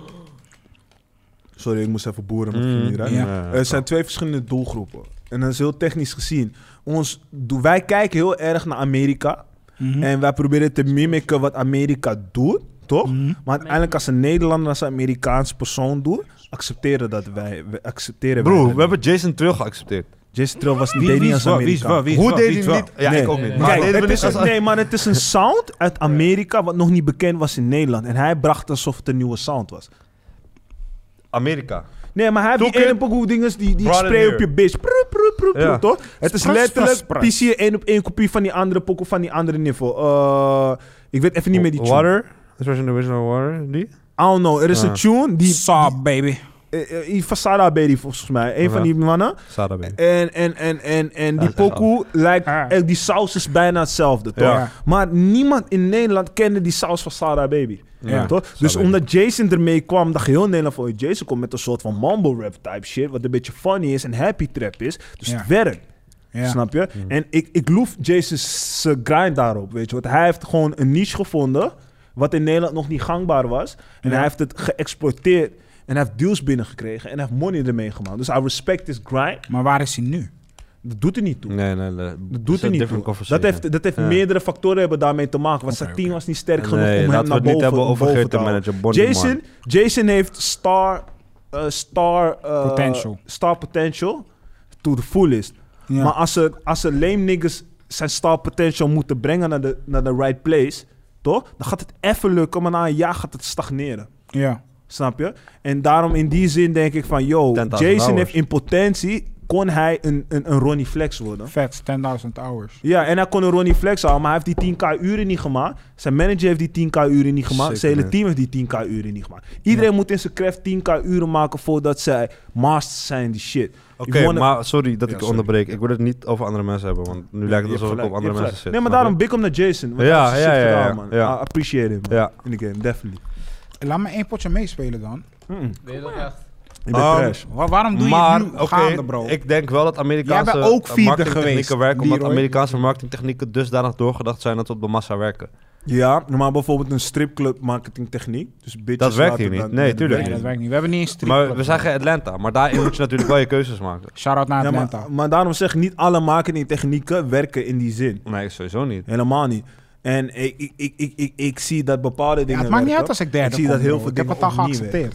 Speaker 6: Sorry, ik moest even boeren, maar het ging niet
Speaker 1: Mm,
Speaker 6: raar.
Speaker 2: Ja.
Speaker 1: nee.
Speaker 6: Er zijn twee verschillende doelgroepen. En dat is heel technisch gezien. Ons, do- wij kijken heel erg naar Amerika.
Speaker 1: Hm?
Speaker 2: Mhm.
Speaker 6: En wij proberen te mimiken wat Amerika doet, toch?
Speaker 1: Hm.
Speaker 2: Mhm.
Speaker 6: Maar uiteindelijk als een Nederlander, als een Amerikaanse persoon doet, accepteren dat wij, we accepteren wij
Speaker 1: Broer,
Speaker 6: dat
Speaker 1: we hebben Jason Trill geaccepteerd.
Speaker 6: Jason Trill was
Speaker 2: Wie-
Speaker 6: niet
Speaker 2: wie
Speaker 6: niet
Speaker 2: is
Speaker 6: als
Speaker 2: waar? Wie is waar?
Speaker 6: Amerikaan.
Speaker 2: Wie is
Speaker 1: Hoe
Speaker 2: waar?
Speaker 1: deed
Speaker 2: Wie is
Speaker 1: hij
Speaker 2: waar?
Speaker 1: het niet? Ja,
Speaker 6: Nee.
Speaker 1: ik ook niet. Maar
Speaker 6: Kijk,
Speaker 1: deden we
Speaker 6: het
Speaker 1: niet
Speaker 6: is een-
Speaker 1: als-
Speaker 6: nee, maar het is een sound uit Amerika wat nog niet bekend was in Nederland. En hij bracht alsof het een nieuwe sound was.
Speaker 1: Amerika.
Speaker 6: Nee, maar hij heeft
Speaker 1: Took
Speaker 6: die
Speaker 1: it,
Speaker 6: ene pokoe dinges die, die ik
Speaker 1: brought it
Speaker 6: spray op
Speaker 1: here.
Speaker 6: je bitch. Proe, proe, proe, proe,
Speaker 1: Ja.
Speaker 6: toch? Het is
Speaker 2: Spras,
Speaker 6: letterlijk
Speaker 2: spras, spras.
Speaker 6: PC één op één kopie van die andere pokoe van die andere niveau. Eh, ik weet even niet meer die tune.
Speaker 1: Water. Dat was in de original Water. Die?
Speaker 6: I don't know. Er is
Speaker 1: Ah.
Speaker 6: een tune die...
Speaker 2: Saab, baby.
Speaker 6: eh, eh, Fasada Baby volgens mij. Een van
Speaker 1: Ja.
Speaker 6: die mannen.
Speaker 1: Sada
Speaker 6: En, en, en, en, en die
Speaker 1: is echt
Speaker 6: pokoe lijkt...
Speaker 2: Ja.
Speaker 6: eh, Die saus is bijna hetzelfde, toch?
Speaker 1: Ja.
Speaker 6: Maar niemand in Nederland kende die saus van Sarah Baby.
Speaker 2: Ja.
Speaker 6: Toch? Dus
Speaker 1: Baby.
Speaker 6: omdat Jason ermee kwam, dacht heel Nederland van... "Oh, Jason komt met een soort van mumble rap type shit... wat een beetje funny is en happy trap is. Dus
Speaker 2: Ja.
Speaker 6: het werkt.
Speaker 2: Ja.
Speaker 6: Snap je?
Speaker 1: Mm.
Speaker 6: En ik, ik loof Jason's eh, grind daarop, weet je. Want hij heeft gewoon een niche gevonden... wat in Nederland nog niet gangbaar was. En
Speaker 2: Ja.
Speaker 6: hij heeft het geëxporteerd. En hij heeft deals binnengekregen. En hij heeft money ermee gemaakt. Dus I respect his grind.
Speaker 2: Maar waar is hij nu?
Speaker 6: Dat doet er niet toe.
Speaker 1: Nee, nee, nee.
Speaker 6: Dat doet er niet toe. Dat heeft, dat heeft
Speaker 1: Ja.
Speaker 6: meerdere factoren hebben daarmee te maken. Want Satine was niet sterk genoeg om hem naar
Speaker 1: laten we
Speaker 6: boven,
Speaker 1: het niet hebben over
Speaker 6: boven te
Speaker 1: Geert de
Speaker 6: houden.
Speaker 1: manager. Bonnie
Speaker 6: Jason, Jason heeft star, eh, star, eh,
Speaker 2: Potential.
Speaker 6: star potential to the fullest.
Speaker 2: Ja.
Speaker 6: Maar als ze, als ze lame niggas zijn star potential moeten brengen naar de, naar de right place, toch? Dan gaat het even lukken, maar na een jaar gaat het stagneren.
Speaker 2: ja.
Speaker 6: Snap je? En daarom in die zin denk ik van, yo,
Speaker 1: 10.000
Speaker 6: Jason
Speaker 1: hours.
Speaker 6: heeft in potentie, kon hij een, een, een Ronnie Flex worden.
Speaker 2: Vet, 10.000 hours.
Speaker 6: Ja, en hij kon een Ronnie Flex houden, maar hij heeft die 10k uren niet gemaakt. Zijn manager heeft die 10k uren niet
Speaker 1: Zeker
Speaker 6: gemaakt. zijn hele
Speaker 1: niet.
Speaker 6: team heeft die 10k uren niet gemaakt. Iedereen moet in zijn craft 10k uren maken voordat zij masters zijn, die shit.
Speaker 1: Oké,
Speaker 6: Ik wou-
Speaker 1: maar sorry dat
Speaker 6: Ja,
Speaker 1: ik je
Speaker 6: sorry.
Speaker 1: onderbreek. Ik wil het niet over andere mensen hebben, want nu lijkt
Speaker 6: Je
Speaker 1: het
Speaker 6: hebt
Speaker 1: alsof ik
Speaker 6: gelijk,
Speaker 1: op andere
Speaker 6: je hebt
Speaker 1: mensen
Speaker 6: gelijk.
Speaker 1: zit.
Speaker 6: Nee, maar daarom big om naar Jason. Want
Speaker 1: Ja,
Speaker 6: hij heeft zijn
Speaker 1: ja,
Speaker 6: shit
Speaker 1: ja, ja,
Speaker 6: gedaan, man.
Speaker 1: ja.
Speaker 6: I appreciate it, man.
Speaker 1: Ja.
Speaker 6: In de game, definitely.
Speaker 2: Laat me één potje meespelen dan.
Speaker 6: Mm-mm. Ehm,
Speaker 5: Ben je dat echt?
Speaker 6: Ik ben
Speaker 1: Um,
Speaker 6: trash.
Speaker 2: Wa- waarom doe
Speaker 1: Maar,
Speaker 2: je het nu
Speaker 1: oké,
Speaker 2: gaande, bro?
Speaker 1: ik denk wel dat Amerikaanse
Speaker 2: Jij bent ook vierde
Speaker 1: marketingtechnieken
Speaker 2: geweest,
Speaker 1: werken, omdat
Speaker 2: Leroy.
Speaker 1: Amerikaanse marketingtechnieken dusdanig doorgedacht zijn dat ze op de massa werken.
Speaker 6: Ja, maar bijvoorbeeld een stripclub marketingtechniek. Dus bitches
Speaker 1: Dat werkt
Speaker 6: laten
Speaker 1: hier niet.
Speaker 6: dan-
Speaker 1: Nee, tuurlijk
Speaker 2: nee, dat
Speaker 1: niet.
Speaker 2: werkt niet. We hebben niet eens strip.
Speaker 1: Maar we zijn geen Atlanta, maar daarin moet je natuurlijk wel je keuzes maken.
Speaker 2: Shout-out naar
Speaker 6: Ja,
Speaker 2: Atlanta.
Speaker 6: maar, maar daarom zeg ik, niet alle marketingtechnieken werken in die zin.
Speaker 1: Nee, sowieso niet.
Speaker 6: Helemaal niet. En ik, ik, ik, ik, ik, ik zie dat bepaalde
Speaker 2: Ja,
Speaker 6: dingen.
Speaker 2: het maakt niet uit
Speaker 6: werken.
Speaker 2: als ik derde
Speaker 6: Ik zie
Speaker 2: kom,
Speaker 6: dat heel
Speaker 2: bro.
Speaker 6: veel
Speaker 2: Ik heb
Speaker 6: dingen
Speaker 2: het al
Speaker 6: opnieuw
Speaker 2: geaccepteerd.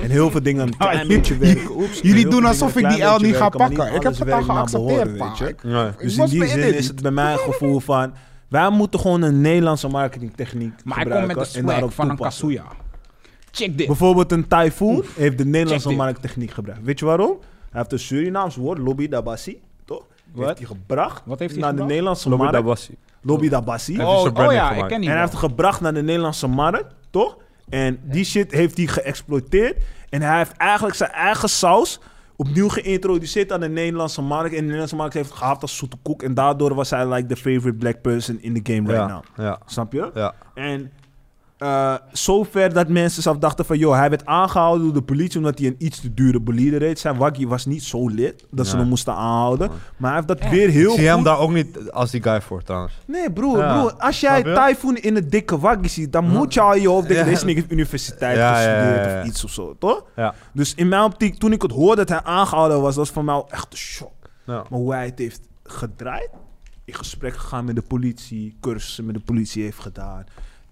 Speaker 6: En heel veel dingen een klein beetje werken. Oeps, en heel
Speaker 2: Jullie
Speaker 6: veel
Speaker 2: doen
Speaker 6: dingen
Speaker 2: alsof
Speaker 6: een
Speaker 2: ik die
Speaker 6: klein
Speaker 2: L niet
Speaker 6: beetje
Speaker 2: ga
Speaker 6: werken, maar
Speaker 2: pakken. Ik heb
Speaker 6: alles
Speaker 2: het al
Speaker 6: werkt naar
Speaker 2: geaccepteerd,
Speaker 6: behoren, weet
Speaker 2: pa.
Speaker 6: je.
Speaker 2: Ik-
Speaker 1: Nee.
Speaker 2: ik
Speaker 6: Dus in
Speaker 2: was
Speaker 6: die
Speaker 2: bij
Speaker 6: zin
Speaker 2: Edith.
Speaker 6: is het bij mij een gevoel van... Wij moeten gewoon een Nederlandse marketingtechniek
Speaker 2: Maar ik kom
Speaker 6: gebruiken.
Speaker 2: met de
Speaker 6: en daarop
Speaker 2: swag van een
Speaker 6: toepassen.
Speaker 2: Kasuya. Check dit.
Speaker 6: Bijvoorbeeld een Typhoon heeft de Nederlandse
Speaker 2: dit.
Speaker 6: markttechniek gebruikt. Weet je waarom? Hij heeft een Surinaams woord, lobby dabassi. Toch? Heeft hij gebracht
Speaker 2: Wat heeft hij
Speaker 6: naar de
Speaker 2: gebracht?
Speaker 6: Nederlandse
Speaker 1: Lobby
Speaker 6: markt.
Speaker 1: Dabassi.
Speaker 6: Lobby Dabassi.
Speaker 1: Hij
Speaker 6: En
Speaker 1: heeft
Speaker 2: Oh,
Speaker 1: zijn
Speaker 2: oh
Speaker 1: branding
Speaker 2: ja, ik
Speaker 1: gemaakt.
Speaker 2: ken die
Speaker 6: hij
Speaker 2: wel.
Speaker 6: heeft het gebracht naar de Nederlandse markt, toch? En die shit heeft hij geëxploiteerd. En hij heeft eigenlijk zijn eigen saus opnieuw geïntroduceerd aan de Nederlandse markt. En de Nederlandse markt heeft het gehaald als zoete koek. En daardoor was hij like the favorite black person in the game right
Speaker 1: ja,
Speaker 6: now.
Speaker 2: nou.
Speaker 1: ja,
Speaker 6: Snap je?
Speaker 1: ja.
Speaker 6: En eh, zover dat mensen zelf dachten van... joh, hij werd aangehouden door de politie... omdat hij een iets te dure bolide reed. Zijn waggie was niet zo lid dat ze
Speaker 1: Nee.
Speaker 6: hem moesten aanhouden. Maar hij heeft dat
Speaker 4: Ja.
Speaker 6: weer
Speaker 1: Ik
Speaker 6: heel
Speaker 1: zie hem
Speaker 6: goed...
Speaker 1: daar ook niet als die guy voor, trouwens.
Speaker 6: Nee, broer,
Speaker 1: Ja.
Speaker 6: broer. Als jij
Speaker 1: Snap je?
Speaker 6: Typhoon in een dikke waggie ziet... dan moet je al in je hoofd denken...
Speaker 1: Ja.
Speaker 6: deze nigga heeft universiteit
Speaker 1: Ja, ja, ja,
Speaker 6: gestudeerd
Speaker 1: ja.
Speaker 6: of iets of zo, toch?
Speaker 1: Ja.
Speaker 6: Dus in mijn optiek, toen ik het hoorde dat hij aangehouden was... was voor mij wel echt een shock.
Speaker 1: Ja.
Speaker 6: Maar hoe hij het heeft gedraaid, in gesprek gegaan met de politie, cursussen met de politie heeft gedaan.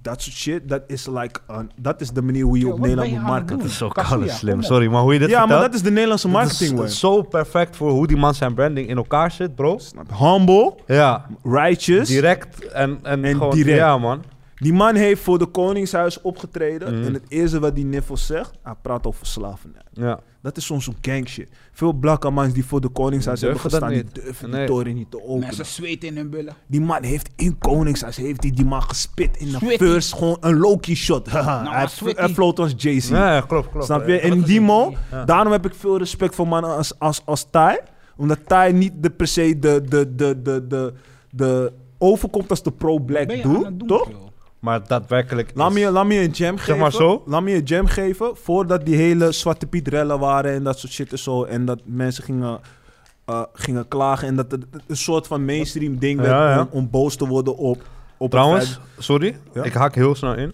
Speaker 6: Dat soort shit, dat is like een- dat is de manier hoe je
Speaker 2: Yo,
Speaker 6: op
Speaker 2: wat
Speaker 6: Nederland
Speaker 2: ben
Speaker 6: moet
Speaker 2: je aan het
Speaker 6: marketen.
Speaker 2: doen?
Speaker 1: Dat is zo
Speaker 2: Kasuya,
Speaker 1: koude
Speaker 2: kom
Speaker 1: slim.
Speaker 2: op.
Speaker 1: Sorry, maar hoe je dit
Speaker 6: Ja, maar
Speaker 1: vertelt...
Speaker 6: dat is de Nederlandse
Speaker 1: dat
Speaker 6: marketing
Speaker 1: is zo perfect voor hoe die man zijn branding in elkaar zit, bro.
Speaker 6: Snap je? Humble,
Speaker 1: Ja,
Speaker 6: righteous.
Speaker 1: direct en, en,
Speaker 6: Dus? En
Speaker 1: gewoon...
Speaker 6: direct.
Speaker 1: Ja, man.
Speaker 6: Die man heeft voor de Koningshuis opgetreden.
Speaker 1: Mhm.
Speaker 6: En het eerste wat die niffel zegt, hij praat over slavernij.
Speaker 1: Ja.
Speaker 6: Dat is soms een gang shit. Veel blakke mans die voor de Koningshuis
Speaker 1: Die
Speaker 6: hebben
Speaker 1: durven
Speaker 6: gestaan,
Speaker 1: dat
Speaker 6: die
Speaker 1: niet.
Speaker 6: durven
Speaker 1: Nee.
Speaker 6: die toren niet te openen.
Speaker 2: Mensen zweten in hun billen.
Speaker 6: Die man heeft in Koningshuis heeft die, die man gespit in de
Speaker 4: Switty.
Speaker 6: first. Gewoon een Loki shot. Haha,
Speaker 2: Nou, maar
Speaker 6: hij,
Speaker 2: Switty.
Speaker 6: hij floot als Jay-Z.
Speaker 1: Ja, ja, klopt, klopt.
Speaker 6: Snap je? En die mo, daarom heb ik veel respect voor mannen als, als, als Thai. Omdat Thai niet de, per se de, de, de, de, de, de overkomt als de pro-black
Speaker 2: Ben je aan het
Speaker 6: doet,
Speaker 2: doen,
Speaker 6: toch?
Speaker 2: joh?
Speaker 1: Maar daadwerkelijk
Speaker 6: Laat
Speaker 1: is-
Speaker 6: me, je- laat me je een jam geven.
Speaker 1: maar zo.
Speaker 6: Laat me je een jam geven. Voordat die hele Zwarte Piet rellen waren en dat soort shit en zo. En dat mensen gingen, eh, gingen klagen. En dat het het een soort van mainstream ding werd
Speaker 1: Ja, ja.
Speaker 6: Om, om boos te worden op... op
Speaker 1: Trouwens, sorry,
Speaker 6: Ja?
Speaker 1: ik haak heel snel in.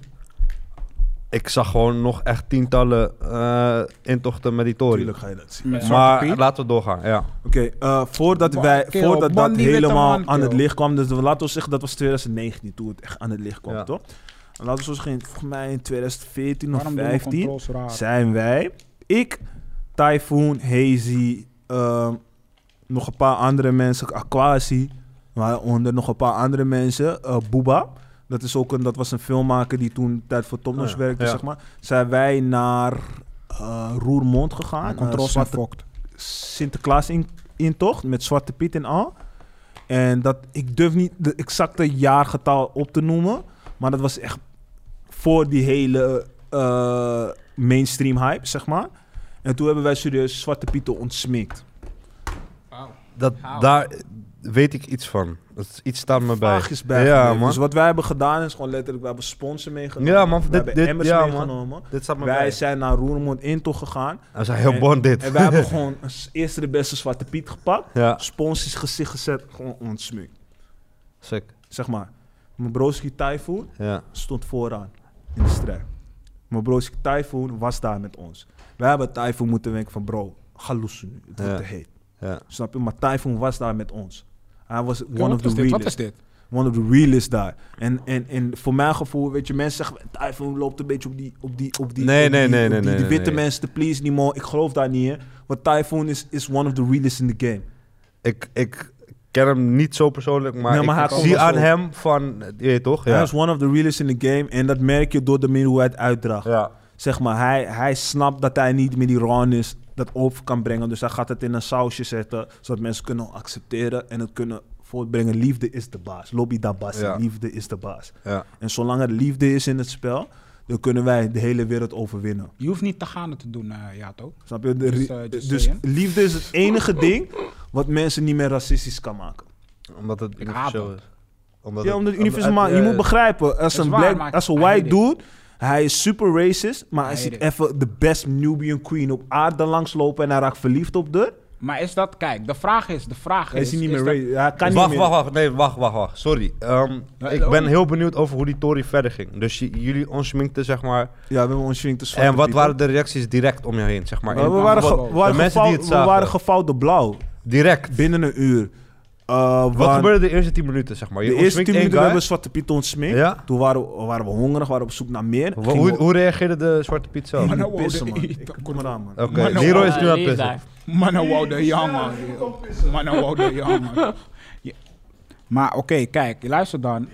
Speaker 1: Ik zag gewoon nog echt tientallen eh, intochten met die Tory.
Speaker 6: Natuurlijk ga je dat zien.
Speaker 2: Met Zwarte
Speaker 1: Maar
Speaker 2: Piet.
Speaker 1: laten we doorgaan, ja.
Speaker 6: Oké, eh, voordat,
Speaker 2: Man,
Speaker 6: wij,
Speaker 2: kill.
Speaker 6: voordat
Speaker 2: Man,
Speaker 6: dat
Speaker 2: die witte
Speaker 6: helemaal
Speaker 2: man,
Speaker 6: aan het
Speaker 2: kill.
Speaker 6: licht kwam, dus we- laten we zeggen dat was 2019 toen het echt aan het licht kwam,
Speaker 1: Ja.
Speaker 6: toch? En laten we zo zeggen, volgens mij in 2014 of
Speaker 2: Waarom doen we
Speaker 6: 15
Speaker 2: controls raar?
Speaker 6: zijn wij, ik, Typhoon, Hazy, ehm, nog een paar andere mensen, Aquasi, waaronder nog een paar andere mensen, eh Booba. Dat, is ook een, dat was een filmmaker die toen tijd voor Tom Noes
Speaker 1: Oh ja,
Speaker 6: werkte,
Speaker 1: ja.
Speaker 6: zeg maar. Zijn wij naar eh, Roermond gegaan.
Speaker 2: Controls
Speaker 6: eh,
Speaker 2: zijn
Speaker 6: Zwarte
Speaker 2: fokt.
Speaker 6: Sinterklaas in, intocht met Zwarte Piet en al. En dat, ik durf niet de exacte jaargetal op te noemen, maar dat was echt voor die hele eh, mainstream hype, zeg maar. En toen hebben wij serieus Zwarte Pieten ontsmikt.
Speaker 1: Dat,
Speaker 5: How?
Speaker 1: daar weet ik iets van. Dat is- iets staat me bij.
Speaker 6: Vaagjes bij.
Speaker 1: Ja, man.
Speaker 6: Dus wat wij hebben gedaan is gewoon letterlijk, we hebben sponsor meegenomen.
Speaker 1: Ja, man,
Speaker 6: We
Speaker 1: dit-
Speaker 6: hebben
Speaker 1: dit-
Speaker 6: emmers
Speaker 1: ja, man.
Speaker 6: meegenomen.
Speaker 1: Dit staat me
Speaker 6: Wij
Speaker 1: bij.
Speaker 6: zijn naar Roermond intocht gegaan.
Speaker 1: We zijn heel
Speaker 6: en-
Speaker 1: bon dit.
Speaker 6: En wij hebben gewoon als eerste de beste Zwarte Piet gepakt.
Speaker 1: ja,
Speaker 6: Sponsors gezicht gezet, gewoon ontsmikt.
Speaker 1: sick.
Speaker 6: Zeg maar, mijn broski Typhoon
Speaker 1: Ja.
Speaker 6: stond vooraan in de strijd. Mijn broodje Typhoon was daar met ons. Wij hebben Typhoon moeten denken van bro, ga loessen nu. Het wordt
Speaker 1: Ja.
Speaker 6: te heet.
Speaker 1: Ja.
Speaker 6: Snap je? Maar Typhoon was daar met ons. Hij was one
Speaker 2: Wat
Speaker 6: of the
Speaker 2: is dit? Wat is
Speaker 6: realest.
Speaker 2: dit?
Speaker 6: One of the realest daar. En, en, en voor mijn gevoel, weet je, mensen zeggen... Typhoon loopt een beetje op die... Op die, op die
Speaker 1: Nee,
Speaker 6: op
Speaker 1: nee,
Speaker 6: die-
Speaker 1: nee,
Speaker 6: op
Speaker 1: nee,
Speaker 6: die-
Speaker 1: nee,
Speaker 6: Die
Speaker 1: nee,
Speaker 6: witte
Speaker 1: nee.
Speaker 6: mensen te please niet more. Ik geloof daar niet in. Want Typhoon is, is one of the realest in the game.
Speaker 1: Ik, ik ken hem niet zo persoonlijk, maar,
Speaker 6: Nee, maar hij
Speaker 1: ik
Speaker 6: komt
Speaker 1: zie
Speaker 6: wel
Speaker 1: aan
Speaker 6: zo.
Speaker 1: hem van... Je weet toch?
Speaker 6: Hij
Speaker 1: Ja.
Speaker 6: is one of the realest in the game. En dat merk je door de manier hoe hij het uitdraagt.
Speaker 1: ja.
Speaker 6: zeg maar, hij, hij snapt dat hij niet meer die rawness dat over kan brengen. Dus hij gaat het in een sausje zetten, zodat mensen kunnen accepteren en het kunnen voortbrengen. Liefde is de baas. Lobby da baas.
Speaker 1: Ja.
Speaker 6: Liefde is de baas.
Speaker 1: Ja.
Speaker 6: En zolang er liefde is in het spel, dan kunnen wij de hele wereld overwinnen.
Speaker 2: Je hoeft niet te gaan het te doen, eh, Jato.
Speaker 6: Snap je? De-
Speaker 2: Dus, eh, just
Speaker 6: dus
Speaker 2: saying.
Speaker 6: liefde is het enige ding wat mensen niet meer racistisch kan maken.
Speaker 1: Omdat het
Speaker 2: Ik haat
Speaker 1: universeel
Speaker 2: hem.
Speaker 1: is. Omdat
Speaker 6: Ja,
Speaker 1: het- eh,
Speaker 6: omdat het universum
Speaker 1: omdat-
Speaker 6: maar je
Speaker 1: ja,
Speaker 6: moet begrijpen, als
Speaker 2: Het
Speaker 6: een
Speaker 2: is waar,
Speaker 6: black,
Speaker 2: maar
Speaker 6: als een
Speaker 2: I
Speaker 6: white
Speaker 2: hate it.
Speaker 6: dude, hij is super racist, maar hij
Speaker 2: I
Speaker 6: ziet
Speaker 2: hate it.
Speaker 6: even de best Nubian queen op aarde langslopen en hij raakt verliefd op de.
Speaker 2: Maar is dat, kijk, de vraag is, de vraag
Speaker 6: Hij
Speaker 2: is...
Speaker 6: is niet meer
Speaker 2: dat-
Speaker 6: racist. Hij kan
Speaker 1: wacht,
Speaker 6: niet meer.
Speaker 1: wacht, wacht. Nee, wacht, wacht, wacht. Sorry. Ehm,
Speaker 2: Ja, oh.
Speaker 1: ik
Speaker 2: hello.
Speaker 1: ben heel benieuwd over hoe die Tory verder ging. Dus j- jullie onsminkten, zeg maar.
Speaker 6: Ja, we hebben ons te
Speaker 1: en wat waren de reacties direct om jou heen, zeg maar?
Speaker 6: we,
Speaker 1: In-
Speaker 6: waren ge-
Speaker 1: wat-
Speaker 6: we waren
Speaker 1: de mensen die
Speaker 6: gevouw-
Speaker 1: het
Speaker 6: we
Speaker 1: zagen.
Speaker 6: waren gevouwd op blauw
Speaker 1: direct.
Speaker 6: binnen een uur. Eh,
Speaker 1: Wat
Speaker 6: want
Speaker 1: gebeurde de eerste 10 minuten, zeg maar? Je
Speaker 6: De eerste 10
Speaker 1: ontsminkt één
Speaker 6: minuten hebben we
Speaker 1: guy.
Speaker 6: Zwarte Piet ontsmeekt.
Speaker 1: Ja.
Speaker 6: Toen waren we, waren we hongerig, waren we op zoek naar meer.
Speaker 1: Wa-
Speaker 6: Gingen
Speaker 1: Hoe,
Speaker 6: we-
Speaker 1: hoe reageerde de Zwarte Piet zelf?
Speaker 2: Maar
Speaker 1: Oké,
Speaker 2: nou, wou
Speaker 6: Pissen,
Speaker 2: de-
Speaker 6: man. Ik- Kom eraan, man.
Speaker 2: Mano-
Speaker 1: Leroy is
Speaker 4: Eh,
Speaker 1: nu aan
Speaker 4: die
Speaker 1: het
Speaker 4: is
Speaker 1: pissen.
Speaker 4: daar.
Speaker 2: Mannen wou de jammer. Mannen wou de jammer. Ja. Maar oké, kijk, luister dan.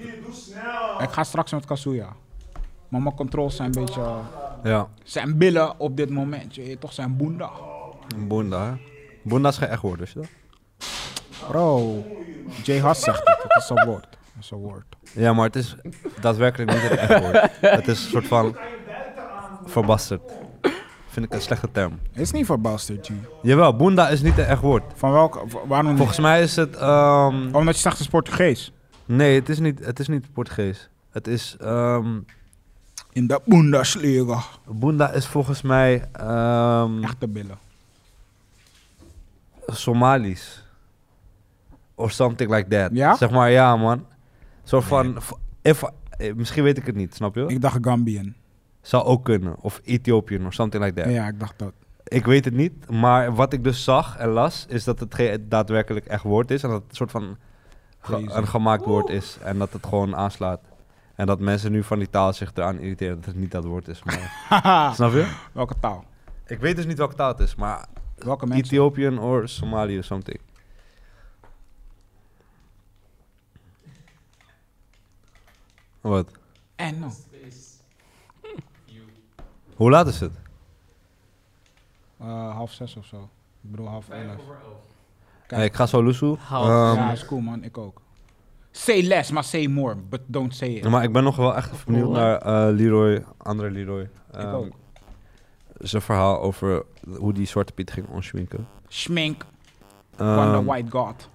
Speaker 2: Ik ga straks met Kasuya. Maar mijn controls zijn een beetje... eh,
Speaker 1: Ja,
Speaker 2: Zijn billen op dit moment, je weet toch, zijn boenda.
Speaker 1: Boenda. hè? Boenda is geen echt woord, dus dat?
Speaker 2: Bro, Jay Haas zegt het. Het is een woord. Het is een woord.
Speaker 1: Ja, maar het is daadwerkelijk niet het echt woord. Het is een soort van verbasterd. Vind ik een slechte term.
Speaker 2: Het is niet voor bastard, G.
Speaker 1: Jawel, boenda is niet een echt woord.
Speaker 2: Van welke, wa- waarom niet?
Speaker 1: Volgens mij is het... ehm,
Speaker 2: Omdat je zegt het is Portugees.
Speaker 1: nee, het is, niet, het is niet Portugees. Het is... ehm
Speaker 2: In de Bundesliga.
Speaker 1: boenda is volgens mij ehm
Speaker 2: Echte billen.
Speaker 1: Somalisch. Of something like that.
Speaker 2: Ja?
Speaker 1: Zeg maar, ja man. Zo van... v- if- eh, misschien weet ik het niet, snap je?
Speaker 2: Ik dacht Gambian.
Speaker 1: Zou ook kunnen. Of Ethiopië of something like that.
Speaker 2: Ja. ik dacht dat.
Speaker 1: Ik weet het niet, maar wat ik dus zag en las, is dat het geen daadwerkelijk echt woord is. En dat het een soort van ge-
Speaker 2: Crazy.
Speaker 1: een gemaakt woord is. En dat het gewoon aanslaat. En dat mensen nu van die taal zich eraan irriteren dat het niet dat woord is. Maar,
Speaker 2: Haha.
Speaker 1: snap je?
Speaker 2: welke taal?
Speaker 1: Ik weet dus niet welke taal het is, maar
Speaker 2: Welke mensen?
Speaker 1: Ethiopian of Somali of something. Wat?
Speaker 2: En nou.
Speaker 1: Hoe laat is het?
Speaker 2: Eh, half zes of zo. Ik bedoel half elf. Kijk.
Speaker 1: Eh, ik ga zo Lusu.
Speaker 4: Half.
Speaker 1: Ehm,
Speaker 2: ja, is cool man, ik ook. Say less, maar say more, but don't say it.
Speaker 1: maar ik ben nog wel echt benieuwd naar eh, Leroy, andere Leroy.
Speaker 2: ik
Speaker 1: Ehm,
Speaker 2: ook.
Speaker 1: zijn verhaal over hoe die Zwarte Piet ging onschminken.
Speaker 2: Schmink van de
Speaker 1: Ehm,
Speaker 2: white god.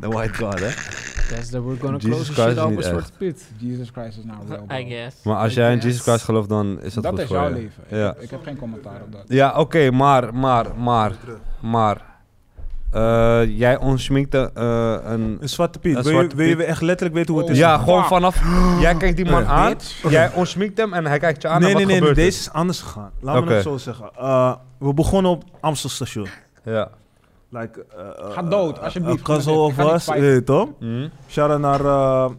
Speaker 1: the white God, hè?
Speaker 12: That's that we're gonna
Speaker 1: Jesus
Speaker 12: close
Speaker 1: Christ
Speaker 12: the
Speaker 1: is
Speaker 12: shit out
Speaker 1: niet
Speaker 12: with
Speaker 1: echt.
Speaker 12: Zwarte Piet.
Speaker 2: Jesus Christ is nou real.
Speaker 4: I
Speaker 2: bro.
Speaker 4: guess.
Speaker 1: Maar als jij in Jesus Christ gelooft, dan is dat,
Speaker 2: Dat
Speaker 1: goed
Speaker 2: is
Speaker 1: voor
Speaker 2: jouw
Speaker 1: je.
Speaker 2: leven. Ik-
Speaker 1: Ja,
Speaker 2: Ik, heb geen commentaar op dat.
Speaker 1: ja oké, maar, maar, maar, maar. Eh, jij onschminkte eh, een...
Speaker 6: Een zwarte piet. Oh.
Speaker 1: Een
Speaker 6: wil, je,
Speaker 1: Zwarte
Speaker 6: wil je
Speaker 1: Piet.
Speaker 6: echt letterlijk weten hoe het is?
Speaker 1: Ja, gewoon
Speaker 2: fuck.
Speaker 1: vanaf... Jij kijkt die man
Speaker 6: Eh,
Speaker 1: aan, jij onschminkt hem en hij kijkt je aan
Speaker 6: nee,
Speaker 1: en
Speaker 6: nee,
Speaker 1: wat
Speaker 6: nee, nee,
Speaker 1: gebeurt
Speaker 6: Deze is anders gegaan. Laat me
Speaker 1: Oké.
Speaker 6: het zo zeggen. Eh, we begonnen op Amstelstation.
Speaker 1: er? Ja.
Speaker 6: Like, eh, eh,
Speaker 2: Ga dood,
Speaker 6: eh,
Speaker 2: alsjeblieft.
Speaker 6: eh, Kazo
Speaker 2: Ik ga
Speaker 6: of
Speaker 2: niet
Speaker 6: was,
Speaker 2: fighten.
Speaker 6: weet je toch?
Speaker 1: Hm?
Speaker 6: Shout-out naar eh,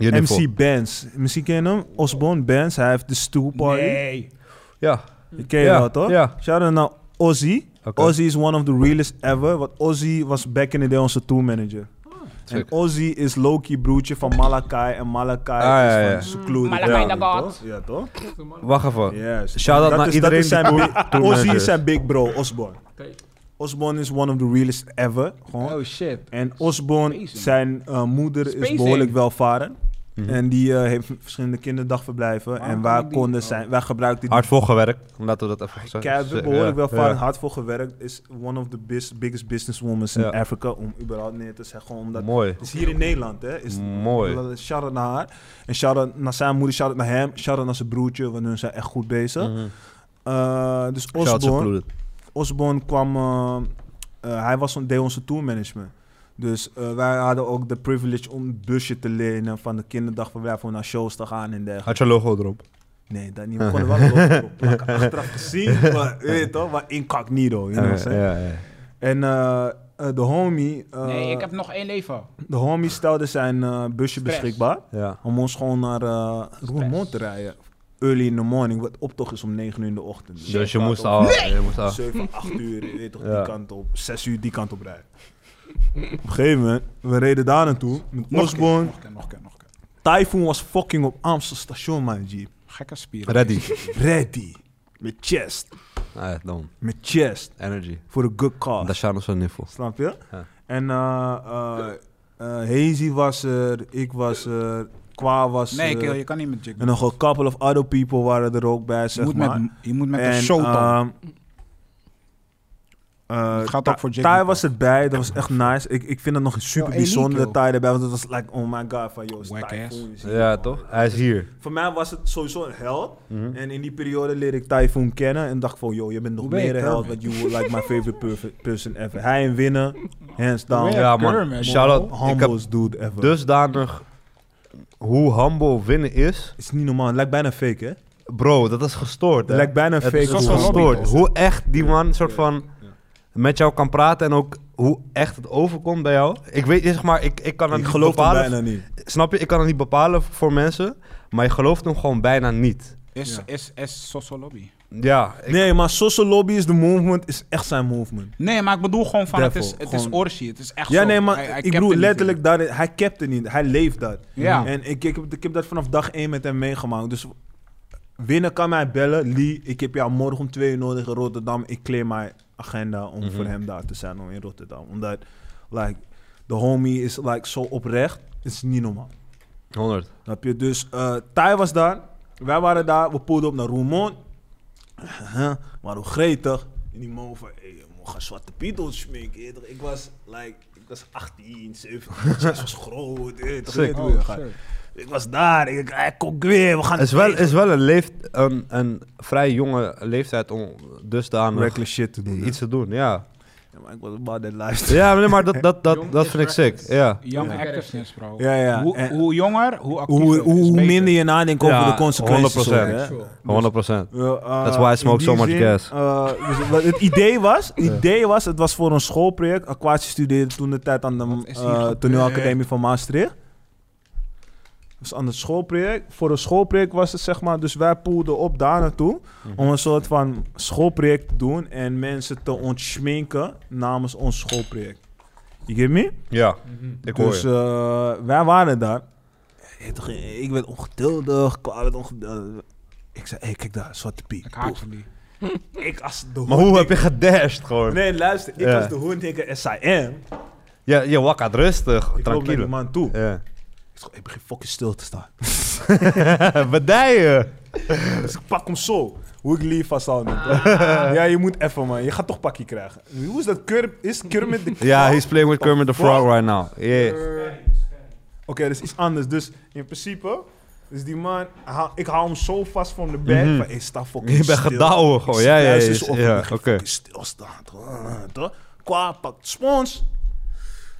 Speaker 1: Uniform.
Speaker 6: MC Benz. Misschien ken je hem? Osborne Benz. Hij heeft de Stoel Party.
Speaker 2: Nee.
Speaker 1: Ja,
Speaker 6: Je ken je
Speaker 1: Ja,
Speaker 6: wel, toch?
Speaker 1: ja.
Speaker 6: Shout-out naar Ozzy.
Speaker 1: Oké.
Speaker 6: Ozzy is one of the realest ever. Want Ozzy was back in the day onze tourmanager. en
Speaker 1: sick.
Speaker 6: Ozzy is Loki broertje van Malakai. En Malakai
Speaker 1: Ah, ja,
Speaker 6: is
Speaker 1: ja.
Speaker 6: van Secluded.
Speaker 4: Malakai
Speaker 6: Ja,
Speaker 4: de God.
Speaker 6: toch? Ja, toch?
Speaker 1: wacht even.
Speaker 6: Yes.
Speaker 1: Shout-out
Speaker 6: Dat
Speaker 1: naar
Speaker 6: is-
Speaker 1: iedereen
Speaker 6: dat is zijn
Speaker 1: die
Speaker 6: big-
Speaker 1: toen
Speaker 6: Ozzy
Speaker 1: manager
Speaker 6: is
Speaker 1: is.
Speaker 6: zijn big bro, Osborne.
Speaker 12: Oké.
Speaker 6: Osborne is one of the realest ever. Gewoon.
Speaker 2: Oh shit.
Speaker 6: En Osborne,
Speaker 2: Spacing.
Speaker 6: zijn eh, moeder is
Speaker 2: Spacing.
Speaker 6: behoorlijk welvarend.
Speaker 1: Mhm.
Speaker 6: En die eh, heeft verschillende kinderdagverblijven.
Speaker 2: Waarom
Speaker 6: en
Speaker 2: kan
Speaker 6: wij
Speaker 2: ik die-
Speaker 6: konden
Speaker 2: oh.
Speaker 6: zijn, wij gebruikten die
Speaker 1: Hard voor gewerkt, laten we dat even zeggen.
Speaker 6: ik heb er
Speaker 1: Eh, Ja,
Speaker 6: behoorlijk wel
Speaker 1: ja.
Speaker 6: vaak hard voor gewerkt. Is one of the bis- biggest businesswomen in
Speaker 1: Ja.
Speaker 6: Afrika. Om überhaupt neer te zeggen. Omdat
Speaker 1: Mooi.
Speaker 6: het is hier in Nederland, hè? Is
Speaker 1: Mooi.
Speaker 6: Shout-out naar haar. En shout-out naar zijn moeder, shout-out naar hem. Shout-out naar zijn broertje, want hun zijn echt goed bezig.
Speaker 1: Mhm.
Speaker 6: Eh, dus
Speaker 1: Shout-out
Speaker 6: Osborne,
Speaker 1: Secluded.
Speaker 6: Osborne kwam, eh, eh, hij was, on- deed onze tourmanagement. Dus eh, wij hadden ook de privilege om een busje te lenen van de kinderdagverblijf om naar shows te gaan en dergelijke.
Speaker 1: Had je logo erop?
Speaker 6: Nee, dat niet. We konden wel erop erop plakken. Achteraf gezien, maar, weet je toch, maar incognito. You know what I'm saying?
Speaker 1: ja, ja.
Speaker 6: En eh, eh, de homie, eh,
Speaker 2: Nee, ik heb nog één leven.
Speaker 6: de homie stelde zijn eh, busje
Speaker 2: Stress.
Speaker 6: beschikbaar
Speaker 1: ja.
Speaker 6: om ons gewoon naar eh Roermond te rijden. Early in the morning, wat optocht is om 9 uur in de ochtend. Dus
Speaker 1: Dus je
Speaker 6: gaat
Speaker 1: moest
Speaker 6: om
Speaker 1: al... Je moest al
Speaker 6: 7, 8 uur, je weet toch,
Speaker 1: Ja.
Speaker 6: die kant op. 6 uur die kant op rijden. Op een gegeven moment, we reden daar naartoe. Met
Speaker 2: Nog
Speaker 6: Osborne.
Speaker 2: Nog een keer, nog een keer, nog een keer.
Speaker 6: Typhoon was fucking op Amstel station, man, G.
Speaker 2: Gekke spieren.
Speaker 1: ready.
Speaker 6: Ready. Met chest.
Speaker 1: Ah, dan.
Speaker 6: Met chest.
Speaker 1: Energy.
Speaker 6: Voor een good cause.
Speaker 1: Dat is zo'n niffel.
Speaker 6: Snap je?
Speaker 1: Ja.
Speaker 6: En eh, eh, eh, Hazy was er, ik was er, Kwa was
Speaker 2: Nee,
Speaker 6: er.
Speaker 2: kill, je kan niet met Jig.
Speaker 6: En nog een couple of other people waren er ook bij,
Speaker 2: Je
Speaker 6: zeg
Speaker 2: moet
Speaker 6: maar.
Speaker 2: met, je moet met
Speaker 6: en,
Speaker 2: een show dan.
Speaker 6: ehm, eh,
Speaker 2: Het gaat
Speaker 6: Tha-
Speaker 2: ook voor Jake
Speaker 6: Thai
Speaker 2: Nicole.
Speaker 6: was erbij, dat was echt nice. Ik, ik vind het nog super
Speaker 2: Yo,
Speaker 6: bijzonder
Speaker 2: Eliek,
Speaker 6: dat Thai erbij was. Dat was like, oh my god, van yo,
Speaker 2: Whack
Speaker 6: Typhoon
Speaker 2: ass.
Speaker 6: is hier,
Speaker 1: Ja,
Speaker 6: man.
Speaker 1: toch? Hij is hier.
Speaker 6: Voor mij was het sowieso een held.
Speaker 1: Mhm.
Speaker 6: En in die periode leerde ik Typhoon kennen. En dacht van, yo, je bent nog
Speaker 2: Hoe ben je
Speaker 6: meer een held. Want
Speaker 2: Kermit?
Speaker 6: you were like my favorite perfe- person ever. Hij en winnen, hands down.
Speaker 2: ben je
Speaker 1: Ja, man.
Speaker 2: Kermit,
Speaker 1: Shout-out. Ik heb Dus-
Speaker 6: Humblest dude ever.
Speaker 1: dusdanig... Hoe humble winnen is...
Speaker 6: is niet normaal. Het lijkt bijna fake, hè? Het
Speaker 1: Bro, dat is gestoord, hè?
Speaker 6: lijkt bijna
Speaker 1: Het
Speaker 6: fake.
Speaker 1: is
Speaker 2: was
Speaker 6: hoe-
Speaker 2: wel lobby.
Speaker 1: gestoord. Hoe echt die man soort
Speaker 6: Ja.
Speaker 1: van...
Speaker 6: Ja.
Speaker 1: Met jou kan praten en ook hoe echt het overkomt bij jou. Ik weet, zeg maar, ik, ik kan het
Speaker 6: Ik
Speaker 1: niet
Speaker 6: geloof hem
Speaker 1: bepalen.
Speaker 6: bijna niet.
Speaker 1: Snap je? Ik kan het niet bepalen voor mensen. Maar je gelooft hem gewoon bijna niet.
Speaker 2: Is,
Speaker 6: eh, Ja.
Speaker 2: is, is Soso Lobby.
Speaker 1: Ja. ik-
Speaker 6: Nee, maar Social Lobby is de movement, is echt zijn movement.
Speaker 2: Nee, maar ik bedoel gewoon van, het is,
Speaker 6: Devil,
Speaker 2: het is
Speaker 6: gewoon-
Speaker 2: Orsi. Het is echt
Speaker 6: Ja,
Speaker 2: zo.
Speaker 6: nee, maar
Speaker 2: Hij- hij
Speaker 6: ik
Speaker 2: kept
Speaker 6: bedoel
Speaker 2: het niet
Speaker 6: letterlijk, daar, hij capte niet. Hij leeft dat.
Speaker 2: in. Ja.
Speaker 6: En ik, ik, heb, ik heb dat vanaf dag 1 met hem meegemaakt. Dus winnen kan mij bellen. Lee, ik heb jou morgen om 2 uur nodig in Rotterdam. Ik claim my agenda om
Speaker 2: Mhm.
Speaker 6: voor hem daar te zijn, om in Rotterdam. Omdat, like, de homie is like zo oprecht, het is niet normaal.
Speaker 1: 100.
Speaker 6: Snap je? Dus eh Thij was daar. Wij waren daar. We poelden op naar Roermond. Huh, maar hoe gretig. En die man van, hey, je moet gaan zwarte piet smeken. je weet toch? Ik was, like, ik was 18, 17. Ik was groot. je weet toch? Je weet hoe je gaat. Ik was daar. Ik ik kok weer. We gaan
Speaker 1: Het is wel,
Speaker 6: feesten.
Speaker 1: is wel een, leeft, een, een vrij jonge leeftijd om dusdanig
Speaker 6: reckless shit te doen. hè.
Speaker 1: iets te doen, ja.
Speaker 6: Ja, maar ik was about that lifestyle.
Speaker 1: Ja, nee, maar dat, dat, dat, dat vind ik sick, ja.
Speaker 2: Young activeness, bro.
Speaker 6: Ja, ja.
Speaker 2: Hoe,
Speaker 6: En
Speaker 2: hoe jonger, hoe actiever.
Speaker 6: hoe,
Speaker 2: is
Speaker 6: hoe
Speaker 2: beter.
Speaker 6: minder je nadenkt over de consequences.
Speaker 1: 100%.
Speaker 6: ook, hè.
Speaker 1: 100%.
Speaker 6: Ja, eh,
Speaker 1: That's why I
Speaker 6: in
Speaker 1: smoke
Speaker 6: die
Speaker 1: so much
Speaker 6: zin,
Speaker 1: gas.
Speaker 6: eh, dus wat het idee was, het idee was, het was voor een schoolproject. Aquatie studeerde toen de tijd aan de
Speaker 2: is hier
Speaker 6: eh
Speaker 2: gebeurd?
Speaker 6: toneelacademie van Maastricht. Het was aan het schoolproject. Voor een schoolproject was het zeg maar, dus wij poelden op daar naartoe.
Speaker 1: Mhm.
Speaker 6: Om een soort van schoolproject te doen en mensen te ontschminken namens ons schoolproject. You get me?
Speaker 1: Ja, ik hoor
Speaker 6: Dus
Speaker 1: je.
Speaker 6: eh, wij waren daar. Je weet toch, Ik werd ongeduldig, kwaad werd ongeduldig. Ik zei, hey, kijk daar, Zwarte Piet.
Speaker 2: Ik haat
Speaker 6: Poef.
Speaker 2: van die.
Speaker 6: Ik als de
Speaker 1: Maar hoe heb
Speaker 6: hoorndikker-
Speaker 1: je gedashed gewoon?
Speaker 6: Nee, luister, ik
Speaker 1: Ja.
Speaker 6: als de hoorndikker SIM.
Speaker 1: Ja, je wakkert rustig,
Speaker 6: Ik loop naar die
Speaker 1: tranquilo.
Speaker 6: man toe.
Speaker 1: Ja.
Speaker 6: Ik zeg, ik begin fucking stil te staan.
Speaker 1: Bedijen!
Speaker 6: Dus ik pak hem zo. Hoe ik lief vasthoud.
Speaker 2: Ah.
Speaker 6: ja, je moet even, man. Je gaat toch pakje krijgen. Hoe is dat? Kur is Kermit de
Speaker 1: Ja, he's playing with Kermit the Frog right now. Yeah.
Speaker 6: Oké, dat is iets anders. Dus in principe... Dus die man, hij haal- ik hou hem zo vast van de bek.
Speaker 1: Mhm.
Speaker 6: Van, hey, sta fucking
Speaker 1: Je bent
Speaker 6: stil.
Speaker 1: gedouwen
Speaker 6: Ik
Speaker 1: gewoon.
Speaker 6: zit
Speaker 1: Ja, ja,
Speaker 6: luister
Speaker 1: ja.
Speaker 6: zo op,
Speaker 1: ja,
Speaker 6: ik
Speaker 1: Oké.
Speaker 6: begin fucking stilstaan. Toch? Qua pakt spons.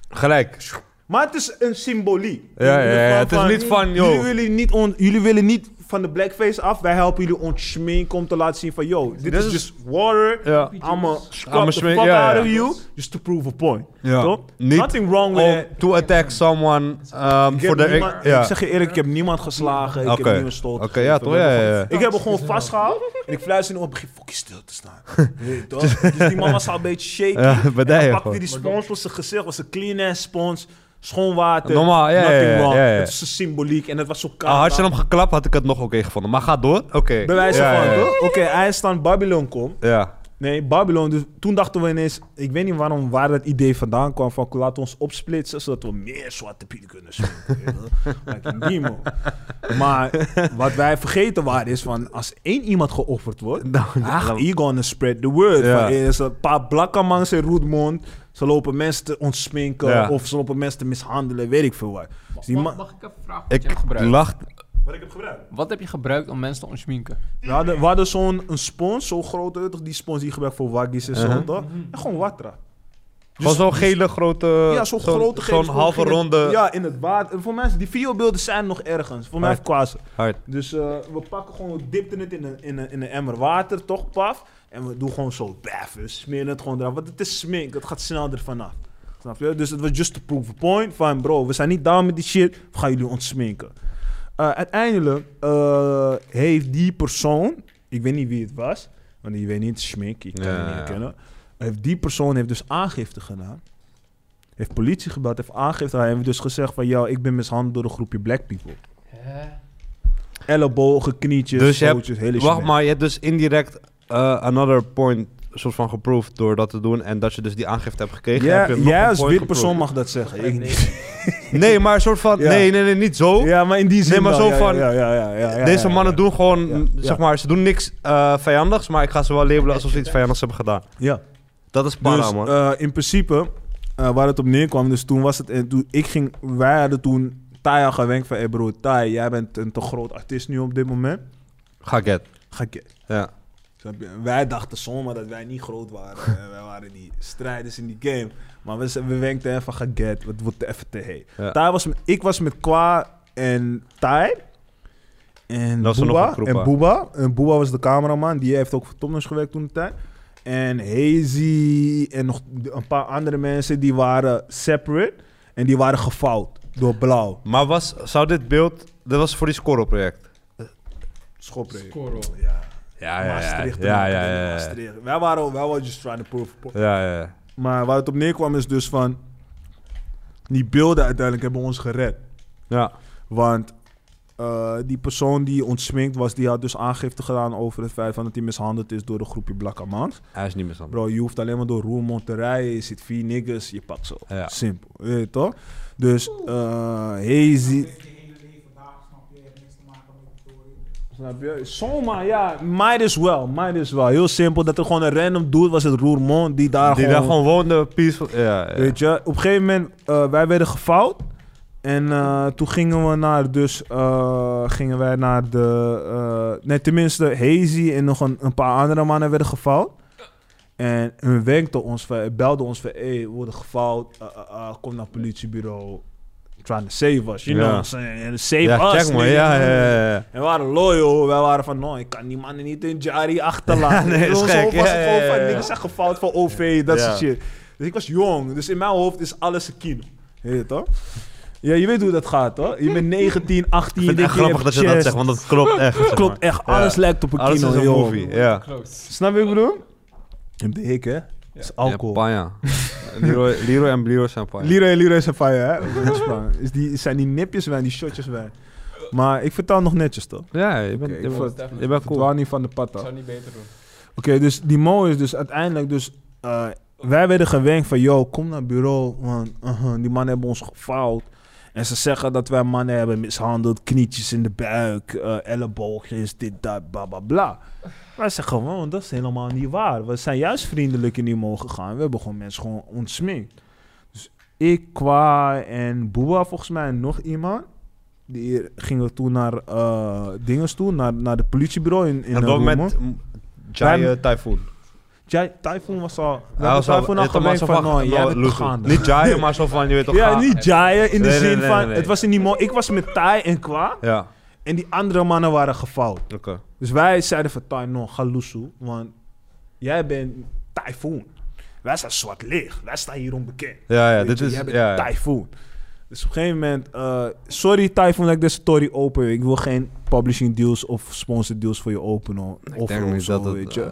Speaker 1: Gelijk.
Speaker 6: Maar het is een symboliek.
Speaker 1: Ja, ja,
Speaker 6: In
Speaker 1: ja,
Speaker 6: ieder geval
Speaker 1: het is
Speaker 6: van,
Speaker 1: niet van, yo.
Speaker 6: Jullie willen niet, on- jullie willen niet van de blackface af. Wij helpen jullie ontschminken om te laten zien van... Yo, dit is
Speaker 1: is-
Speaker 6: just water.
Speaker 1: Ja.
Speaker 6: I'ma
Speaker 1: I'mma
Speaker 6: scrub the
Speaker 1: smink-
Speaker 6: fuck
Speaker 1: ja,
Speaker 6: out
Speaker 1: ja.
Speaker 6: of you. Just to prove a point.
Speaker 1: Ja.
Speaker 6: Toch?
Speaker 1: Niet
Speaker 6: Nothing wrong with
Speaker 1: Om
Speaker 6: it.
Speaker 1: to attack someone um,
Speaker 6: Ik,
Speaker 1: voor de...
Speaker 6: heb niemand-
Speaker 1: ik- ja.
Speaker 6: ik zeg je eerlijk, ik heb niemand geslagen. Ik
Speaker 1: Oké.
Speaker 6: heb niemand stoot.
Speaker 1: Oké, ja, toch? Ja, ja, ja.
Speaker 6: Ik heb hem gewoon vastgehouden. En ik fluister in hem op. Begin fucking stil te staan. Weet je toch? Dus die man was al een beetje shaky.
Speaker 1: Ja, bedijen
Speaker 6: En hij pakte
Speaker 1: gewoon.
Speaker 6: die spons op zijn gezicht. was een clean ass spons. Schoon water.
Speaker 1: Normaal, ja, ja,
Speaker 6: nothing
Speaker 1: ja,
Speaker 6: wrong.
Speaker 1: ja, ja.
Speaker 6: Het is een symboliek en het was zo koud.
Speaker 1: Ah, had je hem geklapt, had ik het nog oké gevonden. Maar ga door. Oké.
Speaker 6: Bij wijze
Speaker 1: ja,
Speaker 6: van,
Speaker 1: ja, ja.
Speaker 6: toch? Oké, hij is dan Babylon kom.
Speaker 1: Ja.
Speaker 6: Nee, Babylon. Dus toen dachten we ineens, ik weet niet waarom, waar dat idee vandaan kwam van laten we ons opsplitsen zodat we meer zwarte pieten kunnen spelen. like Nemo. Maar wat wij vergeten waren is van als één iemand geofferd wordt, ach, he gonna spread the word.
Speaker 1: Nou, Ja.
Speaker 6: Van, er is een paar blakke man in Roermond, ze lopen mensen te ontsminken
Speaker 1: Ja.
Speaker 6: of ze lopen mensen te mishandelen, weet ik veel wat. Dus die
Speaker 5: Mag,
Speaker 6: man,
Speaker 5: mag ik even vragen wat je hebt
Speaker 1: Ik
Speaker 5: gebruikt?
Speaker 1: lacht.
Speaker 6: wat ik heb gebruikt.
Speaker 5: Wat heb je gebruikt om mensen te ontschminken?
Speaker 6: We hadden, we hadden zo'n een spons, zo groot, weet je toch, die spons die je gebruikt voor waggies en zo, toch? En gewoon watra.
Speaker 1: Mhm.
Speaker 6: Dus
Speaker 1: Gewoon zo'n gele grote...
Speaker 6: ja, zo'n grote
Speaker 1: Zo'n
Speaker 6: gele spons
Speaker 1: halve
Speaker 6: ging het-
Speaker 1: ronde...
Speaker 6: Ja, in het water. En Voor mensen, die videobeelden zijn nog ergens. Voor mij
Speaker 1: Hard.
Speaker 6: heeft Kwaas.
Speaker 1: Hard.
Speaker 6: Dus eh, we pakken gewoon, we dipten het in een, in, een, in een emmer water, toch, paf. En we doen gewoon zo, baf, we smeren het gewoon eraf. Want het is smink, het gaat snel ervan af. Snap je? Dus het was just to prove a point van, bro, we zijn niet down met die shit. We gaan jullie ontsminken. Eh, uiteindelijk eh, heeft die persoon, ik weet niet wie het was, want je weet niet, smink, ik kan
Speaker 1: Ja,
Speaker 6: het niet
Speaker 1: ja.
Speaker 6: herkennen. Heeft die persoon heeft dus aangifte gedaan. Heeft politie gebeld, heeft aangifte gedaan. Heeft dus gezegd van, ja, ik ben mishandeld door een groepje black people. Ellebogen, knietjes,
Speaker 1: Dus je hebt-
Speaker 6: pootjes, hele
Speaker 1: Wacht
Speaker 6: shit.
Speaker 1: maar, je hebt dus indirect eh, another point soort van geproefd door dat te doen en dat je dus die aangifte hebt gekregen.
Speaker 6: Ja,
Speaker 1: heb je nog
Speaker 6: jij
Speaker 1: een
Speaker 6: als
Speaker 1: point
Speaker 6: wit
Speaker 1: geproefd.
Speaker 6: persoon mag dat zeggen. Ik niet.
Speaker 1: Nee, maar een soort van,
Speaker 6: Ja.
Speaker 1: nee, nee, nee, niet zo.
Speaker 6: Ja, maar in die zin
Speaker 1: Oh. Nee, maar
Speaker 6: wel.
Speaker 1: zo
Speaker 6: Ja,
Speaker 1: van-
Speaker 6: Ja, ja, ja, ja, ja,
Speaker 1: Deze
Speaker 6: ja,
Speaker 1: mannen
Speaker 6: ja.
Speaker 1: doen gewoon,
Speaker 6: Ja,
Speaker 1: mm,
Speaker 6: ja.
Speaker 1: zeg maar, ze doen niks eh, vijandigs, maar ik ga ze wel labelen alsof ze iets vijandigs hebben gedaan.
Speaker 6: Ja.
Speaker 1: Dat is para,
Speaker 6: dus,
Speaker 1: man.
Speaker 6: eh, in principe, eh, waar het op neerkwam, dus toen was het... En toen ik ging, wij hadden toen Thai al gewenkt van... Hé bro, Thai, jij bent een te groot artiest nu op dit moment.
Speaker 1: Ga get.
Speaker 6: Ga ik...
Speaker 1: Ja.
Speaker 6: Snap je? Wij dachten zomaar dat wij niet groot waren. En wij waren die strijders in die game. Maar we, we wenkten even van get, het wordt even te heet.
Speaker 1: Ja.
Speaker 6: Thai was, met- ik was met Kwa en Thai. En
Speaker 1: Dat was er nog
Speaker 6: Booba,
Speaker 1: een groep,
Speaker 6: en
Speaker 1: hè?
Speaker 6: Booba. En Booba was de cameraman. Die heeft ook voor Tomnus gewerkt toen de tijd. En Hazy en nog een paar andere mensen die waren separate. En die waren gevouwd door blauw.
Speaker 1: Maar was, zou dit beeld, dat was voor die scoreproject.
Speaker 6: Schopregen. Ja.
Speaker 1: Ja,
Speaker 6: Maastricht.
Speaker 1: Ja, ja,
Speaker 6: maken,
Speaker 1: ja. ja.
Speaker 6: Maastricht. Wij waren, wij waren just trying to prove a point.
Speaker 1: Ja, ja.
Speaker 6: Maar waar het op neerkwam is dus van... Die beelden uiteindelijk hebben ons gered.
Speaker 1: Ja,
Speaker 6: Want eh, eh, die persoon die ontsminkt was, die had dus aangifte gedaan over het feit van dat hij mishandeld is door een groepje blakke mans.
Speaker 1: Hij is niet meer zand.
Speaker 6: Bro, je hoeft alleen maar door Roermond te rijden. Je ziet vier niggas, je pakt zo.
Speaker 1: Ja.
Speaker 6: Simpel, je weet toch? Dus, eh hazy. Snap je? Zomaar, ja. Might as well, might as well. Heel simpel, dat er gewoon een random dude was uit Roermond die daar
Speaker 1: Die
Speaker 6: gewoon...
Speaker 1: daar gewoon woonde, peaceful. Ja, ja.
Speaker 6: Weet je, op een gegeven moment, eh, wij werden gevouwd. En eh, toen gingen we naar, dus, eh, gingen wij naar de, eh, nee tenminste, Hazy en nog een, een paar andere mannen werden gevouwd. En hun wenkte ons, van, belden ons van, hé, we worden gevouwd, eh, eh, eh, kom naar het politiebureau. Trying to save us, you
Speaker 1: Ja.
Speaker 6: know what I'm saying? Save
Speaker 1: ja,
Speaker 6: us.
Speaker 1: check man.
Speaker 6: nigga.
Speaker 1: Ja, ja, ja, ja.
Speaker 6: En we waren loyal. Wij waren van, no, ik kan die mannen niet in Jari achterlaten.
Speaker 1: Nee, is
Speaker 6: Zo
Speaker 1: gek.
Speaker 6: was
Speaker 1: Ja,
Speaker 6: het gewoon
Speaker 1: ja,
Speaker 6: van,
Speaker 1: ja.
Speaker 6: niks echt gefout van OV, dat
Speaker 1: Ja.
Speaker 6: soort shit. Dus ik was jong, dus in mijn hoofd is alles een kino. Heet het, toch? Ja, je weet hoe dat gaat, hoor. Je bent 19, 18,
Speaker 1: Ik vind het
Speaker 6: je
Speaker 1: echt
Speaker 6: denkt, je
Speaker 1: grappig dat je dat
Speaker 6: hebt
Speaker 1: zegt, want dat klopt echt. zeg
Speaker 6: chest.
Speaker 1: maar.
Speaker 6: Klopt echt,
Speaker 1: Ja.
Speaker 6: alles lijkt op een
Speaker 1: Alles
Speaker 6: kino,
Speaker 1: is een
Speaker 6: joh.
Speaker 1: movie, ja.
Speaker 6: Snap je wat ik bedoel? Je hebt de hik, hè? Dat is alcohol.
Speaker 1: Champagne. Leroy, Leroy en Leroy champagne.
Speaker 6: Leroy en Leroy zijn fire, hè? Dat is waar. Is die, zijn die nipjes wijn, die shotjes wijn. Maar ik vertaal nog netjes, toch?
Speaker 1: ja, je bent,
Speaker 6: Oké,
Speaker 1: je
Speaker 6: ik
Speaker 1: bent,
Speaker 6: vond-
Speaker 1: je
Speaker 6: Ik
Speaker 1: bent cool.
Speaker 6: vertrouw niet van de patta.
Speaker 5: zou niet beter doen.
Speaker 6: Oké, dus die Mo is dus uiteindelijk dus... eh, wij werden gewenkt van, yo, kom naar het bureau, want uh-huh, die mannen hebben ons gefaald. En ze zeggen dat wij mannen hebben mishandeld, knietjes in de buik, eh elleboogjes, dit, dat, bla, bla, bla. Wij zeggen gewoon, dat is helemaal niet waar. We zijn juist vriendelijk in die Mo gegaan. We hebben gewoon mensen gewoon ontsminkt. Dus ik, Kwa en Boa, volgens mij, en nog iemand... Die gingen toen naar eh dinges toe, naar, naar het politiebureau in, in
Speaker 1: En
Speaker 6: eh,
Speaker 1: dat
Speaker 6: Roermond.
Speaker 1: met mm, Jai eh, Typhoon.
Speaker 6: Jij, Typhoon was al...
Speaker 1: Hij was al-
Speaker 6: Typhoon al
Speaker 1: het was
Speaker 6: gemerkt
Speaker 1: zo
Speaker 6: van,
Speaker 1: van,
Speaker 6: nou,
Speaker 1: eh,
Speaker 6: jij
Speaker 1: nou,
Speaker 6: bent
Speaker 1: Luzu.
Speaker 6: gaande.
Speaker 1: Niet Jai, maar zo van, je weet toch.
Speaker 6: Ja,
Speaker 1: ga-
Speaker 6: niet Jaya in de
Speaker 1: Nee, nee,
Speaker 6: zin
Speaker 1: nee,
Speaker 6: van...
Speaker 1: nee, nee.
Speaker 6: Het was in die mo... Ik was met Tai en Kwa.
Speaker 1: Ja,
Speaker 6: En die andere mannen waren gefout.
Speaker 1: oké.
Speaker 6: Dus wij zeiden van Tai, no, ga Lusu. Want jij bent Typhoon. Wij zijn zwart licht. Wij staan hier onbekend.
Speaker 1: Ja, ja,
Speaker 6: Weet
Speaker 1: dit
Speaker 6: je,
Speaker 1: is...
Speaker 6: Jij bent
Speaker 1: ja, ja.
Speaker 6: Typhoon. Dus op een gegeven moment... eh, sorry Typhoon dat ik deze story open. Ik wil geen publishing deals of sponsor deals voor je openen. hoor. Of
Speaker 1: denk
Speaker 6: of
Speaker 1: niet
Speaker 6: zo,
Speaker 1: dat het,
Speaker 6: weet je.
Speaker 1: eh,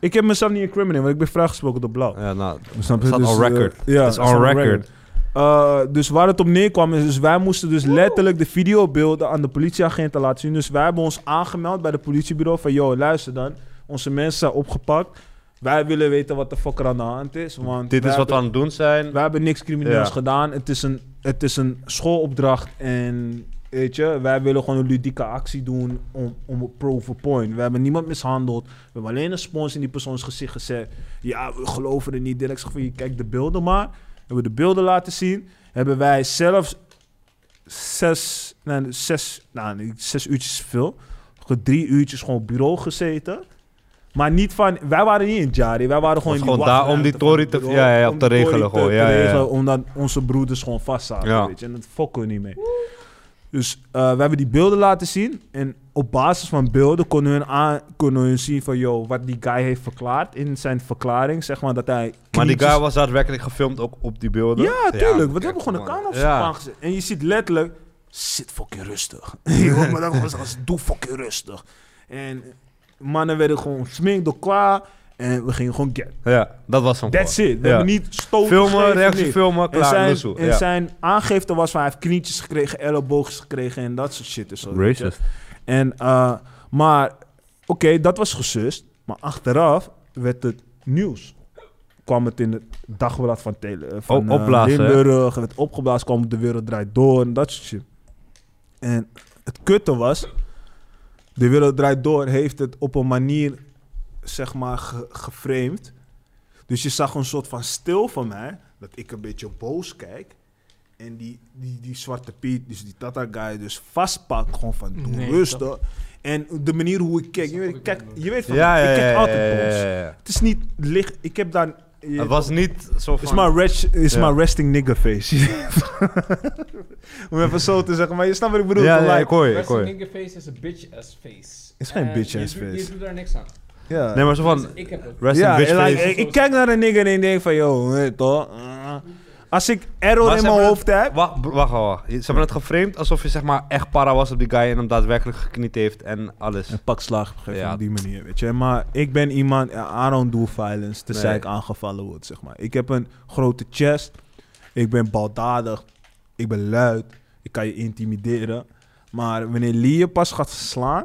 Speaker 6: Ik heb mezelf niet in crimineel, want ik ben vrijgesproken door Blauw.
Speaker 1: Ja, nou,
Speaker 6: Snap je?
Speaker 1: Staat
Speaker 6: Dus,
Speaker 1: on
Speaker 6: eh,
Speaker 1: record.
Speaker 6: ja,
Speaker 1: It's on
Speaker 6: staat
Speaker 1: record.
Speaker 6: Eh, dus waar het op neerkwam is, dus wij moesten dus letterlijk de videobeelden aan de politieagenten laten zien. Dus wij hebben ons aangemeld bij het politiebureau van, yo, luister dan, onze mensen zijn opgepakt. Wij willen weten wat de fuck er aan de hand is, want
Speaker 1: dit
Speaker 6: wij
Speaker 1: is wat we
Speaker 6: hebben,
Speaker 1: aan het doen zijn.
Speaker 6: wij hebben niks crimineels
Speaker 1: Ja.
Speaker 6: gedaan. Het is, een, het is een schoolopdracht en, weet je, wij willen gewoon een ludieke actie doen om, om een proof a point. We hebben niemand mishandeld. We hebben alleen een spons in die persoons gezicht gezet. Ja, we geloven er niet. Direct zeg van, je kijkt de beelden maar. Hebben we de beelden laten zien. Hebben wij zelfs zes, nee, zes, nou, niet zes uurtjes is veel. Gewoon Drie uurtjes gewoon op bureau gezeten. Maar niet van, wij waren niet in Jari. Wij waren gewoon
Speaker 1: Was
Speaker 6: in die
Speaker 1: gewoon daar om die
Speaker 6: wachtruimte van
Speaker 1: tory
Speaker 6: het
Speaker 1: te-
Speaker 6: bureau,
Speaker 1: ja, ja,
Speaker 6: om
Speaker 1: op te
Speaker 6: die tory
Speaker 1: regelen gewoon, ja, ja, ja.
Speaker 6: Omdat onze broeders gewoon vastzaten,
Speaker 1: Ja.
Speaker 6: weet je. En dat fokken we niet mee. Dus eh, we hebben die beelden laten zien. En op basis van beelden konden hun, aan, konden hun zien van... Yo, wat die guy heeft verklaard in zijn verklaring. Zeg maar dat hij...
Speaker 1: Maar die
Speaker 6: knietjes-
Speaker 1: guy was daadwerkelijk gefilmd ook op die beelden.
Speaker 6: Ja, tuurlijk. want
Speaker 1: kijk,
Speaker 6: we hebben gewoon een
Speaker 1: man.
Speaker 6: camera op zijn
Speaker 1: Ja.
Speaker 6: paan gezet. En je ziet letterlijk... Zit fucking rustig. Je hoort me dat gewoon zeggen, Doe fucking rustig. En mannen werden gewoon sminkt door klaar. En we gingen gewoon get.
Speaker 1: Ja, dat was hem.
Speaker 6: That's
Speaker 1: gewoon.
Speaker 6: it. We
Speaker 1: Ja.
Speaker 6: hebben niet stoten
Speaker 1: Filmen,
Speaker 6: gegeven,
Speaker 1: reactie
Speaker 6: niks.
Speaker 1: filmen,
Speaker 6: En
Speaker 1: klaar,
Speaker 6: zijn,
Speaker 1: Lusso.
Speaker 6: en
Speaker 1: Ja.
Speaker 6: zijn aangifte was van hij heeft knietjes gekregen, elleboogjes gekregen en dat soort shit. en Zo, weet je.
Speaker 1: Racist.
Speaker 6: En, eh, maar, oké, dat was gesust. Maar achteraf werd het nieuws. Kwam het in het dagblad van, tele, eh, van
Speaker 1: Oh,
Speaker 6: eh,
Speaker 1: opblazen, hè?
Speaker 6: Limburg. Het opgeblazen kwam op de wereld draait door en dat soort shit. En het kutte was, de wereld draait door heeft het op een manier, zeg maar, ge- geframed. Dus je zag een soort van stil van mij, dat ik een beetje boos kijk. En die, die, die zwarte Piet, dus die Tata guy, dus vastpakt gewoon van doe
Speaker 4: Nee,
Speaker 6: rustig. En de manier hoe ik keek, je weet, ik kijk, je weet van,
Speaker 1: Ja, ja,
Speaker 6: ik
Speaker 1: ja,
Speaker 6: kijk
Speaker 1: ja,
Speaker 6: altijd
Speaker 1: ja,
Speaker 6: boos.
Speaker 1: ja, ja.
Speaker 6: Het is niet licht, ik heb daar... je-
Speaker 1: Het was niet zo
Speaker 6: is
Speaker 1: van...
Speaker 6: maar res- is
Speaker 1: Ja.
Speaker 6: maar resting nigger face. Om even zo te zeggen, maar je snapt wat ik bedoel.
Speaker 1: Ja,
Speaker 6: like-
Speaker 1: ja, ik hoor je, ik
Speaker 12: Wrestling
Speaker 1: hoor je.
Speaker 12: nigger face is een bitch ass face.
Speaker 6: Is geen
Speaker 12: En
Speaker 6: bitch
Speaker 12: je
Speaker 6: ass
Speaker 12: doet-
Speaker 6: face.
Speaker 12: Je doet daar niks aan.
Speaker 6: ja.
Speaker 1: Nee, maar zo
Speaker 12: Dus
Speaker 1: van...
Speaker 12: ik heb het.
Speaker 1: Rest
Speaker 6: Ja,
Speaker 1: in bitch
Speaker 6: en like,
Speaker 1: face.
Speaker 6: ik, ik kijk naar een nigger en ik denk van, yo, weet toch? eh, Als ik error
Speaker 1: Maar
Speaker 6: in
Speaker 1: ze
Speaker 6: mijn
Speaker 1: hebben
Speaker 6: hoofd heb...
Speaker 1: Wacht, br- wacht, wacht, wacht. Ze hebben het geframed alsof je zeg maar echt para was op die guy en hem daadwerkelijk gekniet heeft en alles.
Speaker 6: Een pak slaag op een gegeven
Speaker 1: Ja.
Speaker 6: moment op die manier, weet je. Maar ik ben iemand, eh, I don't do violence, tenzij
Speaker 1: Nee.
Speaker 6: ik aangevallen word, zeg maar. Ik heb een grote chest, ik ben baldadig, ik ben luid, ik kan je intimideren. Maar wanneer Lee je pas gaat slaan,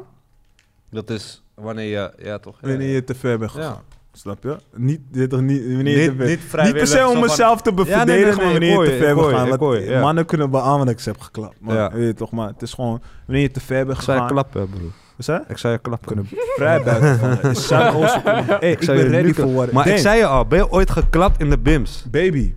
Speaker 1: Dat is wanneer je... Ja, toch? Ja,
Speaker 6: wanneer
Speaker 1: ja.
Speaker 6: je te ver bent gegaan.
Speaker 1: Ja.
Speaker 6: Niet, Snap je? Niet, je weet toch, niet, wanneer
Speaker 1: Niet-
Speaker 6: je te
Speaker 1: niet
Speaker 6: ver- niet per
Speaker 1: vrijwillig,
Speaker 6: se
Speaker 1: zo
Speaker 6: om
Speaker 1: van-
Speaker 6: mezelf te
Speaker 1: Ja, nee, nee,
Speaker 6: beverdedigen,
Speaker 1: nee, ik
Speaker 6: maar wanneer
Speaker 1: hoor
Speaker 6: je
Speaker 1: je,
Speaker 6: te
Speaker 1: ik
Speaker 6: ver bent
Speaker 1: hoor je,
Speaker 6: gegaan.
Speaker 1: ik hoor je,
Speaker 6: want
Speaker 1: ja.
Speaker 6: Mannen kunnen beamen dat ik ze heb geklapt. Man.
Speaker 1: Ja.
Speaker 6: Weet je toch, maar het is gewoon wanneer je te ver bent
Speaker 1: Ik zou je
Speaker 6: gegaan.
Speaker 1: klappen, broer.
Speaker 6: Wat zei je?
Speaker 1: Ik zou je klappen.
Speaker 6: Kunnen vrij buiten vallen. Is Zuidoost- Hey, ik,
Speaker 1: zou
Speaker 6: ben
Speaker 1: je
Speaker 6: ready
Speaker 1: nuken.
Speaker 6: voor wat
Speaker 1: Maar ik
Speaker 6: denk.
Speaker 1: zei je al, ben je ooit geklapt in de bims?
Speaker 6: Baby,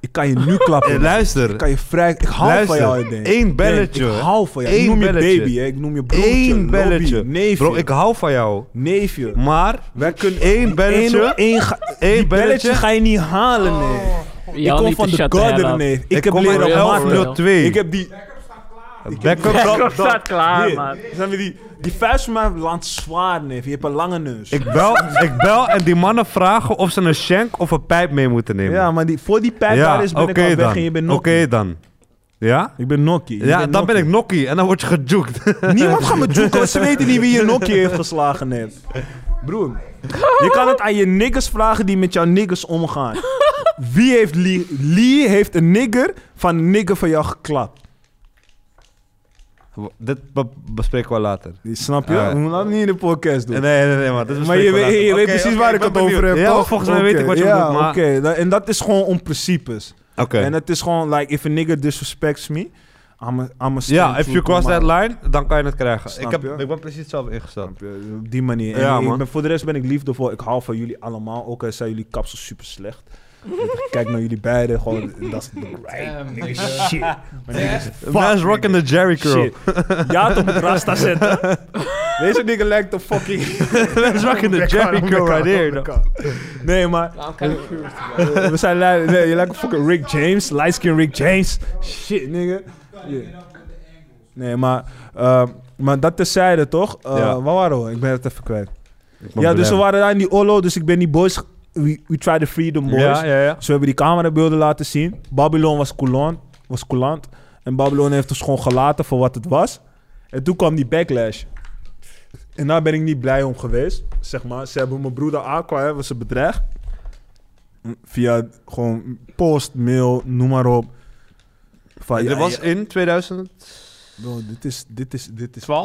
Speaker 6: ik kan je nu klappen.
Speaker 1: Eh,
Speaker 6: Ik
Speaker 1: luister,
Speaker 6: Oh, kan je vrij... Ik hou
Speaker 1: Luister,
Speaker 6: van jou, ik denk.
Speaker 1: één belletje.
Speaker 6: Denk, Ik hou van jou. Ik
Speaker 1: Eén
Speaker 6: noem je
Speaker 1: belletje.
Speaker 6: baby, hè. ik noem je broertje.
Speaker 1: één
Speaker 6: lobby,
Speaker 1: belletje.
Speaker 6: Neefje.
Speaker 1: Bro, ik hou van jou.
Speaker 6: Neefje.
Speaker 1: Maar,
Speaker 6: Wij kunnen...
Speaker 1: één belletje.
Speaker 6: Eén, één, ga-
Speaker 1: Eén
Speaker 6: die belletje Oh.
Speaker 1: belletje.
Speaker 6: ga je niet halen, nee. ik
Speaker 4: Jou
Speaker 6: kom
Speaker 4: niet
Speaker 6: van
Speaker 4: te
Speaker 6: de
Speaker 4: shut the hell
Speaker 6: garden,
Speaker 4: up.
Speaker 6: nee. Ik,
Speaker 1: Ik
Speaker 6: heb
Speaker 1: kom
Speaker 6: leren
Speaker 1: in
Speaker 6: maken.
Speaker 1: 1102.
Speaker 6: Ik heb die...
Speaker 1: Backup.
Speaker 4: Backup staat klaar,
Speaker 6: Hier,
Speaker 4: man.
Speaker 6: Zijn we die, die vuist van mij landt zwaar, neef. Je hebt een lange neus.
Speaker 1: Ik bel, ik bel en die mannen vragen of ze een shank of een pijp mee moeten nemen.
Speaker 6: ja, maar die, voor die pijp
Speaker 1: Ja,
Speaker 6: daar is ben
Speaker 1: oké
Speaker 6: ik al weg
Speaker 1: dan.
Speaker 6: en je bent
Speaker 1: Oké
Speaker 6: Nokkie.
Speaker 1: dan. Ja?
Speaker 6: Ik ben Nokkie. Je
Speaker 1: Ja, dan
Speaker 6: bent
Speaker 1: ben
Speaker 6: Nokkie.
Speaker 1: ik nokkie en dan word je gejukt.
Speaker 6: Niemand gaat me joeken, want ze weten niet wie je nokje heeft geslagen net. Broer, je kan het aan je niggers vragen die met jouw niggers omgaan. Wie heeft Lee? Lee heeft een nigger van een nigger van jou geklapt.
Speaker 1: Dit be- bespreken we later.
Speaker 6: Die Snap je?
Speaker 1: Ah.
Speaker 6: We moeten dat niet in de podcast doen.
Speaker 1: Nee, nee, nee, maar dit is
Speaker 6: maar je, weet- je weet precies waar ik het over heb,
Speaker 1: Ja,
Speaker 6: toch?
Speaker 1: maar volgens mij weet ik wat je
Speaker 6: Oké,
Speaker 1: bedoelt,
Speaker 6: Ja,
Speaker 1: maar...
Speaker 6: oké. Da- En dat is gewoon om principes.
Speaker 1: Oké.
Speaker 6: En het is gewoon, like, if a nigger disrespects me, I'm a, I'm a
Speaker 1: Ja,
Speaker 6: stand
Speaker 1: if
Speaker 6: true
Speaker 1: you
Speaker 6: to
Speaker 1: cross
Speaker 6: my-
Speaker 1: that line, dan kan je het krijgen.
Speaker 6: Snap
Speaker 1: Ik, heb,
Speaker 6: je?
Speaker 1: ik ben precies zelf ingesteld.
Speaker 6: Op die manier. En
Speaker 1: Ja,
Speaker 6: ik
Speaker 1: man.
Speaker 6: ben, voor de rest ben ik liefdevol. Ik hou van jullie allemaal. Ook al zijn jullie kapsels super slecht. Ik Kijk naar jullie beiden. Gewoon, dat is right.
Speaker 12: Damn,
Speaker 6: nigga,
Speaker 12: nigga.
Speaker 6: Shit. Maar nigga, fuck,
Speaker 1: Man's rocking
Speaker 6: nigga.
Speaker 1: the Jerry curl.
Speaker 6: Shit. Ja, toch moet Rasta zetten. Deze nigger lijkt op fucking...
Speaker 1: Man's rocking the Jerry curl right here. though.
Speaker 6: Nee, maar
Speaker 12: I'm kind of curious about it.
Speaker 6: we zijn lui. Nee, je lijkt op fucking Rick James. Light skin Rick James. Shit, nigga. Yeah. Nee, maar... ehm, maar dat terzijde, toch? Eh
Speaker 1: Ja.
Speaker 6: Waar waren we? Ik ben het even kwijt.
Speaker 1: Ik ben
Speaker 6: Ja, dus we
Speaker 1: blij.
Speaker 6: waren daar in die Olo, dus ik ben die boys. ge- We, we tried the freedom boys.
Speaker 1: Ja, ja, ja.
Speaker 6: Dus we hebben die camerabeelden laten zien. Babylon was coulant, was coulant. En Babylon heeft ons gewoon gelaten voor wat het was. En toen kwam die backlash. En daar ben ik niet blij om geweest. Zeg maar, ze hebben mijn broeder Aqua, hebben ze bedreigd. Via gewoon post, mail, noem maar op. Van,
Speaker 1: Dit
Speaker 6: ja,
Speaker 1: was
Speaker 6: ja,
Speaker 1: in 2012?
Speaker 6: bro, dit is, dit is, dit is... Ik-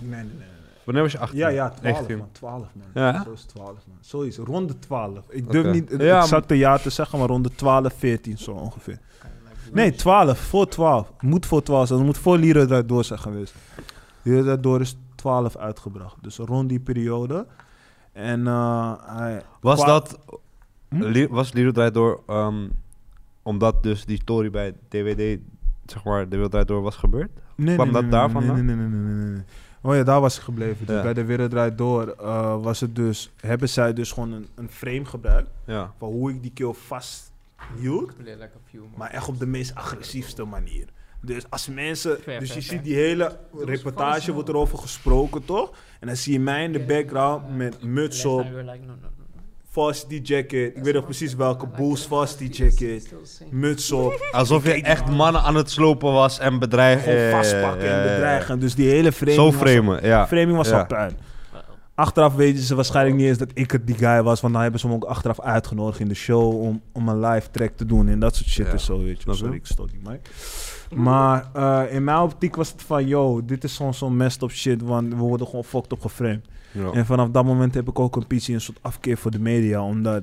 Speaker 6: Nee, nee, nee.
Speaker 1: Wanneer was je 18?
Speaker 6: Ja, ja, 12
Speaker 1: 19.
Speaker 6: man. 12 man.
Speaker 1: Ja.
Speaker 6: Zo is 12 man. Zo is het, rond de 12. Ik durf
Speaker 1: Oké.
Speaker 6: niet het
Speaker 1: Ja,
Speaker 6: exacte jaar te zeggen, maar rond de 12, 14 zo ongeveer. Nee, 12. Voor 12. Moet voor 12 zijn. Het moet voor Lira daardoor zijn geweest. Lira daardoor is 12 uitgebracht. Dus rond die periode. En eh, hij...
Speaker 1: Was
Speaker 6: Qua-
Speaker 1: dat...
Speaker 6: Hm?
Speaker 1: Li- Was Leroy Draait Door... ehm, omdat dus die story bij DWD... Zeg maar, de Wereld Draait Door was gebeurd?
Speaker 6: Nee,
Speaker 1: Kwam dat daar
Speaker 6: nee,
Speaker 1: vandaan?
Speaker 6: Nee, nee, nee, nee, nee, nee. Oh ja, daar was ik gebleven. Dus
Speaker 1: Ja.
Speaker 6: bij de Wereld Draait Door eh, was het dus... Hebben zij dus gewoon een, een frame gebruikt
Speaker 1: Ja.
Speaker 6: van hoe ik die keel vasthield.
Speaker 12: Play like a few more.
Speaker 6: Maar echt op de meest agressiefste manier. Dus als mensen.
Speaker 4: Fair,
Speaker 6: dus je
Speaker 4: fair,
Speaker 6: ziet
Speaker 4: fair.
Speaker 6: die hele reportage, wordt erover gesproken toch? En dan zie je mij in de background met muts op, varsity jacket. Ik weet nog precies welke Bulls varsity jacket. Muts op,
Speaker 1: Alsof je echt mannen aan het slopen was en bedreigen.
Speaker 6: gewoon
Speaker 1: Ja, ja, ja,
Speaker 6: vastpakken
Speaker 1: ja, ja,
Speaker 6: en
Speaker 1: ja.
Speaker 6: bedreigen. Dus die hele framing.
Speaker 1: Eh, Zo
Speaker 6: was-
Speaker 1: framen, ja.
Speaker 6: Framing was
Speaker 1: Ah, Ja.
Speaker 6: al puin. Achteraf weten ze waarschijnlijk niet eens dat ik het die guy was, want dan hebben ze me ook achteraf uitgenodigd in de show om, om een live track te doen en dat soort shit
Speaker 1: Ja,
Speaker 6: en zo, weet je.
Speaker 1: snap je?
Speaker 6: Sorry, ik stoot niet mij. Maar eh, in mijn optiek was het van, yo, dit is gewoon zo'n messed up shit, want we worden gewoon fucked op geframed.
Speaker 1: Ja.
Speaker 6: En vanaf dat moment heb ik ook een beetje een soort afkeer voor de media, omdat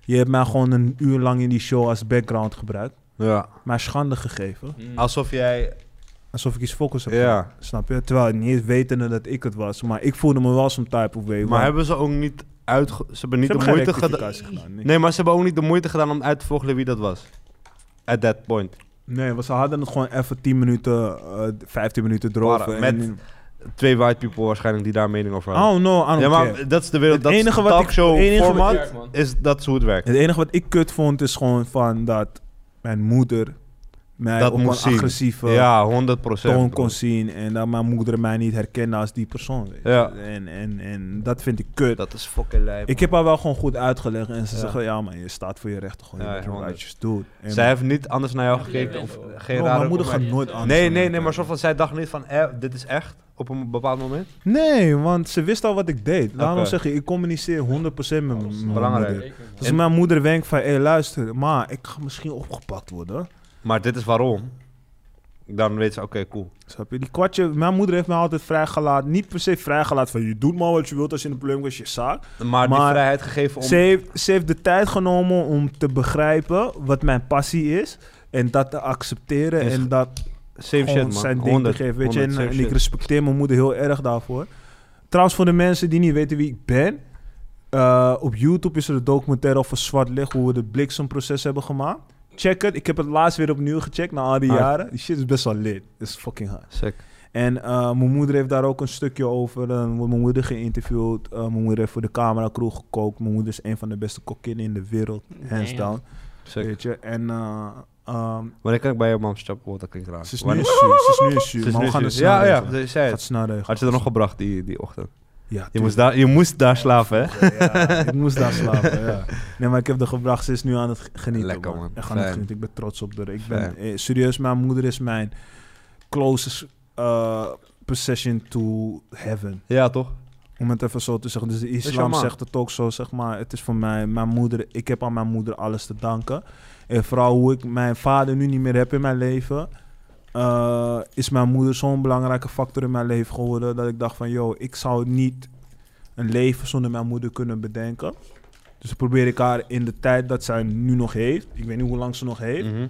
Speaker 6: je hebt mij gewoon een uur lang in die show als background gebruikt,
Speaker 1: Ja.
Speaker 6: maar schande gegeven.
Speaker 1: Alsof jij.
Speaker 6: Alsof ik iets focus heb
Speaker 1: Ja.
Speaker 6: gedaan, snap je? Terwijl niet eens wetende dat ik het was, maar ik voelde me wel zo'n type of way.
Speaker 1: Maar
Speaker 6: want-
Speaker 1: hebben ze ook niet uitge. Ze hebben niet
Speaker 6: Ze
Speaker 1: de
Speaker 6: hebben
Speaker 1: moeite
Speaker 6: geen
Speaker 1: gedaan.
Speaker 6: rectificatie gedaan. Nee.
Speaker 1: Nee, maar ze hebben ook niet de moeite gedaan om uit te vogelen wie dat was. At that point.
Speaker 6: nee, want ze hadden het gewoon even 10 minuten, eh 15 minuten erover.
Speaker 1: Waren,
Speaker 6: en-
Speaker 1: met- Twee white people waarschijnlijk die daar mening over hadden.
Speaker 6: oh no, I don't
Speaker 1: ja,
Speaker 6: care.
Speaker 1: maar dat is de wereld.
Speaker 6: Het
Speaker 1: Dat
Speaker 6: enige
Speaker 1: enige
Speaker 6: wat ik-
Speaker 1: talkshow
Speaker 6: het enige wat-
Speaker 1: format
Speaker 12: Werk, man.
Speaker 1: is dat is hoe het werkt.
Speaker 6: Het enige wat ik kut vond is gewoon van dat mijn moeder mij
Speaker 1: Dat
Speaker 6: op een
Speaker 1: moest zien.
Speaker 6: agressieve
Speaker 1: Ja, 100 procent.
Speaker 6: toon kon zien. En dat mijn moeder mij niet herkende als die persoon. weet je.
Speaker 1: Ja.
Speaker 6: En, en, en dat vind ik kut.
Speaker 1: Dat is fucking lijp.
Speaker 6: ik heb haar wel gewoon goed uitgelegd. En ze
Speaker 1: Ja.
Speaker 6: zeggen, ja maar je staat voor je rechten. Gewoon,
Speaker 1: Ja,
Speaker 6: je moet
Speaker 1: honderd.
Speaker 6: wat je doet. En-
Speaker 1: Zij heeft niet anders naar jou
Speaker 12: Ja,
Speaker 1: gekeken.
Speaker 12: jij
Speaker 1: Of
Speaker 12: bent-
Speaker 1: geen
Speaker 6: Bro,
Speaker 1: rare
Speaker 6: mijn moeder gaat
Speaker 1: opmerking.
Speaker 6: nooit anders.
Speaker 1: Nee,
Speaker 6: doen.
Speaker 1: nee, nee, maar soort van zij dacht niet van, eh, dit is echt op een bepaald moment.
Speaker 6: Nee, want ze wist al wat ik deed. Daarom
Speaker 1: Oké.
Speaker 6: zeg je, ik communiceer 100% met mijn mijn
Speaker 1: Belangrijk.
Speaker 6: moeder.
Speaker 12: Zeker, man.
Speaker 6: Dus
Speaker 1: En-
Speaker 6: mijn moeder wenkt van, hé luister, maar ik ga misschien opgepakt worden.
Speaker 1: Maar dit is waarom. dan weet ze, oké, cool.
Speaker 6: Snap je? Die kwartje, mijn moeder heeft mij altijd vrijgelaten. Niet per se vrijgelaten van je doet maar wat je wilt als je in een probleem is, je zaak.
Speaker 1: Maar, die vrijheid gegeven om...
Speaker 6: Ze heeft, ze heeft de tijd genomen om te begrijpen wat mijn passie is. En dat te accepteren
Speaker 1: Is
Speaker 6: en dat
Speaker 1: Same
Speaker 6: gewoon
Speaker 1: shit, man.
Speaker 6: zijn ding
Speaker 1: 100,
Speaker 6: te geven. Weet je, eh, en,
Speaker 1: 100, same
Speaker 6: en ik
Speaker 1: shit.
Speaker 6: respecteer mijn moeder heel erg daarvoor. Trouwens, voor de mensen die niet weten wie ik ben. eh, op YouTube is er een documentaire over Zwart Licht, hoe we de bliksemproces hebben gemaakt. Check het. Ik heb het laatst weer opnieuw gecheckt na al die
Speaker 1: Hard.
Speaker 6: jaren. Die shit is best wel lit. Dat is fucking hard.
Speaker 1: Sick.
Speaker 6: En eh, mijn moeder heeft daar ook een stukje over. Dan wordt mijn moeder geïnterviewd. Eh, mijn moeder heeft voor de cameracrew gekookt. Mijn moeder is een van de beste kokinnen in de wereld. Hands
Speaker 4: Damn.
Speaker 6: down.
Speaker 1: Sick.
Speaker 6: Weet je. En eh, ehm,
Speaker 1: Wanneer kan ik bij je mam stappen? Want dat klinkt raar.
Speaker 6: ze is nu
Speaker 1: Wanneer-
Speaker 6: zuur. Ze is nu
Speaker 1: Ze
Speaker 6: zuur.
Speaker 1: is
Speaker 6: Maar we
Speaker 1: nu
Speaker 6: gaan het
Speaker 1: zuur.
Speaker 6: snel
Speaker 1: Ja, ja,
Speaker 6: regelen.
Speaker 1: ze zei het.
Speaker 6: Gaat snel regelen.
Speaker 1: Had je er nog gebracht die, die ochtend?
Speaker 6: Ja,
Speaker 1: Je moest, daar, je moest daar slapen, hè?
Speaker 6: tuurlijk. Ja, ik moest daar slapen, ja. Nee, maar ik heb er gebracht. Ze is nu aan het genieten,
Speaker 1: Lekker, man.
Speaker 6: Echt aan het
Speaker 1: Fijn.
Speaker 6: genieten. Ik ben trots op haar. Ik
Speaker 1: Fijn.
Speaker 6: ben, eh, serieus, mijn moeder is mijn closest eh, possession to heaven.
Speaker 1: Ja, toch?
Speaker 6: Om het even zo te zeggen. Dus de
Speaker 1: jouw
Speaker 6: islam
Speaker 1: man.
Speaker 6: zegt het ook zo, zeg maar. Het is voor mij, mijn moeder, ik heb aan mijn moeder alles te danken. En vooral hoe ik mijn vader nu niet meer heb in mijn leven. eh, is mijn moeder zo'n belangrijke factor in mijn leven geworden. Dat ik dacht van, yo, ik zou niet een leven zonder mijn moeder kunnen bedenken. Dus probeer ik haar in de tijd dat zij nu nog heeft. Ik weet niet hoe lang ze nog heeft
Speaker 1: Mhm.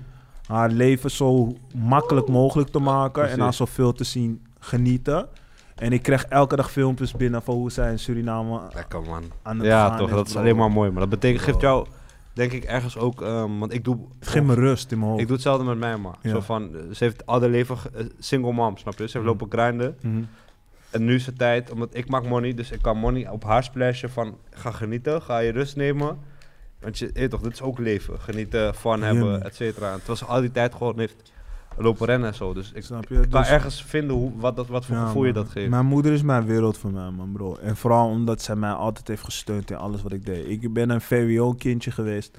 Speaker 6: haar leven zo makkelijk mogelijk te maken en
Speaker 1: Precies.
Speaker 6: haar zoveel te zien genieten. En ik kreeg elke dag filmpjes binnen van hoe zij in Suriname
Speaker 1: Lekker, man.
Speaker 6: aan het
Speaker 1: Ja,
Speaker 6: gaan
Speaker 1: toch?
Speaker 6: is,
Speaker 1: Dat is
Speaker 6: bro.
Speaker 1: alleen maar mooi. Maar dat betekent, geeft jou, denk ik, ergens ook... ehm, want ik doe...
Speaker 6: Het geeft me rust in mijn hoofd.
Speaker 1: Ik doe hetzelfde met mij, man.
Speaker 6: Ja.
Speaker 1: Zo van, eh, ze heeft al haar leven ge- eh, single mom, snap je? Ze heeft
Speaker 6: Mhm.
Speaker 1: lopen grinden.
Speaker 6: Mhm.
Speaker 1: En nu is het tijd, omdat ik maak money, dus ik kan money op haar splashen van ga genieten, ga je rust nemen. Want je, je weet toch, dit is ook leven. Genieten, fun hebben,
Speaker 6: Yummy.
Speaker 1: et cetera. En terwijl ze al die tijd gewoon heeft lopen rennen en zo. Dus ik
Speaker 6: Snap je?
Speaker 1: kan
Speaker 6: Dus-
Speaker 1: ergens vinden hoe, wat, dat, wat voor
Speaker 6: Ja,
Speaker 1: gevoel je
Speaker 6: man.
Speaker 1: dat geeft.
Speaker 6: Mijn moeder is mijn wereld voor mij, man, bro. En vooral omdat zij mij altijd heeft gesteund in alles wat ik deed. Ik ben een VWO-kindje geweest.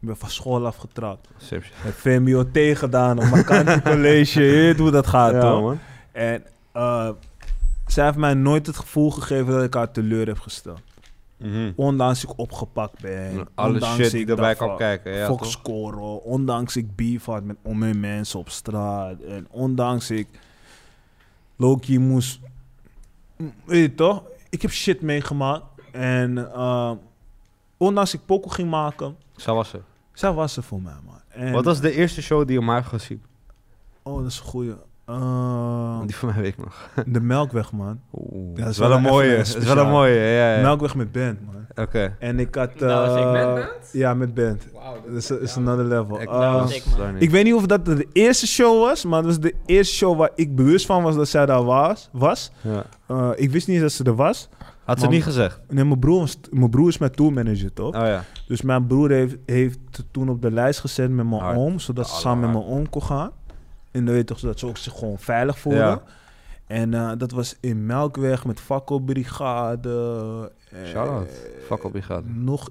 Speaker 6: Ik ben van school afgetrapt.
Speaker 1: Same shit.
Speaker 6: Heb VMBO tegedaan op mijn kant college. Je weet hoe dat gaat,
Speaker 1: Ja,
Speaker 6: toch?
Speaker 1: man.
Speaker 6: En eh, zij heeft mij nooit het gevoel gegeven dat ik haar teleur heb gesteld.
Speaker 1: Mhm. Nou,
Speaker 6: Ondanks ik opgepakt ben.
Speaker 1: Alle
Speaker 6: ondanks
Speaker 1: shit die
Speaker 6: ik
Speaker 1: erbij
Speaker 6: daarvan-
Speaker 1: kan kijken. Ja,
Speaker 6: Fox
Speaker 1: toch?
Speaker 6: scoren. Ondanks ik beef had met om mijn mensen op straat. En ondanks ik Loki moest. Mm, Weet je toch? Ik heb shit meegemaakt. En eh, ondanks ik pokoe ging maken,
Speaker 1: Zo was ze.
Speaker 6: zij was er voor mij, man. En,
Speaker 1: Wat was de eerste show die je maar gezien?
Speaker 6: Oh, dat is een goeie. Eh,
Speaker 1: Die van mij weet ik nog.
Speaker 6: de Melkweg, man.
Speaker 1: Oeh,
Speaker 6: Ja,
Speaker 1: dat is wel een
Speaker 6: even
Speaker 1: mooie.
Speaker 6: een
Speaker 1: Dat is wel een
Speaker 6: speciaal.
Speaker 1: mooie. Ja, ja.
Speaker 6: Melkweg met band, man.
Speaker 1: Oké.
Speaker 6: En ik had.
Speaker 4: Dat was ik met
Speaker 6: eh,
Speaker 4: band?
Speaker 6: Ja, met band.
Speaker 12: Wauw.
Speaker 6: Dat is, is another level.
Speaker 1: Ik-
Speaker 6: Eh,
Speaker 4: was ik, man.
Speaker 1: sorry.
Speaker 6: Ik weet niet of dat de eerste show was, maar het was de eerste show waar ik bewust van was dat zij daar was. was.
Speaker 1: Ja.
Speaker 6: Eh, ik wist niet eens dat ze er was.
Speaker 1: Had ze
Speaker 6: Man.
Speaker 1: niet gezegd?
Speaker 6: Nee, mijn broer, was- mijn broer is mijn tourmanager, toch?
Speaker 1: Oh ja.
Speaker 6: Dus mijn broer heeft, heeft het toen op de lijst gezet met mijn
Speaker 1: Hard.
Speaker 6: oom, zodat ze
Speaker 1: Alle
Speaker 6: samen met
Speaker 1: hard.
Speaker 6: mijn oom kon gaan. En dan weet je toch, zodat ze ook zich gewoon veilig voelden.
Speaker 1: Ja.
Speaker 6: En eh, dat was in Melkweg met Fakkelbrigade. eh,
Speaker 1: Shout-out. Fakkel Brigade.
Speaker 6: Nog,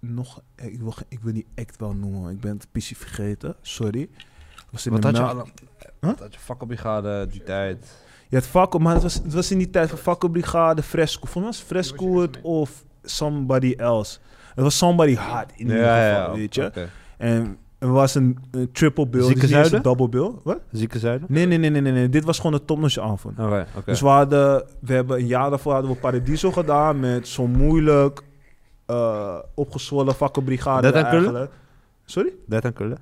Speaker 6: nog eh, ik, wil, ge- ik wil die act wel noemen, ik ben het pissie vergeten, sorry. Was in
Speaker 1: Wat
Speaker 6: de
Speaker 1: had je
Speaker 6: Mel-
Speaker 1: allemaal? Wat had je fakkelbrigade die tijd?
Speaker 6: Ja, het Fakkel, maar het was, het was in die tijd van Fakkelbrigade, Fresco. Volgens mij was Fresco het of somebody else. Het was somebody hard in ieder geval, weet je.
Speaker 1: oké.
Speaker 6: En er was een, een triple bill,
Speaker 1: Zieke
Speaker 6: dus niet eens een
Speaker 1: zuiden?
Speaker 6: double bill. Wat?
Speaker 1: Zieke zijde?
Speaker 6: Nee, nee, nee, nee, nee, nee. Dit was gewoon een topnotch avond.
Speaker 1: Oké, oké.
Speaker 6: Dus we hadden, we hebben een jaar daarvoor hadden we Paradiso gedaan met zo'n moeilijk eh opgezwollen vakkenbrigade
Speaker 1: Dat en krullen?
Speaker 6: eigenlijk. Sorry?
Speaker 1: Dread en krullen?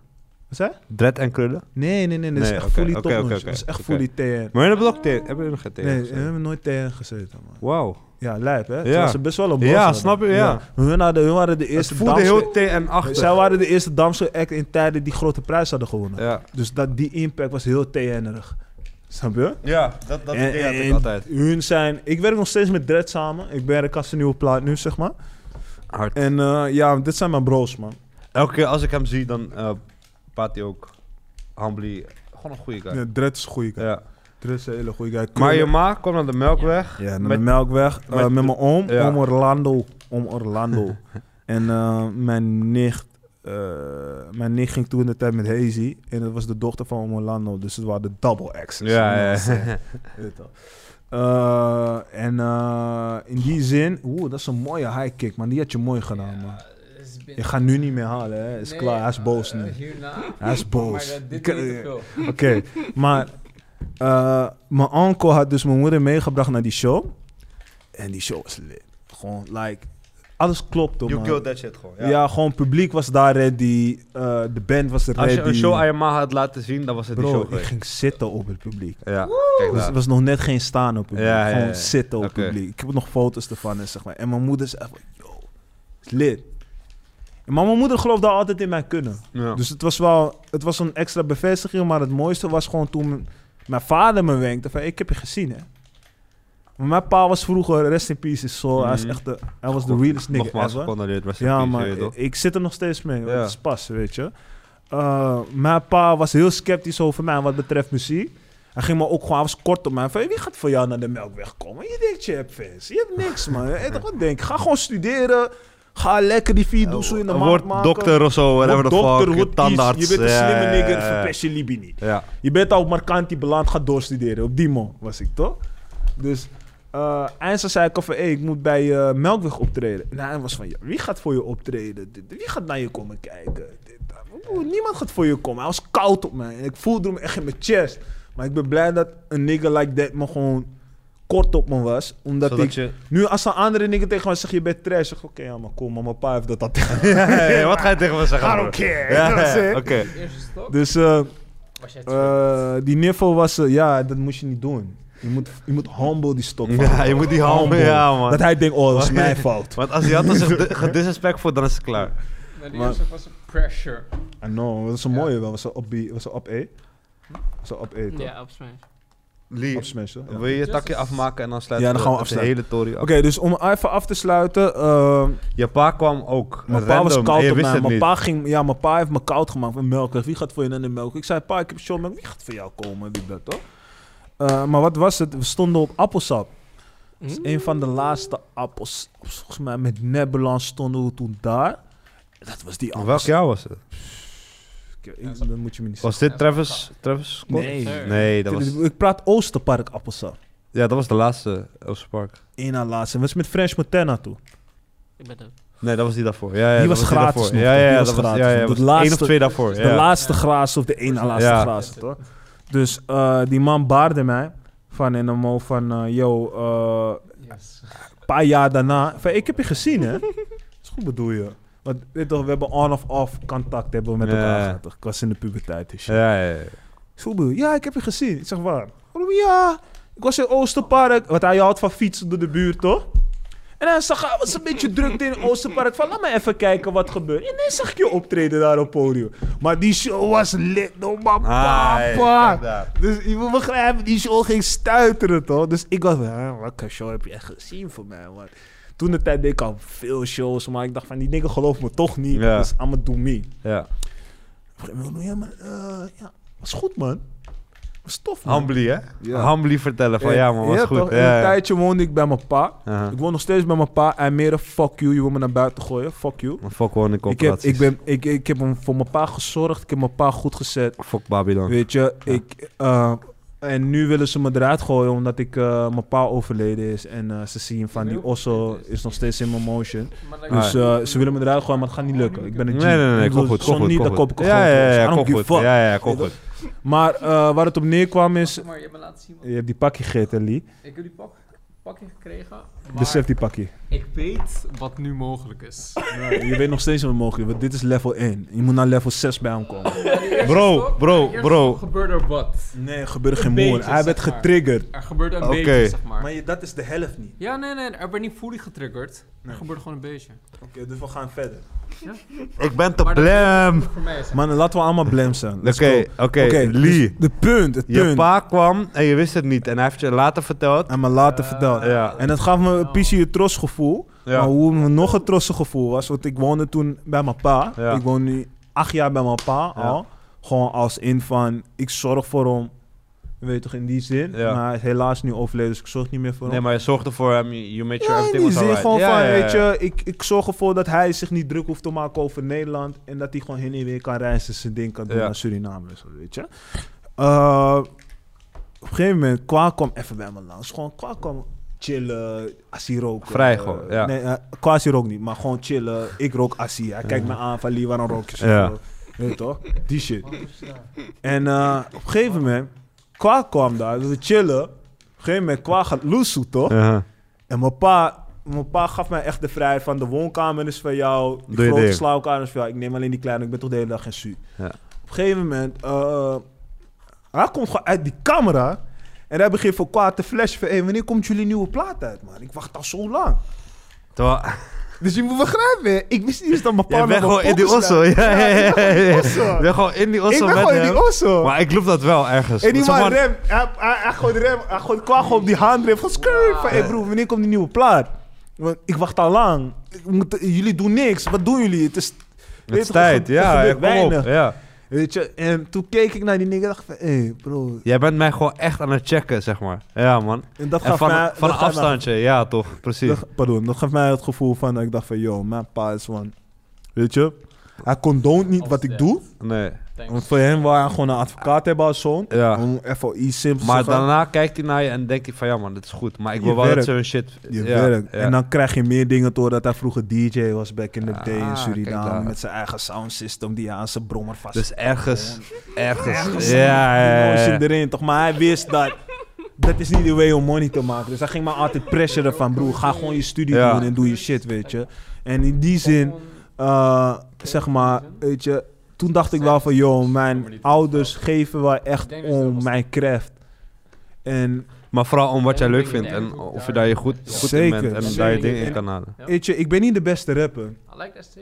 Speaker 6: Wat zei je?
Speaker 1: Dread en krullen?
Speaker 6: Nee, nee, nee, nee. Dat
Speaker 1: Nee,
Speaker 6: is echt
Speaker 1: oké,
Speaker 6: fully
Speaker 1: oké,
Speaker 6: topnotch.
Speaker 1: oké, oké,
Speaker 6: Dat is echt
Speaker 1: oké.
Speaker 6: fully TN.
Speaker 1: Maar jullie hebben ook tegen. Hebben jullie nog geen tegen?
Speaker 6: Nee, eh. we
Speaker 1: gezeten?
Speaker 6: hebben nooit TN gezeten, man.
Speaker 1: Wauw.
Speaker 6: Ja, lijp, hè?
Speaker 1: Ja.
Speaker 6: Ja. was best wel een bos.
Speaker 1: Ja,
Speaker 6: hadden.
Speaker 1: snap je, ja.
Speaker 6: Hun, hadden, hun waren de
Speaker 1: Het
Speaker 6: eerste
Speaker 1: voelde
Speaker 6: Damse-
Speaker 1: heel TN-achtig.
Speaker 6: Zij waren de eerste Damse act in tijden die grote prijs hadden gewonnen.
Speaker 1: Ja.
Speaker 6: Dus dat, die impact was heel TN'erig. Snap je?
Speaker 1: Ja, dat, dat
Speaker 6: En-
Speaker 1: idee had ik
Speaker 6: en
Speaker 1: altijd.
Speaker 6: Hun zijn... Ik werk nog steeds met Dread samen. Ik ben ik had zijn nieuwe plaat nu, zeg maar.
Speaker 1: Hard.
Speaker 6: En eh, ja, dit zijn mijn bros, man.
Speaker 1: Elke keer als ik hem zie, dan eh praat hij ook humbly. Gewoon een goede guy.
Speaker 6: Ja, Dread is een goeie guy.
Speaker 1: Ja.
Speaker 6: Dread is een hele goeie guy.
Speaker 1: Maar je ma kwam naar de Melkweg.
Speaker 6: Ja, naar
Speaker 1: met-
Speaker 6: de Melkweg. eh,
Speaker 1: met-
Speaker 6: met mijn oom.
Speaker 1: ja.
Speaker 6: Om Orlando. Om Orlando. en eh, mijn nicht... eh, mijn nicht ging toen in de tijd met Hazy. En dat was de dochter van Om Orlando. Dus het waren de double X's.
Speaker 1: Ja, ja.
Speaker 6: Weet al. Eh, en eh, in die zin, oeh, dat is een mooie high kick, man. Die had je mooi gedaan, man.
Speaker 12: Het is
Speaker 6: Je gaat nu niet meer halen, hè? Is
Speaker 12: Nee,
Speaker 6: klaar, hij is boos
Speaker 12: eh,
Speaker 6: nu.
Speaker 12: hierna.
Speaker 6: Hij is boos.
Speaker 5: uh,
Speaker 12: Maar dat- dit
Speaker 6: Ik-
Speaker 12: duurt te veel.
Speaker 6: Oké, maar eh, mijn onkel had dus mijn moeder meegebracht naar die show. En die show was lit. Gewoon, like, alles klopt, man.
Speaker 1: You killed that shit gewoon, ja.
Speaker 6: Ja, gewoon publiek was daar ready. eh, de band was ready.
Speaker 1: Als je een show aan je ma had laten zien, dan was het
Speaker 6: Bro,
Speaker 1: die show eh.
Speaker 6: ik
Speaker 1: geweest.
Speaker 6: ging zitten op het publiek.
Speaker 1: Ja,
Speaker 6: Het
Speaker 1: kijk
Speaker 6: was,
Speaker 1: daar.
Speaker 6: was nog net geen staan op het publiek.
Speaker 1: Ja, ja, ja,
Speaker 6: Gewoon
Speaker 1: ja.
Speaker 6: zitten op het
Speaker 1: Oké.
Speaker 6: publiek. Ik heb nog foto's ervan en zeg maar. En mijn moeder zei van, yo, is lit. Maar mijn moeder geloofde altijd in mijn kunnen.
Speaker 1: Ja.
Speaker 6: Dus het was wel, het was een extra bevestiging. Maar het mooiste was gewoon toen mijn, mijn vader me wenkte van, ik heb je gezien hè. Maar mijn pa was vroeger, rest in peace is soul. Hij, is
Speaker 1: Mhm.
Speaker 6: echt de, hij was de realest nigga
Speaker 1: Nogmaals
Speaker 6: ever.
Speaker 1: gecondoleerd, rest in
Speaker 6: Ja,
Speaker 1: peace,
Speaker 6: maar eh,
Speaker 1: weet je
Speaker 6: ik,
Speaker 1: toch?
Speaker 6: ik zit er nog steeds mee. want
Speaker 1: Ja.
Speaker 6: Het is pas, weet je. Eh, mijn pa was heel sceptisch over mij wat betreft muziek. Hij ging me ook gewoon, hij was kort op mij. Van, wie gaat voor jou naar de melkweg komen? Je denkt, je hebt fans. Je hebt niks, man. Je weet toch wat denk. ik? Ga gewoon studeren. Ga lekker die vier doezel in de maand
Speaker 1: Word
Speaker 6: maken.
Speaker 1: Oh, dokter of zo, whatever
Speaker 6: Word
Speaker 1: the
Speaker 6: dokter,
Speaker 1: fuck,
Speaker 6: word iets.
Speaker 1: tandarts. eh,
Speaker 6: Je bent een
Speaker 1: Ja,
Speaker 6: slimme
Speaker 1: ja,
Speaker 6: nigger,
Speaker 1: ja, ja.
Speaker 6: verpest je Libi niet.
Speaker 1: Ja.
Speaker 6: Je bent al op Marcanti beland, ga doorstuderen. Op die man was ik, toch? Dus eh Einstein zei ik al van, hey, ik moet bij eh, Melkweg optreden. En hij was van, ja, wie gaat voor je optreden? Dit- Wie gaat naar je komen kijken? Dit, dat. Oeh, Niemand gaat voor je komen. Hij was koud op mij. En ik voelde hem echt in mijn chest. Maar ik ben blij dat een nigger like that me gewoon kort op me was. Omdat
Speaker 1: Zodat
Speaker 6: ik...
Speaker 1: je-
Speaker 6: Nu als een andere nigger tegen mij zegt, je bent trash. Ik zeg, oké, ja, maar kom, maar mijn pa heeft dat al tegen
Speaker 1: Ja, ja, wat ga je tegen me zeggen,
Speaker 6: I
Speaker 1: bro?
Speaker 6: don't care.
Speaker 1: Ja,
Speaker 6: You know what I'm
Speaker 1: ja,
Speaker 6: saying?
Speaker 1: oké.
Speaker 6: Dus eh,
Speaker 12: Was jij
Speaker 6: eh, die niffel was, eh, ja, dat moest je niet doen. Je moet, je moet humble die stok
Speaker 1: Ja, je moet die humble, ja, man.
Speaker 6: Dat hij denkt, oh, dat is mijn fout.
Speaker 1: Want als je had zich de- gedisrespect voor, dan is het klaar.
Speaker 12: Maar Nou, die
Speaker 6: Maar-
Speaker 12: eerste was een pressure.
Speaker 6: I know, dat is een mooie wel. Was een op B, was een op E. Was een op E, toch?
Speaker 4: Ja, op smash.
Speaker 1: Lee,
Speaker 6: Op smash, toch? Ja.
Speaker 1: wil je je takje afmaken en dan sluiten
Speaker 6: Ja, dan gaan we
Speaker 1: het
Speaker 6: afsluiten.
Speaker 1: hele tory af.
Speaker 6: Oké, dus om even af te sluiten. ehm,
Speaker 1: Je pa kwam ook.
Speaker 6: Mijn pa was
Speaker 1: random, en
Speaker 6: koud
Speaker 1: je
Speaker 6: op
Speaker 1: wist
Speaker 6: mij.
Speaker 1: het
Speaker 6: Mijn
Speaker 1: niet.
Speaker 6: pa, ging, ja, mijn pa heeft me koud gemaakt van melk. Wie gaat voor je naar de melk? Ik zei, pa, ik heb show melk. Wie gaat voor jou komen? Wie dat, toch? Eh, maar wat was het? We stonden op appelsap. Dat is een van de laatste appels. Volgens mij met Nebelon stonden we toen daar. Dat was die
Speaker 1: Welk
Speaker 6: appels.
Speaker 1: jaar was het?
Speaker 6: Ik- ik- Dat moet je me niet
Speaker 1: Was
Speaker 6: zeggen.
Speaker 1: dit Travis, Travis Scott?
Speaker 6: Nee.
Speaker 1: Nee, dat was,
Speaker 6: Ik praat Oosterpark appelsap.
Speaker 1: ja, dat was de laatste Oosterpark.
Speaker 6: Eén na laatste. Dat was met French Montana toe.
Speaker 4: Ik ben dood.
Speaker 1: Nee, dat was die daarvoor. Ja, ja,
Speaker 6: Die
Speaker 1: dat
Speaker 6: was
Speaker 1: die
Speaker 6: gratis
Speaker 1: daarvoor.
Speaker 6: nog,
Speaker 1: Ja,
Speaker 6: toch?
Speaker 1: ja,
Speaker 6: Die was
Speaker 1: dat was,
Speaker 6: gratis.
Speaker 1: ja, ja,
Speaker 6: De
Speaker 1: was
Speaker 6: laatste-
Speaker 1: één of twee daarvoor.
Speaker 6: Dus De
Speaker 1: ja.
Speaker 6: laatste graas of de één na laatste
Speaker 1: Ja.
Speaker 6: graas, toch? Dus eh, die man baarde mij van in een mo van, eh, yo, eh, een paar jaar daarna. Van, ik heb je gezien, hè? Dat is goed bedoel je. Want weet je toch, we hebben on of off contact hebben we met
Speaker 1: Ja.
Speaker 6: elkaar gehad, toch? Ik was in de puberteit en shit.
Speaker 1: Ja, ja, ja.
Speaker 6: Ik zeg, "Broer, ja, ik heb je gezien. Ik zeg, waar? Waarom ja? Ik was in Oosterpark. Want hij houdt van fietsen door de buurt, toch? En hij zag, hij was een beetje druk in Oosterpark. Van, laat me even kijken wat gebeurt. En nee, zag ik je optreden daar op het podium. Maar die show was lit, door mijn
Speaker 1: Ah, ja, kijk
Speaker 6: papa.
Speaker 1: daar.
Speaker 6: Dus je moet begrijpen, die show ging stuiteren, toch? Dus ik was, "Hè, wat een show heb je echt gezien voor mij, man. Toen de tijd deed ik al veel shows, maar ik dacht van, die dingen geloof me toch niet.
Speaker 1: Ja.
Speaker 6: Dus I'ma do me.
Speaker 1: ja.
Speaker 6: Op een gegeven moment, ja, maar, eh, ja, was goed, man. Was tof, man.
Speaker 1: Humbly, hè?
Speaker 6: Ja.
Speaker 1: Humbly vertellen van,
Speaker 6: Eh,
Speaker 1: ja, man, was
Speaker 6: ja,
Speaker 1: goed.
Speaker 6: toch?
Speaker 1: Ja,
Speaker 6: In een
Speaker 1: ja.
Speaker 6: tijdje woonde ik bij mijn pa.
Speaker 1: Aha.
Speaker 6: Ik woon nog steeds bij mijn pa. En meer fuck you, je wil me naar buiten gooien. Fuck you.
Speaker 1: Maar Fuck wonen
Speaker 6: Ik heb,
Speaker 1: corporaties.
Speaker 6: ik, ben, ik, ik heb hem voor mijn pa gezorgd. Ik heb mijn pa goed gezet.
Speaker 1: Fuck Babylon.
Speaker 6: Weet je, ik... eh, en nu willen ze me eruit gooien omdat ik, eh, mijn pa overleden is. En eh, ze zien van die osso is nog steeds in mijn motion. Dus eh, ze willen me eruit gooien, maar het gaat niet lukken. Ik ben een
Speaker 1: Ah. Nee,
Speaker 6: G.
Speaker 1: nee, nee, nee,
Speaker 6: Ik bedoel,
Speaker 1: kom goed, kom
Speaker 6: zonder
Speaker 1: goed,
Speaker 6: niet,
Speaker 1: kom
Speaker 6: dan
Speaker 1: goed.
Speaker 6: koop ik een
Speaker 1: Ja,
Speaker 6: grote
Speaker 1: ja,
Speaker 6: osso. dus I
Speaker 1: ja,
Speaker 6: don't
Speaker 1: kom
Speaker 6: give a
Speaker 1: goed.
Speaker 6: fuck.
Speaker 1: Ja, ja, kom goed.
Speaker 6: Maar eh, waar het op neerkwam is...
Speaker 12: Maar je hebt me laten zien, man.
Speaker 6: Je hebt die pakje gegeten, Lee.
Speaker 12: Ik heb die pak, pakje gekregen.
Speaker 6: De
Speaker 12: Maar
Speaker 6: safety pakje.
Speaker 12: ik weet wat nu mogelijk is.
Speaker 6: Nou, Je weet nog steeds wat mogelijk is, want dit is level 1. Je moet naar level 6 bij hem komen.
Speaker 1: Bro, bro, bro.
Speaker 12: Gebeurde er wat?
Speaker 6: Nee, er gebeurde
Speaker 12: Een
Speaker 6: geen moer.
Speaker 12: beetje,
Speaker 6: Hij werd
Speaker 12: zeg maar.
Speaker 6: getriggerd.
Speaker 12: Er gebeurde een
Speaker 1: Oké.
Speaker 12: beetje, zeg maar.
Speaker 6: je, dat is de helft niet.
Speaker 12: Ja, nee, nee, er werd niet fully getriggerd.
Speaker 6: Nee.
Speaker 12: Er gebeurde gewoon een beetje.
Speaker 6: Oké, dus we gaan verder.
Speaker 1: Ik ben te
Speaker 12: Maar dat-
Speaker 1: blam.
Speaker 12: Voor mij is het.
Speaker 6: Man, laten we allemaal blem zijn. Let's
Speaker 1: Oké,
Speaker 6: go.
Speaker 1: oké,
Speaker 6: Oké, dus
Speaker 1: Lee.
Speaker 6: De punt, het
Speaker 1: Je
Speaker 6: punt.
Speaker 1: pa kwam en je wist het niet. En hij heeft je later verteld.
Speaker 6: En me later verteld.
Speaker 1: ja.
Speaker 6: En dat gaf me een beetje je trots gevoel.
Speaker 1: Ja.
Speaker 6: Maar hoe me nog een trotse gevoel was, want ik woonde toen bij mijn pa.
Speaker 1: Ja.
Speaker 6: Ik woon nu acht jaar bij mijn pa al. Gewoon als in van, ik zorg voor hem. Je Weet toch, in die zin.
Speaker 1: Ja.
Speaker 6: Maar hij is helaas nu overleden, dus ik zorg niet meer voor
Speaker 1: Nee,
Speaker 6: hem.
Speaker 1: maar je zorgde voor hem. You you made sure
Speaker 6: Ja, in
Speaker 1: everything
Speaker 6: die
Speaker 1: was
Speaker 6: zin
Speaker 1: alright.
Speaker 6: gewoon
Speaker 1: Ja,
Speaker 6: van,
Speaker 1: ja, ja.
Speaker 6: weet je, ik, ik zorg ervoor dat hij zich niet druk hoeft te maken over Nederland. En dat hij gewoon heen en weer kan reizen, zijn ding kan doen
Speaker 1: Ja.
Speaker 6: naar Suriname en zo, weet je. Eh, op een gegeven moment, Kwa kwam even bij me langs. Gewoon, Kwa kwam chillen, Assie roken.
Speaker 1: Vrij
Speaker 6: eh,
Speaker 1: gewoon, ja.
Speaker 6: Nee, eh, quasi rook niet, maar gewoon chillen. Ik rook Assie. Hij kijkt me aan van Lee, waarom rook je zo?
Speaker 1: Ja.
Speaker 6: veel?" Weet je toch? Die shit. En eh, op een gegeven moment, Kwa kwam daar, dus we chillen. Op een gegeven moment, Kwa gaat loesoe, toch?
Speaker 1: Ja.
Speaker 6: En mijn pa, mijn pa gaf mij echt de vrijheid van de woonkamer is van jou, de
Speaker 1: Doe je
Speaker 6: grote
Speaker 1: ding.
Speaker 6: slaapkamer is van jou. Ik neem alleen die kleine, ik ben toch de hele dag geen su.
Speaker 1: Ja.
Speaker 6: Op een gegeven moment, eh, hij komt gewoon uit die camera en hij begint voor kwaad te flashen van, hé, wanneer komt jullie nieuwe plaat uit, man? Ik wacht al zo lang.
Speaker 1: Terwijl-
Speaker 6: Dus je moet begrijpen, ik wist niet eens dat mijn pa
Speaker 1: Jij
Speaker 6: nog
Speaker 1: bent
Speaker 6: een
Speaker 1: gewoon in die
Speaker 6: pokus
Speaker 1: osso.
Speaker 6: luisterde.
Speaker 1: Ja, ja, ja,
Speaker 6: ik ben gewoon in die
Speaker 1: ja. Je bent gewoon in die osso
Speaker 6: osso. Ik ben
Speaker 1: met
Speaker 6: gewoon in
Speaker 1: hem.
Speaker 6: die osso.
Speaker 1: Maar ik loop dat wel ergens.
Speaker 6: En die
Speaker 1: Zeg
Speaker 6: man
Speaker 1: maar-
Speaker 6: rem, hij, hij, hij gooit rem, hij gooit kwak gewoon op die handrem. Van skrrt, van, hey broer, wanneer komt die nieuwe plaat? Want ik wacht al lang. Ik moet- jullie doen niks, wat doen jullie? Het is,
Speaker 1: Het is
Speaker 6: toch, er
Speaker 1: tijd,
Speaker 6: gebe- er
Speaker 1: ja. ja,
Speaker 6: gebeurt
Speaker 1: Kom op. Ja.
Speaker 6: Weet je, en toen keek ik naar die nigger en dacht van, hé bro.
Speaker 1: Jij bent mij gewoon echt aan het checken, zeg maar. Ja, man.
Speaker 6: En dat
Speaker 1: En
Speaker 6: gaf
Speaker 1: van,
Speaker 6: mij...
Speaker 1: van een
Speaker 6: dat gaf mij-
Speaker 1: afstandje, ja toch, precies.
Speaker 6: dat- pardon, dat gaf mij het gevoel van, dat ik dacht van, yo, mijn pa is van, weet je, hij condoont niet wat ik doe.
Speaker 1: Nee.
Speaker 6: Want voor hem wil hij gewoon een advocaat hebben als zoon.
Speaker 1: Ja.
Speaker 6: Om FOI simpel
Speaker 1: Maar
Speaker 6: te gaan.
Speaker 1: daarna kijkt hij naar je en denkt hij van ja man, dit is goed. Maar ik
Speaker 6: Je
Speaker 1: wil wel dat
Speaker 6: werkt.
Speaker 1: ze hun shit...
Speaker 6: Je
Speaker 1: ja,
Speaker 6: werkt.
Speaker 1: ja.
Speaker 6: En dan krijg je meer dingen door dat hij vroeger DJ was back in the day
Speaker 1: Ah,
Speaker 6: in
Speaker 1: kijk daar.
Speaker 6: Suriname. Met zijn eigen sound system die hij aan zijn brommer vast.
Speaker 1: Dus eh, ergens, ergens.
Speaker 6: Ergens
Speaker 1: Ja, ja, ja,
Speaker 6: emotie
Speaker 1: ja.
Speaker 6: erin toch? Maar hij wist dat. Dat is niet de way om money te maken. Dus hij ging maar altijd pressuren van broer, ga gewoon je studie
Speaker 1: Ja.
Speaker 6: doen en doe je shit, weet je. En in die zin, eh, zeg maar, weet je, toen dacht ik wel van, joh, mijn ouders geven wel echt om mijn craft. En
Speaker 1: Maar vooral om wat jij leuk vindt en of je daar je goed, goed
Speaker 6: Zeker,
Speaker 1: in bent en
Speaker 6: zeker.
Speaker 1: daar je dingen in kan halen.
Speaker 6: Weet je, ik ben niet de beste rapper.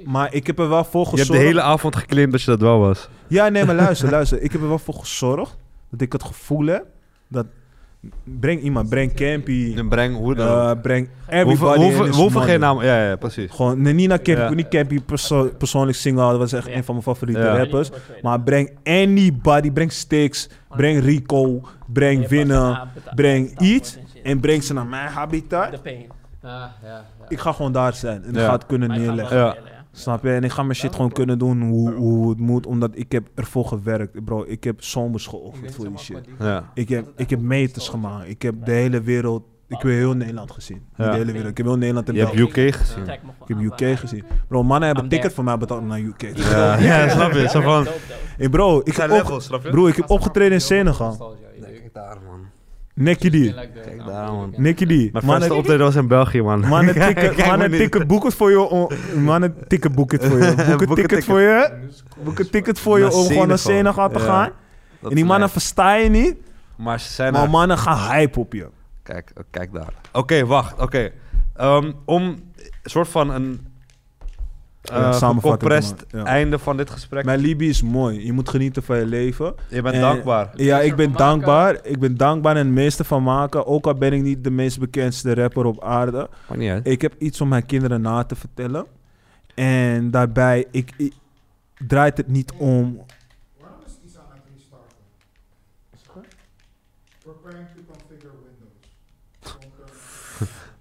Speaker 6: Maar ik heb er wel voor
Speaker 1: Je hebt
Speaker 6: gezorgd.
Speaker 1: de hele avond geclaimd dat je dat wel was.
Speaker 6: Ja, nee, maar luister, luister. Ik heb er wel voor gezorgd dat ik het gevoel heb dat... Breng iemand, breng Campy,
Speaker 1: En breng hoe dan ook.
Speaker 6: eh, breng
Speaker 1: We hoeven-
Speaker 6: everybody
Speaker 1: we
Speaker 6: in
Speaker 1: hoeven-
Speaker 6: his
Speaker 1: we hoeven
Speaker 6: money.
Speaker 1: geen naam. Ja, ja, precies.
Speaker 6: Gewoon, nee, niet naar Campy.
Speaker 1: Ja.
Speaker 6: Ik wil niet Campy perso- persoonlijk zingen, dat was echt een van mijn favoriete
Speaker 1: Ja.
Speaker 6: rappers. Maar breng anybody, breng Sticks, breng Rico, breng Winnen, breng iets. En breng ze naar mijn habitat.
Speaker 4: De pain.
Speaker 6: Ik ga gewoon daar zijn en ik
Speaker 1: Ja.
Speaker 6: ga het kunnen
Speaker 4: Maar ik ga wel
Speaker 6: neerleggen.
Speaker 1: Ja.
Speaker 4: spelen, ja.
Speaker 6: Snap je? En ik ga mijn shit gewoon kunnen doen hoe, hoe het moet, omdat ik heb ervoor gewerkt, bro. Ik heb zomers geofferd voor die shit.
Speaker 1: Ja.
Speaker 6: Ik heb, ik heb meters gemaakt. Ik heb de hele wereld, ik heb heel Nederland gezien. Niet
Speaker 1: Ja.
Speaker 6: De hele wereld. Ik heb heel Nederland en
Speaker 1: Je hebt
Speaker 6: België.
Speaker 1: UK gezien.
Speaker 4: Trek me gewoon
Speaker 6: Ik heb
Speaker 4: aan,
Speaker 6: UK
Speaker 4: maar-
Speaker 6: gezien. Bro, mannen hebben
Speaker 4: I'm
Speaker 6: ticket
Speaker 4: there.
Speaker 6: voor mij betaald om naar UK. te gaan.
Speaker 1: Ja, ja, snap je? Zo van,
Speaker 6: Hey bro, ik heb, op,
Speaker 1: snap
Speaker 6: bro, ik heb opgetreden in Senegal.
Speaker 1: Kijk daar, man.
Speaker 6: Nicky die.
Speaker 1: Kijk daar, man.
Speaker 6: Nicky die.
Speaker 1: Mijn
Speaker 6: Mannen-
Speaker 1: beste optreden was in België, man.
Speaker 6: Mannen
Speaker 1: Kijk,
Speaker 6: tikken,
Speaker 1: kijk
Speaker 6: mannen
Speaker 1: hoe
Speaker 6: tikken boeken voor je. om- Mannen tikken boeken voor je. Boeken
Speaker 1: Boeken
Speaker 6: ticket
Speaker 1: ticket.
Speaker 6: voor je. Boeken ticket voor je
Speaker 1: Naar
Speaker 6: om gewoon naar
Speaker 1: Senegal.
Speaker 6: Senegal te
Speaker 1: Ja.
Speaker 6: gaan.
Speaker 1: dat
Speaker 6: en die mannen
Speaker 1: lijkt.
Speaker 6: verstaan je niet,
Speaker 1: Maar ze zijn
Speaker 6: maar
Speaker 1: er.
Speaker 6: mannen gaan hype op je.
Speaker 1: Kijk, eh, kijk daar. Oké, wacht. Oké. Ehm, om een soort van een eh
Speaker 6: Ja, samenvatting te
Speaker 1: gecompressed
Speaker 6: maken, ja.
Speaker 1: einde van dit gesprek.
Speaker 6: Mijn Libië is mooi. Je moet genieten van je leven.
Speaker 1: Je bent
Speaker 6: Eh,
Speaker 1: dankbaar.
Speaker 6: Ja, ik ben dankbaar. Ik ben dankbaar en het meeste van maken. Ook al ben ik niet de meest bekendste rapper op aarde.
Speaker 1: Maar niet uit.
Speaker 6: Ik heb iets om mijn kinderen na te vertellen. En daarbij ik, ik- draait het niet om.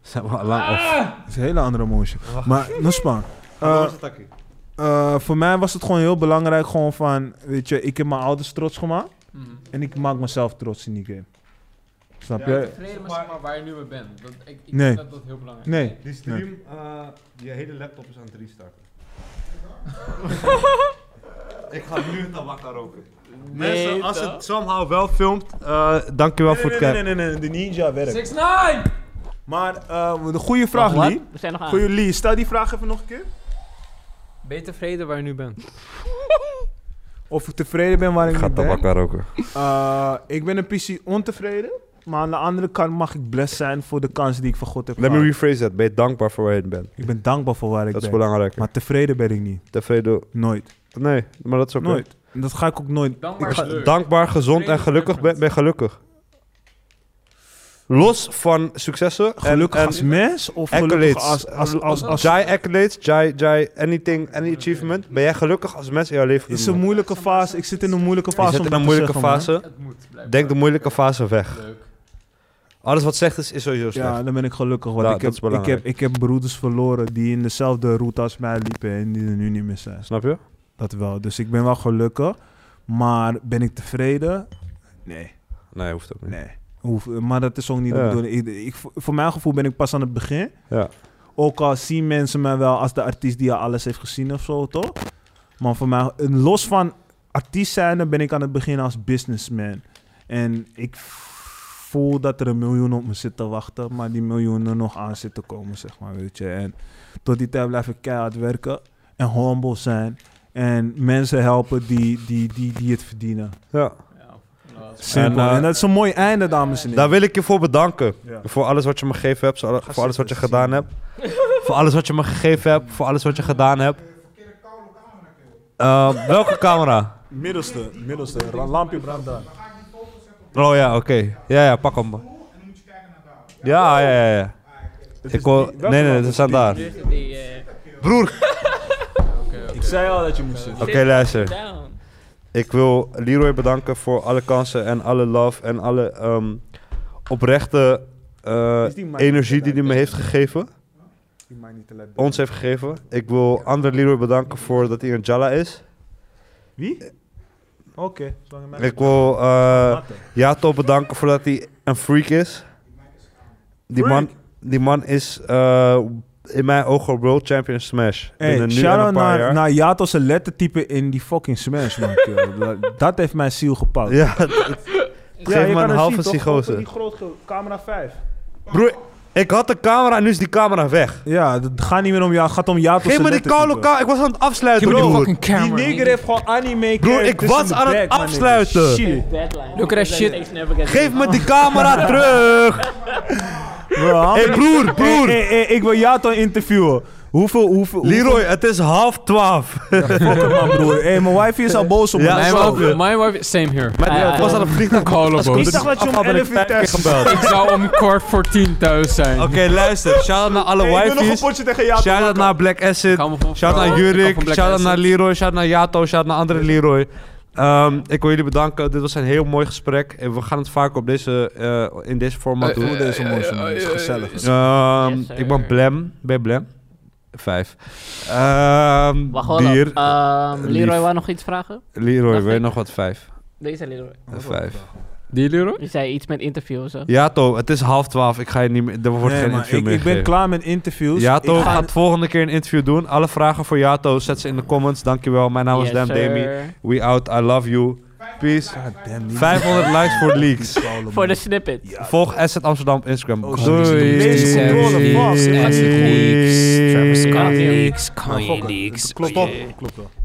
Speaker 1: Zijn we al lang af.
Speaker 6: Het is een hele andere motion. Maar, Nuspan. eh,
Speaker 1: takkie?
Speaker 6: Eh, voor mij was het gewoon heel belangrijk, gewoon van, weet je, ik heb mijn ouders trots gemaakt en ik maak mezelf trots in die game. Snap je?
Speaker 12: Tevreden met zeg maar, waar je nu mee bent. Dat, ik ik
Speaker 6: Nee.
Speaker 12: vind dat dat heel belangrijk is.
Speaker 6: Nee.
Speaker 1: Die stream, je hele laptop is aan het restarten. ik ga nu tabak roken. Mensen, als het somehow wel filmt, eh, dankjewel voor het kijken.
Speaker 6: nee, nee, de ninja werkt.
Speaker 12: 6 9
Speaker 6: Maar eh, de goede vraag,
Speaker 4: Wat? Ah.
Speaker 6: Lee.
Speaker 4: We zijn nog aan.
Speaker 6: Goeie Lee, stel die vraag even nog een keer.
Speaker 12: Ben je tevreden waar je nu bent?
Speaker 6: Of ik tevreden ben waar ik nu ben.
Speaker 1: roken.
Speaker 6: Eh, ik ben een PC ontevreden, maar aan de andere kant mag ik blessed zijn voor de kans die ik van God heb
Speaker 1: Let me
Speaker 6: gehad.
Speaker 1: rephrase dat. Ben je dankbaar voor waar je bent?
Speaker 6: Ik ben dankbaar voor waar ik
Speaker 1: dat is
Speaker 6: ben.
Speaker 1: belangrijk.
Speaker 6: Maar tevreden ben ik niet.
Speaker 1: Tevreden.
Speaker 6: Nooit.
Speaker 1: Nee, maar dat is ook
Speaker 6: Nooit. En Dat ga ik ook nooit.
Speaker 12: Dankbaar
Speaker 6: Ik
Speaker 12: is
Speaker 6: ga-
Speaker 12: leuk.
Speaker 1: Dankbaar, gezond en
Speaker 12: Tevreden
Speaker 1: gelukkig ben, ben gelukkig. Los van successen. en-
Speaker 6: Gelukkig
Speaker 1: en,
Speaker 6: als mens of gelukkig
Speaker 1: accolades.
Speaker 6: als, als, als, als,
Speaker 1: Jai accolades, jai, jai anything, any achievement. Ben jij gelukkig als mens in jouw leven? op dit
Speaker 6: is een
Speaker 1: moment?
Speaker 6: moeilijke fase. Ik zit in een moeilijke
Speaker 1: Je
Speaker 6: fase.
Speaker 1: zit
Speaker 6: om
Speaker 1: in
Speaker 6: dat
Speaker 1: een
Speaker 6: te
Speaker 1: moeilijke
Speaker 6: zeggen, man.
Speaker 1: fase.
Speaker 12: Het moet. blijkbaar.
Speaker 1: Denk de moeilijke fase weg.
Speaker 12: Leuk.
Speaker 1: Alles wat slecht is, is sowieso slecht.
Speaker 6: Ja, dan ben ik gelukkig. Want
Speaker 1: Ja,
Speaker 6: ik,
Speaker 1: dat
Speaker 6: heb,
Speaker 1: is
Speaker 6: ik,
Speaker 1: belangrijk.
Speaker 6: heb, ik heb broeders verloren die in dezelfde route als mij liepen en die er nu niet meer zijn.
Speaker 1: Snap je?
Speaker 6: Dat wel. Dus ik ben wel gelukkig. Maar ben ik tevreden? Nee,
Speaker 1: Nee, hoeft ook niet.
Speaker 6: nee. Hoef- maar dat is ook niet de
Speaker 1: Ja.
Speaker 6: bedoeling. Ik, ik- voor mijn gevoel ben ik pas aan het begin.
Speaker 1: Ja.
Speaker 6: Ook al zien mensen mij wel als de artiest die al alles heeft gezien of zo, toch? Maar voor mij, en los van artiest zijnde, ben ik aan het begin als businessman. En ik voel dat er een miljoen op me zit te wachten, maar die miljoenen nog aan zitten komen, zeg maar, weet je. En tot die tijd blijf ik keihard werken en humble zijn. En mensen helpen die, die, die, die het verdienen.
Speaker 1: Ja.
Speaker 6: Simpel. En,
Speaker 1: En, eh,
Speaker 6: dat is een mooi einde, dames en heren.
Speaker 1: Daar wil ik je voor bedanken.
Speaker 6: Ja.
Speaker 1: Voor alles wat je me gegeven hebt, voor alle- voor alles wat je gedaan hebt. voor alles wat je me gegeven hebt, voor alles wat je gedaan hebt. Eh, welke camera?
Speaker 6: Middelste, middelste. Ra- Lampje brandt daar.
Speaker 1: Oh ja, oké. Ja, ja, pak hem. Ja, ja, ja. ja. Ik hoor... Nee, nee, nee, ze staan daar.
Speaker 4: eh,
Speaker 1: Broer!
Speaker 6: Ik zei al dat je moest zitten.
Speaker 1: Oké, luister. Ik wil Leroy bedanken voor alle kansen en alle love en alle ehm, oprechte eh,
Speaker 6: Is die mic
Speaker 1: energie die hij me heeft gegeven.
Speaker 6: Die mij niet te laat doen.
Speaker 1: Ons heeft gegeven. Ik wil André Leroy bedanken voor dat hij een Jalla is.
Speaker 6: Wie? Oké, zolang je mij-
Speaker 1: Ik wil eh Jato bedanken voordat hij een freak is. Die man, die man is eh, in mijn ogen world champion smash.
Speaker 6: Hey,
Speaker 1: Binnen nu en een
Speaker 6: shout-out
Speaker 1: paar jaar.
Speaker 6: naar, naar Jato's lettertype in die fucking Smash, man. kerel. Dat- dat heeft mijn ziel gepakt.
Speaker 1: Ja, het- het- geef me een halve
Speaker 6: Die
Speaker 1: psychose.
Speaker 6: grote camera 5.
Speaker 1: Broer, ik had de camera en nu is die camera weg.
Speaker 6: Ja, het gaat niet meer om jou, het gaat om Jato's
Speaker 1: Geef me die
Speaker 6: lettertype.
Speaker 1: koude ka- Ik was aan het afsluiten,
Speaker 5: Give me the
Speaker 1: broer.
Speaker 5: fucking
Speaker 6: Die
Speaker 5: camera.
Speaker 6: nigger heeft gewoon anime
Speaker 1: Broer, ik
Speaker 6: characters
Speaker 1: was
Speaker 6: in de
Speaker 1: aan het
Speaker 6: back, man, nigga.
Speaker 1: afsluiten.
Speaker 6: Shit.
Speaker 4: Look at that shit.
Speaker 1: Geef me die camera terug.
Speaker 6: Bro,
Speaker 1: Hé, broer,
Speaker 6: hey,
Speaker 1: broer.
Speaker 6: hey, hey, ik wil Jato interviewen. Hoeveel, hoeveel...
Speaker 1: Leroy, het is half twaalf.
Speaker 6: hoeveel- man, broer. Hey, mijn wife is al boos op me.
Speaker 1: Ja,
Speaker 6: Dat is
Speaker 1: mijn
Speaker 6: wel-
Speaker 1: wife-
Speaker 5: Mijn wife, same here.
Speaker 1: Maar die-
Speaker 4: Ah,
Speaker 1: het was aan het vliegtuig.
Speaker 5: Koude
Speaker 6: Ik zag dat je om 11 uur thuis
Speaker 5: Ik zou om kwart voor tien thuis zijn.
Speaker 1: Oké, luister. Shout-out naar alle
Speaker 6: Hey, ik wil nog een
Speaker 1: wifies.
Speaker 6: potje tegen Jato.
Speaker 1: Shout-out naar Black Acid.
Speaker 5: Gaan we van
Speaker 1: Shout-out naar
Speaker 5: vrouwen. Ik
Speaker 1: Jurik,
Speaker 5: kan van Black
Speaker 1: shout-out naar
Speaker 5: Asset.
Speaker 1: Leroy, shout-out naar Jato, shout-out naar andere Leroy. Ehm, ik wil jullie bedanken. Dit was een heel mooi gesprek. En we gaan het vaak op deze, eh, in deze format
Speaker 5: Eh,
Speaker 1: doen.
Speaker 5: eh,
Speaker 6: Deze
Speaker 5: eh,
Speaker 6: motion,
Speaker 5: eh,
Speaker 6: man. is
Speaker 5: eh,
Speaker 6: gezellig.
Speaker 1: Ehm,
Speaker 4: Yes, sir.
Speaker 1: ik ben Blem. Ben je Blem? Vijf. Ehm,
Speaker 4: Wacht hoor.
Speaker 1: Dier,
Speaker 4: Ehm, Leroy
Speaker 1: lief.
Speaker 4: wou nog iets vragen?
Speaker 1: Leroy, weet
Speaker 4: Wacht
Speaker 1: je
Speaker 4: even. Oh,
Speaker 1: nog wat? Vijf.
Speaker 4: Deze Leroy.
Speaker 1: Eh, Vijf.
Speaker 5: Die Leroy?
Speaker 4: Je zei iets met interview of zo.
Speaker 1: Jato, het is half twaalf. Ik ga je niet meer... Er wordt
Speaker 6: Nee,
Speaker 1: geen
Speaker 6: man,
Speaker 1: interview
Speaker 6: ik,
Speaker 1: meer
Speaker 6: ik ben
Speaker 1: gegeven.
Speaker 6: klaar met
Speaker 5: dus
Speaker 6: interviews.
Speaker 1: Jato
Speaker 6: Ik ga-
Speaker 1: gaat volgende keer een interview doen. Alle vragen voor Jato, zet ze in de comments. Dankjewel. Mijn naam is
Speaker 4: Yes,
Speaker 1: Dan Demi.
Speaker 4: sir.
Speaker 1: We out. I love you. Peace.
Speaker 6: God damn, die-
Speaker 1: 500 likes voor leaks.
Speaker 4: Voor de snippet.
Speaker 1: Volg Asset Amsterdam op Instagram.
Speaker 6: Oh,
Speaker 1: Doei.
Speaker 6: sorry. Deze controle, fuck.
Speaker 5: Classic Weeks, Travis Scott
Speaker 4: Goddamn.
Speaker 5: Weeks,
Speaker 6: Maar
Speaker 5: Kanye
Speaker 6: fuck it.
Speaker 5: Leaks.
Speaker 6: Klopt toch? Klopt toch?